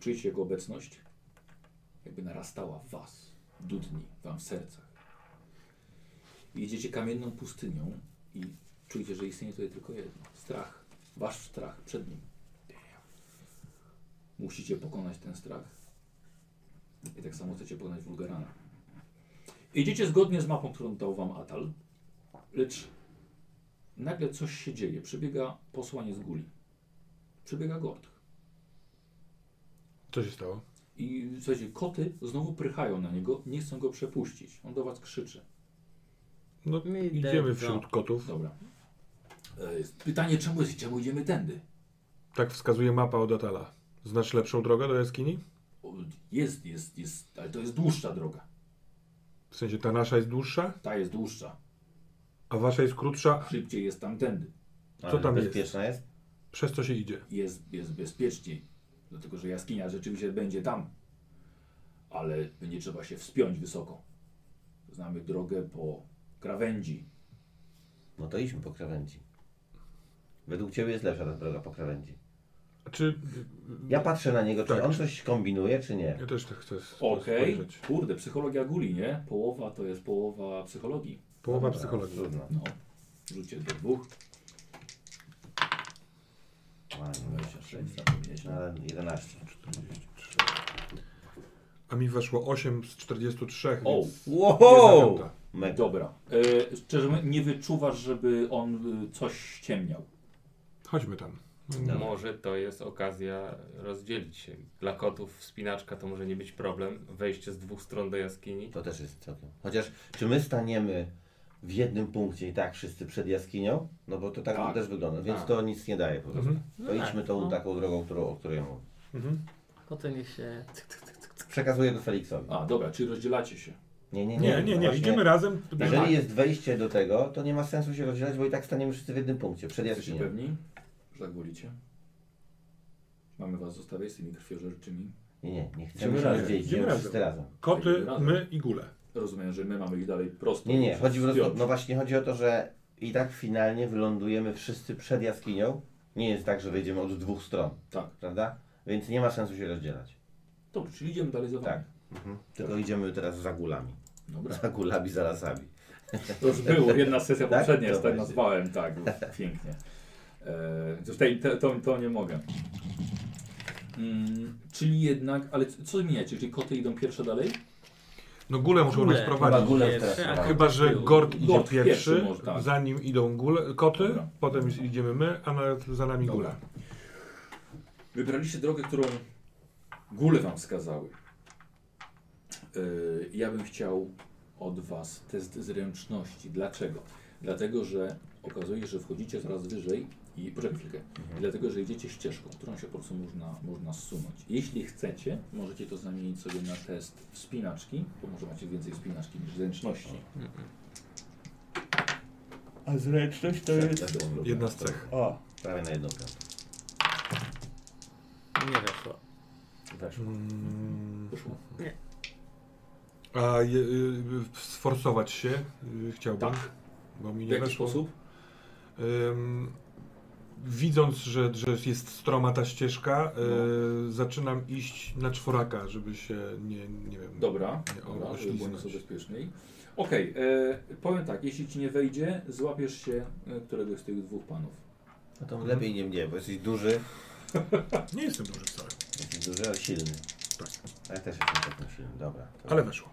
A: Czujecie jego obecność? Jakby narastała w was, dudni wam w sercach. Jedziecie kamienną pustynią i czujecie, że istnieje tutaj tylko jedno. Strach. Wasz strach przed nim. Musicie pokonać ten strach. I tak samo chcecie pokonać Wulgarana. Idziecie zgodnie z mapą, którą dał wam Atal, lecz Nagle coś się dzieje. Przybiega posłaniec Guli. Przybiega Gord.
D: Co się stało?
A: I słuchajcie, koty znowu prychają na niego, nie chcą go przepuścić. On do was krzyczy.
D: No,
I: Mi
D: idziemy
I: depczą.
D: wśród kotów.
A: Dobra. E, jest Pytanie, czemu, jest- czemu idziemy tędy?
D: Tak wskazuje mapa od Atala. Znasz lepszą drogę do jaskini?
A: O, Jest, jest, jest, ale to jest dłuższa droga.
D: W sensie ta nasza jest dłuższa,
A: Ta jest dłuższa.
D: a wasza jest krótsza,
A: Szybciej jest tamtędy.
C: Ale
D: Co tam jest?
C: bezpieczna jest?
D: przez co się idzie.
A: Jest, jest bezpieczniej. Dlatego, że jaskinia rzeczywiście będzie tam. Ale będzie trzeba się wspiąć wysoko. Znamy drogę po krawędzi.
C: No to idźmy po krawędzi. Według ciebie jest lepsza ta droga po krawędzi.
D: Czy
C: Ja patrzę na niego, czy
D: Tak.
C: on coś kombinuje, czy nie.
D: ja też tak chcę s-
A: Okej,
D: spojrzeć.
A: kurde, psychologia guli, nie? Połowa to jest połowa psychologii.
D: Połowa
C: Dobra,
D: psychologii.
C: Trudno.
A: No, rzucie do dwóch,
C: Ładnie.
A: 26, zapomnieliśmy.
C: Ale 11.
D: A mi weszło 8 z 43,
A: O,
D: więc
C: Wow!
D: jedna piąta.
C: Mega.
A: dobra. E, szczerze mówiąc, nie wyczuwasz, żeby on y, coś ciemniał.
D: Chodźmy tam.
B: Może to jest okazja rozdzielić się. Dla kotów wspinaczka to może nie być problem. Wejście z dwóch stron do jaskini.
C: To też jest całkiem. Chociaż czy my staniemy w jednym punkcie i tak wszyscy przed jaskinią? No bo to tak,
A: Tak.
C: też wygląda, więc
B: Tak.
C: to nic nie daje po prostu.
D: Mhm.
C: To idźmy tą taką drogą, którą, o której mówię.
D: Mhm.
I: Potem niech się... Cyk, cyk, cyk, cyk.
C: Przekazuję to Felixowi.
A: A, dobra, czyli rozdzielacie się.
C: Nie, nie, nie.
D: Nie, nie, nie,
C: Właśnie,
D: idziemy razem. Tak.
C: Jeżeli jest wejście do tego, to nie ma sensu się rozdzielać, bo i tak staniemy wszyscy w jednym punkcie, przed
A: Jesteście
C: jaskinią.
A: pewni, że tak wolicie? Mamy was zostawiać z tymi krwiożerczymi.
C: Nie, nie, nie
D: Idziemy
C: chcemy się
D: razem.
C: rozdzielić,
D: Idziemy
C: idziemy
D: razem.
C: wszyscy razem.
D: Koty, my i góle.
A: Rozumiem, że my mamy ich dalej prosto.
C: Nie, nie, chodzi po prostu,
A: Wspiąć.
C: no właśnie chodzi o to, że i tak finalnie wylądujemy wszyscy przed jaskinią. Nie jest tak, że wejdziemy od dwóch stron,
A: Tak,
C: prawda? Więc nie ma sensu się rozdzielać.
A: dobrze, czyli idziemy dalej za wami.
C: Tak. Mhm. Tylko idziemy teraz za gulami.
A: Dobra.
C: Za gulami, za lasami.
A: To już było, jedna sesja
C: Tak?
A: poprzednia,
C: To
A: tak, tak
C: właśnie.
A: nazwałem, tak, było pięknie. E, to, tej, te, to, to nie mogę. Mm, czyli jednak, ale c- co zmieniacie? Czyli koty idą pierwsze dalej?
D: No góle muszą nas
I: Góle.
C: Chyba
D: prowadzić.
C: gulę
I: Pierwszy,
C: teraz.
I: a
C: mam.
D: Chyba, że Gord idzie
A: Gord
D: pierwszy,
A: pierwszy może, tak.
D: za nim idą góle, koty,
A: Dobra.
D: potem już idziemy my, a nawet za nami
A: Dobra.
D: góle.
A: Wybraliście drogę, którą góle wam wskazały. E, ja bym chciał od was test zręczności. Dlaczego? Dlatego, że okazuje, że wchodzicie coraz wyżej i poczekaj chwilkę, dlatego, że idziecie ścieżką, którą się po prostu można, można zsunąć. Jeśli chcecie, możecie to zamienić sobie na test wspinaczki, bo może macie więcej wspinaczki niż zręczności.
J: A zręczność to jest...
C: tak
G: Jedna z cech.
J: O,
C: Prawie na jedną piątą.
E: Nie weszło.
G: Mm,
A: Wyszło.
G: a je, y, sforsować się y, chciałbym.
A: Tak.
G: Bo mi
A: W
G: nie
A: jaki
G: weszło.
A: sposób?
G: Ym, widząc, że, że jest stroma ta ścieżka, y, zaczynam iść na czworaka, żeby się nie, nie wiem.
A: Dobra,
G: Nie, o,
A: dobra, żeby było
G: oślizgnąć.
A: nieco bezpieczniej. Okej, e, powiem tak, jeśli ci nie wejdzie, złapiesz się e, któregoś z tych dwóch panów.
C: No to lepiej nie mnie, bo jesteś duży,
G: Nie jestem duży wcale,
C: jesteś duży, ale silny.
G: Tak.
C: A ja też jestem takim silny, dobra. To...
G: ale weszło.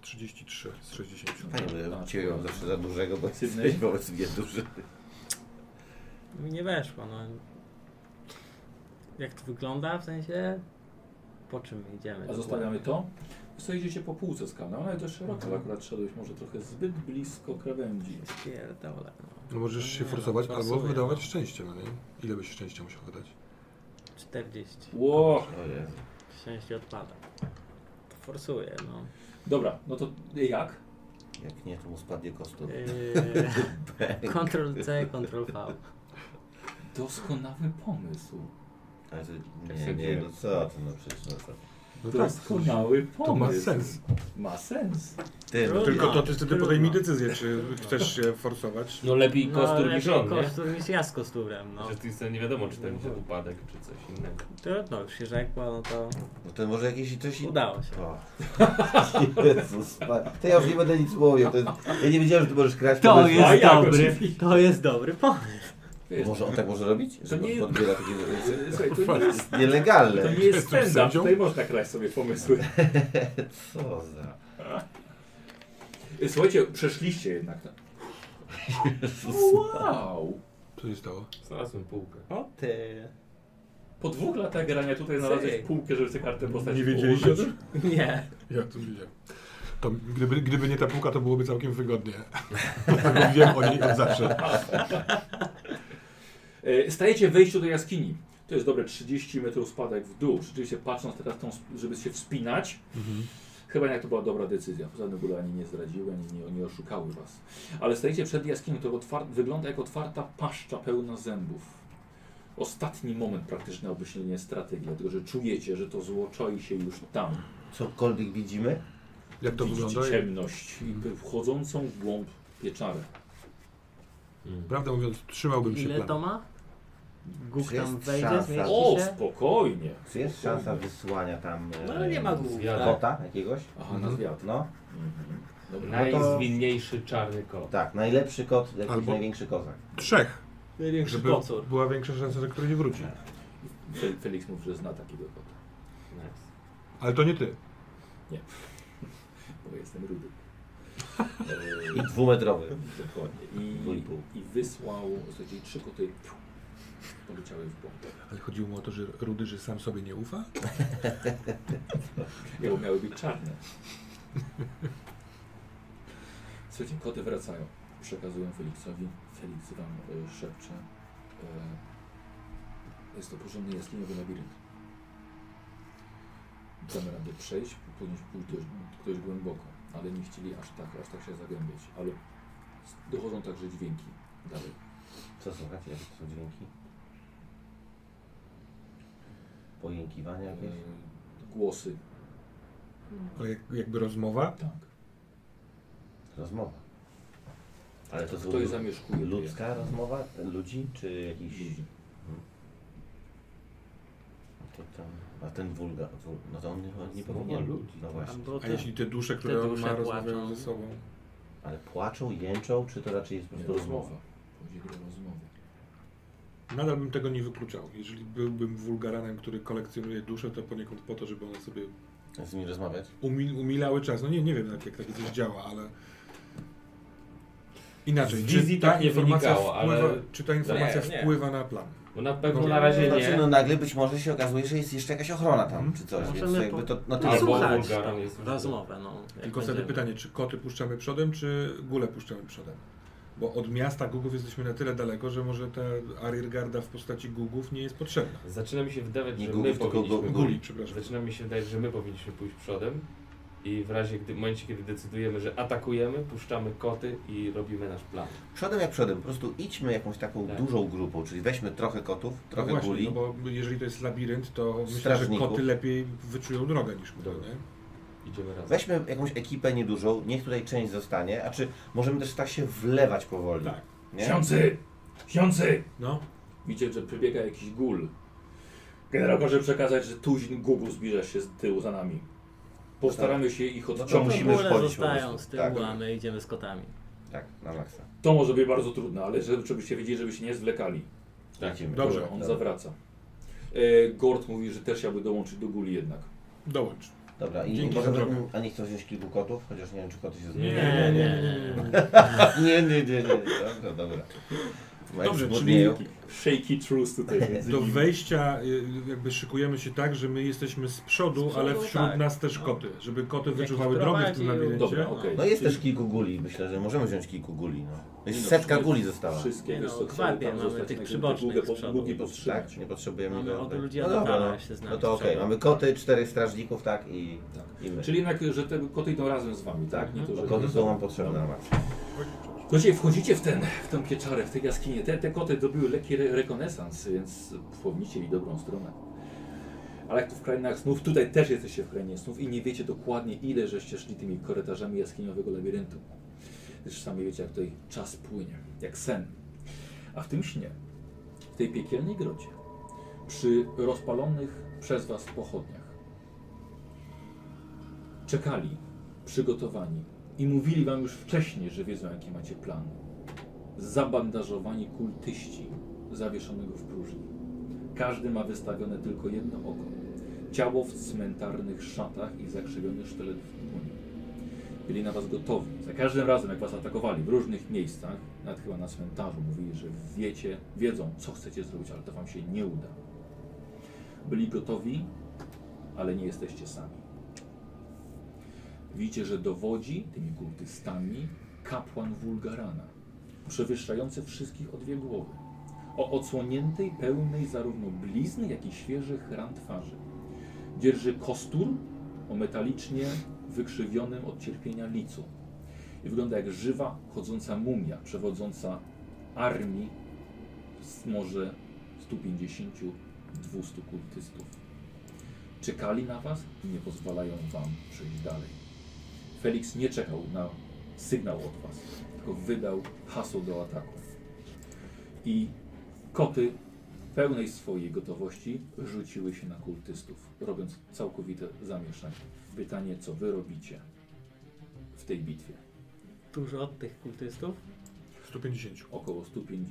G: 33 z 60.
C: Panie, bo ja ciebie mam zawsze za dużego, bo
A: Sydney.
C: jesteś wobec mnie duży.
E: Mi nie weszło, no. Jak to wygląda w sensie? Po czym idziemy?
A: A zostawiamy to. Co idziecie po półce z kanału, ale to szeroko,
G: Mhm.
A: ale akurat szedłeś może trochę zbyt blisko krawędzi.
E: Pierdolę, no.
G: No możesz się
E: Nie,
G: forsować
E: no,
G: albo
E: forsuję,
G: wydawać
E: no.
G: szczęście, no nie? Ile byś szczęścia musiał wydać?
E: 40.
A: Ło!
C: O Jezu.
E: Szczęście odpada. To forsuję, no.
A: Dobra, no to jak?
C: Jak nie, to mu spadnie kostu.
E: Yy, Ctrl C, Ctrl V.
A: Doskonały pomysł.
C: Ale to,
E: Tak
C: nie, nie, no co ty, no przecież no co.
G: No
A: Doskonały pomysł.
G: to ma sens.
A: Ma sens.
C: Ty, no,
G: Tylko to ty wtedy podejmij
E: Trudno.
G: decyzję, czy chcesz się forsować.
B: No lepiej
E: No,
B: kostur niż on,
E: lepiej
B: nie?
E: kostur niż ja z kosturem, no.
B: Że ty sobie nie wiadomo, czy to będzie upadek, czy coś innego.
E: Trudno, już się rzekło, no to
C: no to może jakieś coś... in-
E: udało się.
C: O. (laughs) Jezus, pa- to ja już nie będę nic mówił. To jest... Ja nie wiedziałem, że ty możesz kraść.
E: To
C: bez-
E: jest
A: A jak
E: dobry,
A: oczywiście.
E: to jest dobry pomysł.
C: Może on tak może robić? Że
A: nie-
C: nie... podbiera takie...
A: E, Słuchaj, to nie jest,
C: Nielegalne.
A: to nie jest
G: Jestem
A: stand-up,
G: sędzią.
A: tutaj można kraść sobie pomysły.
C: Co za...
A: E, Słuchajcie, przeszliście jednak. to. Wow!
G: Co się stało?
B: Znalazłem półkę.
E: O ty.
A: Po dwóch latach grania tutaj znalazłeś
E: Ej.
A: półkę, żeby sobie kartę postaci
G: Nie wiedzieliście o
A: położyć.
G: tym?
E: Nie.
G: Ja to wiedziałem. To gdyby, gdyby nie ta półka, to byłoby całkiem wygodnie. (laughs) Dlatego wiem o niej od zawsze.
A: E, Stajecie w wejściu do jaskini. To jest dobre 30 metrów spadek w dół. Rzeczywiście patrząc teraz, tą, sp- żeby się wspinać,
G: Mhm.
A: chyba jednak to była dobra decyzja. Poza tym w ogóle ani nie zdradziły, ani nie, nie oszukały was. Ale stajecie przed jaskinią, to otwar- wygląda jak otwarta paszcza pełna zębów. Ostatni moment praktycznie na obmyślenie strategii, dlatego że czujecie, że to zło czai się już tam.
C: Cokolwiek widzimy?
G: Jak Mhm. to
A: Widzicie
G: wygląda?
A: ciemność i wchodzącą w głąb pieczarę.
G: Prawdę mówiąc, trzymałbym się
E: Ile to
G: planu.
E: ma? Guk
C: Czy jest
E: tam wejdzie,
C: szansa?
E: zmieści
A: O,
E: się?
A: spokojnie!
C: Czy jest szansa wysłania tam... e,
E: No ale nie ma głów,
B: Ja-
E: tak? Mhm.
C: Kota jakiegoś?
A: Aha,
G: Mhm.
A: na zwiat.
C: No,
A: Dobra.
B: Najzwinniejszy czarny kot.
C: tak, najlepszy kot, jakiś
G: Albo-
C: największy kozak.
G: Trzech,
E: Największy
G: żeby
E: kocur.
G: była większa szansa, że któryś wróci.
A: Fe- Felix mówi, że zna takiego kota,
B: Nice.
G: Ale to nie ty.
A: (laughs) bo jestem
G: (laughs)
A: rudy. E,
C: I dwumetrowy.
A: Dokładnie.
C: Dwu i pół.
A: I, I wysłał, słuchajcie, trzy koty piu, poleciały w bok.
G: Ale chodziło mu o to, że Rudy, że sam sobie nie ufa?
A: Bo miały być czarne. Słuchajcie, koty wracają. Przekazują Felixowi. Felix wam e, szepcze. E, jest to porządny jaskiniowy labirynt. Damy radę przejść, powinniśmy pójść dość, dość głęboko, ale nie chcieli aż tak, aż tak się zagłębiać. Ale s- dochodzą także dźwięki dalej.
C: Co słuchacie? Jakie to są dźwięki? Pojękiwania
A: E,
C: jakieś?
A: głosy.
G: Ale jak, jakby rozmowa?
A: Tak.
C: Rozmowa. Ale to są
A: Ktoś
C: lu-
A: zamieszkuje.
C: ludzka rozmowa? Ludzi? Czy jakiś... To tam, a ten wulga, wul, no to on nie, on nie
B: Rozmowa
C: powinien...
B: ludzi.
C: No właśnie.
E: Albo
G: A
E: te,
G: jeśli te dusze, które on
E: dusze
G: ma,
E: płaczą.
G: rozmawiają ze sobą?
C: Ale płaczą, jęczą, czy to raczej jest po
A: Nie,
C: prostu rozmowa?
A: rozmowa. Powiedzieli o rozmowie.
G: Nadal bym tego nie wykluczał. Jeżeli byłbym wulgaranem, który kolekcjonuje dusze, to poniekąd po to, żeby one sobie
C: Z nimi rozmawiać?
G: umil, umilały czas. No nie, nie wiem, jak, jak takie coś działa, ale... Inaczej,
B: Z wizji
G: czy ta
B: tak nie
G: informacja,
B: wynikało,
G: wpływa,
B: ale-
G: czy ta informacja
B: Nie, nie.
G: wpływa na plan?
B: Bo na pewno
G: No,
B: na razie
C: Znaczy,
B: nie.
C: no nagle być może się okazuje, że jest jeszcze jakaś ochrona tam, czy coś, więc to
E: Możemy
C: jakby
E: po-
C: to... No to
E: no,
B: Albo
E: słuchać
B: wulgaran
E: tam
B: jest-
E: rozmowę, no. jak
G: Tylko sobie
E: będziemy.
G: pytanie, czy koty puszczamy przodem, czy gule puszczamy przodem? Bo od miasta Gugów jesteśmy na tyle daleko, że może ta ariergarda w postaci Gugów nie jest potrzebna.
B: Zaczyna mi się wydawać,
C: Nie
B: że my
C: Gugów, tylko
B: powinniśmy...
C: Gugów.
G: Guli, przepraszam.
B: Zaczyna mi się wydawać, że my powinniśmy pójść przodem i w razie, gdy, w momencie, kiedy decydujemy, że atakujemy, puszczamy koty i robimy nasz plan.
C: Przodem jak przodem, po prostu idźmy jakąś taką
B: Tak.
C: dużą grupą, czyli weźmy trochę kotów, trochę
G: no właśnie,
C: guli.
G: No bo jeżeli to jest labirynt, to myślę, że
C: Strażników.
G: koty lepiej wyczują drogę niż my,
B: Dobra.
G: nie?
B: Idziemy razem.
C: Weźmy jakąś ekipę niedużą, niech tutaj część zostanie, a czy możemy też tak się wlewać powoli.
G: Tak.
C: Nie?
A: Ksiądzy! Ksiądzy!
G: No,
A: Widzicie, że przybiega jakiś gul. Generał może przekazać, że tuzin gugu zbliża się z tyłu za nami. Postaramy się ich
C: No to
E: No To
A: odciągnąć.
C: musimy
E: bóle
C: szkolić po
E: zostają
C: prostu.
E: z tyłu,
C: Tak.
E: a my idziemy z kotami.
C: Tak, na maksa.
A: To może być bardzo trudne, ale żeby- żebyście wiedzieli, żeby się nie zwlekali.
B: Tak.
C: Lecimy.
G: Dobrze.
A: On
C: Dobra.
A: zawraca. E, Gord mówi, że też chciałby dołączyć do guli jednak.
G: dołącz.
C: Dobra, i
G: Dzięki za
C: możemy,
G: drogę.
C: a nie chcą wziąć kilku kotów, chociaż nie wiem, czy koty się
B: Nie,
C: zmienią.
B: nie,
C: (laughs) nie, nie, nie, nie. Dobra, dobra.
G: Dobrze,
C: Zmodnieją.
A: Shaky truth tutaj. między
G: Do
A: nimi.
G: wejścia y, jakby szykujemy się tak, że my jesteśmy z przodu,
E: przodu,
G: ale wśród
E: tak.
G: nas też
E: No.
G: koty, żeby koty
E: Jakiś
G: wyczuwały drogę w tym
E: prowadził.
G: labiryncie.
A: Dobra, okej.
C: No jest też kilku guli, myślę, że możemy wziąć kilku guli. No.
A: Nie no,
C: Jest setka
A: wszystkie-
C: guli została.
A: Wszystkie,
E: Nie
A: wiesz
E: no,
A: co, chciały
E: gwardię
A: tam
E: mamy,
A: zostać,
E: tych
A: żeby
E: przybocznych
A: długie po-
E: z przodu.
A: długie
C: Tak,
A: powstrzymać.
C: nie potrzebujemy
E: Mamy
C: go.
E: od
C: tak.
E: ludzi
C: no
E: Adamana,
C: dobra,
E: się
C: no.
E: znamy
C: no to okej,
E: przed-
C: mamy koty, czterech strażników, tak i, i my.
A: Czyli jednak, że te koty idą razem z wami, tak? Nie to,
C: Bo
A: że...
C: koty są nam potrzebne na maksa.
A: Słuchajcie, wchodzicie w, ten, w tę pieczarę, w tę jaskinię. Te, te koty dobiły lekki re rekonesans, więc płownicie i dobrą stronę. Ale jak tu w krainach snów, tutaj też jesteście w krainie snów i nie wiecie dokładnie ile żeście szli tymi korytarzami jaskiniowego labiryntu. Zresztą sami wiecie jak tutaj czas płynie, jak sen. A w tym śnie, w tej piekielnej grocie, przy rozpalonych przez was pochodniach, czekali, przygotowani i mówili wam już wcześniej, że wiedzą jaki macie plan. Zabandażowani kultyści zawieszonego w próżni. Każdy ma wystawione tylko jedno oko. Ciało w cmentarnych szatach i zakrzywiony sztylet w dłoni. Byli na was gotowi. Za każdym razem, jak was atakowali w różnych miejscach, nawet chyba na cmentarzu, mówili, że wiecie, wiedzą, co chcecie zrobić, ale to wam się nie uda. Byli gotowi, ale nie jesteście sami. Widzicie, że dowodzi tymi kultystami kapłan Wulgarana, przewyższający wszystkich o dwie głowy, o odsłoniętej, pełnej zarówno blizny, jak i świeżych ran twarzy. Dzierży kostur o metalicznie wykrzywionym od cierpienia licu i wygląda jak żywa, chodząca mumia, przewodząca armii z może 150-200 kultystów. Czekali na was i nie pozwalają wam przejść dalej. Felix nie czekał na sygnał od was, tylko wydał hasło do ataku. I koty w pełnej swojej gotowości rzuciły się na kultystów, robiąc całkowite zamieszanie. Pytanie, co wy robicie w tej bitwie?
E: Dużo od tych kultystów.
G: 150.
A: Około 150-200.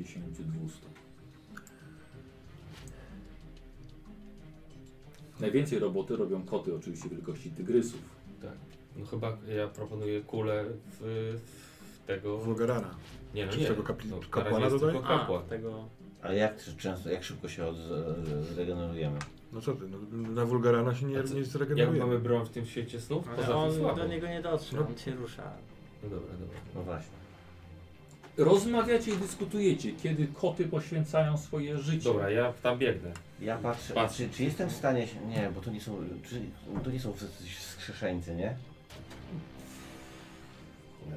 A: Najwięcej roboty robią koty oczywiście wielkości tygrysów.
B: No chyba ja proponuję kulę w, w tego...
G: Wulgarana.
B: Nie, no
G: Czy
B: nie.
G: tego kapli-
B: no, na
G: kapłana
B: razie jest
G: dodaj?
B: tylko
E: A,
B: kapłan.
E: tego...
C: Ale jak często, jak szybko się od, zregenerujemy?
G: No co ty, no, na Wulgarana się nie,
B: A co-
G: nie
B: Jak
G: zregeneruje.
B: mamy broń w tym świecie snów? Poza
E: Ale
B: tym
E: on
B: słabo.
E: do niego nie dotrze,
G: No.
E: on się rusza.
B: No dobra, dobra.
C: No właśnie.
A: Rozmawiacie i dyskutujecie, kiedy koty poświęcają swoje życie.
B: Dobra, ja tam biegnę.
C: Ja patrzę,
B: Patrz.
C: Czy, czy jestem w stanie się, nie, bo to nie są, czy, to nie są jacyś skrzeszeńcy, nie?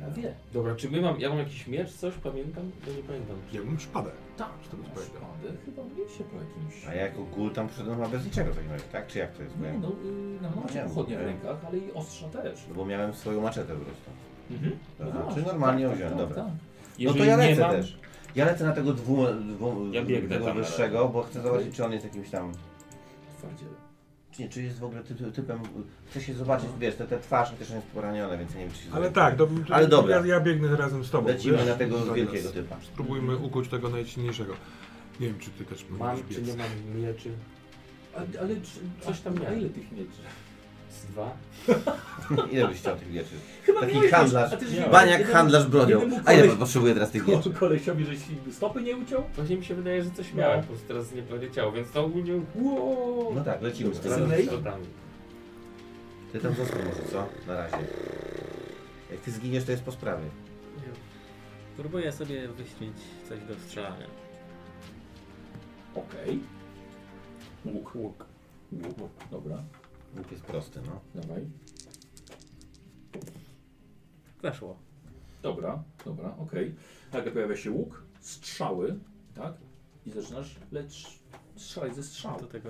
A: No Wie.
B: Dobra, czy my mam... Ja mam jakiś miecz, coś? Pamiętam? Bo nie pamiętam.
G: Ja bym szpadę.
A: Tak,
G: Z tego co pamiętam.
A: szpady chyba mnie się po jakimś.
C: A ja jako gul tam przyszedłem chyba bez niczego takiego, tak? Czy jak to jest? Bo, ja,
A: Nie, no, y, no macie
C: Nie,
A: pochodnie w
C: nie.
A: rękach, ale i ostrza też.
B: no.
C: bo miałem swoją maczetę po prostu.
A: Mhm.
C: Aha,
A: właśnie,
C: czyli normalnie
A: tak,
C: wziąłem,
A: tak,
C: dobra.
A: tak.
C: No to
B: Jeżeli
C: ja
B: nie
C: lecę
B: mam,
C: też. Ja lecę na tego dwu, dwu,
B: Ja biegnę
C: tego
B: tam na Mhm.
C: wyższego, bo chcę zobaczyć czy on jest jakimś tam,
A: Twardziele.
C: czy, nie, czy jest w ogóle typ, typem, chcę się zobaczyć,
B: No.
C: wiesz, te, te twarz też on jest poranione, więc ja nie wiem czy się
G: Ale
C: zobaczy.
G: tak, do,
C: Ale dobra.
G: Ja, ja biegnę razem z tobą.
C: Lecimy
G: wiesz?
C: na tego
G: Zaraz.
C: wielkiego typa.
G: Spróbujmy ukuć tego najsilniejszego. Nie wiem, czy ty też
B: mam
G: możesz
B: czy nie
G: biec.
B: mam mieczy?
A: A- Ale czy- coś tam miał.
B: miałem.
A: Ile tych mieczy?
B: Z dwa?
C: (laughs) Ile byś chciał tych wieczy?
A: Chyba
C: Taki
A: miałeś-
C: handlarz.
A: a ty żeś-
B: Miałem.
C: Baniak,
A: jeden-
C: handlarz bronią.
A: jeden mu
C: A ja
A: koleś-
C: potrzebuję teraz tych wieczy.
A: Jednemu kolesiowi, żeś stopy nie uciął?
B: Właśnie mi się wydaje, że coś
A: No.
B: miałem, po prostu teraz nie poleciało, więc to ogólnie...
A: Wow.
C: No tak, lecimy z tym.
B: Razem
A: Sydney?
B: z szrotami.
C: Ty tam zostań może, co? Na razie. Jak ty zginiesz, to jest po sprawie.
E: Próbuję sobie wyśnić coś do strzelania.
A: Okej. Łuk. Łuk. Łuk. Dobra,
C: Łuk jest prosty, no.
A: dawaj.
E: Weszło.
A: Dobra, dobra, okej. Tak, pojawia się łuk, strzały, tak? I zaczynasz lecz strzelać ze strzału.
E: Do tego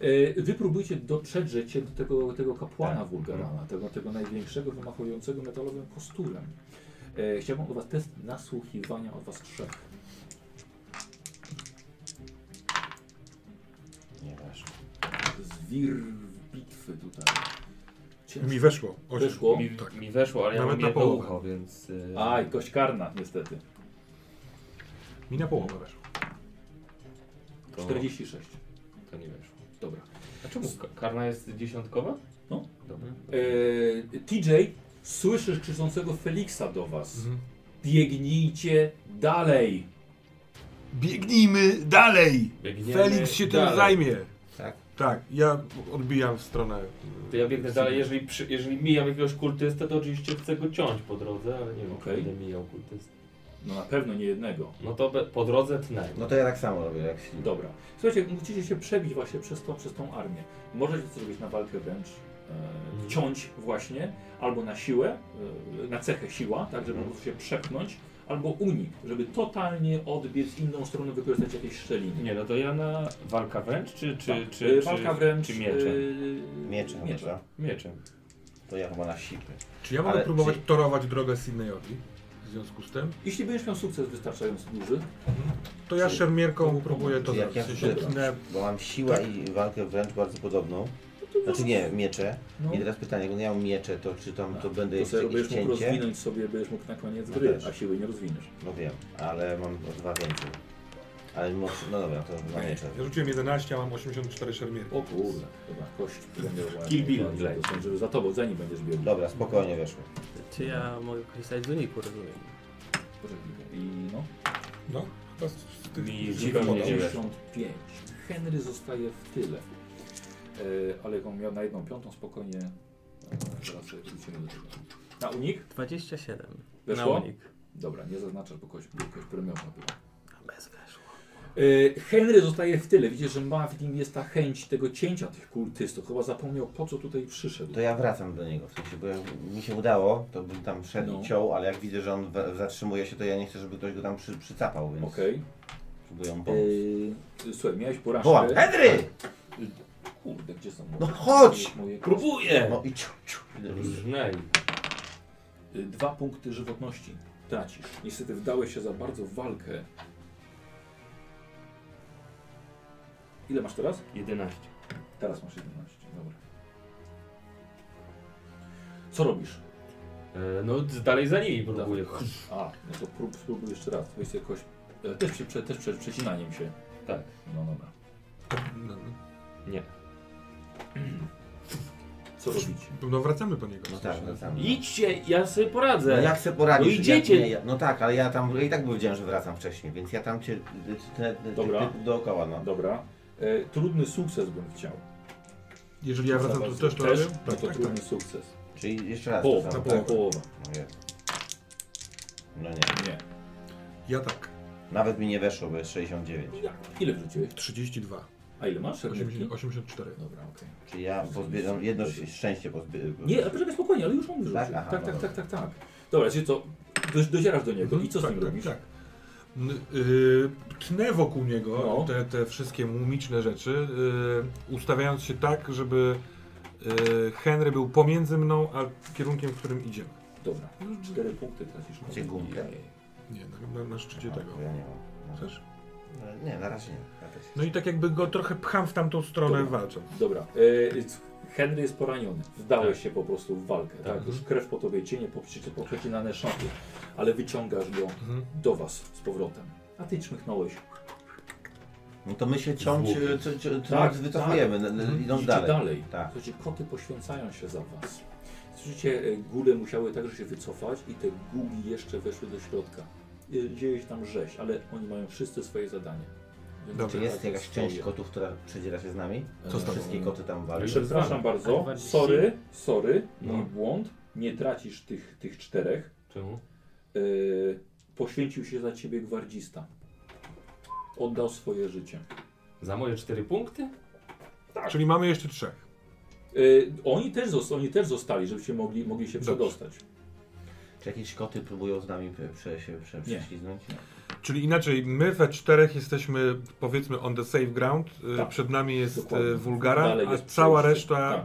A: E, Wy próbujcie dotrzeć cię do tego, tego
E: Tak.
A: kapłana
E: Mhm.
A: wulgarana, tego, tego największego wymachującego metalowym kosturem. E, chciałbym od was test nasłuchiwania od was trzech.
C: Nie wiesz.
A: Zwir bitwy tutaj. Ciężko.
D: Mi weszło. Osiem.
A: Weszło?
B: Mi,
D: Tak.
B: mi weszło, ale ja
D: Nawet
B: mam
D: na
B: jedno
D: połowę.
B: ucho, więc... y,
A: Aj, kość karna niestety.
D: Mi na połowę weszło.
B: to,
A: 46.
B: to nie weszło.
A: Dobra.
B: A czemu ka- karna jest dziesiątkowa?
A: No.
B: Dobra.
A: E, TJ, słyszysz krzyczącego Feliksa do was.
D: Mhm.
A: Biegnijcie dalej.
D: Biegnijmy dalej!
B: Biegniemy
D: Felix się tym
B: dalej.
D: zajmie.
C: Tak?
D: Tak, ja odbijam w stronę.
B: To ja biegnę dalej, jeżeli, przy, jeżeli mijam jakiegoś kultystę, to oczywiście chcę go ciąć po drodze, ale nie wiem,
A: Okej.
B: okay. będę mijał kultystę.
A: No na pewno nie jednego.
B: No to be, po drodze tnę.
C: No to ja tak samo robię, jak ślin.
A: Dobra. Słuchajcie, musicie się przebić właśnie przez tą, przez tą armię. Możecie to zrobić na walkę wręcz,
B: Mhm.
A: e, ciąć właśnie, albo na siłę, e, na cechę siła, tak
B: Mhm.
A: żeby po prostu się przepchnąć, albo unik, żeby totalnie odbiec inną stronę, wykorzystać jakieś szczeliny.
B: Nie, no to ja na walka wręcz, czy, czy,
A: Tak.
B: czy,
A: E,
B: czy,
A: walka wręcz,
B: czy mieczem?
A: e,
C: Miecze, miecze.
B: Mieczem.
C: To ja chyba na sipy.
D: Czy ja mogę
C: Ale
D: próbować
C: czy-
D: torować drogę Sydneyowi? W związku z tym?
A: Jeśli będziesz miał sukces wystarczająco duży,
D: To ja
A: Czy-
D: szermierką próbuję to
C: Czy jak
D: zrobić.
C: ja
D: W sensie
C: wpływam?
D: tnę-
C: Bo mam siłę
D: Tak. No
C: i walkę wręcz bardzo podobną. Znaczy nie, miecze.
A: No.
C: I teraz pytanie, jak ja mam miecze, to czy tam to będę
A: to
C: jeszcze
A: sobie będziesz
C: jakieś
A: mógł
C: cięcie?
A: rozwinąć sobie, będziesz mógł na koniec
C: No
A: gry,
C: też.
A: a siły nie rozwiniesz.
C: No wiem, ale mam o dwa więcej. Ale mimo, no dobra, to dwa miecze.
D: Ja rzuciłem 11, a mam 84 szermierki.
A: O kurde, dobra, kość premierowała.
B: Kill Bill.
A: Żeby za tobą, zanim będziesz biegł.
C: Dobra, spokojnie weszło.
E: Czy ja mogę korzystać z uniku, rozumiem?
A: Poczekaj, I no.
D: No, chyba z z tych...
B: Mi
D: z
B: zupełnie
D: tych-
B: nie weszło.
A: 95. Henry zostaje w tyle. E, ale jak on miał na jedną piątą spokojnie. E, zaraz sobie wrócimy do tego. Na unik?
E: 27.
A: Weszło?
E: Na unik.
A: Dobra, nie zaznaczasz, bo kość, bo kość premiowa była.
E: A bez weszło.
A: E, Henry zostaje w tyle. Widzisz, że ma w nim jest ta chęć tego cięcia tych kultystów. Chyba zapomniał po co tutaj przyszedł.
C: To ja wracam do niego, w sensie, bo jak mi się udało, to bym tam wszedł
A: No.
C: i ciął, ale jak widzę, że on we- zatrzymuje się, to ja nie chcę, żeby ktoś go tam przy, przycapał, więc
A: Okej.
C: próbuję mu
A: E,
C: pomóc.
A: Słuchaj, miałeś porażkę.
C: Wołam, Henry!
A: Kurde, gdzie są moje?
C: No chodź!
A: Moje próbuj!
B: Próbuję!
C: No i ciu, ciu.
B: Różnej.
A: E, Dwa punkty żywotności tracisz. Niestety wdałeś się za bardzo w walkę. Ile masz teraz?
B: 11.
A: Teraz masz 11. Dobra. Co robisz?
B: E, No d- dalej za nimi próbuję.
A: A, no to prób, spróbuj jeszcze raz. Weź sobie jakoś. e, Też, przy, prze, też przed przecinaniem się.
B: Tak.
A: No dobra.
D: No,
B: Nie.
A: Co robicie?
D: no. no wracamy do niego.
C: No tak, wracam.
B: Idźcie, ja sobie
C: No
B: poradzę.
C: jak sobie poradzisz?
B: No idziecie.
C: Jak, nie, ja, no tak, ale ja tam, ja i tak powiedziałem, że wracam wcześniej, więc ja tam cię, ty, ty, ty,
A: Dobra.
C: ty, dookoła, no.
A: Dobra. E, trudny sukces bym chciał.
D: Jeżeli ja wracam, to też to robię?
A: No to trudny sukces.
C: Czyli jeszcze raz
A: Połowa,
C: to
A: tak,
C: samo,
D: połowę.
A: połowa.
C: tak? No, jest. no nie,
A: Nie.
D: Ja tak.
C: nawet mi nie weszło, bo jest 69.
A: Ile wrzuciłeś?
D: 32.
A: A ile masz?
D: 80, 84.
A: Dobra, okej.
C: Czyli ja pozbieram, jedno szczęście pozbieram.
A: Nie, ale poczekaj spokojnie, ale już on wyrzucił.
C: Tak?
A: Tak,
C: Aha,
A: tak, tak,
C: dobra.
A: tak, tak, Dobra, czyli co? Do, docierasz do niego i co z
D: tak,
A: nim
D: tak,
A: robisz?
D: Tak. N- y, tnę wokół niego
A: No.
D: te, te wszystkie mumiczne rzeczy, y, ustawiając się tak, żeby y, Henry był pomiędzy mną, a kierunkiem, w którym idziemy.
A: Dobra. Cztery punkty tracisz.
C: Macie gumkę?
D: Nie, na, na, na szczycie
C: No,
D: tego.
C: to Ja nie mam.
D: Chcesz?
C: No, Nie, na razie nie. Ja też.
D: No i tak jakby go trochę pcham w tamtą stronę
A: Dobra.
D: walczą.
A: Dobra. E, c- Henry jest poraniony.
C: Tak.
A: Wdałeś się po prostu w walkę. Tak. Już krew po tobie cienie, poprzy- poprzecinane szaty. Ale wyciągasz go
D: Mhm.
A: do was z powrotem. A ty czmychnąłeś.
C: No to my się ciąć,
B: Zwłoki.
C: e, co- co- co
A: Tak,
C: tak, wycofujemy, n- n- idąc
A: Idziecie
C: dalej.
A: dalej.
C: Tak.
A: Słuchajcie, koty poświęcają się za was. Słyszycie, e, góle musiały także się wycofać i te gugi jeszcze weszły do środka. E, Dzieje się tam rzeź, ale oni mają wszyscy swoje zadanie. Więc
D: Dobra.
C: Czy
A: czekacie
C: jest jakaś
A: swoje.
C: część kotów, która przedziera się z nami?
D: Co z tobą?
C: Wszystkie koty tam
A: Ale
C: walczą.
A: Przepraszam bardzo,
E: Ale
A: sorry, sorry, mój
B: No.
A: błąd, nie tracisz tych, tych czterech.
B: Czemu?
A: Yy, Poświęcił się za ciebie gwardzista. Oddał swoje życie.
B: Za moje cztery punkty?
G: Czyli mamy jeszcze trzech.
A: Y, oni, też zosta- oni też zostali, żebyście mogli, mogli się przedostać.
C: Czy jakieś koty próbują z nami prze- prze, się prze, No,
A: Nie.
C: prześlizgnąć?
G: Czyli inaczej, my we czterech jesteśmy powiedzmy on the safe ground, y,
A: Tak.
G: przed nami jest
A: Dokładnie.
G: y, Wulgara,
A: Dalej
G: a
A: jest
G: cała
A: przejście.
G: reszta
A: Tak.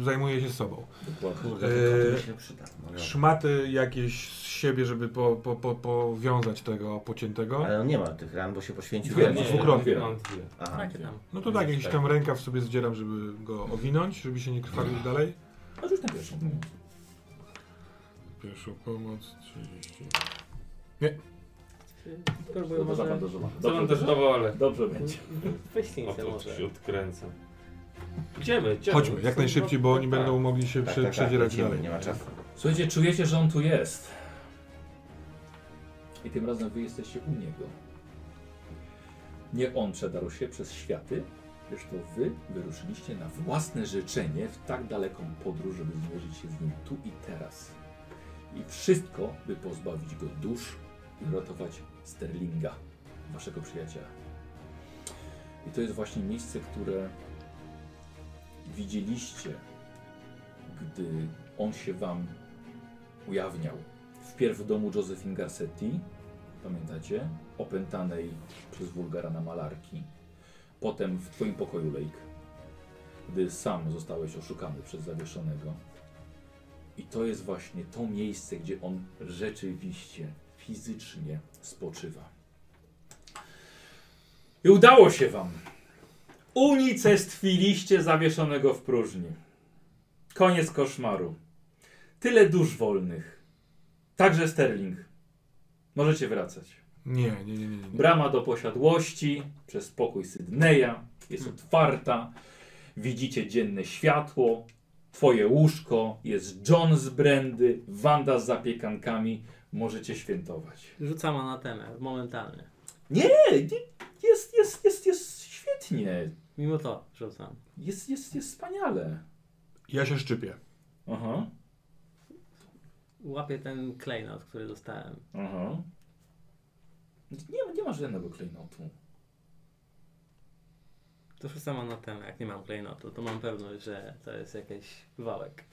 G: y, zajmuje się sobą.
A: Dokładnie.
C: Kurde,
G: Eee,
C: ten kot mi się przyda. No
A: Tak.
C: dobra.
G: Szmaty jakieś z siebie, żeby po, po, po, powiązać tego pociętego.
C: Ale on nie ma tych ran, bo się poświęcił.
A: Dwie,
C: temu.
A: nie.
G: dwukrotnie.
B: Mam dwie.
C: Aha.
E: Takie tam.
G: No to tak, jakiś
B: Tak.
G: tam rękaw sobie zdzieram, żeby go owinąć, żeby się nie krwawił dalej.
A: A rzuć na pierwszą.
G: Pierwszą pomoc, 30.
E: Spróbuj
A: Dobrze,
E: może...
A: zabandażowana.
B: Co mam też
A: Dobrze,
B: nowo, ale...
A: dobrze będzie.
C: No
B: O,
E: Wyślijcie
B: to
E: może.
B: się odkręcam. Idziemy, idziemy.
G: Chodźmy, jak najszybciej, bo oni
B: Tak,
G: będą mogli się
C: Tak,
G: prze,
C: tak, tak,
G: przedzierać
C: lecimy,
G: dalej.
C: nie ma czasu.
A: Słuchajcie, czujecie, że on tu jest. I tym razem wy jesteście u niego. Nie on przedarł się przez światy, lecz to wy wyruszyliście na własne życzenie w tak daleką podróż, żeby zmierzyć się z nim tu i teraz. I wszystko, by pozbawić go dusz i ratować Sterlinga, waszego przyjaciela. I to jest właśnie miejsce, które widzieliście, gdy on się wam ujawniał. Wpierw w domu Josephine Garcetti, pamiętacie? Opętanej przez wulgara na malarki. Potem w twoim pokoju, Lake, gdy sam zostałeś oszukany przez zawieszonego. I to jest właśnie to miejsce, gdzie on rzeczywiście, fizycznie spoczywa. I udało się wam. Unicestwiliście zawieszonego w próżni. Koniec koszmaru. Tyle dusz wolnych. Także Sterling. Możecie wracać.
G: Nie, nie, nie, nie. nie.
A: Brama do posiadłości przez pokój Sydneya jest otwarta. Widzicie dzienne światło. Twoje łóżko. Jest John z brandy. Wanda z zapiekankami. Możecie świętować.
E: Rzucam anatemę, momentalnie.
A: Nie, nie, jest, jest, jest, jest świetnie.
E: Mimo to rzucam.
A: Jest, jest, jest wspaniale.
G: Ja się szczypię.
A: Aha,
E: Łapię ten klejnot, który dostałem.
A: aha. Nie, nie ma żadnego klejnotu.
E: To rzucam anatemę, jak nie mam klejnotu, to mam pewność, że to jest jakiś wałek.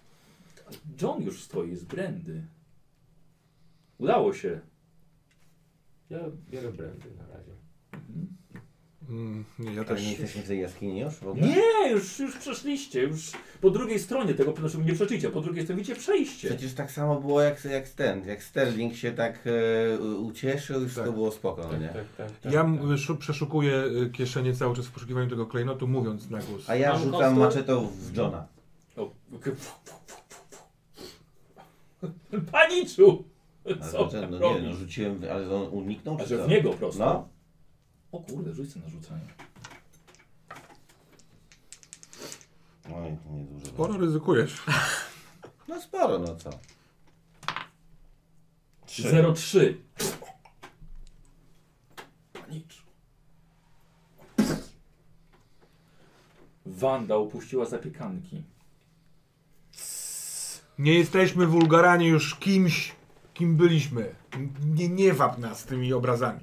A: John już stoi z brandy. Udało się.
B: Ja biorę brandy na razie.
G: Mm, nie,
C: Ale
G: ja
C: nie
G: też.
C: jesteśmy w tej jaskini już w ogóle?
A: Nie, już, już przeszliście, już po drugiej stronie tego, znaczy nie przeszliście, po drugiej stronie widzicie przejście.
C: Przecież tak samo było jak, jak ten, jak Sterling się tak e, u- ucieszył, już to było spoko, no nie?
B: Tak, tak, tak.
G: Ja m- szu- przeszukuję y, kieszenie cały czas w poszukiwaniu tego klejnotu, mówiąc na głos.
C: A ja
E: Mam
C: rzucam
E: kostkę?
C: maczetą w Johna.
A: O, k- Paniczu!
C: Ale
A: Co tak
C: ten, no nie,
A: robisz?
C: no rzuciłem, ale on uniknął
A: A
C: czy
A: że
C: co?
A: w niego prosto?
C: No,
A: O kurde, rzuć sobie na rzucanie.
C: Oj, niedużo.
G: Sporo ryzykujesz.
C: No sporo, no co?
A: 03. Paniczu. Wanda upuściła zapiekanki.
G: Nie jesteśmy wulgarani już kimś, kim byliśmy. Nie, nie wap nas tymi obrazami.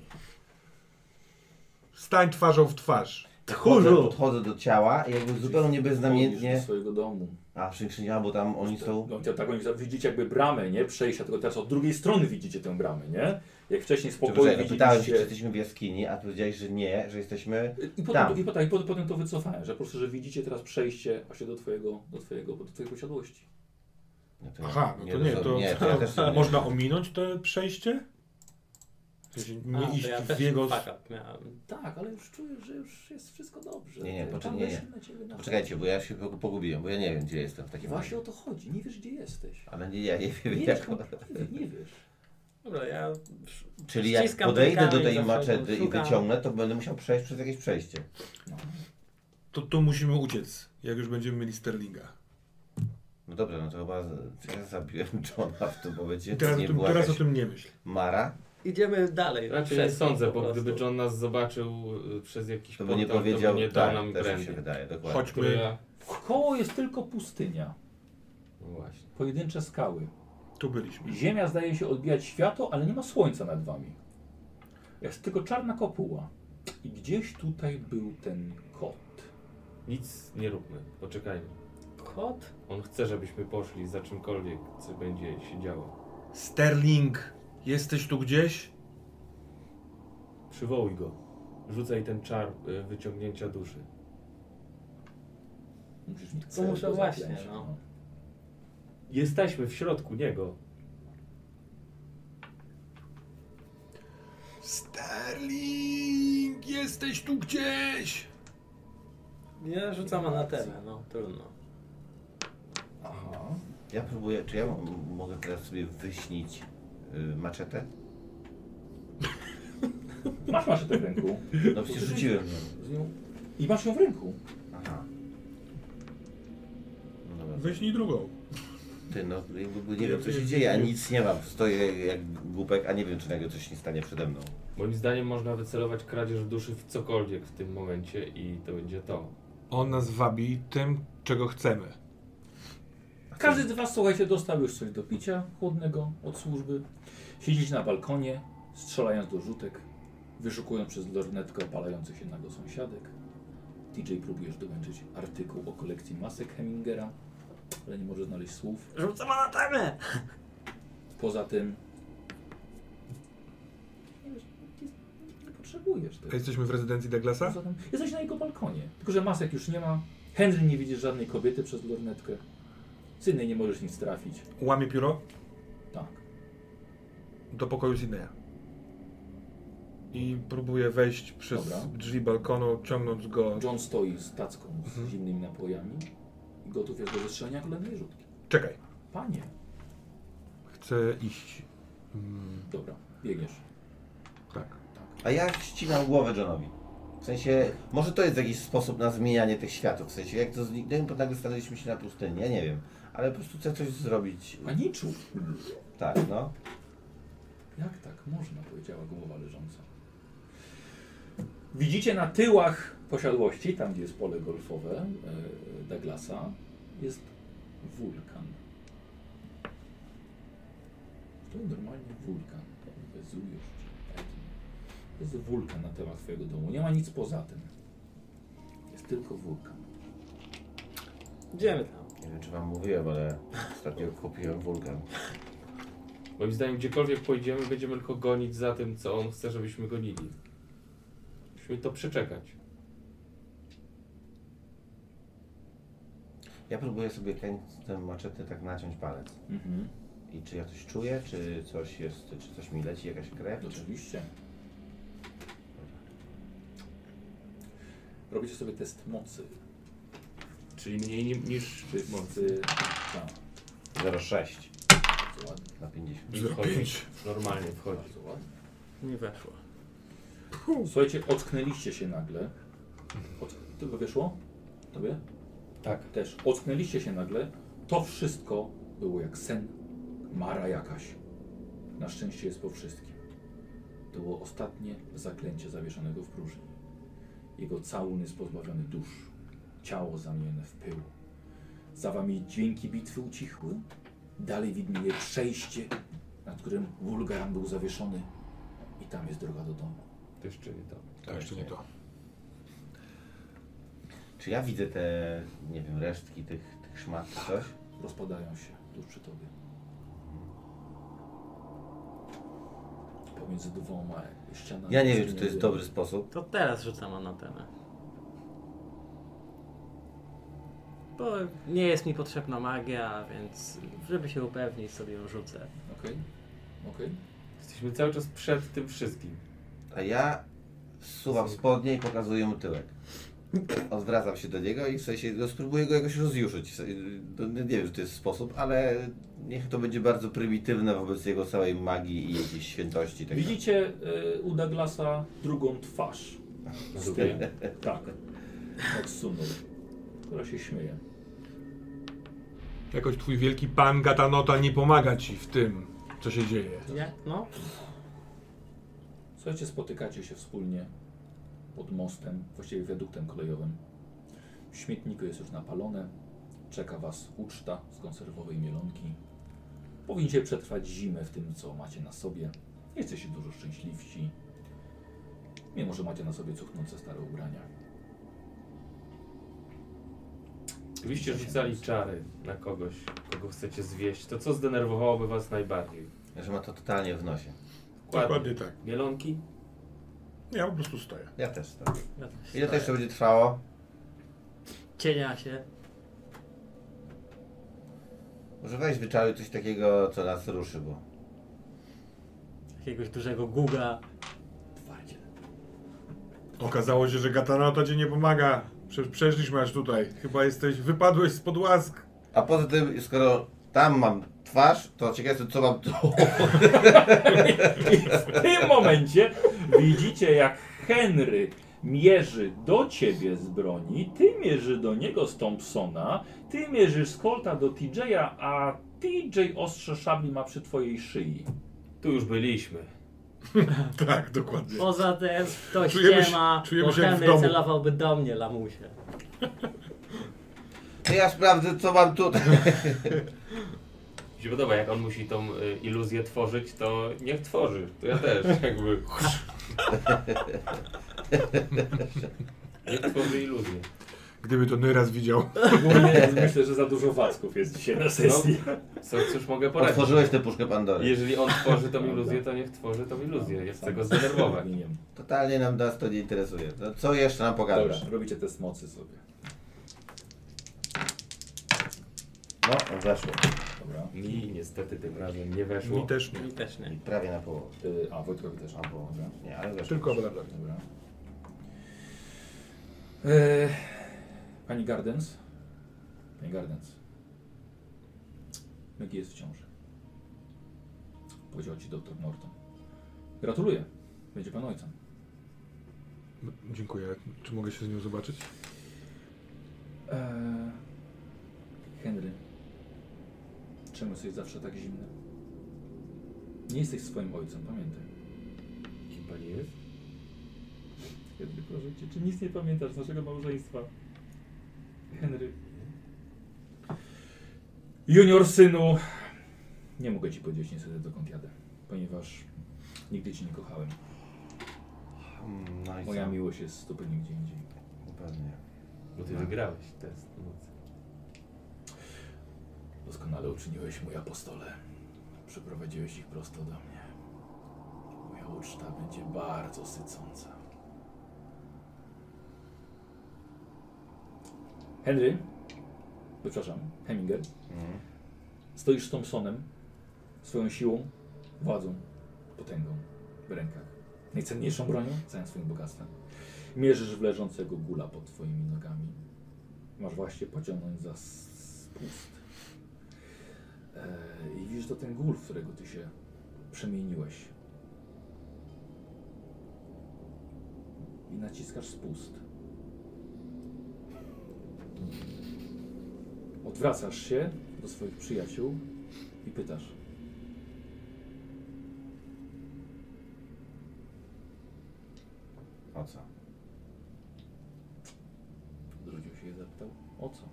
G: Stań twarzą w twarz.
C: Podchodzę, podchodzę do ciała i jakby zupełnie
A: Wchodzisz
C: beznamiętnie...
A: do swojego domu.
C: A, przykrzynia, bo tam oni są...
A: No, tak oni widzicie jakby bramę, nie? Przejścia, tylko teraz od drugiej strony widzicie tę bramę, nie? Jak wcześniej z pokoju
C: Czekaj, no pytałem się, czy
A: widzieliście...
C: jesteśmy w jaskini, a powiedziałeś, że nie, że jesteśmy...
A: I potem,
C: Tam.
A: to, i, potem, i potem- potem to wycofałem, że po prostu, że widzicie teraz przejście właśnie do twojego, do twojego, do twojej posiadłości.
C: No to ja
G: Aha, no to nie,
C: rozum-
G: to,
C: nie, to ja też
D: (laughs)
C: sobie nie-
G: można ominąć to przejście? W sensie Nie
E: A, to
G: iść
E: ja
G: w
E: też
G: jego...
E: fuck up miałem.
A: Tak, ale już czuję, że już jest wszystko dobrze.
C: Nie, nie,
A: Ty-
C: poczekaj,
A: tam
C: nie, nie.
A: weszłem na ciebie na-
C: Poczekajcie, bo ja się po- pogubiłem, bo ja nie wiem, gdzie jestem w takim
A: Właśnie o
C: razie.
A: to chodzi, nie wiesz gdzie jesteś.
C: Ale nie, ja nie wiem
A: Nie,
C: jak...
E: no,
A: wiesz, kompletnie nie wiesz.
E: Dobra, ja
C: Czyli jak
E: ściskam
C: podejdę do
E: rękami,
C: tej
E: zawsze
C: maczety i
E: szukam.
C: wyciągnę, to będę musiał przejść przez jakieś przejście.
G: To tu musimy uciec, jak już będziemy mieli Sterlinga.
C: No dobra, no to chyba z- ja zabiłem Johna w tym momencie.
G: I teraz,
C: nie
G: o tym,
C: była
G: teraz o
C: jakaś
G: tym nie myśl.
C: Mara,
E: idziemy dalej.
B: Raczej nie
E: Przez-
B: sądzę,
E: po
B: bo
E: prostu.
B: gdyby John nas zobaczył y, przez jakiś
C: to by No nie
B: portal,
C: powiedział,
B: to by nie dał
C: tak,
B: nam
C: też mi się
B: brandy.
C: wydaje, dokładnie.
B: Które
G: Chodźmy.
B: ja...
A: Wkoło jest tylko pustynia,
B: No Właśnie.
A: pojedyncze skały.
G: Tu byliśmy.
A: Ziemia zdaje się odbijać światło, ale nie ma słońca nad wami. Jest tylko czarna kopuła. I gdzieś tutaj był ten kot.
B: Nic nie róbmy, poczekajmy.
A: Kot?
B: On chce, żebyśmy poszli za czymkolwiek, co będzie się działo.
G: Sterling, jesteś tu gdzieś?
B: Przywołuj go. Rzucaj ten czar y, wyciągnięcia duszy.
A: Musisz mieć
E: No muszę
A: go
E: właśnie,
A: zaklęć,
E: no.
B: Jesteśmy w środku niego.
G: Sterling, jesteś tu gdzieś?
E: Ja rzucam anatemę, no trudno.
A: Aha.
C: Ja próbuję, czy ja m- mogę teraz sobie wyśnić y, maczetę?
A: Masz maszytę w ręku.
E: (laughs)
C: No przecież rzuciłem.
A: Z nią... I masz ją w ręku.
C: Aha. No dobra.
G: Wyśnij drugą.
C: Ty, no jakby nie wiem co się dzieje, a nic nie mam. Stoję jak głupek, a nie wiem czy nagle coś nie stanie przede mną.
B: Moim zdaniem można wycelować kradzież duszy w cokolwiek w tym momencie i to będzie to.
G: On nas wabi tym, czego chcemy.
A: Każdy z was, słuchajcie, dostał już coś do picia chłodnego od służby. Siedzicie na balkonie, strzelając do rzutek, wyszukując przez lornetkę opalających się nago sąsiadek. DJ próbujesz dołączyć artykuł o kolekcji masek Hemingera, ale nie może znaleźć słów.
E: Rzucam anatemę!
A: Poza tym... Nie, wiesz, nie- nie potrzebujesz
G: A
A: tego.
G: jesteśmy w rezydencji Douglasa?
A: Poza tym jesteś na jego balkonie, tylko że masek już nie ma. Henry nie widzisz żadnej kobiety przez lornetkę. Sydney nie możesz nic trafić.
G: Łamie pióro
A: Tak.
G: do pokoju Sydneya. I próbuję wejść przez
A: Dobra.
G: drzwi balkonu, ciągnąc go.
A: John stoi z tacką z zimnymi napojami i gotów jest do wystrzelenia kolejnej rzutki.
G: Czekaj.
A: Panie,
G: Chcę iść. Mm,
A: dobra, biegniesz.
G: tak.
C: A ja ścinam głowę Johnowi. W sensie, może to jest jakiś sposób na zmienianie tych światów. W sensie, jak to zniknęło, bo nagle stanęliśmy się na pustyni, ja nie wiem. Ale po prostu chcę coś zrobić.
A: Paniczu!
C: Tak, no.
A: Jak tak można, powiedziała głowa leżąca. Widzicie na tyłach posiadłości, tam gdzie jest pole golfowe e, Douglasa, jest wulkan. To normalnie wulkan. Wezujusz czy Etna. To jest wulkan na temat twojego domu. Nie ma nic poza tym. Jest tylko wulkan.
E: Idziemy tam.
C: Nie wiem, czy wam mówiłem, ale ostatnio kupiłem wulkan.
B: Moim zdaniem, gdziekolwiek pójdziemy, będziemy tylko gonić za tym, co on chce, żebyśmy gonili. Musimy to przeczekać.
C: Ja próbuję sobie ten maczety tak naciąć palec.
A: Mhm.
C: I czy ja coś czuję, czy coś jest, czy coś mi leci, jakaś krew? Czy...
A: Oczywiście. Robicie sobie test mocy.
B: Czyli mniej ni- niż
A: Czy mocy. Tak,
C: 0,6
A: bardzo ładnie.
C: na 50.
B: I wchodzi. Normalnie wchodzi.
A: Bardzo ładnie.
E: Nie weszło.
A: Słuchajcie, ocknęliście się nagle. Od... Tylko wyszło? Tobie?
B: Tak.
A: Też. Ocknęliście się nagle. To wszystko było jak sen. Mara jakaś. Na szczęście jest po wszystkim. To było ostatnie zaklęcie zawieszonego w próżni. Jego całun jest pozbawiony dusz. Ciało zamienione w pył. Za wami dźwięki bitwy ucichły. Dalej widnieje przejście, nad którym Wulgaran był zawieszony. I tam jest droga do domu.
B: To jeszcze nie to.
G: To Tak, jeszcze nie to.
C: Czy ja widzę te, nie wiem, resztki tych, tych szmat, czy coś?
A: rozpadają się tuż przy tobie. Pomiędzy dwoma ścianami.
C: Ja nie wiem, czy to jest dobry sposób.
E: To teraz rzucam anatemę. Bo nie jest mi potrzebna magia, więc żeby się upewnić, sobie ją rzucę.
A: Okej, okej.
B: Jesteśmy cały czas przed tym wszystkim.
C: A ja zsuwam spodnie i pokazuję mu tyłek. Odwracam się do niego i w sensie no, spróbuję go jakoś rozjuszyć. W sensie, no, Nie wiem, czy to jest sposób, ale niech to będzie bardzo prymitywne wobec jego całej magii i tak jakiejś świętości. Tego.
A: Widzicie y, u Douglasa drugą
C: (laughs)
A: twarz. Z tyłu. tak. Odsunął. Która się śmieje.
G: Jakoś twój wielki pan Gatanota nie pomaga ci w tym, co się dzieje.
E: Jak? No?
A: Słuchajcie, spotykacie się wspólnie pod mostem, właściwie wiaduktem kolejowym. W śmietniku jest już napalone. Czeka Was uczta z konserwowej mielonki. Powinniście przetrwać zimę w tym, co macie na sobie. Jesteście dużo szczęśliwsi. Mimo, że macie na sobie cuchnące stare ubrania.
B: Gdybyście rzucali czary na kogoś, kogo chcecie zwieść, to co zdenerwowałoby was najbardziej?
C: Że ma to totalnie w nosie.
G: Dokładnie tak.
B: Mielonki?
G: Ja po prostu stoję.
C: Ja też tak.
I: Ja też.
C: Ile to jeszcze będzie trwało?
I: Cienia się.
C: Może weź wyczaruj coś takiego, co nas ruszy, bo...
I: Jakiegoś dużego guga.
G: Okazało się, że Gatanota ci nie pomaga. Prze- Przeszliśmy aż tutaj. Chyba jesteś, wypadłeś spod łask.
C: A poza tym, skoro tam mam twarz, to ciekawe jestem, co mam tu. (laughs)
A: W tym momencie widzicie, jak Henry mierzy do ciebie z broni, ty mierzy do niego z Thompsona, ty mierzysz z Colta do TJ'a, a TJ ostrze szabli ma przy twojej szyi.
B: Tu już byliśmy.
G: Tak, dokładnie.
I: Poza tym to
G: Czujemy się-
I: ściema,
G: czujemy
I: bo
G: się jak w
I: Henry
G: domu.
I: celowałby do mnie, lamusie.
C: To ja sprawdzę, co mam tu.
B: Mi się podoba, jak on musi tą y, iluzję tworzyć, to niech tworzy. To ja też, (laughs) jakby. niech tworzy iluzję.
G: Gdyby to Nyraz widział.
A: Ogólnie myślę, że za dużo wacków jest dzisiaj na sesji.
B: No, Co, cóż mogę poradzić?
C: Otworzyłeś tę puszkę Pandory.
B: Jeżeli on tworzy tą iluzję, to niech tworzy tą iluzję. No, Jest tego zdenerwować.
A: Nie wiem.
C: Totalnie nam nas to nie interesuje. No, co jeszcze nam
A: Dobra,
C: pokażesz?
A: robicie test mocy sobie.
C: No, weszło.
A: Dobra.
B: Mi niestety tym razem nie
G: Mi
B: weszło.
G: też nie.
I: Mi też nie.
C: Prawie na połowę.
A: Y, A, Wojtkowi też.
C: Albo
A: Dobra.
C: Nie, ale weszło.
G: Tylko obradam.
A: Dobra. E, Pani Gardens? Pani Gardens. Maggie jest w ciąży. Powiedział ci doktor Norton. Gratuluję. Będzie pan ojcem.
G: Dziękuję. Czy mogę się z nią zobaczyć?
A: E, Henry. Czemu jesteś zawsze tak zimny? Nie jesteś swoim ojcem, pamiętaj.
B: Kim pani jest?
A: Henry, proszę cię, czy nic nie pamiętasz z naszego małżeństwa? Henry. Junior synu, nie mogę ci powiedzieć niestety dokąd jadę, ponieważ nigdy cię nie kochałem.
C: Mm, No i
A: Moja
C: co?
A: miłość jest zupełnie gdzie indziej.
C: Pewnie.
B: Bo ty wygrałeś test mocy.
A: Doskonale uczyniłeś, mój apostole. Przyprowadziłeś ich prosto do mnie. Moja uczta będzie bardzo sycąca. Henry, przepraszam, Heminger,
C: Mhm.
A: stoisz z Thompsonem, swoją siłą, władzą, potęgą w rękach. Najcenniejszą bronią, całym swoim bogactwem. Mierzysz w leżącego gula pod twoimi nogami. Masz właśnie pociągnąć za s- spust. E, I widzisz to ten gól, w którego ty się przemieniłeś. I naciskasz spust. Odwracasz się do swoich przyjaciół i pytasz.
C: O co?
A: Odwrócił się i zapytał, o co?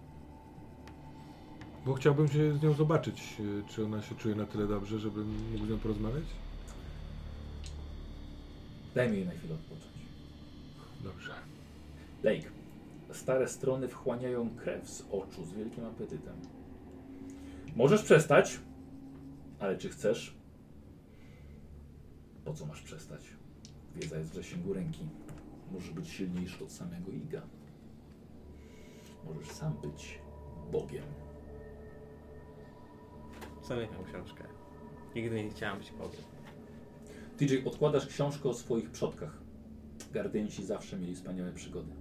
G: Bo chciałbym się z nią zobaczyć, y, czy ona się czuje na tyle dobrze, żebym mógł z nią porozmawiać.
A: Daj mi jej na chwilę odpocząć.
G: Dobrze.
A: Lake. Stare strony wchłaniają krew z oczu z wielkim apetytem. Możesz przestać, ale czy chcesz? Po co masz przestać? Wiedza jest w zasięgu ręki. Możesz być silniejszy od samego Iga. Możesz sam być Bogiem.
I: Zamykam książkę. Nigdy nie chciałam być Bogiem.
A: TJ, odkładasz książkę o swoich przodkach. Gardenci zawsze mieli wspaniałe przygody.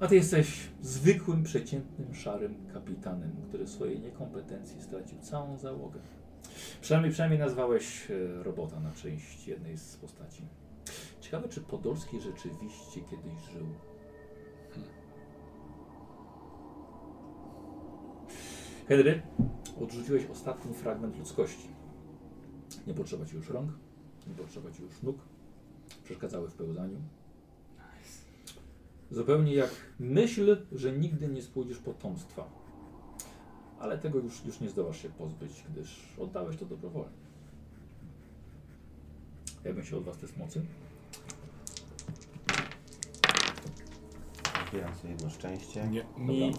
A: A ty jesteś zwykłym, przeciętnym, szarym kapitanem, który w swojej niekompetencji stracił całą załogę. Przynajmniej, przynajmniej nazwałeś e, robota na część jednej z postaci. Ciekawe, czy Podolski rzeczywiście kiedyś żył. Henry, odrzuciłeś ostatni fragment ludzkości. Nie potrzeba ci już rąk, nie potrzeba ci już nóg. Przeszkadzały w pełzaniu. Zupełnie jak myśl, że nigdy nie spłodzisz potomstwa. ale tego już, już nie zdołasz się pozbyć, gdyż oddałeś to dobrowolnie. Jakbym się od was te mocy?
C: Zbieram sobie jedno szczęście.
G: Nie.
B: Mi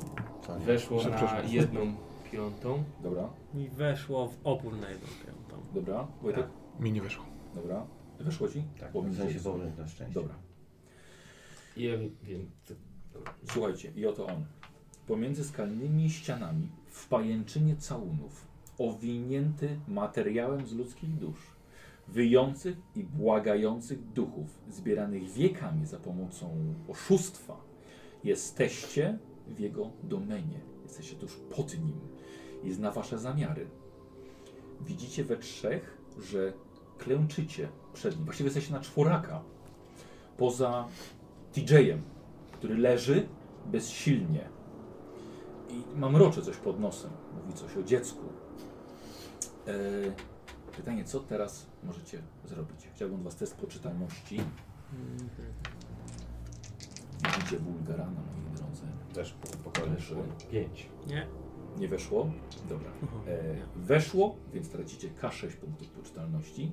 C: To nie.
B: weszło na
G: Przepraszam.
B: jedną piątą.
A: Dobra,
E: Mi weszło w opór na jedną piątą.
A: dobra, Wojtek,
G: Tak. Mi nie weszło.
A: dobra. Weszło ci?
C: Tak,
A: Bo mi
C: w sensie
A: się-
C: wolnych na szczęście.
A: Dobra.
B: I ja wiem, co-
A: Słuchajcie, i oto on. Pomiędzy skalnymi ścianami, w pajęczynie całunów, owinięty materiałem z ludzkich dusz, wyjących i błagających duchów, zbieranych wiekami za pomocą oszustwa, jesteście w jego domenie. Jesteście tuż pod nim i zna wasze zamiary. Widzicie we trzech, że klęczycie przed nim. Właściwie jesteście na czworaka. Poza TJ-em, który leży bezsilnie. I mam rocze coś pod nosem. Mówi coś o dziecku. E, pytanie, co teraz możecie zrobić? Chciałbym od was test poczytalności. Widzicie wulgarana, moi drodzy.
C: Też po- pokoju.
A: Leży.
B: pięć.
E: Nie?
A: Nie weszło? Dobra. E, weszło, więc tracicie K6 punktów poczytalności.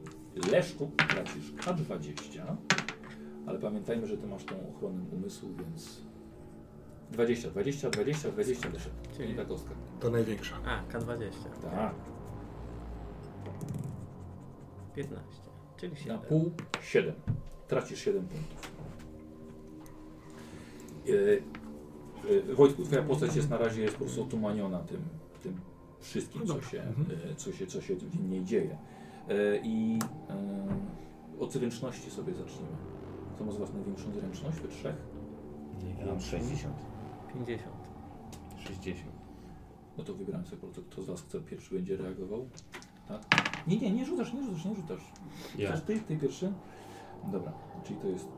A: Leszku tracisz K20, ale pamiętajmy, że ty masz tą ochronę umysłu, więc 20, 20, 20, 20 wyszedł. Czyli
E: Czyli-
A: ta kostka.
G: To największa.
E: A, K20.
A: Tak,
E: 15. Czyli
A: na
E: 7.
A: pół 7. Tracisz 7 punktów. E, e, Wojtku, twoja postać jest na razie jest po prostu otumaniona tym, tym wszystkim,
G: No
A: co
G: dobra.
A: się,
G: Mhm.
A: e, co, się, co się w niej dzieje. E, I e, od zręczności sobie zacznijmy. Kto ma z was największą zręczność? We trzech?
C: Ja mam 60.
E: 50.
B: 60.
A: No to wybieram sobie po prostu, kto z was chce pierwszy będzie reagował. Tak? Nie, nie, nie rzucasz, nie rzucasz, nie rzucasz.
B: Ja.
A: Chcesz ty, ty pierwszy? Dobra, czyli to jest...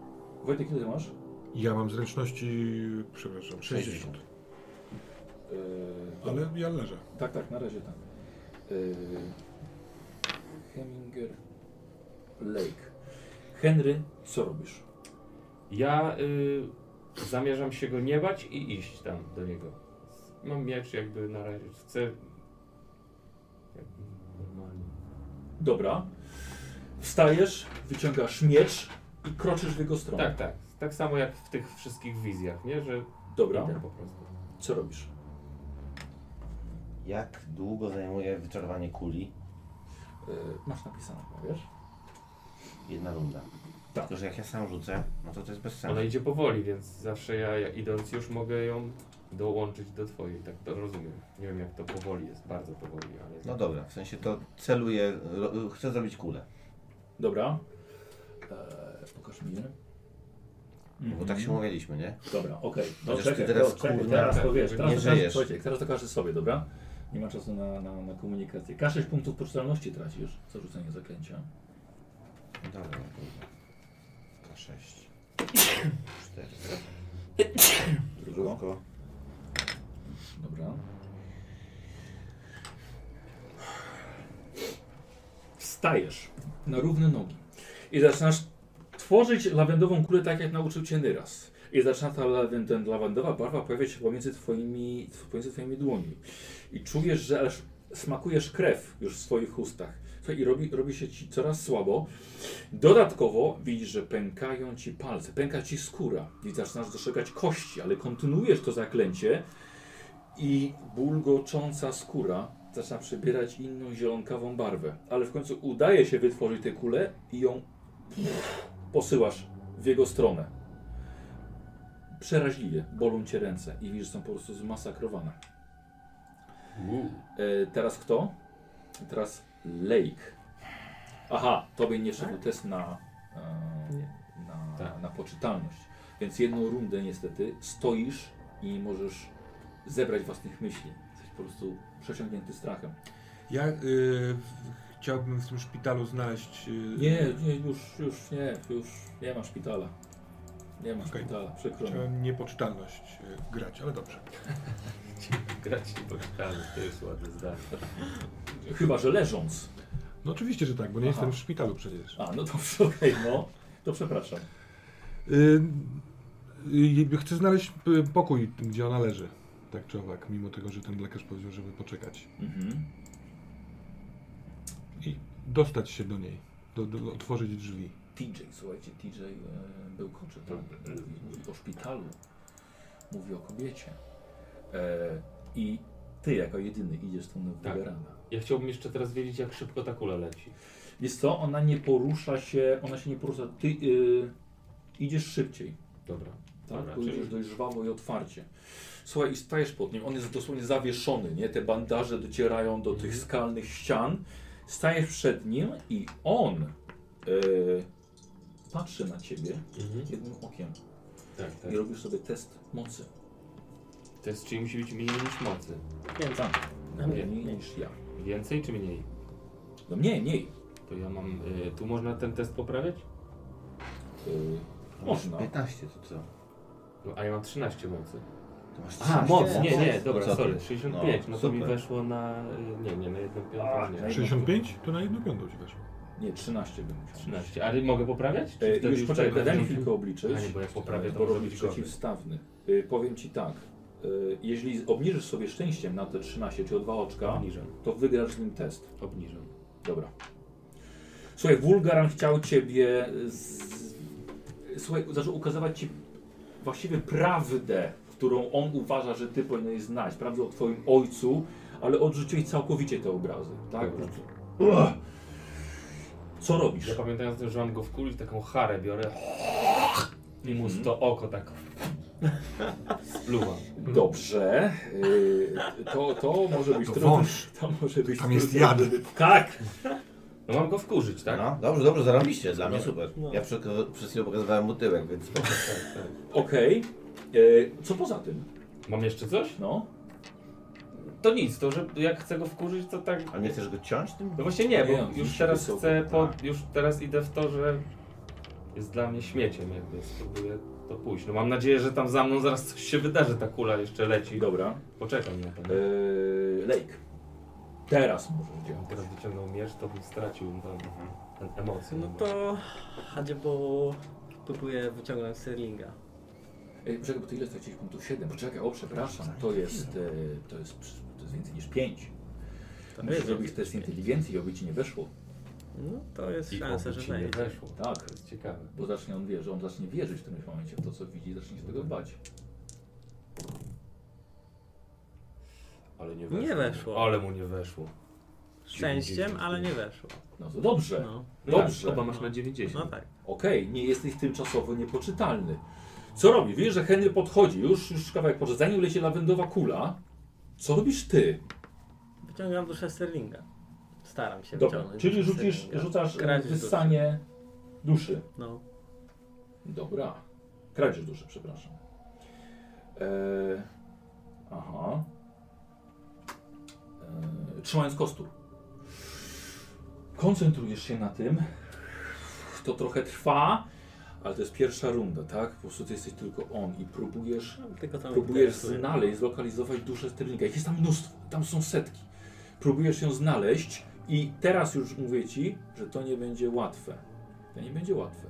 A: Wojtek, ile ty masz?
G: Ja mam zręczności, przepraszam, 60.
A: E,
G: Ale ja leżę.
A: Tak, tak, na razie tak. Yy, Heminger Lake. Henry, co robisz?
B: Ja y, zamierzam się go nie bać i iść tam do niego. Mam miecz jakby na razie. Chcę. Jakby normalnie.
A: Dobra. Wstajesz, wyciągasz miecz i kroczysz w jego stronę.
B: Tak, tak. Tak samo jak w tych wszystkich wizjach, nie? Że
A: Dobra.
B: idę po prostu.
A: Co robisz?
C: Jak długo zajmuje wyczarowanie kuli?
A: Yy, masz napisane, wiesz?
C: Jedna runda.
A: Tak.
C: Tylko, że jak ja sam rzucę, no to to jest bez sensu.
B: Ona idzie powoli, więc zawsze ja, ja idąc już mogę ją dołączyć do twojej. Tak to rozumiem. Nie wiem jak to powoli jest, bardzo powoli, ale.
C: No dobra, w sensie to celuję, ro, chcę zrobić kulę.
A: Dobra. Eee, pokaż mi.
C: Bo tak
A: Mhm.
C: się umawialiśmy, nie?
A: Dobra, okej. No
C: Chociaż
A: czekaj,
C: ty teraz,
A: to, czekaj,
C: kurna,
A: teraz to wiesz,
B: nie
A: teraz, to
C: żyjesz.
A: każdy, Wojciek, teraz to każdy sobie, dobra? Nie ma czasu na, na, na komunikację. K6 punktów poczytalności tracisz za rzucenie zaklęcia.
C: No Dobra, dobra.
A: (coughs)
C: K6. 4.
A: Dużo. Dobra. Wstajesz na równe nogi i zaczynasz tworzyć lawendową kulę tak, jak nauczył cię Nyras. I zaczyna ta lawen- ten lawendowa barwa pojawiać się pomiędzy twoimi, pomiędzy twoimi dłońmi. I czujesz, że aż smakujesz krew już w swoich ustach. Słuchaj, I robi, robi się ci coraz słabo. Dodatkowo widzisz, że pękają ci palce, pęka ci skóra i zaczynasz dostrzegać kości, ale kontynuujesz to zaklęcie i bulgocząca skóra zaczyna przybierać inną zielonkawą barwę. Ale w końcu udaje się wytworzyć tę kulę i ją posyłasz w jego stronę. Przeraźliwie bolą cię ręce i widzisz, że są po prostu zmasakrowane. E, teraz kto? Teraz Lake. Aha, tobie nie szedł test na,
E: Nie.
A: e, na,
B: Tak.
A: na poczytalność. Więc jedną rundę niestety stoisz i nie możesz zebrać własnych myśli. Jesteś po prostu przesiągnięty strachem.
G: Ja y, chciałbym w tym szpitalu znaleźć. Y,
A: Nie, nie, już, już nie, już nie ma szpitala. Nie ma
G: Okej.
A: szpitala, przykro mi.
G: Chciałem niepoczytalność y, grać, ale dobrze.
B: Grać nie poczytamy, to jest ładne zdanie.
A: Chyba, że leżąc.
G: No oczywiście, że tak, bo nie
A: Aha.
G: jestem w szpitalu przecież.
A: A, no dobrze, (laughs) okej, no. To przepraszam.
G: Y, y, chcę znaleźć y, pokój, gdzie ona leży. Tak czy owak, mimo tego, że ten lekarz powiedział, żeby poczekać.
A: Mhm.
G: I dostać się do niej, do, do, otworzyć drzwi.
A: TJ, słuchajcie, TJ e, był koczytem. Mówi, mówi o szpitalu. Mówi o kobiecie. E, I ty jako jedyny idziesz tą
B: Tak.
A: wygarana.
B: Ja chciałbym jeszcze teraz wiedzieć, jak szybko ta kula leci.
A: Jest co? Ona nie porusza się, ona się nie porusza. Ty y, idziesz szybciej.
B: Dobra.
A: Tak,
B: Dobra,
A: bo
B: czyli-
A: idziesz dość żwawo i otwarcie. Słuchaj, i stajesz pod nim. On jest dosłownie zawieszony, nie? Te bandaże docierają do
B: Mhm.
A: tych skalnych ścian. Stajesz przed nim i on e, patrzy na ciebie
B: Mhm.
A: jednym okiem.
B: Tak, tak.
A: I robisz sobie test mocy.
B: To jest, czyli musi być mniej niż mocy.
A: Tak.
B: Na mnie.
A: Mniej niż ja.
B: Więcej czy mniej?
A: No mniej, mniej.
B: To ja mam. Y, tu można ten test poprawiać?
A: Y, można.
C: 15 to co?
B: No, a ja mam 13 mocy.
C: To masz
B: A,
C: 13?
B: moc, nie, nie,
C: No
B: dobra,
C: co ty?
B: sorry. 65, no, to mi
C: super.
B: weszło na. y, Nie, nie, na jedną piątą. Nie.
G: 65? To na jedną piątą ci weszło.
A: Nie, 13 bym musiał.
B: 13. Ale mogę poprawiać?
A: E,
B: wtedy
A: już poczekaj,
B: tak
A: daj mi
B: będzie?
A: chwilkę obliczyć.
B: A nie, bo jak poprawię, to
A: bo
B: może
A: robisz
B: być gorzej.
A: przeciwstawny. Y, powiem ci tak. Y, jeśli obniżysz sobie szczęściem na te 13 czy o dwa oczka,
B: Obniżam,
A: to wygrasz z nim test.
B: obniżam.
A: Dobra. Słuchaj, Wulgaran chciał ciebie. Z... Słuchaj, zaczął ukazywać ci właściwie prawdę, którą on uważa, że ty powinieneś znać. Prawdę o twoim ojcu, ale odrzuciłeś całkowicie te obrazy. Tak?
B: Dobra.
A: Uch. Co robisz?
B: Ja pamiętając, że mam go w kuli, taką harę biorę i mu
A: Mhm.
B: to oko tak spluwam.
A: Dobrze. y, To, to może być
G: To
A: trudne.
G: wąż.
A: To może być
G: Tam jest
A: trudne.
G: jad.
A: Tak!
B: No mam go wkurzyć, tak? No.
C: No, dobrze, dobrze, zarobiście, dla mnie super. Ja przed, przed chwilą pokazywałem mu tyłek, więc spoko.
A: Okej. Y, Co poza tym?
B: Mam jeszcze coś?
A: No.
B: To nic, to że jak chcę go wkurzyć, to tak...
C: A nie chcesz go ciąć tym?
B: No właśnie nie,
A: Nie,
B: bo
A: on
B: już
A: musi
B: teraz
A: wysoko.
B: chcę, po, już teraz idę w to, że jest dla mnie śmieciem jakby, spróbuję to pójść. No mam nadzieję, że tam za mną zaraz coś się wydarzy, ta kula jeszcze leci.
A: Dobra.
B: Poczekam na to. nie?
A: Y, Lake. Teraz możesz
B: Gdybym
A: działać.
B: teraz wyciągnął miecz, to bym stracił tam ten emocje.
E: No to Hadziebo próbuje wyciągnąć Serlinga.
A: Ej, Poczekaj, Y, bo to ile straciłeś punktów? 7. Poczekaj, o przepraszam. To jest, y, to jest, przy- to jest więcej niż 5.
E: To
A: Musisz
E: jest-
A: zrobić test inteligencji i oby ci nie weszło.
E: No to jest
B: I
E: szansa,
B: obu
E: że
B: ci nie
E: wejdzie.
B: weszło.
A: Tak.
B: To jest ciekawe.
A: Bo zacznie on wie, że on zacznie wierzyć w tym momencie w to, co widzi, zacznie się tego dbać.
B: Ale nie
E: weszło. Nie weszło.
B: Ale mu nie weszło.
E: Szczęściem, ale nie weszło.
A: No to dobrze.
E: No,
A: Dobrze.
B: Dobrze. Chyba masz na 90.
E: no tak.
A: Okej, nie jesteś tymczasowo niepoczytalny. Co robi? Wiesz, że Henry podchodzi, już, już kawałek poszedł, zanim leci lawendowa kula. Co robisz ty?
E: Wyciągam duszę Sterlinga. Staram się
A: Dobra,
E: wyciągnąć
A: czyli
E: duszę
A: rzucisz,
E: Sterlinga.
A: rzucasz e,
E: Kradzież
A: wyssanie duszy.
E: duszy. No.
A: Dobra. Kradzież duszy, przepraszam. Eee, aha. Eee, trzymając kostur. Koncentrujesz się na tym. To trochę trwa, ale to jest pierwsza runda, tak? Po prostu ty jesteś tylko on i próbujesz
E: Tylko to mnie
A: Próbujesz
E: interesuje.
A: znaleźć, zlokalizować duszę sterlinga. Ich jest tam mnóstwo, tam są setki. Próbujesz ją znaleźć i teraz już mówię ci, że to nie będzie łatwe. To nie będzie łatwe.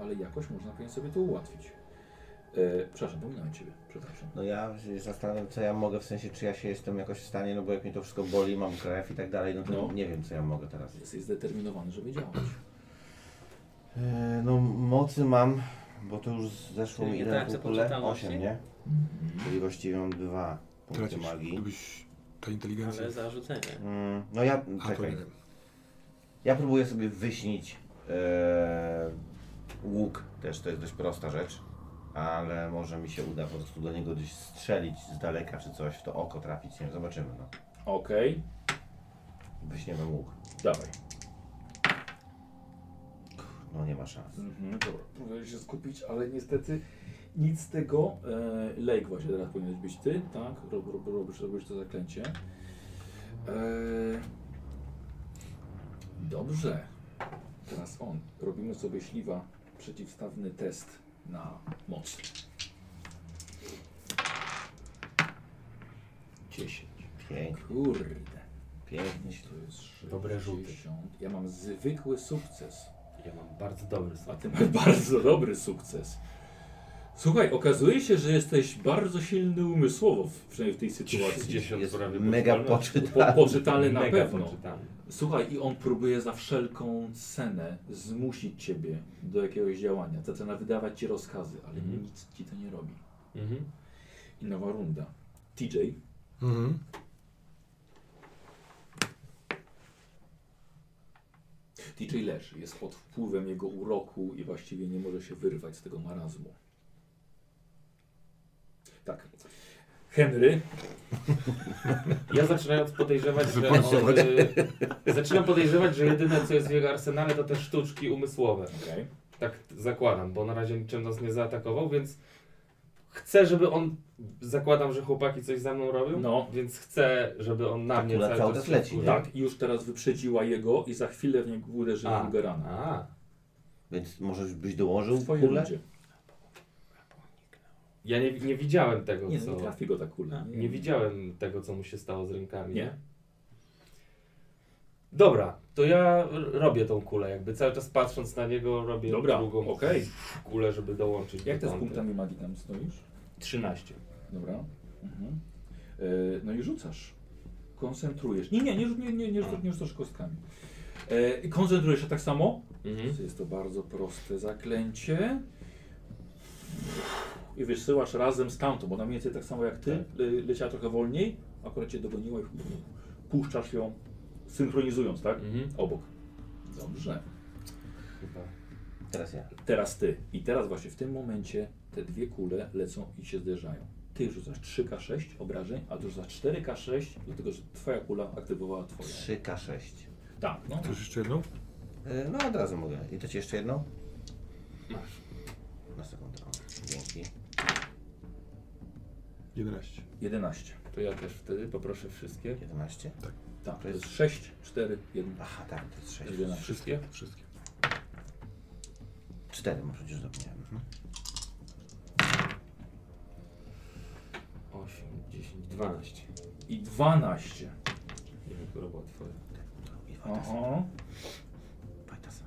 A: Ale jakoś można pewnie sobie to ułatwić. E, przepraszam, pominąłem ciebie. Przepraszam.
C: No ja się zastanawiam, co ja mogę, w sensie, czy ja się jestem jakoś w stanie, no bo jak mi to wszystko boli, mam krew i tak dalej, no to
A: No.
C: nie wiem, co ja mogę teraz.
A: Jesteś zdeterminowany, żeby działać.
C: E, no, mocy mam, bo to już zeszło
E: Czyli
C: mi ile
E: tracę
C: w ogóle?
E: poczytalności?
C: 8, nie? Czyli właściwie mam dwa punkty
G: Tracisz,
C: magii.
G: gdybyś ta inteligencja...
E: Ale za rzucenie.
C: Mm, no ja,
G: A, to nie
C: czekaj,
G: wiem.
C: ja próbuję sobie wyśnić e, łuk, też to jest dość prosta rzecz, ale może mi się uda po prostu do niego gdzieś strzelić z daleka czy coś, w to oko trafić, nie wiem, zobaczymy, no.
A: Okej,
C: Wyśniemy łuk.
A: dawaj.
C: No nie ma szans.
A: Mhm, dobra, próbuję się skupić, ale niestety nic z tego. E, Lake właśnie teraz powinieneś być ty, tak? Rob, rob, robisz, robisz to zaklęcie. E, dobrze. Teraz on. Robimy sobie śliwa przeciwstawny test na moc. 10.
C: Pięknie,
A: Kurde.
C: pięknie.
A: To jest 60.
B: Dobre rzuty.
A: Ja mam zwykły sukces.
B: Ja mam bardzo dobry
A: A (laughs)
B: smak.
A: ty masz bardzo dobry sukces. Słuchaj, okazuje się, że jesteś bardzo silny umysłowo, w- przynajmniej w tej sytuacji.
B: 60
C: Jest
B: prawie
C: mega
B: poczytalne.
A: (laughs) Po,
C: poczytany.
A: poczytalny na
B: Mega
A: pewno.
B: poczytalne.
A: Słuchaj, i on próbuje za wszelką cenę zmusić ciebie do jakiegoś działania. Zaczyna wydawać ci rozkazy, ale
B: Mhm.
A: nic ci to nie robi.
B: Mhm.
A: I nowa runda. TJ,
G: Mhm.
A: TJ leży, jest pod wpływem jego uroku i właściwie nie może się wyrwać z tego marazmu. Tak. Henry,
B: Ja zaczynając podejrzewać, że on,
C: Wypasować.
B: y, zaczynam podejrzewać, że jedyne co jest w jego arsenale to te sztuczki umysłowe.
A: okej.
B: Tak t- zakładam, bo na razie niczym nas nie zaatakował, więc chcę, żeby on. Zakładam, że chłopaki coś za mną robią,
A: No.
B: więc chcę, żeby on na
C: Ta
B: mnie
C: kula
B: cały
C: cały
B: czas
C: czas leci,
B: wpływa.
C: nie?
A: Tak, już teraz wyprzedziła jego i za chwilę w niego uderzy
B: A.
A: Wilgerana.
B: A,
C: Więc możesz byś dołożył
A: Twoje
C: kulę?
A: ludzie.
B: ja nie, nie widziałem tego,
A: Nie,
B: co.
A: nie trafi go ta kula.
B: Nie widziałem tego, co mu się stało z rękami.
A: Nie.
B: Nie. Dobra, to ja r- robię tą kulę, jakby cały czas patrząc na niego robię
A: Dobra,
B: drugą
A: okej.
B: kulę, żeby dołączyć
A: Jak ty
B: do
A: z
B: tamtej.
A: punktami magii tam stoisz?
B: 13.
A: Dobra. Mhm. E, no i rzucasz. Koncentrujesz. Nie, nie, nie, rzu- nie, nie, nie, rzucasz, nie rzucasz kostkami. E, i koncentrujesz się tak samo.
B: Mhm.
A: Jest to bardzo proste zaklęcie. I wysyłasz razem z tamtą, bo ona mniej więcej tak samo jak ty, le, leciała trochę wolniej, akurat cię dogoniła i puszczasz ją, synchronizując, tak?
B: Mhm.
A: Obok. Dobrze.
B: Chyba.
C: Teraz ja.
A: Teraz ty. I teraz właśnie w tym momencie te dwie kule lecą i się zderzają. Ty rzucasz 3K6 obrażeń, a ty rzucasz 4K6, dlatego że twoja kula aktywowała twoją.
C: 3K6.
A: Tak, no.
G: Chcesz jeszcze jedną?
C: E, No od razu mogę. I to ci jeszcze jedną? Masz. Na sekundę. O, Dzięki.
G: 11.
A: 11.
B: To ja też wtedy poproszę wszystkie.
C: 11?
A: Tak, to
C: To jest-
A: jest 6, 4, 1,
C: Aha, tak, to jest 6.
A: 11.
B: Wszystkie?
G: Wszystkie.
C: 4 może przecież zapomniałem. Mhm.
B: 8, 10, 12.
A: I 12.
B: Nie wiem, która była twoja.
C: I
A: No.
C: fajtasa,
A: Aha.
C: fajtasa.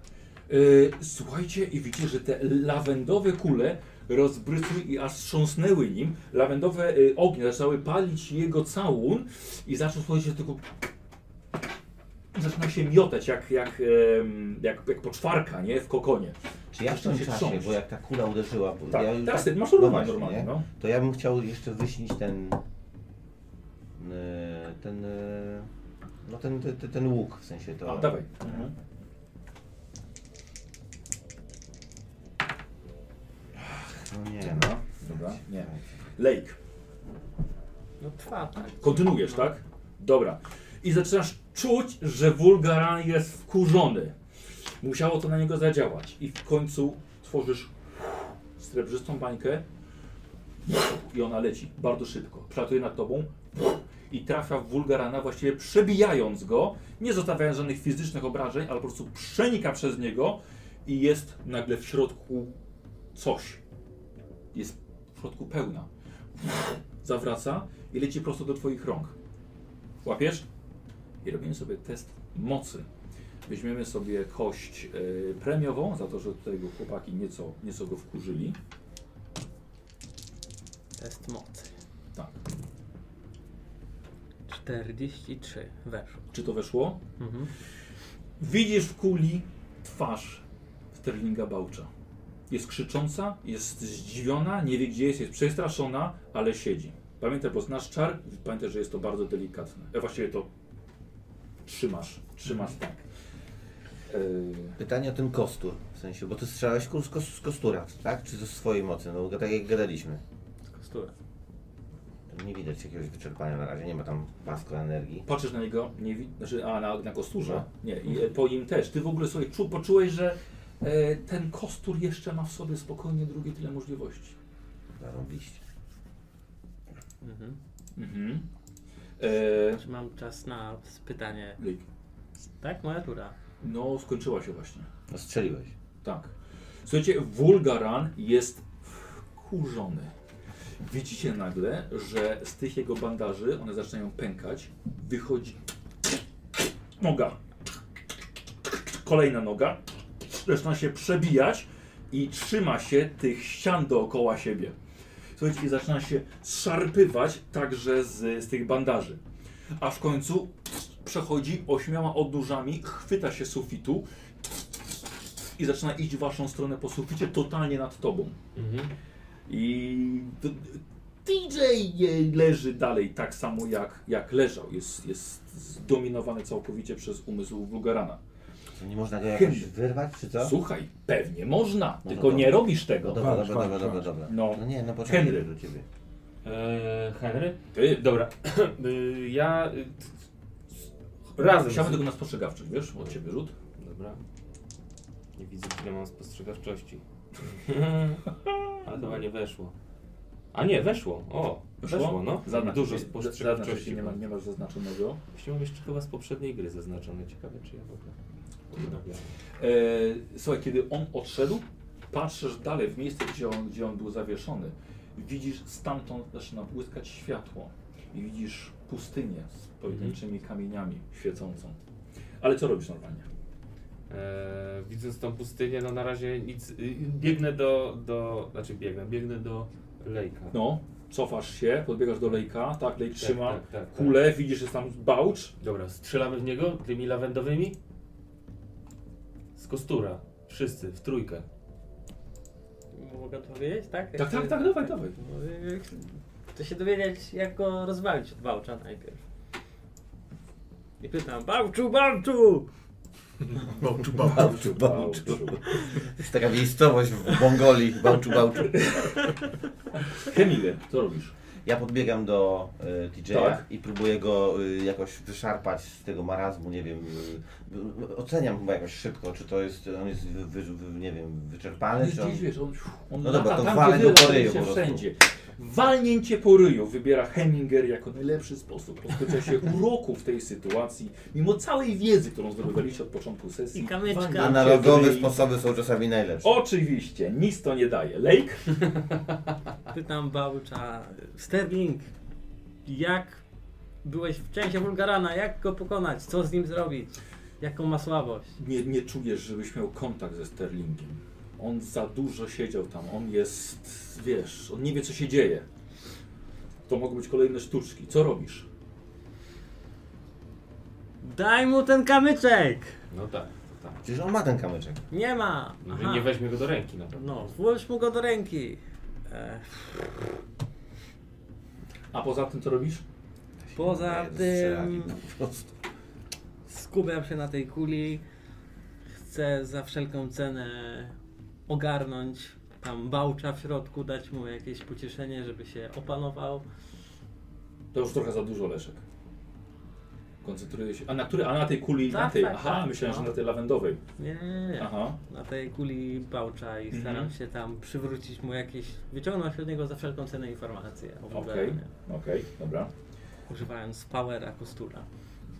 A: Yy, słuchajcie i widzicie, że te lawendowe kule rozbrysły i aż wstrząsnęły nim. Lawendowe y, ognie zaczęły palić jego całun i zaczął słuchajcie tylko... Zaczyna się miotać jak, jak, em, jak, jak poczwarka, nie? W kokonie.
C: Czy ja w
A: Zaczyna
C: tym
A: się
C: czasie,
A: trząść.
C: bo jak ta kula uderzyła, bo
A: Tak,
C: ja
A: teraz
C: tak-
A: ty masz równo
C: właśnie,
A: normalnie,
C: nie?
A: no.
C: To ja bym chciał jeszcze wyśnić ten... e, Ten... e, No ten, ten, ten- ten łuk, w sensie to...
A: A, dawaj. Mhm.
C: No nie no.
A: Dobra, nie. Lake.
B: No trwa, tak.
A: Kontynuujesz, tak? Dobra. I zaczynasz czuć, że Wulgaran jest wkurzony. Musiało to na niego zadziałać. I w końcu tworzysz srebrzystą bańkę i ona leci bardzo szybko. Przelatuje nad tobą i trafia w Wulgarana, właściwie przebijając go, nie zostawiając żadnych fizycznych obrażeń, ale po prostu przenika przez niego i jest nagle w środku coś. Jest w środku pełna. Zawraca i leci prosto do twoich rąk. Łapiesz? I robimy sobie test mocy. Weźmiemy sobie kość e, premiową, za to, że tutaj go chłopaki nieco, nieco go wkurzyli.
E: Test mocy.
A: Tak.
E: 43. Weszło.
A: Czy to weszło?
E: Mhm.
A: Widzisz w kuli twarz Sterlinga Bałcza. Jest krzycząca, jest zdziwiona, nie wie gdzie jest, jest przestraszona, ale siedzi. Pamiętaj, bo znasz czar, pamiętaj, że jest to bardzo delikatne. E, właściwie to trzymasz, trzymasz tak. Yy,
C: Pytanie o ten kostur, w sensie, bo ty strzelałeś kurs kos, z kostura, tak? Czy ze swojej mocy? No bo tak jak gadaliśmy.
B: Kostura.
C: Nie widać jakiegoś wyczerpania na razie, nie ma tam pasku energii.
A: patrzysz na niego, nie wi- znaczy, a na, na kosturze, nie, i e, po nim też. Ty w ogóle sobie czu, poczułeś, że e, ten kostur jeszcze ma w sobie spokojnie drugie tyle możliwości.
C: Zarąbiście.
E: Mhm.
A: Mhm. E,
E: Czy mam czas na pytanie?
A: Lejk.
E: Tak, moja tura.
A: no, skończyła się właśnie.
C: No strzeliłeś.
A: Tak. Słuchajcie, Wulgaran jest wkurzony. Widzicie nagle, że z tych jego bandaży one zaczynają pękać. Wychodzi noga. Kolejna noga. Zaczyna się przebijać i trzyma się tych ścian dookoła siebie. Słuchajcie, i zaczyna się szarpywać także z, z tych bandaży. Aż w końcu przechodzi ośmioma odnóżami, chwyta się sufitu i zaczyna iść w waszą stronę po suficie, totalnie nad tobą.
B: Mhm.
A: I d- DJ leży dalej tak samo jak, jak leżał. Jest, jest zdominowany całkowicie przez umysł Wulgarana.
C: To nie można go jakoś
A: Hymn.
C: wyrwać, czy co?
A: Słuchaj, pewnie można,
C: Tak? No
A: tylko
C: dobra.
A: nie robisz tego.
C: No dobra,
K: Walcz,
C: dobra, dobra,
K: walcz,
C: dobra,
K: walcz.
C: dobra.
A: No.
C: No nie, no poczekaj
A: Henry.
C: do ciebie.
B: Eee, Henry?
A: Ty,
B: Dobra. Y, ja... y, Razem.
A: Chciałbym
B: z-
A: tego na spostrzegawczy, wiesz, od ciebie rzut.
B: Dobra. Nie widzę, ile mam (laughs) spostrzegawczości. Ale chyba nie weszło. A nie, weszło. O, weszło, no.
A: Zaznacz,
B: Dużo
A: czyli- zaznacz,
B: spostrzegawczości.
A: jeśli nie, ma, nie masz zaznaczonego.
B: Właśnie mam jeszcze chyba z poprzedniej gry zaznaczone. Ciekawe, czy ja w ogóle... odnawiam.
A: E, słuchaj, kiedy on odszedł, patrzysz dalej w miejsce, gdzie on, gdzie on był zawieszony. Widzisz, stamtąd zaczyna błyskać światło. I widzisz pustynię z pojedynczymi kamieniami świecącą. Ale co robisz normalnie?
B: Eee, widząc tą pustynię, no na razie nic. y, Biegnę do, do. Znaczy biegnę, biegnę do lejka.
A: No, cofasz się, podbiegasz do lejka, tak, lejk
B: Tak,
A: trzyma
B: tak, tak, tak.
A: kulę, widzisz, jest tam bałcz.
B: Dobra, strzelamy w niego tymi lawendowymi? Z kostura. Wszyscy, w trójkę.
E: Mogę to powiedzieć, tak? No
A: Tak, tak, tak, dawaj, dawaj.
E: To się dowiedzieć, jak go rozwalić od Bałcza najpierw. I pytam, Bałczu, Bałczu!
K: Bałczu, bałczu.
C: Bałczu, bałczu. To jest taka miejscowość w Mongolii, bałczu, bałczu.
A: Kemile, co robisz?
C: Ja podbiegam do y, DJ-a
A: Tak.
C: i próbuję go y, jakoś wyszarpać z tego marazmu, nie wiem. Y, y, oceniam chyba jakoś szybko, czy to jest, on jest, wy, wy, wy, nie wiem, wyczerpany, czy on...
A: Gdzieś, wiesz, on, on lata
C: No dobra, to
A: tam,
C: walę
A: gdzie
C: go
A: ty,
C: po ryju
A: się
C: po prostu.
A: wszędzie. Walnięcie po ryju wybiera Heminger jako najlepszy sposób pozbycia
C: (laughs)
A: się uroku w tej sytuacji, mimo całej wiedzy, którą zdobywaliście od początku sesji.
E: I kamyczka.
A: walnięcie w
C: Analogowe
A: ryj.
C: sposoby są czasami najlepsze.
A: Oczywiście, nic to nie daje. Lake?
E: Pytam Bałcza, Sterling, jak byłeś w części Bulgarana, jak go pokonać, co z nim zrobić, jaką ma słabość?
A: Nie, nie czujesz, żebyś miał kontakt ze Sterlingiem. On za dużo siedział tam, on jest, wiesz, on nie wie co się dzieje. To mogą być kolejne sztuczki. Co robisz?
E: Daj mu ten kamyczek!
B: No tak, to tak.
C: Przecież on ma ten kamyczek.
E: Nie ma!
B: No,
E: Aha.
B: Nie weźmie go do ręki na pewno.
E: No, włóż mu go do ręki. E,
A: A poza tym co robisz?
E: poza
C: Nie,
E: tym
C: strzelanie no po prostu.
E: skupiam się na tej kuli. Chcę za wszelką cenę ogarnąć tam bałcza w środku, dać mu jakieś pocieszenie, żeby się opanował.
A: To już trochę za dużo leszek. Koncentruję się. A na, który, a na tej kuli,
E: Tak,
A: na tej.
E: tak,
A: aha,
E: tak,
A: myślałem,
E: no.
A: że na tej lawendowej.
E: Nie, nie, nie.
A: Aha.
E: na tej kuli bałcza i
A: Mhm.
E: staram się tam przywrócić mu jakieś, wyciągnąć od niego za wszelką cenę informacje o
A: Okej,
E: Bulgaranie,
A: okej, dobra.
E: używając powera kostura.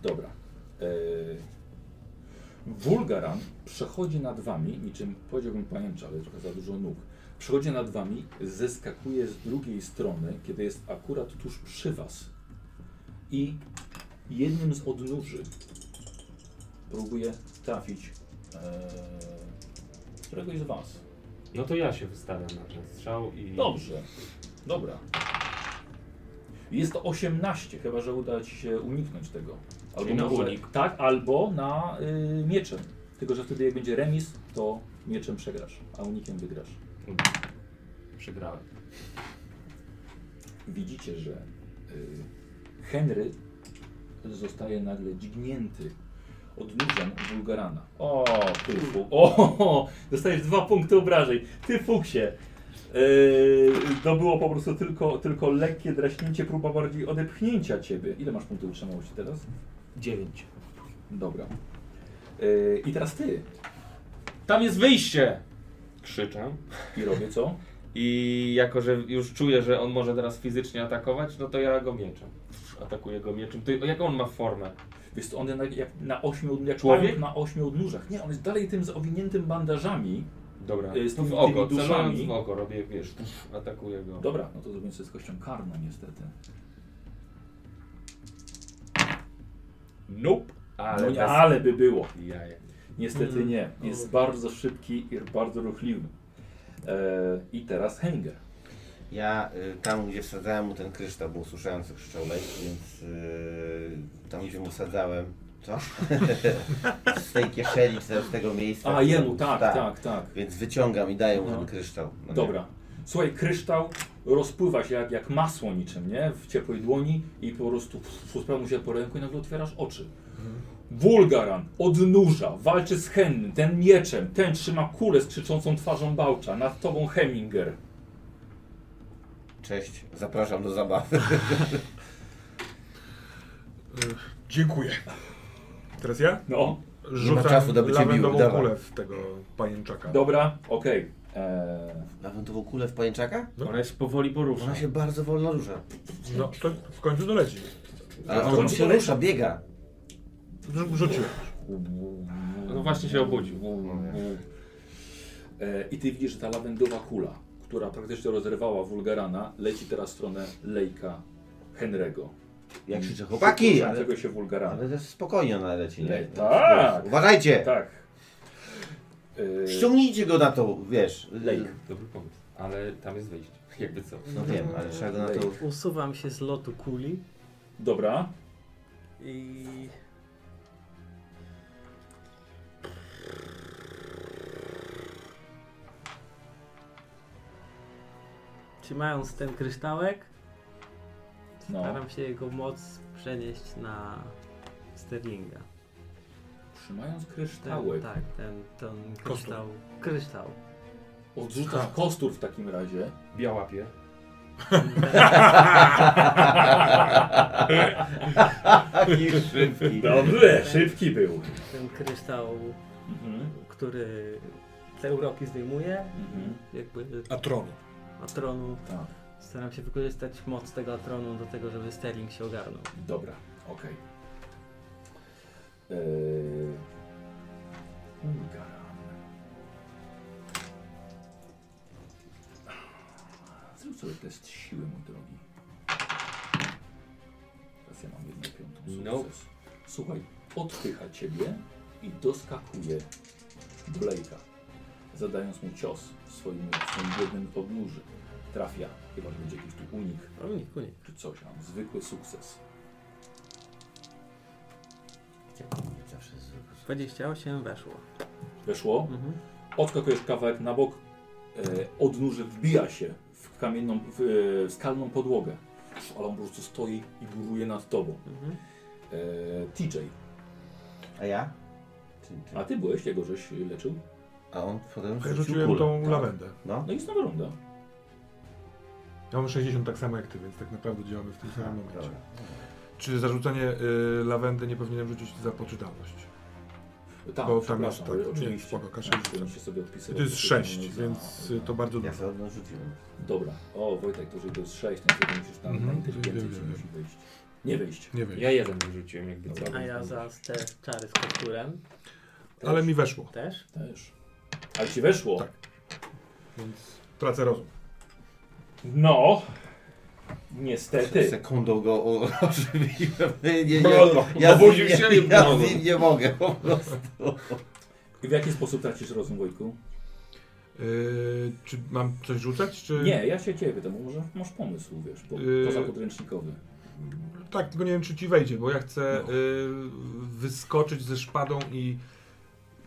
A: Dobra. Yy... Wulgaran przechodzi nad wami, niczym powiedziałbym pajęcza, ale trochę za dużo nóg. Przechodzi nad wami, zeskakuje z drugiej strony, kiedy jest akurat tuż przy was. I jednym z odnóży próbuje trafić yy... któregoś z was.
B: No to ja się wystawiam na ten strzał i.
A: Dobrze. Dobra. Jest to 18, chyba że uda ci się uniknąć tego. Albo
B: Czyli na
A: może-
B: unik.
A: Tak, albo na y, mieczem. Tylko, że wtedy jak będzie remis, to mieczem przegrasz, a unikiem wygrasz.
B: Przegrałem.
A: Widzicie, że y, Henry zostaje nagle dźgnięty odnóżem Wulgarana. O, ty fu- O, (laughs) ho, ho, dostajesz dwa punkty obrażeń. Ty fuksie. Yy, to było po prostu tylko, tylko lekkie draśnięcie, próba bardziej odepchnięcia ciebie. Ile masz punktów utrzymałości teraz?
B: Dziewięć.
A: Dobra. Yy, I teraz ty.
B: Tam jest wyjście! Krzyczę.
A: I robię co?
B: I jako, że już czuję, że on może teraz fizycznie atakować, no to ja go mieczem. Atakuję go mieczem. To jaką on ma formę?
A: Więc on na, jak na ośmiu, jak
B: Człowiek?
A: pająk na ośmiu odnóżach. Nie, on jest dalej tym zawiniętym bandażami.
B: Dobra,
A: Y, z tymi-
B: w oko,
A: tymi duszami.
B: celując w oko, robię, wiesz, pff, atakuję go.
A: Dobra, no to zrobimy sobie z kością karną niestety.
B: Nope. Ale,
A: no,
B: no,
A: nie,
B: bez...
A: ale by było.
B: Jaja.
A: Mm. No. Niestety nie. Jest bardzo szybki i bardzo ruchliwy. E, I teraz Henger.
C: Ja y, tam, gdzie wsadzałem mu ten kryształ, bo usłyszałem, co krzyczał leć, więc y, tam, gdzie mu wsadzałem, co? (laughs) z tej kieszeni, czy z tego miejsca.
A: A
C: gdzie
A: jemu,
C: mu-
A: tak, tak, tak.
C: Więc wyciągam i daję mu
A: No.
C: ten kryształ. No nie.
A: Dobra. Słuchaj, kryształ rozpływa się jak, jak masło niczym, nie? W ciepłej dłoni i po prostu sprawia mu się po ręku i nagle otwierasz oczy. Mhm. Wulgaran odnurza, walczy z Hennym, ten mieczem, ten trzyma kulę z krzyczącą twarzą Bałcza, nad tobą Heminger.
C: Cześć, zapraszam do zabawy. (laughs)
G: Dziękuję. Teraz ja?
A: No,
G: Rzucam
C: czasu, żeby cię
G: lawendową
C: bił, dawaj.
G: kulę w tego pajęczaka.
A: dobra, okej. Eee,
C: Lawendową kulę w pajęczaka?
B: Ona się powoli porusza.
C: Ona się bardzo wolno rusza.
G: No, to w końcu doleci.
C: Ale
A: to
C: on
A: ci
C: się
A: polecam.
C: rusza, biega.
G: Rzu- Rzuciłem.
B: No właśnie się obudził.
A: E, I ty widzisz, że ta lawendowa kula, która praktycznie rozerwała Wulgarana, leci teraz w stronę Lejka Henry'ego.
C: Jak krzyczę, chłopaki! Ale,
A: Dlatego się Wulgarana.
C: ale też spokojnie ona leci. nie?
A: Le- tak.
C: Uważajcie!
A: Tak. E,
C: Ściągnijcie go na to, wiesz.
A: Lejk.
B: Dobry pomysł. Ale tam jest wyjście. (laughs) Jakby co.
C: No wiem, ale trzeba go na to...
E: Usuwam się z lotu kuli
A: Dobra.
E: i trzymając ten kryształek,
A: No.
E: staram się jego moc przenieść na Sterlinga.
A: Trzymając
E: Ten,
A: kryształek,
E: Tak, ten, ten kryształ. Kryształ.
A: odrzucasz kostur w takim razie.
B: Ja łapię.
C: (laughs) Taki szybki.
A: Dobrze, szybki był.
E: Ten kryształ,
A: Mhm.
E: który te uroki zdejmuje,
A: Mhm.
E: jakby
G: Atronu.
E: Atronu.
A: Tak.
E: Staram się wykorzystać moc tego Atronu do tego, żeby Sterling się ogarnął.
A: Dobra, okej. Yy... Ulgaran. Zrób sobie test siły, mój drogi. Teraz ja mam jedną piątą sukces.
B: No.
A: Słuchaj, odpycha ciebie i doskakuje do Blake'a, zadając mu cios w swoim, w swoim biednym odnóży. Trafia, chyba że będzie jakiś tu unik
E: Unik, unik.
A: czy coś, a zwykły sukces.
E: 28 weszło.
A: Weszło.
E: Mhm.
A: Odskakujesz kawałek na bok, e, odnóży wbija się w kamienną, w, e, skalną podłogę. Ale on po prostu stoi i góruje nad tobą.
E: Mhm.
A: E, TJ,
C: A ja? Czy, czy...
A: a ty byłeś jego, żeś leczył?
C: A on potem
G: Ja
C: rzucił
G: rzuciłem
C: kulę.
G: tą
C: Tak.
G: lawendę.
C: No.
A: No i znowu runda.
G: Ja mam 60 tak samo jak ty, więc tak naprawdę działamy w tym
C: A,
D: Tak.
G: samym momencie.
C: dobra.
G: Czy zarzucenie y, lawendy nie powinienem rzucić za poczytalność?
A: Tam,
G: Bo tam
A: przepraszam,
G: jest tak. Nie,
A: oczywiście.
G: spoko, kaszę
A: Tak, powinniście sobie
G: To
A: odpisywać.
G: jest
A: Za-
G: 6, więc y, to bardzo
C: Ja
G: dużo.
C: sobie odno rzuciłem.
A: Dobra. O, Wojtek, to że to jest 6, no to ty musisz tam
G: Mhm.
A: na inteligencję
G: Wiem,
A: ci
G: wiem,
A: musi wyjść. Nie wyjść.
G: Nie wiem.
B: Ja jeden wyrzuciłem jakby co.
E: A ja za te czary z kapturem
G: Ale mi weszło,
E: też.
A: Też. Ale ci weszło.
G: Tak. więc tracę rozum.
A: No.
C: Przed
A: Niestety.
C: Sekundą go o- (laughs) ożywiłem. Nie, nie, nie.
B: Bro,
C: Ja z nim,
B: obudził się
C: nie,
B: i
C: ja
B: bro.
C: z nim nie mogę po prostu.
A: I w jaki sposób tracisz rozum, Wojku?
G: Y, czy mam coś rzucać, czy...
A: Nie, ja się ciebie pytam, bo może masz pomysł, wiesz, po,
G: Yy.
A: poza podręcznikowy.
G: Tak, tylko nie wiem, czy ci wejdzie, bo ja chcę
A: No.
G: y, wyskoczyć ze szpadą i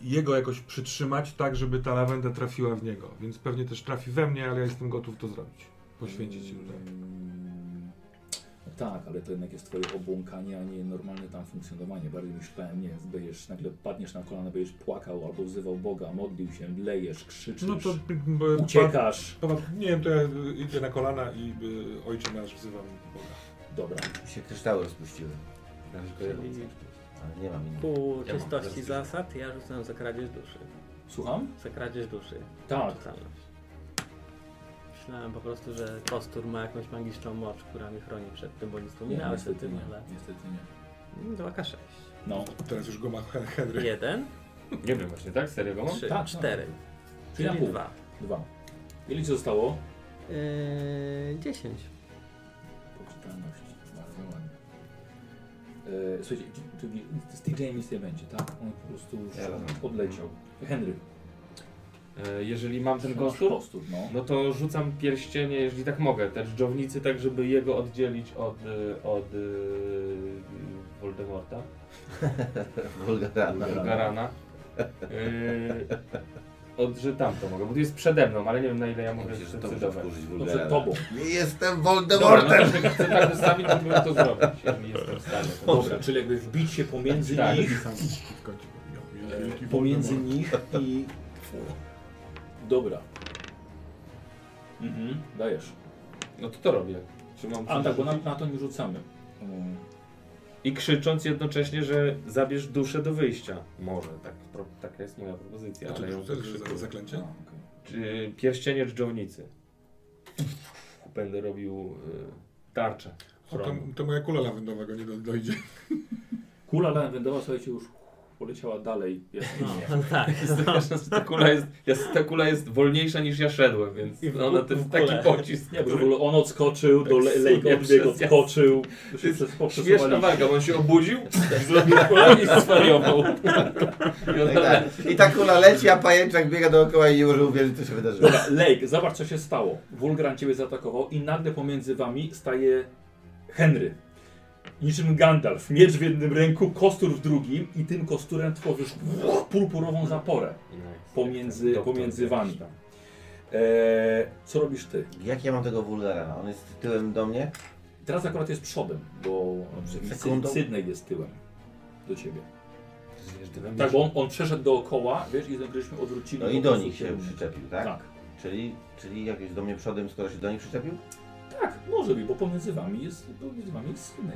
G: jego jakoś przytrzymać tak, żeby ta lawenda trafiła w niego. Więc pewnie też trafi we mnie, ale ja jestem gotów to zrobić. Poświęcić się tutaj.
A: Mm, no Tak, ale to jednak jest twoje obłąkanie, a nie normalne tam funkcjonowanie. Bardziej myślałem, nie, będziesz, nagle padniesz na kolana, będziesz płakał albo wzywał Boga, modlił się, lejesz, krzyczysz,
G: No to... y, y,
A: uciekasz.
G: pa- pa- Nie wiem, to ja y, idę na kolana i y, ojcze nasz wzywam Boga.
A: Dobra,
C: Mi się kryształy rozpuściły.
E: Czyli
C: Ale nie mam innego.
E: pół
B: Ja mam teraz
E: czystości
B: dużo.
E: zasad, ja rzucam za kradzież duszy.
A: słucham?
E: Za kradzież duszy.
A: Tak,
E: Totalność. Myślałem po prostu, że kostur ma jakąś magiczną moc, która mi chroni przed tym, bo nie wspominałeś o tym, ale... Mm,
A: niestety nie.
E: 2K6.
A: No,
G: Teraz już go ma Hen- Henry.
E: 1,
B: Nie wiem właśnie, tak? Serio
L: No,
B: go mam?
E: 3,
A: tak.
E: 4,
A: czyli na
E: czyli
A: pół.
E: 2.
A: Dwa. Ile ci zostało?
E: Yy, 10.
A: Poczytalność, bardzo ładnie. E, słuchajcie, czy- czyli z TJ nic nie będzie, tak? On po prostu już
C: Ja rozumiem.
A: odleciał. Henry.
B: E, Jeżeli mam ten
A: Masz
B: kostur,
A: kostur, no.
B: no to rzucam pierścienie, jeżeli tak mogę, te dżdżownicy, tak żeby jego oddzielić od, y, od y, Voldemorta,
C: Wulgarana.
B: Garana. Y, (laughs) od, że tamto mogę, bo tu jest przede mną, ale nie wiem na ile ja mogę
C: Myślę, że to muszę
B: zdecydować.
C: wkurzyć
A: Dobrze,
C: wulgarana.
A: tobą.
C: Nie jestem
B: Dobra, no,
C: Voldemortem!
B: jakby chcę tak wystawić, to bym to zrobić, jeżeli jestem w stanie.
A: Dobra, czyli jakby wbić się pomiędzy
B: Tak.
A: nich,
D: w końcu. Ja, ja, wielki
A: pomiędzy
D: Voldemort.
A: nich i... Dobra. Mhm, dajesz.
B: No to to robię. Czy mam
A: A tak, bo na, na to nie rzucamy. Mm.
B: I krzycząc jednocześnie, że zabierz duszę do wyjścia. Może, tak, pro, taka jest moja propozycja.
D: A
B: Ale ją
D: to też
B: wykrzykuję.
D: za,
A: A,
G: Tak.
D: zaklęcie?
A: okej.
B: Czy pierścienie dżdżownicy. Będę robił y, tarczę.
D: O, to, to moja kula lawendowego nie do, dojdzie.
A: Kula lawendowa, słuchajcie, już poleciała dalej. jaskinią.
E: (laughs)
I: No tak.
B: Straszne, że (laughs) ta kula, jest, jest, ta kula jest wolniejsza niż ja szedłem, więc
I: I w-
B: ona to
I: w
B: jest
I: kulę.
B: taki pocisk.
A: Nie, bo w ogóle on odskoczył, do le-
B: sunie
A: Lejkowiek
B: przez
A: odskoczył.
B: To
A: się
B: jest
A: przez- poprzesuwali.
B: Śmieszna walka, bo on się obudził, (laughs) zrobił kulę i zwariował. I
C: No
B: on
C: I tak, I ta kula leci, a pajęczak biega dookoła i nie może uwierzyć, co się wydarzyło.
A: Dobra, Lejk, zobacz co się stało. Wulgran ciebie zaatakował i nagle pomiędzy wami staje Henry. Niczym Gandalf, miecz w jednym ręku, kostur w drugim i tym kosturem tworzysz purpurową zaporę. Pomiędzy- pomiędzy wami. Eee, co robisz ty?
C: Jak ja mam tego wulgarana? On jest tyłem do mnie?
A: Teraz akurat jest przodem, bo Sy-
C: Sekundą.
A: Sydney jest tyłem do ciebie. Tak,
B: Tak,
A: bo on, on przeszedł dookoła, wiesz, i żeśmy odwrócili.
C: No
A: go
C: i
A: po
C: do
A: prostu
C: nich się
A: tym-
C: przyczepił, tak?
A: Tak,
C: Czyli, czyli jak jest do mnie przodem, skoro się do nich przyczepił?
A: tak, może być, bo pomiędzy wami jest, pomiędzy wami jest Sydney.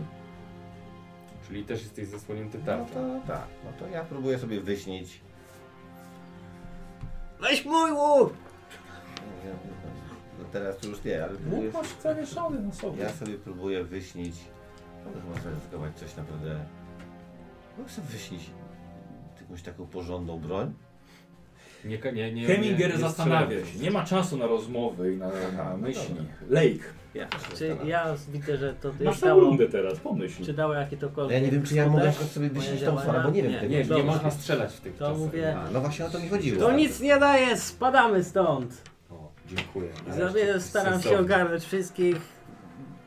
B: Czyli też jesteś zasłonięty
C: No
B: tarczą.
C: to tak, no to ja próbuję sobie wyśnić.
I: Weź mój łuk!
C: No teraz to już nie, ale próbuję,
A: Łuk masz zawieszony na sobie.
C: ja sobie próbuję wyśnić. Mogę chyba zaryzykować coś naprawdę. Mogę sobie wyśnić jakąś taką porządną broń.
B: Nie, nie, nie, nie,
A: Heminger
B: nie
A: zastanawia
B: strzelam.
A: się, nie ma czasu na rozmowy i na, na
C: no
A: myśli.
C: dobra.
A: Lake,
I: Ja, czy ja widzę, że to
A: masz
I: już
A: całą
I: dało,
A: rundę teraz, pomyśl.
I: czy dało jakie to
C: No
I: kolor.
C: Ja nie wiem, czy ja mogę na przykład sobie wyśnić tą farę, bo nie wiem
I: Nie,
C: tego.
B: Nie, nie
I: Dobra.
B: można strzelać w tych
I: To
B: czasach.
I: mówię-
C: A, no właśnie o to mi chodziło.
I: To nic nie daje, spadamy stąd.
B: O, dziękuję.
I: Zrobię, staram się
B: Sensownie.
I: ogarnąć wszystkich.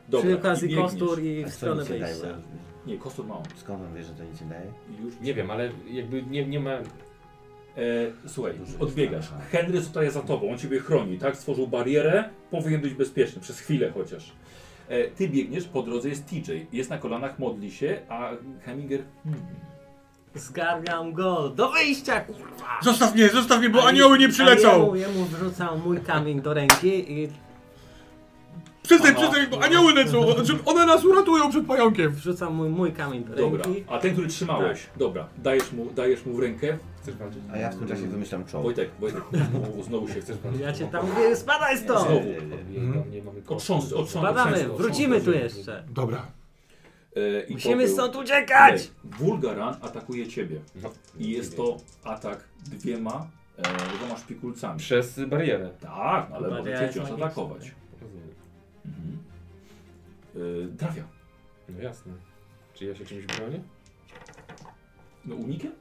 A: Dobra,
I: przy okazji
A: i biegniesz.
I: kostur i
C: A
I: w
C: co
I: stronę
C: nic nie daje?
I: wyjścia.
A: Nie, kostur ma on.
C: Skąd on wie, że to nic nie daje?
A: I Już
B: Nie wiem, ale jakby nie, nie ma...
A: E, słuchaj, odbiegasz. Henry zostaje za tobą, on ciebie chroni, tak? Stworzył barierę, powinien być bezpieczny, przez chwilę chociaż. E, ty biegniesz, po drodze jest TJ, jest na kolanach, modli się, a Heminger... Hmm.
I: Zgarniam go do wyjścia, kurwa!
G: Zostaw mnie, zostaw mnie, bo
I: A je-
G: anioły nie
I: a Jemu,
G: przylecą!
I: jemu wrzucam mój kamień do ręki i
G: Przestań, przestań, bo anioły lecą! żeby One nas uratują przed pająkiem!
I: wrzucam mój, mój kamień do
A: Dobra,
I: ręki. Tak.
A: a ten, który trzymałeś, dobra, dajesz mu, dajesz mu w rękę. Chcesz walczyć?
C: A ja w tym czasie wymyślam czoło.
A: Wojtek, Wojtek, znowu- znowu się chcesz walczyć.
I: Ja cię tam mówię, spadaj stąd!
A: Znowu.
B: Nie mamy
A: Otrząs, otrząs,
I: Spadamy,
A: otrząs-
I: wrócimy tu jeszcze.
D: Dobra.
A: E, i to
I: Musimy
A: był-
I: stąd uciekać! No,
A: Ej, Wulgaran atakuje ciebie. I jest to atak dwiema, e, dwoma szpikulcami.
B: Przez barierę.
A: Tak, ale
I: Bardziej
A: możecie
I: jest
A: wciąż
I: magiczny.
A: atakować.
B: Rozumiem.
A: Mhm. E, trafia.
B: No jasne. Czy ja się czymś bronię?
A: No unikiem?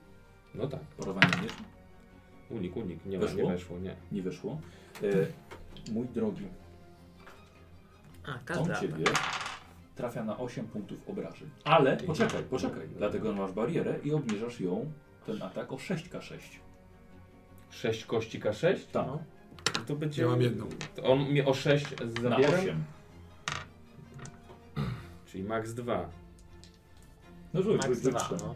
B: No tak.
A: Parowanie nie, weszło?
B: Unik, unik. Nie, ma,
A: Weszło?
B: nie weszło, nie.
A: nie weszło. E, mój drogi,
I: A,
A: on
I: każda.
E: tak,
A: ciebie trafia na 8 punktów obrażeń. Ale
B: I-
A: poczekaj, poczekaj. Dlatego masz barierę i obniżasz ją, ten atak o 6k6.
B: 6 kości K6?
A: Tak,
I: No.
B: To będzie...
D: Ja mam jedną.
B: To on mnie o 6
A: na
B: zabiera?
A: 8.
B: Czyli max 2.
A: No rzuć,
I: Max
E: tak,
A: rzuć, rzuć.
I: dwa,
A: ten.
I: no.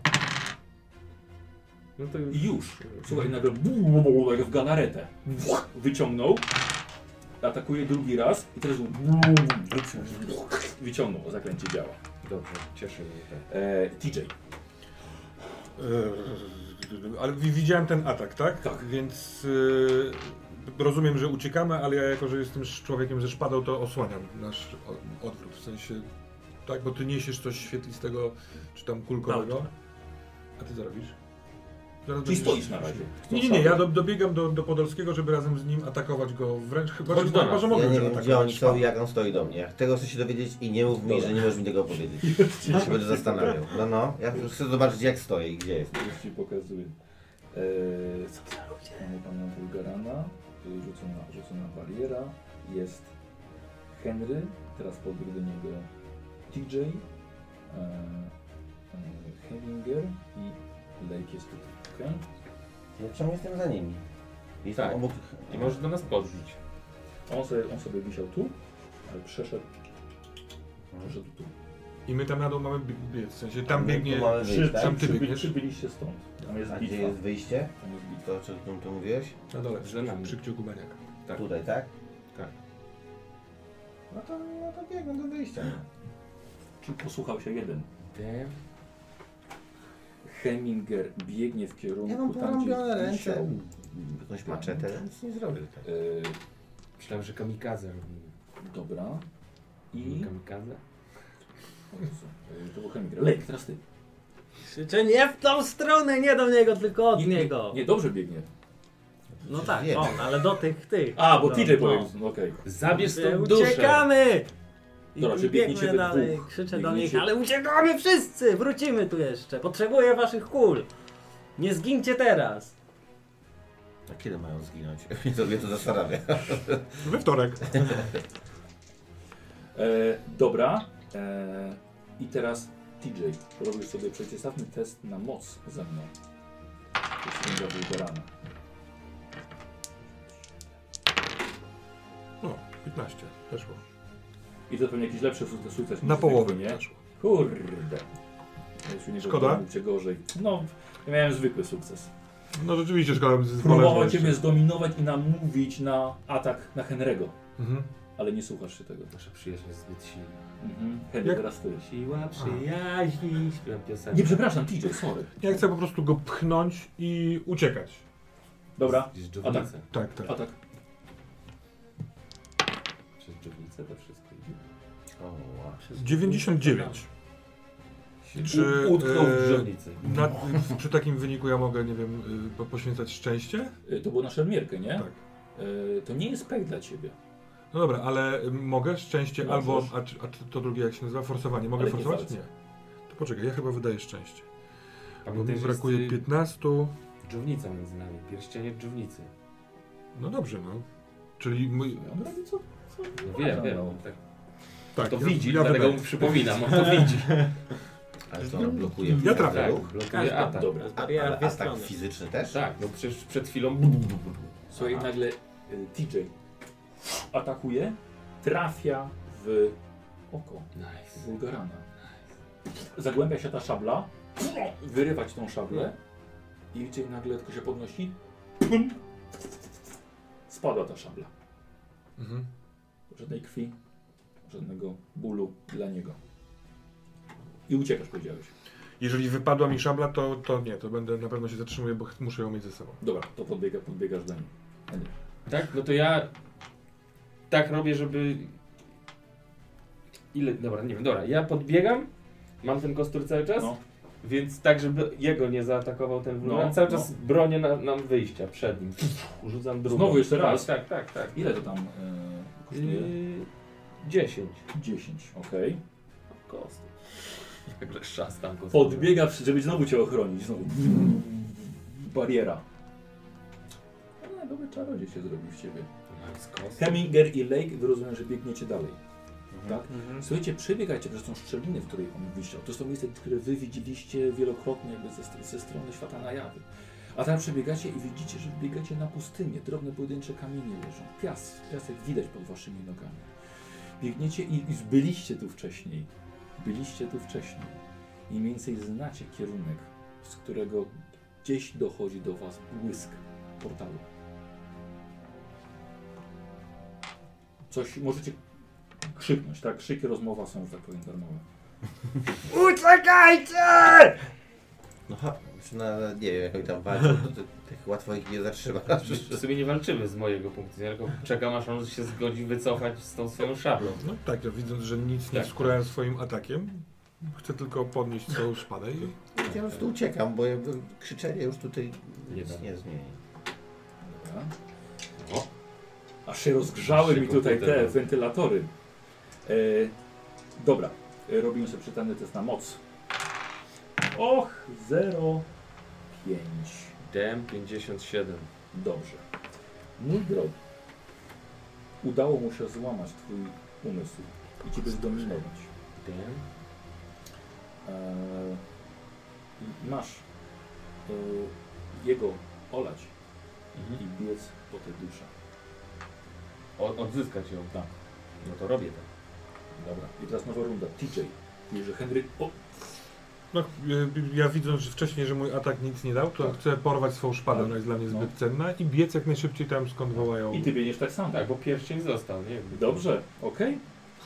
B: No to już...
A: I już. Słuchaj, nagle bu- bu- bu- bu- jak w galaretę. Wuch, Wyciągnął. Atakuje drugi raz i teraz bu- bu- bu- bu- wyciągnął, o zakręcie działa.
B: Dobrze, cieszę mnie tak.
A: E, TJ.
D: Eee,
G: E,
D: Ale wi- widziałem ten atak, tak?
A: Tak.
D: Więc yy, rozumiem, że uciekamy, ale ja jako, że jestem sz- człowiekiem ze szpadą, to osłaniam nasz o- odwrót. W sensie, tak, bo ty niesiesz coś świetlistego, czy tam kulkowego.
C: Tak.
D: A ty co robisz? Zaraz
A: Czyli
D: będziesz-
A: stoisz na razie.
D: Nie, nie, nie, ja do, dobiegam do, do Podolskiego, żeby razem z nim atakować go wręcz. Chyba,
B: Chodź
D: że,
B: do nas.
D: chyba, że mogę
C: Ja nie
D: już
C: wiem, gdzie oni
D: atakować.
C: są i jak on stoi do mnie. Jak Tego chcę się dowiedzieć i nie mów mi, że nie możesz mi tego (laughs) powiedzieć. Ja się będę zastanawiał. No, no, ja chcę zobaczyć, jak stoi i gdzie jest.
A: Już ci pokazuję. Eee, co to ludzie? Mamy pana Bulgarana, który rzucona, rzucona bariera. Jest Henry, teraz podbiegł do niego TJ, eee, Hellinger i Lake jest tutaj. okej?
C: Ja ciągle No, jestem za nimi. Jestem
B: Tak.
C: obok...
B: I możesz do nas podbić.
A: On, sobie, on sobie wisiał tu, ale przeszedł, przeszedł tu.
G: I my tam na dół mamy bi- biec, w sensie tam
C: My tu
G: biegnie...
C: mamy wyjść,
A: Przy,
C: tak?
G: Sam ty
A: przy, przy,
G: biegniesz?
A: przybyliście stąd. Tam jest
C: A
A: bitwa.
C: gdzie jest wyjście?
A: Tam jest bitwa.
C: To, o czym tu mówiłeś?
G: Na dole,
B: Że nami.
G: przy kciuku baniaka.
B: Tak.
C: Tutaj, tak?
B: Tak.
C: No to, no to biegną do wyjścia.
A: Czy posłuchał się jeden?
B: Damn.
A: Heminger biegnie w kierunku
C: Ja mam
A: tam, gdzie
C: porąbione
A: wisiał.
C: ręce, Mhm. jakąś maczetę, nic nie zrobię.
A: Yy,
B: Myślałem, że kamikadze robimy.
A: dobra. I...
B: Kamikadze?
A: o Jezu, yy, To był Heminger. Lejk, teraz ty.
I: Krzyczę nie w tą stronę, nie do niego, tylko od
A: Nie,
I: niego.
A: Nie, dobrze biegnie.
I: No tak,
C: Wiem.
I: on, ale do tych, tych.
A: A, bo
I: No,
A: TJ
I: no.
A: powiedział. No, okej.
B: Zabierz
I: Że
B: tą duszę!
I: Uciekamy! I,
A: Dobra,
I: i
A: czy biegniecie
I: biegnę
A: we
I: dalej,
A: dwóch?
I: krzyczę do
A: Biegniecie?
I: nich, ale uciekamy wszyscy! Wrócimy tu jeszcze, potrzebuję waszych kul! Nie zgincie teraz!
C: A kiedy mają zginąć? (laughs) Mnie to, mnie to (laughs) zastanawia.
G: We wtorek.
A: E, dobra. E, I teraz TJ. Robisz sobie przeciwstawny test na moc ze mną. To jest Kinga Bulgarana.
G: No, 15, weszło.
A: I to pewnie jakiś lepszy su- sukces.
G: Na
A: niż
G: połowę
A: zwykły,
G: nie?
A: nie?
G: weszło.
A: Kurde. Jeśli nie
G: Szkoda?
A: było, cię gorzej. No, ja miałem zwykły sukces.
G: No rzeczywiście szkoda z
A: Próbował
G: jeszcze.
A: ciebie zdominować i namówić na atak na Henry'ego,
G: Mhm.
A: ale nie słuchasz się tego.
B: Nasza przyjaźń jest zbyt silna.
A: Mhm. Henry,
G: Jak-
A: teraz ty.
B: Siła przyjaźni. Śpiewam piosenkę.
A: Nie, przepraszam, TJ, sorry.
G: Ja chcę po prostu go pchnąć i uciekać.
A: Dobra,
B: Gdzieś dżownicę.
G: Tak, tak.
A: atak.
B: Przez dżownicę to wszystko idzie.
C: O, wow.
G: 99. Czy,
B: Czy utknął
G: e,
B: w dżownicy.
D: no
G: Na, (laughs)
A: No.
G: przy takim wyniku ja mogę, nie wiem, y, po- poświęcać szczęście?
A: Y, To było na szermierkę, nie?
G: Tak.
A: Y, To nie jest pech dla ciebie.
G: No dobra, ale y, mogę szczęście
A: Możesz.
G: albo. A, czy- a czy to drugie jak się nazywa? Forsowanie. Mogę
A: Ale nie
G: forsować?
A: walce.
G: Nie. To poczekaj, ja chyba wydaję szczęście. Bo mi
B: Pamiętaj, że
G: brakuje
B: jest y,
G: 15.
B: dżownica między nami. Pierścienie dżownicy.
G: No dobrze, no. Czyli mój.
A: On robi co? co
B: No
A: uważa,
B: wiem, wiem.
A: no.
B: on Tak,
G: Tak,
B: to
G: ja,
B: widzi,
G: ja
B: dlatego
G: wydaję.
B: mu przypominam. On to widzi.
C: Ale to on blokuje
G: Ja trafię.
B: Tak,
C: ruch?
B: blokuje
I: Każdy
B: atak.
I: dobra, z
C: A,
I: bariera
C: ale
I: Tak. w dwie
C: atak
I: strony.
C: fizyczny też?
B: Tak, no przecież przed chwilą...
A: Słuchaj,
B: Aha.
A: nagle y, TJ atakuje, trafia w oko
B: Nice.
A: Bulgarana. Zagłębia się ta szabla, wyrywać tą
B: Mm.
A: szablę i TJ nagle tylko się podnosi. Pum. Spadła ta szabla.
G: Mhm.
A: Żadnej krwi, żadnego bólu dla niego. I uciekasz, powiedziałeś.
G: Jeżeli wypadła mi szabla, to, to nie, to będę na pewno się zatrzymuję, bo ch- muszę ją mieć ze sobą.
A: Dobra, to podbiega, podbiegasz do niej.
B: Tak, no to ja tak robię, żeby... Ile, dobra, nie wiem, dobra, ja podbiegam, mam ten kostur cały czas,
A: No.
B: więc tak, żeby jego nie zaatakował ten wróg,
A: No,
B: cały
A: no.
B: czas bronię na, nam wyjścia przed nim. Rzucam drugą.
A: Znowu jeszcze
B: Tak,
A: raz.
B: Tak, tak, tak.
A: Ile to tam y, kosztuje?
B: Yy, 10.
A: 10, okej.
B: Kosty. Jakże szastam kosty.
A: Podbiega, przy- żeby znowu cię ochronić. Znowu. Bariera. Ale dobry czarodziej się zrobił z ciebie. Heminger i Lake rozumiem, że biegniecie dalej. Tak? Słuchajcie, przebiegajcie przez tą szczelinę, w której on wisiał. To jest to miejsce, które wy widzieliście wielokrotnie jakby ze, str- ze strony świata na jawy. A tam przebiegacie i widzicie, że biegacie na pustynię. Drobne pojedyncze kamienie leżą. Pias, piasek widać pod waszymi nogami. Biegniecie i, i byliście tu wcześniej. Byliście tu wcześniej. I mniej więcej znacie kierunek, z którego gdzieś dochodzi do was błysk portalu. Coś możecie krzyknąć, tak? Krzyki, rozmowa są, że tak powiem, darmowe.
C: No ha, czy na, nie wiem, jak oni tam walczą, to, to, tak łatwo ich nie zatrzymasz.
B: W sumie nie walczymy z mojego punktu widzenia, tylko czekam aż on się zgodzi wycofać z tą swoją szablą.
G: No tak, ja widząc, że nic nie
B: Tak.
G: skurałem swoim atakiem, chcę tylko podnieść całą szpadę i
C: Ja po prostu uciekam, bo ja, krzyczenie już tutaj
B: Nie
C: nic
B: da.
C: nie zmieni.
A: Dobra.
B: O.
A: Aż się rozgrzały mi
B: Szybko
A: tutaj te
B: pójdę.
A: wentylatory. E, dobra, E, robimy sobie przytany test na moc. Och, 0,5.
B: DM57.
A: Dobrze. Mój drogi, udało mu się złamać twój umysł i ciebie zdominować.
B: DM?
A: Eee, masz eee, jego olać
B: Mhm.
A: i biec po te dusze.
B: O, odzyskać ją.
A: Tak.
B: No to robię tak.
A: Dobra. I teraz nowa runda. TJ. Mówisz, że Henry... O!
D: No, e, ja widząc że wcześniej, że mój atak nic nie dał, to chcę porwać swoją szpadę,
A: Tak.
D: ona jest dla mnie
A: No.
D: zbyt cenna i biec jak najszybciej tam skąd wołają.
A: I ty biegniesz tak samo.
B: Tak, bo pierścień został, nie? Jakby to-
A: Dobrze, okej.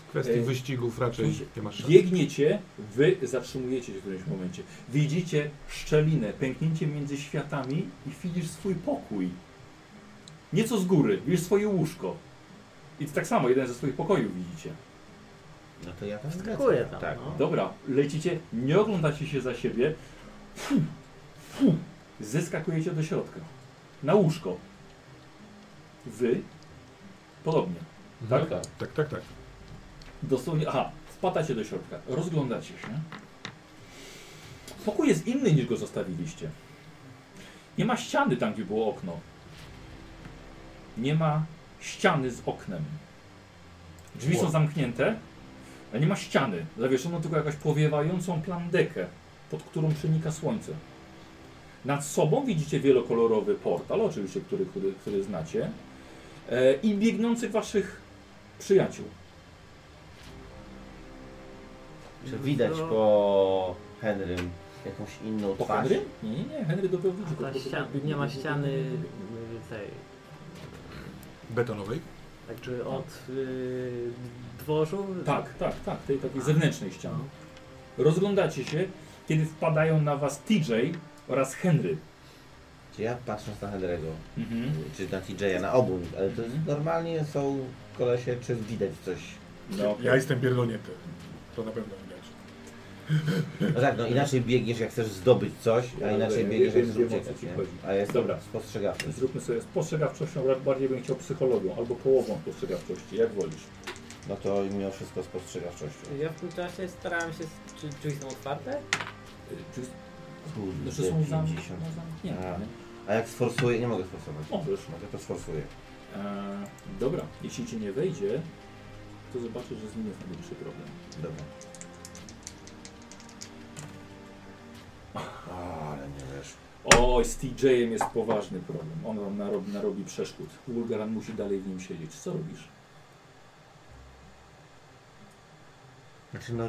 D: W kwestii
A: Ej.
D: wyścigów raczej
A: Słuchajcie,
D: nie masz szans.
A: Biegniecie, wy zatrzymujecie się w którymś momencie. Widzicie szczelinę, pęknięcie między światami i widzisz swój pokój. Nieco z góry, widzisz swoje łóżko. I tak samo, jeden ze swoich pokojów widzicie.
C: No to ja tam zgadzam.
E: Dziękuję tam,
C: Tak.
E: no.
A: Dobra, lecicie, nie oglądacie się za siebie. Fu, fu. Zeskakujecie do środka. Na łóżko. Wy podobnie.
B: Tak, tak.
D: Tak, tak, tak.
A: Dosłownie, aha, wpadacie do środka, rozglądacie się. Pokój jest inny niż go zostawiliście. Nie ma ściany tam, gdzie było okno. Nie ma ściany z oknem. Drzwi są zamknięte, ale nie ma ściany. Zawieszono tylko jakąś powiewającą plandekę, pod którą przenika słońce. Nad sobą widzicie wielokolorowy portal, oczywiście, który, który, który znacie, e, i biegnących waszych przyjaciół.
C: Czy widać po Henrym jakąś inną
A: Po
C: twarz?
A: Henry? Nie, nie, nie, Henry dopiero wrócił.
E: Ta
A: Tylko-
E: ścian, nie ma ściany y, tej,
D: Betonowej.
E: znaczy od y, dworzu.
A: Tak, tak, tak, tej takiej zewnętrznej ściany.
E: No.
A: Rozglądacie się, kiedy wpadają na was TJ oraz Henry.
C: Czy ja patrząc na Henry'ego,
D: Mhm.
C: czy na TJ'a, na obu, ale to jest, normalnie są kolesie, czy widać coś.
A: No,
D: Ja jestem pierdolnięty. To na pewno widać.
C: No tak, no inaczej biegniesz jak chcesz zdobyć coś,
A: Ja
C: a inaczej
A: wiem,
C: biegniesz jak
A: wiem,
C: chcesz
A: wiem, o co
C: uciekać,
A: ci
C: nie?
A: chodzi.
C: A ja jestem
A: Dobra.
C: spostrzegawczy.
A: zróbmy sobie spostrzegawczością, raz bardziej bym chciał psychologią albo połową spostrzegawczości, jak wolisz.
C: No to mimo wszystko spostrzegawczością.
L: Ja w tym czasie starałem się. s- Czy drzwi są otwarte?
A: Y, Czy,
C: No Kurde,
A: znaczy są zam,
C: 50.
A: no, zamknięte.
C: A.
A: nie?
C: A jak sforsuję, nie mogę sforsować.
A: Możesz.
C: Mogę to sforsuję.
A: E, dobra, jeśli ci nie wejdzie, to zobaczysz, że z nim jest największy problem.
C: Dobra. Ale nie wiesz.
A: Oj, z TJ-em jest poważny problem. On wam narobi, narobi przeszkód. Wulgaran musi dalej w nim siedzieć. Co robisz?
C: Znaczy no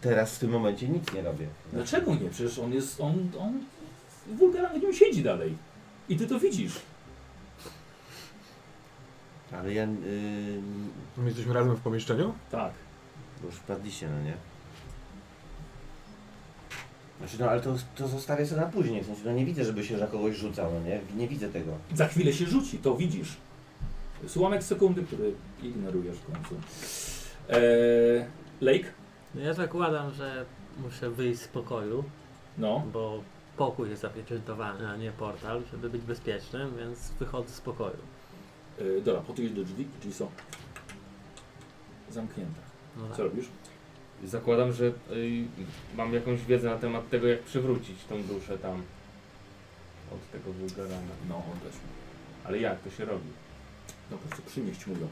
C: teraz w tym momencie nic nie robię.
A: Dlaczego nie? Przecież on jest. On. on Wulgaran w nim siedzi dalej. I ty to widzisz.
C: Ale ja... Yy,
D: My jesteśmy razem w pomieszczeniu?
A: Tak.
C: bo już wpadliście, no nie? Znaczy no ale to, to zostawię sobie na później. W sensie no nie widzę, żeby się na kogoś rzucał, no nie? Nie widzę tego.
A: Za chwilę się rzuci, to widzisz. Jest ułamek sekundy, który ignorujesz w końcu. Eee, Lake?
E: No Ja zakładam, że muszę wyjść z pokoju,
A: No.
E: bo pokój jest zapieczętowany, a nie portal, żeby być bezpiecznym, więc wychodzę z pokoju.
A: Eee, dobra, podjedziesz do drzwi. Drzwi są zamknięte.
E: No
A: Co
E: tak.
A: robisz?
B: Zakładam, że y, mam jakąś wiedzę na temat tego, jak przywrócić tą duszę tam. Od tego wulgarana.
A: No, on też.
B: Ale jak to się robi?
A: No po prostu przynieść mu ją.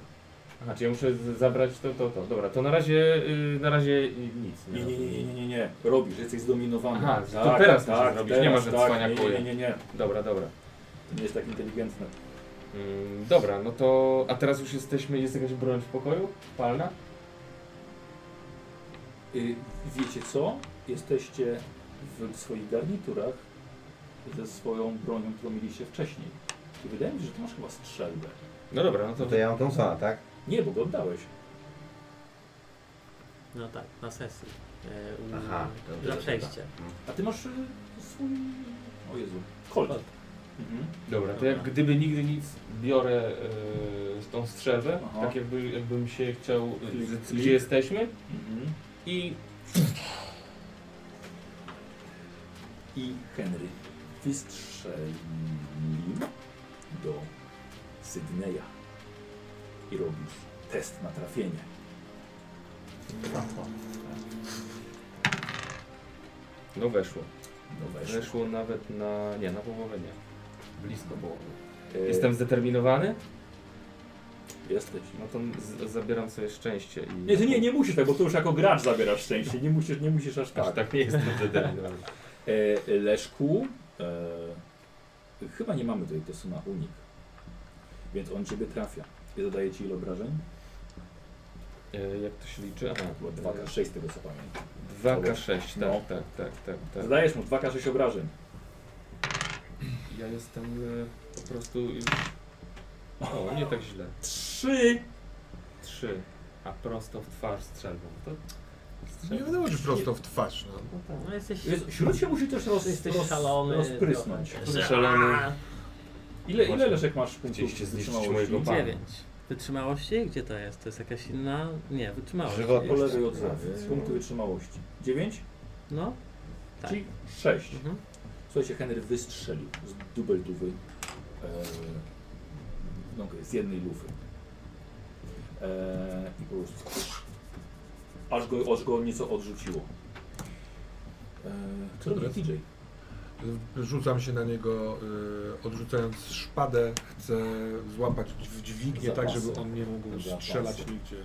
B: Aha, czy ja muszę z- zabrać to, to, to. Dobra, to na razie, y, na razie y, nic.
A: Nie, nie, nie, nie, nie, nie. Robisz, jesteś zdominowany. Tak,
B: Aha, to teraz musisz zrobić, nie ma, że odsłania
A: nie, nie,
B: kuje.
A: nie, nie, nie.
B: Dobra, dobra.
A: To nie jest tak inteligentne.
B: Mm, dobra, no to... A teraz już jesteśmy... Jest jakaś broń w pokoju? Palna?
A: Y, wiecie co? Jesteście w swoich garniturach ze swoją bronią, którą mieliście wcześniej. I wydaje mi się, że ty masz chyba strzelbę.
B: No dobra, no
C: No
B: to...
C: to ja mam Thompsona, tak?
A: Nie, bo go oddałeś.
E: No tak, na sesji. E, u-
C: Aha, dobra,
E: za przejście.
A: A ty masz y, swój... O Jezu. Kolt.
E: Colt.
A: Mhm.
B: Dobra, to jak gdyby nigdy nic biorę y, tą strzelbę,
A: Aha.
B: tak jakby, jakbym się chciał...
A: Klik,
B: Y,
A: klik.
B: gdzie jesteśmy
A: Mhm.
B: i...
A: I Henry wystrzeli do Sydneya i robisz test na trafienie. No
B: No weszło.
A: weszło.
B: no,
A: No
B: Weszło nawet na... Nie, na połowę nie.
A: blisko połowy. E,
B: Jestem zdeterminowany?
A: Jesteś.
B: No to z- zabieram sobie szczęście i...
G: Nie, ty nie, nie musisz tak, bo to już jako gracz zabierasz szczęście. Nie musisz, nie musisz aż
B: Aż
G: tak.
B: tak nie jestem zdeterminowany.
A: E, Leszku, e, chyba nie mamy tutaj testu na unik, więc on ciebie trafia. I zadaje ci ile obrażeń?
B: (laughs) E, Jak to się liczy? Aha,
A: Chyba 2K6 z tego co pamiętam.
B: 2K6, tak,
A: No.
B: tak, tak, tak, tak.
A: Zadajesz mu 2K6 obrażeń.
B: Ja jestem e, po prostu już... O, nie tak źle.
G: Trzy!
B: Trzy. A prosto w twarz strzelbą. To
D: Nie
B: strzelbą.
D: wiadomo, czy prosto w twarz, no.
B: No tak.
I: No jesteś,
A: Więc śród się musi też roz,
I: jesteś
A: roz,
I: szalony.
A: rozprysnąć.
I: trochę.
B: Strzelony.
A: Ile, ile Leszek masz punktów
B: Chcieliście zniszczyć
A: wytrzymałości?
B: mojego pana.
I: Dziewięć. Wytrzymałości? Gdzie to jest? To jest jakaś inna... Nie, wytrzymałość.
C: Żywotność.
A: Po lewej od zewnątrz. Punkty wytrzymałości. 9?
I: No. Tak.
A: Czyli 6.
I: Mhm.
A: Słuchajcie, Henry wystrzelił z dubelduwy e, nogę z jednej lufy. E, I po prostu aż go, aż go nieco odrzuciło. E, co robi
D: Dobra.
A: TJ?
D: Rzucam się na niego, y, odrzucając szpadę, chcę złapać w dźwignię tak,
A: Zapasy.
D: żeby on nie mógł
A: Zapasy.
D: strzelać nigdzie.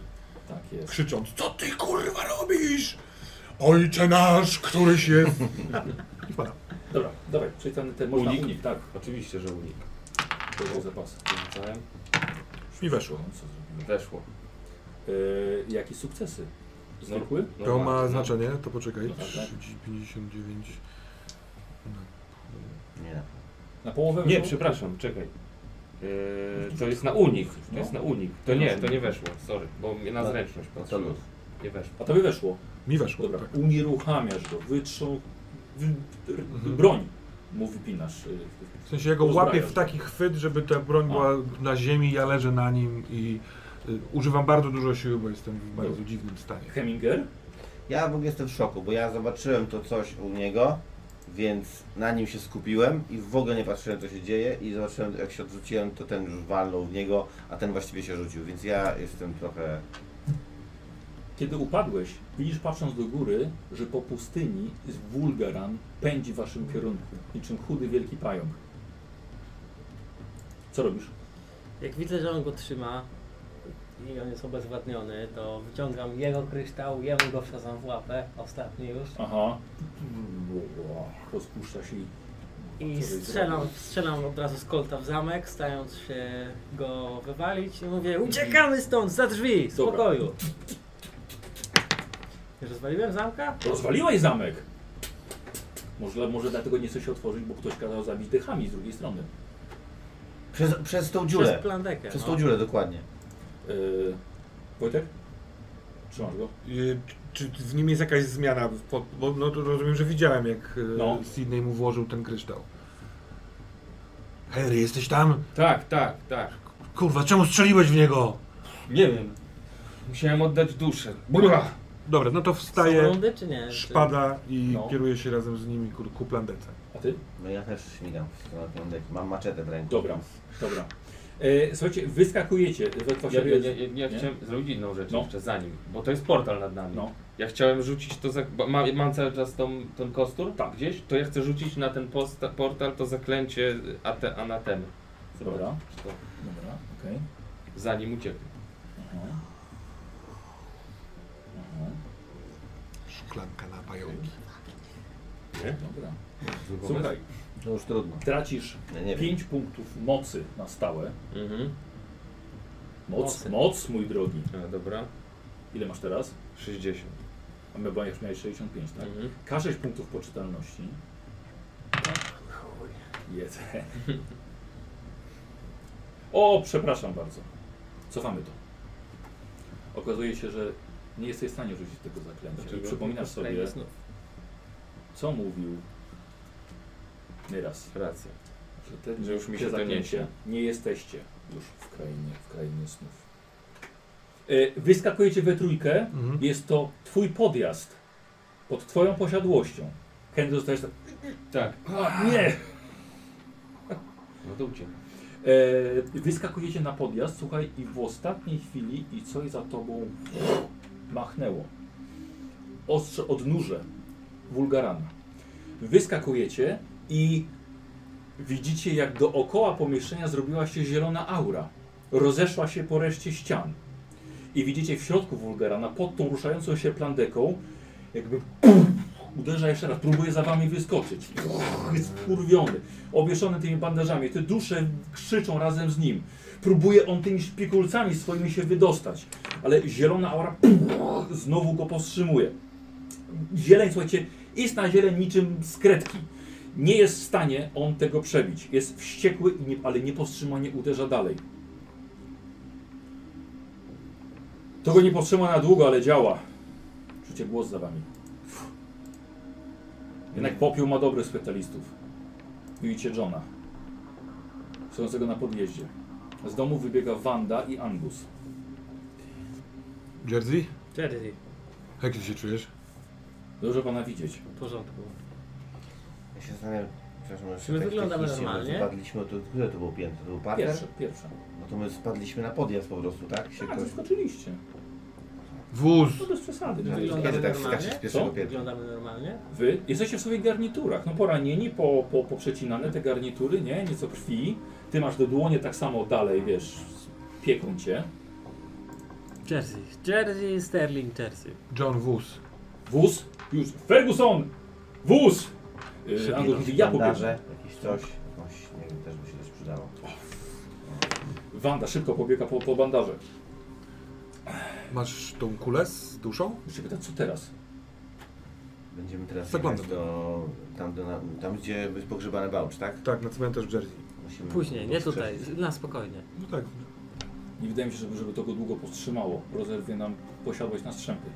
A: Tak jest.
D: Krzycząc, co ty kurwa robisz? Ojcze nasz, któryś jest... I wpada.
A: Dobra, dawaj, czyli ten, ten można
B: Unik?
A: unik, tak,
B: Oczywiście, że unik.
A: to był zapas.
B: Rzucałem.
D: I weszło.
A: Co zrobiłem?
B: Weszło.
A: E, jakie sukcesy? Zwykły?
D: To ma
B: Normalnie.
D: znaczenie, to poczekaj.
A: No tak, tak.
D: 59...
C: Nie.
A: Na połowę
B: Nie,
A: weszło?
B: przepraszam, czekaj. Yy, to jest na unik. To jest na unik. To nie, Tak, to nie weszło, sorry, bo mnie na
C: No.
B: zręczność
C: No to
B: patrzyło.
C: luz.
B: Nie weszło.
A: A tobie weszło.
D: Mi weszło,
A: Dobra,
D: tak.
A: unieruchamiasz go, wytrząs... Wy... r- Broń mu wypinasz. y,
D: W sensie ja go
A: Uzbrajasz
D: łapię w
A: go.
D: taki chwyt, żeby ta broń była na ziemi, ja leżę na nim i y, używam bardzo dużo siły, bo jestem w bardzo dziwnym stanie.
A: Heminger?
C: Ja w ogóle jestem w szoku, bo ja zobaczyłem to coś u niego, więc na nim się skupiłem i w ogóle nie patrzyłem co się dzieje i zobaczyłem jak się odrzuciłem, to ten już walnął w niego, a ten właściwie się rzucił, więc ja jestem trochę...
A: Kiedy upadłeś, widzisz patrząc do góry, że po pustyni z Wulgaran pędzi w waszym kierunku, niczym chudy wielki pająk. Co robisz?
I: Jak widzę, że on go trzyma i on jest obezwładniony, to wyciągam jego kryształ, jemu go wsadzam w łapę, ostatni już,
A: Aha. Rozpuszcza się i...
I: i strzelam, strzelam od razu z kolta w zamek, stając się go wywalić i mówię uciekamy stąd, za drzwi, z
A: Dobra.
I: pokoju. Już rozwaliłem zamka?
A: Rozwaliłeś zamek! Może, może dlatego nie chce się otworzyć, bo ktoś kazał zabić dechami z drugiej strony.
C: Przez, przez tą
I: Przez
C: dziurę!
I: plandekę.
C: Przez
I: no.
C: tą dziurę, dokładnie.
A: Yy, Wojtek? Trzymasz go?
D: Y, Czy w nim jest jakaś zmiana? Po- Bo no to rozumiem, że widziałem jak y,
A: No.
D: Sydney mu włożył ten kryształ. Harry, jesteś tam?
B: Tak, tak, tak.
D: Kurwa, czemu strzeliłeś w niego?
B: Nie wiem. Musiałem oddać duszę. Bra!
D: Dobra, no to
I: Są
D: wstaje,
I: rundy czy nie? Czy-
D: szpada i
A: No.
D: kieruje się razem z nimi ku, ku plandece.
A: A ty?
C: No ja też śmigam w stronę piątek. mam maczetę w ręku.
A: Dobra, dobra. E, słuchajcie, wyskakujecie.
B: Ja,
A: Właśnie,
B: ja, ja, ja
A: nie?
B: chciałem zrobić inną rzecz
A: No.
B: jeszcze zanim, bo to jest portal nad nami.
A: No.
B: Ja chciałem rzucić to, za, bo mam, mam cały czas tą, ten kostur tak. gdzieś, to ja chcę rzucić na ten posta, portal to zaklęcie ate, anatemy.
A: Dobra.
B: Czy to-
A: Dobra, okej.
B: Zanim uciekł.
A: Aha. Aha,
D: Szklanka na pająki.
A: Dobra.
B: Słuchaj.
C: To już trudno.
A: Tracisz
C: Ja nie wiem.
A: 5 punktów mocy na stałe.
B: Mhm.
A: Moc,
I: Mocy.
A: moc, mój drogi.
B: A, dobra.
A: Ile masz teraz?
B: 60.
A: A my bo już miałeś 65, tak?
B: Mhm.
A: K6 punktów poczytalności. Jest. (laughs) O, przepraszam bardzo. Cofamy to. Okazuje się, że nie jesteś w stanie rzucić tego zaklęcia.
B: Dlaczego?
A: I przypominasz sobie,
I: Znów.
A: co mówił nieraz.
B: Racja.
A: Że, te,
B: Że już mi
A: te
B: się to
A: zaklęcia
B: niesie.
A: Nie jesteście już w krainie, w krainie snów. E, Wyskakujecie we trójkę.
D: Mhm.
A: Jest to twój podjazd pod twoją posiadłością. Henry zostajesz tak,
B: Tak.
A: "A, nie!
B: No to uciekł.
A: E, wyskakujecie na podjazd, słuchaj, i w ostatniej chwili i coś za tobą machnęło. Ostrze odnóże Wulgarana. Wyskakujecie i Widzicie, jak dookoła pomieszczenia zrobiła się zielona aura. Rozeszła się po reszcie ścian. I widzicie w środku wulgara, na pod tą ruszającą się plandeką, jakby (clears throat) uderza jeszcze raz, próbuje za wami wyskoczyć. Jest kurwiony, owieszony tymi bandażami. Te dusze krzyczą razem z nim. Próbuje on tymi szpikulcami swoimi się wydostać, ale zielona aura znowu go powstrzymuje. Zieleń, słuchajcie, istna zieleń niczym z kredki. Nie jest w stanie on tego przebić. Jest wściekły, i nie, ale niepowstrzymanie uderza dalej. To go nie powstrzyma na długo, ale działa. Czucie głos za wami. Jednak popiół ma dobrych specjalistów. Widzicie Johna. Stojącego na podjeździe. Z domu wybiega Wanda i Angus.
G: Jersey?
E: Jersey,
G: Jak ty się czujesz?
A: Dobrze pana widzieć.
E: w porządku.
C: Ja się zastanawiam, przepraszam, jeszcze
E: my
C: tak
E: wyglądamy
C: technicznie, bo
E: normalnie?
C: Spadliśmy, to, które to było piętro? To był parter?
A: Pierwsze, pierwsze.
C: No to my spadliśmy na podjazd po prostu, tak? Się
A: Tak,
C: ktoś...
A: zaskoczyliście.
G: Wóz!
A: No bez przesady.
C: Tak,
E: wygląda
C: Kiedy tak, się- tak się
E: normalnie?
C: z pierwszego
A: Co?
C: piętra?
E: Wyglądamy normalnie?
A: Wy jesteście w swoich garniturach. No poranieni, po, po, poprzecinane te garnitury, nie? Nieco krwi. Ty masz do dłonie tak samo dalej, wiesz, pieką cię.
E: Jersey, Jersey, Sterling, Jersey.
G: John Wóz.
A: Wóz? Już. Ferguson! Wóz! Yy, Angus mówi, ja pobiegnę.
C: Bandaże, jakieś coś, jakąś, nie wiem, też by się coś przydało.
A: Wanda szybko pobiega po, po bandaże.
G: Masz tą kulę z duszą?
A: Już się pyta, co teraz?
C: Będziemy teraz
G: Zaglądam.
C: jechać do, tam, do, na- tam, gdzie jest pogrzebany bałcz, tak?
G: Tak, na cmentarz Jersey.
C: Musimy
E: Później, nie
C: odskrzesić.
E: tutaj, na spokojnie.
G: No tak.
A: Nie wydaje mi się, żeby, żeby to go długo powstrzymało. Rozerwie nam posiadłość na strzępy.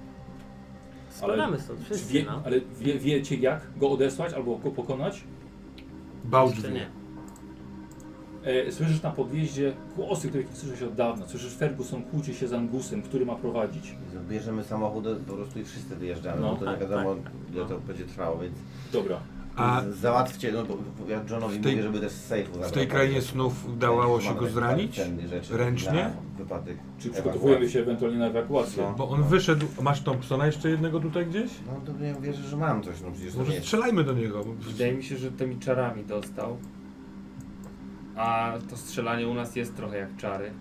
E: Spadamy stąd
A: Czy
E: wszyscy,
A: wie,
E: no.
A: ale wie, wiecie jak go odesłać albo go pokonać?
G: Bałcz
E: Jeszcze
G: wie.
E: nie.
A: E, słyszysz na podjeździe głosy, których nie słyszysz od dawna. Słyszysz Ferguson kłóci się z Angusem, który ma prowadzić.
C: Bierzemy samochód po prostu i wszyscy wyjeżdżamy,
A: No,
C: no, to
E: tak,
C: nie wiadomo
E: tak.
C: ile to będzie trwało, więc
A: Dobra.
G: A
C: z- załatwcie, no bo bo ja Johnowi
G: w tej-
C: mówię, żeby też z sejfu
G: w tej
C: zabrać. tak?
G: krainie snów udało się go
C: Mamy
G: zranić?
C: cennych rzeczy
G: Ręcznie?
C: na Wypadek.
A: Czy
C: ewakuacji.
A: przygotowujemy się ewentualnie na ewakuację?
C: No.
G: Bo on wyszedł. Masz Thompsona jeszcze jednego tutaj gdzieś?
C: No to ja wierzę, że mam coś, no przecież to nie
G: Może
C: jest.
G: strzelajmy do niego.
B: Wydaje mi się, że tymi czarami dostał. A to strzelanie u nas jest trochę jak czary.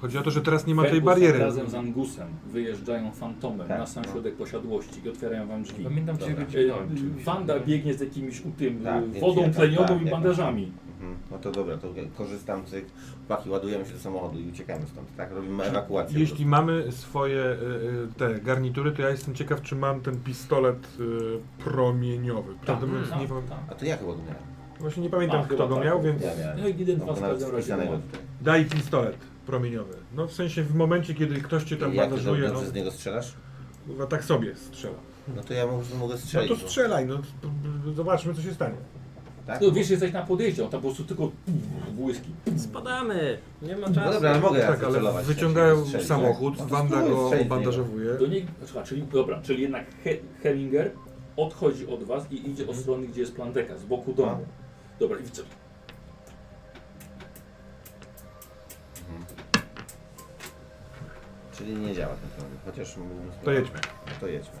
G: Chodzi o to, że teraz nie ma tej
A: Ferguson
G: bariery.
A: Razem z Angusem wyjeżdżają fantomem
C: Tak,
A: na sam
C: no.
A: środek posiadłości i otwierają wam drzwi.
B: Pamiętam, że
C: Dobra.
B: go
A: E,
B: dźgnąłem czymś.
A: Wanda biegnie z jakimś u tym
C: Tak,
A: e,
C: więc
A: wodą
C: ja tam,
A: tlenioną i
C: tak, jak
A: bandażami.
C: Mhm. No to dobra, to korzystam cyk, paki ładujemy się do samochodu i uciekamy stąd, tak? Robimy ewakuację.
G: Jeśli mamy swoje y, y, te garnitury, to ja jestem ciekaw, czy mam ten pistolet y, promieniowy. Prawdę mówiąc, nie,
A: tak,
G: pamię-
A: tak.
C: A to ja chyba go miałem.
G: właśnie nie pamiętam,
A: A,
G: kto
A: chyba
G: go
A: tak.
G: miał, więc
C: Ja miałem.
A: No i jeden
C: Mam
A: was w
C: go nawet
A: każdym razie
C: wpisanego
A: ma.
C: tutaj.
G: daj pistolet promieniowy. No w sensie w momencie, kiedy ktoś cię tam
C: Jak ty
G: bandażuje,
C: dobrze
G: no
C: z niego strzelasz?
G: kurwa, tak sobie strzela.
C: No to ja mogę, mogę
G: No
C: strzelić.
G: to
C: bo-
G: strzelaj, no p- p- zobaczmy, co się stanie.
C: Tak?
A: No wiesz, jesteś na podjeździe, on tam po prostu tylko błyski.
E: Spadamy! Nie ma
C: No
E: czasu.
C: dobra, ale mogę ja
G: tak, ale
C: celować,
G: wyciągają
C: tak, strzelić,
G: samochód,
C: tak? No to
G: Wanda
C: spróbuj
G: go
C: strzelić w niego.
G: bandażowuje.
A: Do niej, aha, czyli, dobra, czyli jednak He, Hellinger odchodzi od was i idzie od strony, gdzie jest planteka, z boku domu. Dobra, i co?
C: Czyli nie działa ten problem. Chociaż mógłbym
G: To jedźmy.
C: No to jedźmy.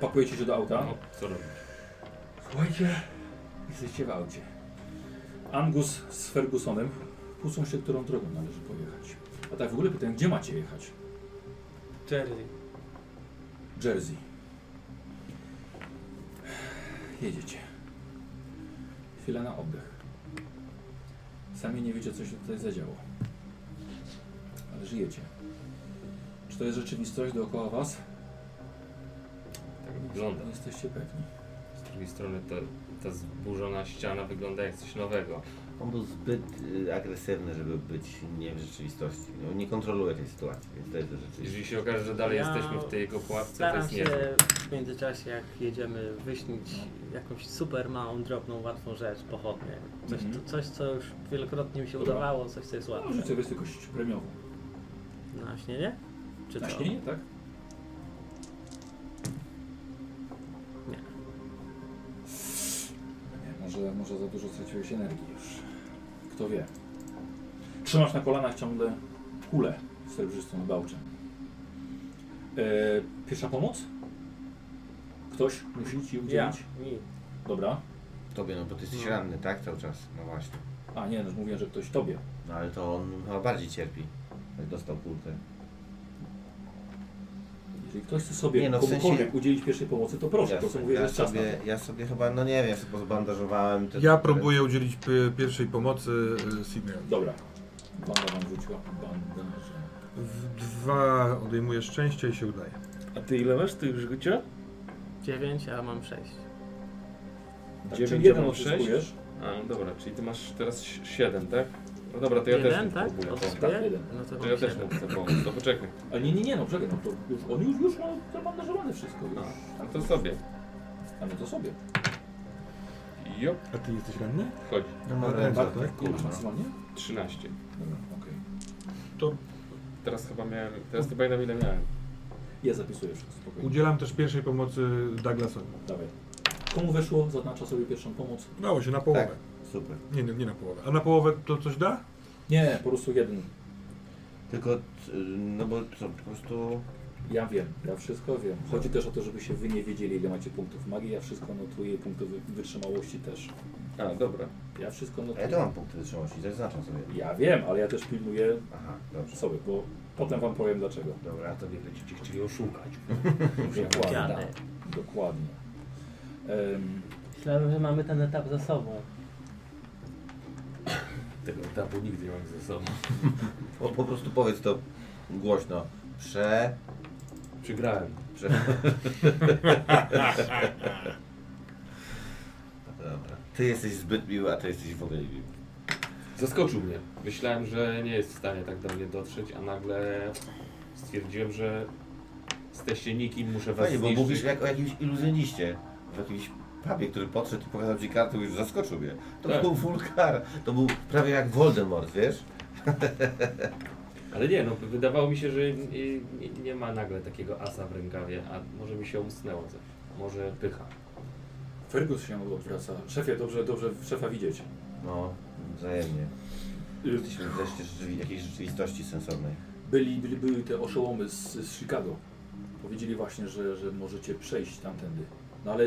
A: Pakujecie się do auta?
B: No, co robić?
A: Słuchajcie, jesteście w aucie. Angus z Fergusonem kłócą się, którą drogą należy pojechać. A tak w ogóle pytam, gdzie macie jechać?
E: Jersey.
A: Jersey. Jedziecie. Chwila na oddech. Sami nie wiecie, co się tutaj zadziało. Ale żyjecie. Czy to jest rzeczywistość dookoła was?
B: Tak wygląda.
A: Nie jesteście pewni.
B: Z drugiej strony ta, ta zburzona ściana wygląda jak coś nowego.
C: On był zbyt y, agresywny, żeby być nie w rzeczywistości. No, nie kontroluje tej sytuacji, więc to jest rzeczywistość.
B: Jeżeli się okaże, że dalej
E: Ja
B: jesteśmy w tej jego pułapce, to
E: Staram
B: jest
E: się
B: nie.
E: w międzyczasie, jak jedziemy, wyśnić jakąś super małą, drobną, łatwą rzecz, pochodnie. Coś,
A: Mhm.
E: coś co już wielokrotnie mi się
A: Dobra.
E: udawało, coś, co jest
A: No,
E: łatwe.
A: rzucę wysokość premiową.
E: Na śnienie? Czy
A: Na
E: co?
A: śnienie, tak?
E: Nie.
A: No Nie, może, może za dużo straciłeś energii już. Kto wie. Trzymasz na kolanach ciągle kulę srebrzystą z bałczem. E, pierwsza pomoc? Ktoś musi ci udzielić?
E: Ja, mi.
A: Dobra.
C: Tobie, no bo ty jesteś ranny, tak? Cały czas. No właśnie.
A: A nie, no mówiłem, że ktoś tobie.
C: No ale to on chyba bardziej cierpi. Jak dostał kulkę.
A: Jeżeli ktoś chce sobie
C: Nie, no, w
A: komukolwiek
C: sensie-
A: udzielić pierwszej pomocy, to proszę, to co mówię,
C: ja,
A: jest czas na to.
C: sobie, ja sobie chyba, no nie wiem, ja sobie pozbandażowałem. Te,
D: Ja próbuję udzielić pi- pierwszej pomocy y, Sydneyowi.
A: Dobra. Banda wam rzuciła bandaże.
D: W Dwa odejmuję szczęście i się udaje.
B: A ty ile masz tych życia?
E: 9, a mam 6.
A: Tak,
B: Dziewięć,
A: czyli
B: a
A: jeden
B: mam sześć?
A: odzyskujesz.
B: A, no dobra, czyli ty masz teraz 7, tak? No dobra, to ja
E: Jeden,
B: też
E: tak?
B: próbuję.
E: Odzyskuję?
A: Tak, jeden.
E: No to
B: To ja
E: mam
B: też
E: 7.
B: mu chcę pomóc, to poczekaj.
A: A nie, nie, nie, no czekaj, no to już, on już, już ma zabandażowane wszystko. Już.
B: No, no to sobie.
A: A no to sobie.
B: Jop,
D: A ty jesteś ranny?
B: chodź.
D: No, no, tak?
A: Ile masz maksymalnie?
B: 13.
A: Dobra, okej.
B: Teraz chyba miałem, teraz chyba na ile miałem.
A: Ja zapisuję wszystko, spokojnie.
D: Udzielam też pierwszej pomocy Douglasowi.
A: Dawaj. Komu weszło, zaznacza sobie pierwszą pomoc.
D: Udało się, na połowę.
C: Tak, Super.
D: Nie, nie, nie na połowę. A na połowę to coś da?
A: Nie, po prostu jeden.
C: Tylko, y, no bo co, po prostu...
A: Ja wiem, ja wszystko wiem. Chodzi też o to, żebyście wy nie wiedzieli, ile macie punktów magii. Ja wszystko notuję, punkty wy- wytrzymałości też.
B: A, dobra.
A: Ja wszystko
C: A ja
A: notuję.
C: to mam punkty wytrzymałości, zaznaczam sobie.
A: Ja wiem, ale ja też pilnuję
C: Aha, dobrze.
A: sobie, bo potem wam powiem dlaczego.
C: Dobra, to nie będziecie chcieli oszukać.
A: (laughs) Dokładnie. Dokładnie. Em,
I: Myślałem, że mamy ten etap za sobą.
B: Tego etapu nigdy nie mam ze sobą.
C: Po, po prostu powiedz to głośno. Prze...
B: Przegrałem.
A: (laughs)
C: prze... (laughs) Dobra. Ty jesteś zbyt miły, a ty jesteś w ogóle niemiły.
B: Zaskoczył mnie. Myślałem, że nie jest w stanie tak do mnie dotrzeć, a nagle stwierdziłem, że jesteście nikim, muszę was
C: Fajnie, bo
B: zniszczyć.
C: mówisz jak o jakimś iluzjoniście. W jakimś pubie, który podszedł i pokazał ci kartę, już zaskoczył mnie. To
B: Tak.
C: był wulkar. To był prawie jak Voldemort, wiesz?
B: Ale nie, no wydawało mi się, że nie, nie, nie ma nagle takiego asa w rękawie, a może mi się umsnęło coś. Może pycha.
A: Fergus się odwraca. Szefie, dobrze, dobrze szefa widzieć.
C: No, wzajemnie.
A: Y,
C: Jesteśmy wreszcie rzeczywi- jakiejś rzeczywistości sensownej.
A: Byli, byli, były te oszołomy z, z Chicago. Powiedzieli właśnie, że, że możecie przejść tamtędy. No ale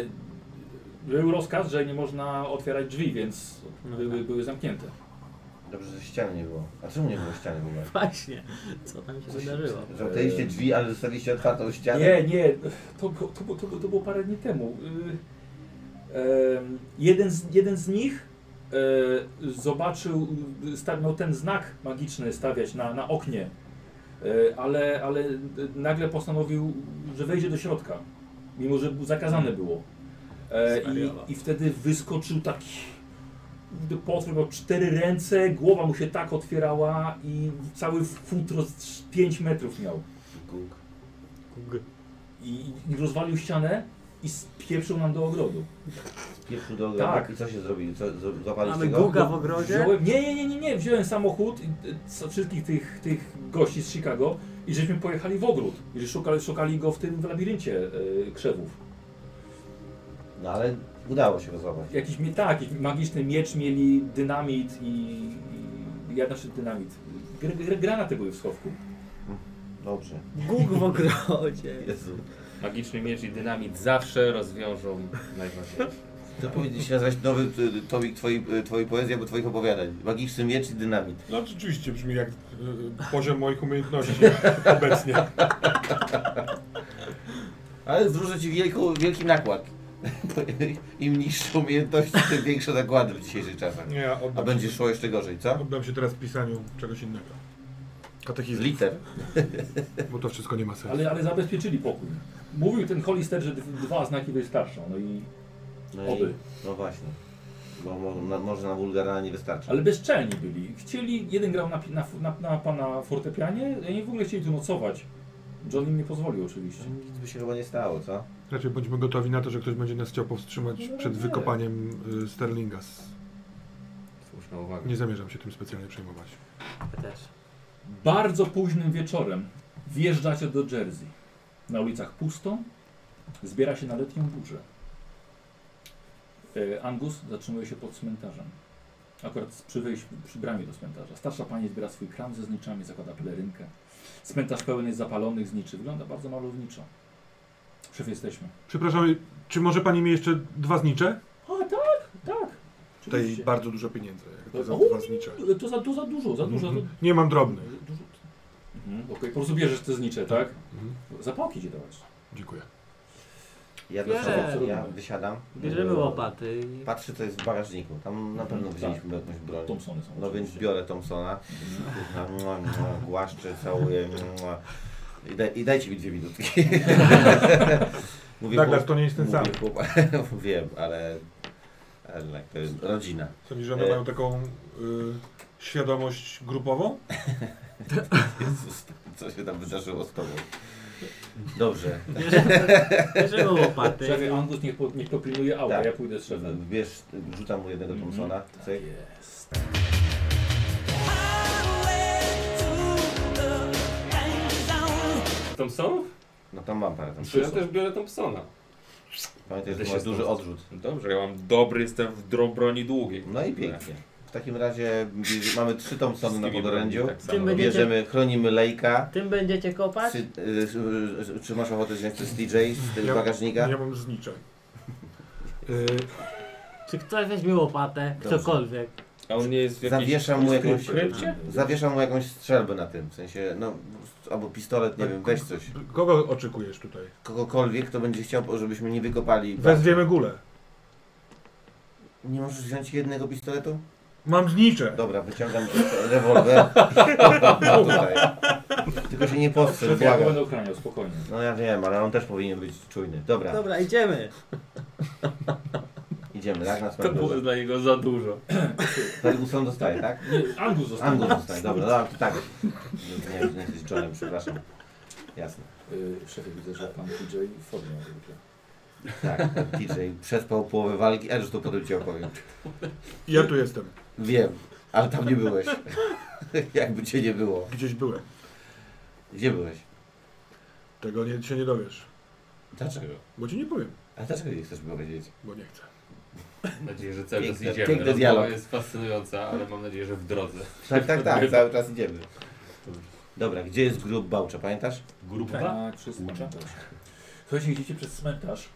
A: był rozkaz, że nie można otwierać drzwi, więc
E: No
A: były,
E: tak.
A: były zamknięte.
C: Dobrze, że ściany nie było. A czemu nie było ściany w ogóle?
E: Właśnie, co tam się wydarzyło?
C: Zamknęliście drzwi, ale zostaliście otwartą ścianę?
A: Nie, nie, to, było- to, było- to, było- to było parę dni temu. Y, em, jeden, z, jeden z nich e, zobaczył, y, sta- miał ten znak magiczny stawiać na, na oknie, E, ale, ale nagle postanowił, że wejdzie do środka, mimo że bu- zakazane było. E,
E: Zwariował.
A: i, I wtedy wyskoczył taki potwór, miał cztery ręce, głowa mu się tak otwierała i cały futro z 5 metrów miał
C: Guk.
A: i, i rozwalił ścianę i spieprzył nam do ogrodu.
C: Pierwszy do ogrodu.
A: Tak.
C: I co się zrobili? Co, z- złapaliście
E: Mamy
C: go?
E: Guga w ogrodzie?
A: Wziąłem, nie, nie, nie, nie, nie, wziąłem samochód i, y, co- wszystkich tych, tych gości z Chicago i żeśmy pojechali w ogród. I że szukali, szukali go w tym w labiryncie y, krzewów.
C: No ale udało się go złapać.
A: Jakiś, mie- tak, jakiś magiczny miecz mieli, dynamit i... i ja znaczy dynamit. Gr, gr, granaty były w schowku.
C: Dobrze.
E: Gug w ogrodzie.
C: Jezu.
B: Magiczny miecz i dynamit zawsze rozwiążą najważniejsze.
C: To No powinien się nazwać nowy y, tomik twojej, y, twojej poezji albo twoich opowiadań. Magiczny miecz i dynamit.
D: No rzeczywiście brzmi jak y, poziom moich umiejętności obecnie.
C: Ale wróżę ci wielką, wielki nakład. (laughs) Im niższe umiejętności, tym większe nakłady w dzisiejszych czasach.
D: Nie, ja
C: A
D: oddam,
C: będzie szło jeszcze gorzej, co?
D: (laughs) oddam się teraz pisaniu czegoś innego.
C: Z
D: Katechizm,
C: liter.
D: bo to wszystko nie ma sensu.
A: Ale, ale zabezpieczyli pokój. Mówił ten Hollister, że d- dwa znaki wystarczą, no i...
C: No,
A: Oby.
C: no właśnie. Bo mo, na, może na wulgarana nie wystarczy.
A: Ale bezczelni byli. Chcieli, jeden grał na, pi- na, fu- na, na pana fortepianie, a oni w ogóle chcieli tu nocować. John im nie pozwolił oczywiście.
C: Nic by się chyba nie stało, co?
D: Raczej bądźmy gotowi na to, że ktoś będzie nas chciał powstrzymać
A: No,
D: przed
A: nie.
D: wykopaniem y, Sterlinga. z-
B: Słuszna uwaga.
D: Nie zamierzam się tym specjalnie przejmować.
E: Ja też.
A: Bardzo późnym wieczorem wjeżdżacie do Jersey. Na ulicach pusto, zbiera się na letnią burzę. E, Angus zatrzymuje się pod cmentarzem. Akurat z- przy, wyjściu, przy bramie do cmentarza. Starsza pani zbiera swój kram ze zniczami, zakłada pelerynkę. Cmentarz pełen jest zapalonych zniczy. Wygląda bardzo malowniczo. Szef, jesteśmy.
D: Przepraszam, czy może pani mi jeszcze dwa znicze?
A: O,
D: tutaj
A: Tak, Oczywiście.
D: bardzo dużo pieniędzy, jak to za
A: O,
D: was liczę.
A: To za, to za dużo, za No. dużo.
D: Mhm. Nie mam
A: Za
D: drobnych.
A: dużo. Mhm, Okej, po prostu bierzesz te znicze, tak?
D: Mhm.
A: Zapałki ci dawać.
D: Dziękuję.
C: Ja do
I: Bierze.
C: samochodu, ja wysiadam.
I: Bierzemy łopaty. i-
C: Patrzę co jest w bagażniku. Tam na pewno
A: Tak.
C: wzięliśmy jakąś broń.
A: Thompsony są.
C: No więc
A: oczywiście. Mhm.
C: biorę Thompsona. Kurwa, mua, mua, Głaszczę, całuję. mua. I, daj, I dajcie mi dwie
D: (laughs)
C: minutki. mówię
D: Douglas,
C: chłop-
D: to nie jest ten sam.
C: mówię chłop- (laughs) Wiem, ale, ale jednak to jest rodzina.
D: Sądzisz, że one
C: E.
D: mają taką y, świadomość grupową?
C: Jezus, co się tam wydarzyło z tobą? Dobrze.
I: Bierzemy łopaty.
A: Szefie, Angus niech, po, niech popilnuje auta,
C: Tak.
A: ja pójdę z szefem.
C: Wiesz, rzucam mu jednego Thompsona. Cyk.
A: Jest.
B: Thompson?
C: No tam mam parę tam.
B: To ja też biorę Thompsona.
C: Pamiętaj, że to
B: Będę się
C: jest duży
B: stąd-
C: odrzut.
B: No Dobrze, ja mam dobry, jestem w dro- broni długiej.
C: No i pięknie. W takim razie bierz- mamy trzy Thompsony na
B: Wszystkimi
C: podorędziu.
B: broni tak
I: Tym
B: samo.
I: będzie- Będziecie-
C: Bierzemy, chronimy lejka.
I: Tym będziecie kopać?
C: Czy, y, y, y, czy masz ochotę wziąć też DJ z tego
D: Ja-
C: bagażnika?
D: Ja mam znicze. (laughs) Y,
I: Czy ktoś weźmie łopatę?
C: Dobrze.
I: Ktokolwiek.
B: A on nie jest w jakiejś...
C: Zawieszam mu
B: jest
C: jakąś-
B: w krypcie?
C: Zawieszam mu jakąś strzelbę na tym, w sensie, no, albo pistolet,
D: Tak.
C: nie wiem, weź coś.
D: Kogo oczekujesz tutaj?
C: Kogokolwiek, kto będzie chciał, żebyśmy nie wykopali.
D: Wezwiemy gulę.
C: Nie możesz wziąć jednego pistoletu?
D: Mam znicze.
C: Dobra, wyciągam
D: (laughs)
C: rewolwer. Mam tutaj. Tylko się nie postrzel,
A: Szefie, ja go
C: błagam.
A: będę ochraniał, spokojnie.
C: No ja wiem, ale on też powinien być czujny. Dobra,
M: Dobra, idziemy.
C: idziemy, tak? Na
B: To było
C: cmentarz.
B: dla niego za dużo.
C: Ferguson dostaje, tak?
A: Nie, Angus został.
C: Angus dostaje, dobra, dobra, to tak. Nie wiem, że nie jesteś Johnem, przepraszam. Jasne.
A: Y, Szefie, widzę, że pan DJ w formie ma zwykle.
C: Tak, DJ przespał połowę walki, ale że to potem ci opowiem.
D: Ja tu jestem.
C: Wiem, ale tam nie byłeś. (laughs) Jakby cię nie było.
D: Gdzieś byłem.
C: Gdzie byłeś?
D: Tego nie, się nie dowiesz.
C: Dlaczego?
D: Bo ci nie powiem,
C: A dlaczego nie chcesz mi powiedzieć?
D: bo nie chcę.
B: Mam nadzieję, że cały czas
C: Piękny-
B: idziemy.
C: piękny
B: Rozmowa
C: dialog.
B: jest fascynująca, ale mam nadzieję, że w drodze.
C: Tak, tak, tak, cały czas idziemy. Dobra, gdzie jest grób Bałcza, pamiętasz?
B: Grupa?
A: Na Tak. przez cmentarz. Słuchajcie, idziecie przez cmentarz.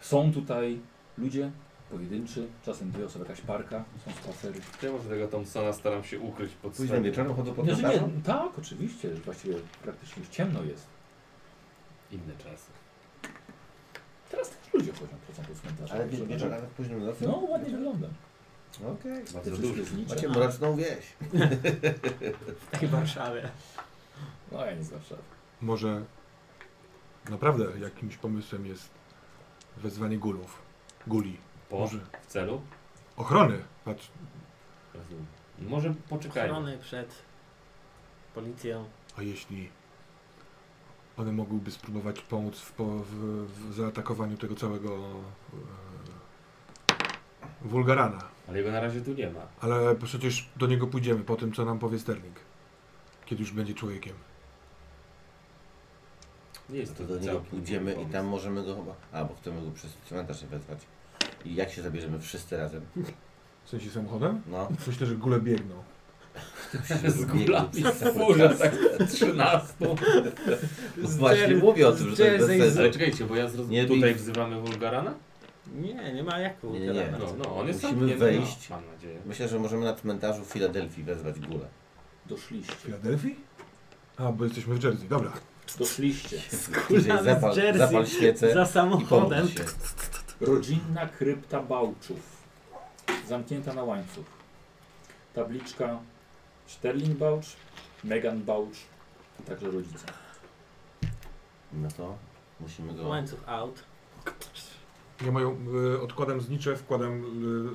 A: Są tutaj ludzie, pojedynczy, czasem dwie osoby, jakaś parka, są spacery.
B: Ja może tego Thompsona staram się ukryć pod
C: Późnym
B: swoim-
C: wieczorem chodzą po
A: Nie, że nie,
C: korytarzu?
A: tak, oczywiście, że właściwie praktycznie już ciemno jest.
B: Inne czasy.
A: Teraz też ludzie chodzą, chodzą po cmentarzu.
C: Ale wie- wieczorem, nawet późnym nocy?
A: No, ładnie wygląda.
C: Okej.
A: Te
B: Bardzo
A: wszystkie
B: duży.
A: znicze.
C: Macie mroczną wieś.
I: W takiej
C: Tak.
I: Warszawie.
A: No, ja nie zawsze.
D: Może naprawdę jakimś pomysłem jest wezwanie gulów. Guli.
B: Po,
D: Może
B: w celu?
D: ochrony. Patrz,
B: Rozumiem. Może poczekajmy.
I: Ochrony przed policją.
D: a jeśli one mogłyby spróbować pomóc w, po, w, w zaatakowaniu tego całego e, wulgarana.
B: Ale jego na razie tu nie ma.
D: Ale przecież do niego pójdziemy po tym, co nam powie Sterling. Kiedy już będzie człowiekiem.
B: Nie jest to,
C: No To do niego
B: całkiem
C: pójdziemy i
B: pomysł.
C: tam możemy go chyba... A, bo chcemy go przez cmentarz wezwać. I jak się zabierzemy wszyscy razem?
D: W sensie samochodem?
A: (laughs)
C: No.
D: Myślę, że gule biegną.
B: Z gulami w furze, tak trzynastą.
C: No Właśnie mówię o tym, że to jest bez
B: Ale
C: sensu.
B: czekajcie, bo ja zrozum...
C: Nie bij-
B: tutaj wzywamy Wulgarana?
I: Nie, nie ma jak
C: Nie, nie, nie.
I: ukradać.
B: No, no, on jest
C: Musimy
B: nie, no,
C: wejść.
B: No, mam nadzieję.
C: Myślę, że możemy na cmentarzu w Filadelfii wezwać górę.
D: W
A: Doszliście.
D: Filadelfii? A, bo jesteśmy w Jersey. Dobra.
A: Doszliście.
C: DJ
I: Kulami z
C: zapal,
I: Jersey
C: zapal świecę
I: Za
C: i pomóż
I: samochodem.
C: się.
A: Rodzinna krypta Bałczów. Zamknięta na łańcuch. Tabliczka Sterling Bałcz, Megan Bałcz, a także rodzice.
C: No to musimy go...
I: Łańcuch out.
D: Ja moją y, odkładam znicze, wkładam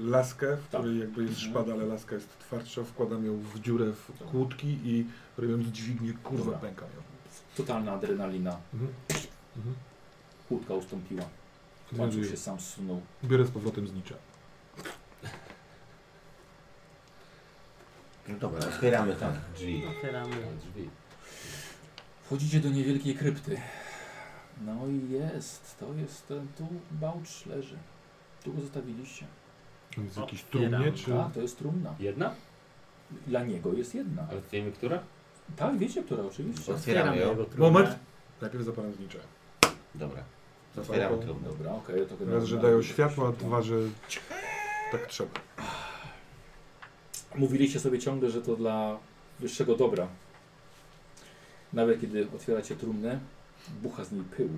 D: y, laskę, w
A: Tak.
D: której jakby jest
A: Mhm.
D: szpada, ale laska jest twardsza, wkładam ją w dziurę
G: Tak.
D: w kłódki i robiąc dźwignię, kurwa,
A: Dobra.
D: pękam ją.
A: Totalna adrenalina.
D: Mhm. Mhm.
A: Kłódka ustąpiła. Łańcuch
D: Związuję.
A: się sam zsunął.
D: Biorę z powrotem znicze.
C: No dobra, otwieramy tam drzwi.
I: Otwieramy.
B: Drzwi.
A: Wchodzicie do niewielkiej krypty. No i jest, to jest, ten- tu Bałcz leży. Tu go zostawiliście.
D: On jest w jakiejś
I: Otwieram,
D: trumnie, czy...
A: A, to jest trumna.
B: Jedna?
A: Dla niego jest jedna.
B: Ale wiemy, która?
A: Tak, wiecie, która oczywiście.
C: Otwieramy ją.
I: jego trumnę.
D: Moment! Najpierw zapalam znicze.
C: Dobra.
D: Zapalką.
C: Otwieramy trumnę.
A: Dobra, okej. to
D: Raz, że
A: generalnie-
D: dają światła, dwa, że... Tak trzeba.
A: Mówiliście sobie ciągle, że to dla wyższego dobra. Nawet kiedy otwieracie trumnę, bucha z niej pył.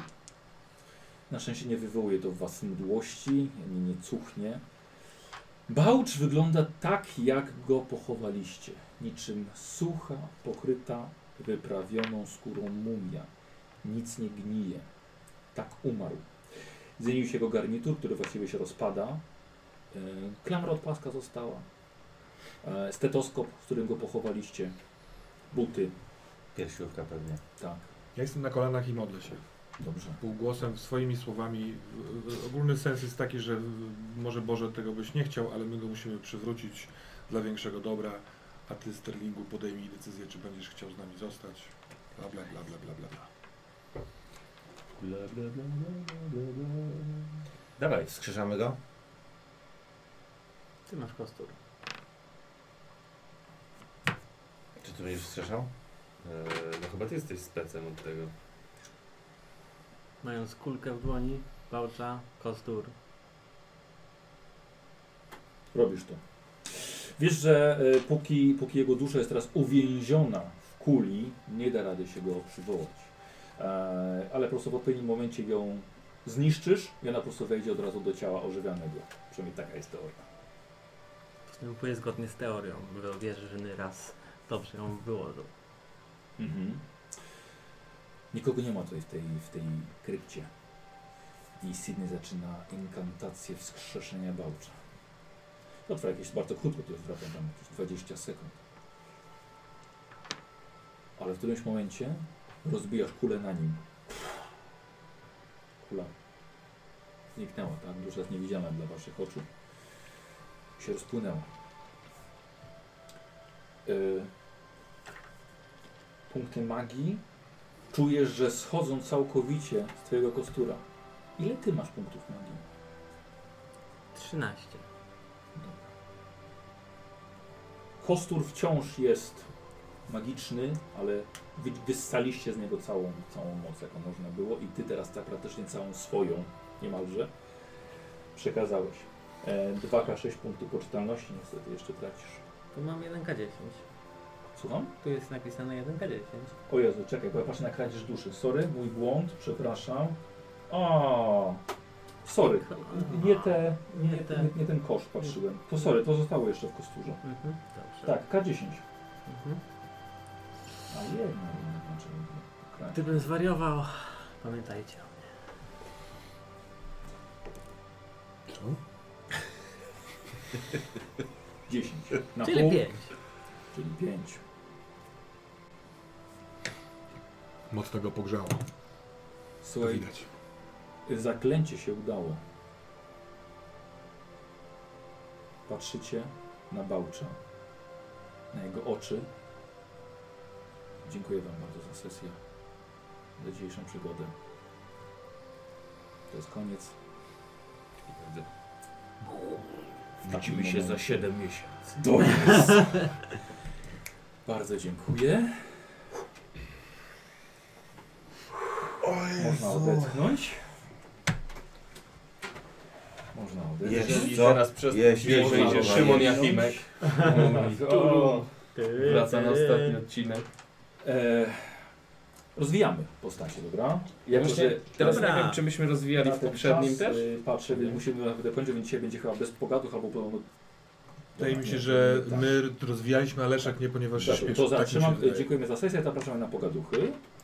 A: Na szczęście nie wywołuje to w was mdłości, ani nie cuchnie. Bałcz wygląda tak, jak go pochowaliście. Niczym sucha, pokryta wyprawioną skórą mumia. Nic nie gnije. Tak umarł. Zmienił się jego garnitur, który właściwie się rozpada. E, Klamra od paska została. E, Stetoskop, z którym go pochowaliście. Buty,
C: Piersiówka pewnie.
A: tak.
G: Ja jestem na kolanach i modlę się.
A: Dobrze.
G: Półgłosem, swoimi słowami. W- w- Ogólny sens jest taki, że w- może Boże tego byś nie chciał, ale my go musimy przywrócić dla większego dobra. A ty, Sterlingu, podejmij decyzję, czy będziesz chciał z nami zostać. Bla, bla, bla, bla, bla, bla. bla.
B: Dawaj.
C: Skrzyżamy go?
E: Ty masz kostur.
C: Czy ty będziesz wstrzeszał?
B: Eee, no chyba ty jesteś specem od tego.
E: Mając kulkę w dłoni, pałcza, kostur.
A: Robisz to. Wiesz, że e, póki, póki jego dusza jest teraz uwięziona w kuli, nie da rady się go przywołać. E, ale po prostu w odpowiednim momencie ją zniszczysz i ona po prostu wejdzie od razu do ciała ożywianego. Przynajmniej taka jest teoria.
E: Postępuje zgodnie z teorią. Wierzę, raz dobrze ją wyłożył.
A: Mhm. Nikogo nie ma tutaj w tej, w tej krypcie. I Sydney zaczyna inkantację wskrzeszenia Bałcza. To trwa jakieś bardzo krótko, to trwa tam jakieś 20 sekund. Ale w którymś momencie rozbijasz kulę na nim. Kula zniknęła, tak? Dusza jest niewidzialna dla waszych oczu. Się rozpłynęła. Yy, punkty magii, czujesz, że schodzą całkowicie z twojego kostura. Ile ty masz punktów magii?
E: 13.
A: Kostur wciąż jest magiczny, ale wy, wyssaliście z niego całą, całą moc, jaką można było i ty teraz tak praktycznie całą swoją niemalże przekazałeś. E, 2K6 punktów poczytalności niestety jeszcze tracisz.
E: Tu mam 1K10.
A: Słucham?
E: Tu jest napisane 1K10.
A: O Jezu, czekaj, bo ja patrzę na kradzież duszy. Sorry, mój błąd, przepraszam. O, sorry, nie, te, nie,
E: Nie te.
A: nie, nie ten kosz patrzyłem. To sorry, to zostało jeszcze w kosturze.
E: Mhm. Dobrze.
A: Tak, K10.
E: Mhm.
A: A jedna, znaczy kradzież.
E: Gdybym zwariował, pamiętajcie o mnie.
G: Co?
A: 10. Na
E: Czyli
A: pół,
E: 5.
A: Czyli 5.
G: Mocno go pogrzało. To
A: Słuchaj,
G: widać.
A: zaklęcie się udało. Patrzycie na Bałcza, na jego oczy. Dziękuję Wam bardzo za sesję, za dzisiejszą przygodę. To jest koniec. Widzimy się za
B: 7 miesięcy.
G: (laughs)
A: To jest. Bardzo dziękuję. Można odetchnąć. Można odetchnąć.
B: Jeżeli
C: co?
B: teraz przez
C: Jeśli
B: chwilę
C: wyjdzie
B: wyjdzie Szymon Jakimek, mówi, o, wraca na ostatni odcinek.
A: E, rozwijamy postacie, dobra?
B: Ja
A: Jako,
B: właśnie
A: że
B: teraz
E: Dobra.
B: nie wiem, czy myśmy rozwijali
A: na
B: w
A: ten
B: poprzednim
A: czas,
B: też.
A: y, Patrzę, więc
B: Nie.
A: musimy naprawdę kończyć, więc dzisiaj będzie chyba bez pogadów albo podobno...
G: Wydaje mi
A: Nie,
G: się, że
A: tak.
G: my rozwijaliśmy, a Leszek nie, ponieważ
A: Dobrze,
G: śpieszy.
A: To
G: Tak mi się
A: zatrzymam.
G: wydaje.
A: Dziękujemy za sesję, zapraszamy na pogaduchy.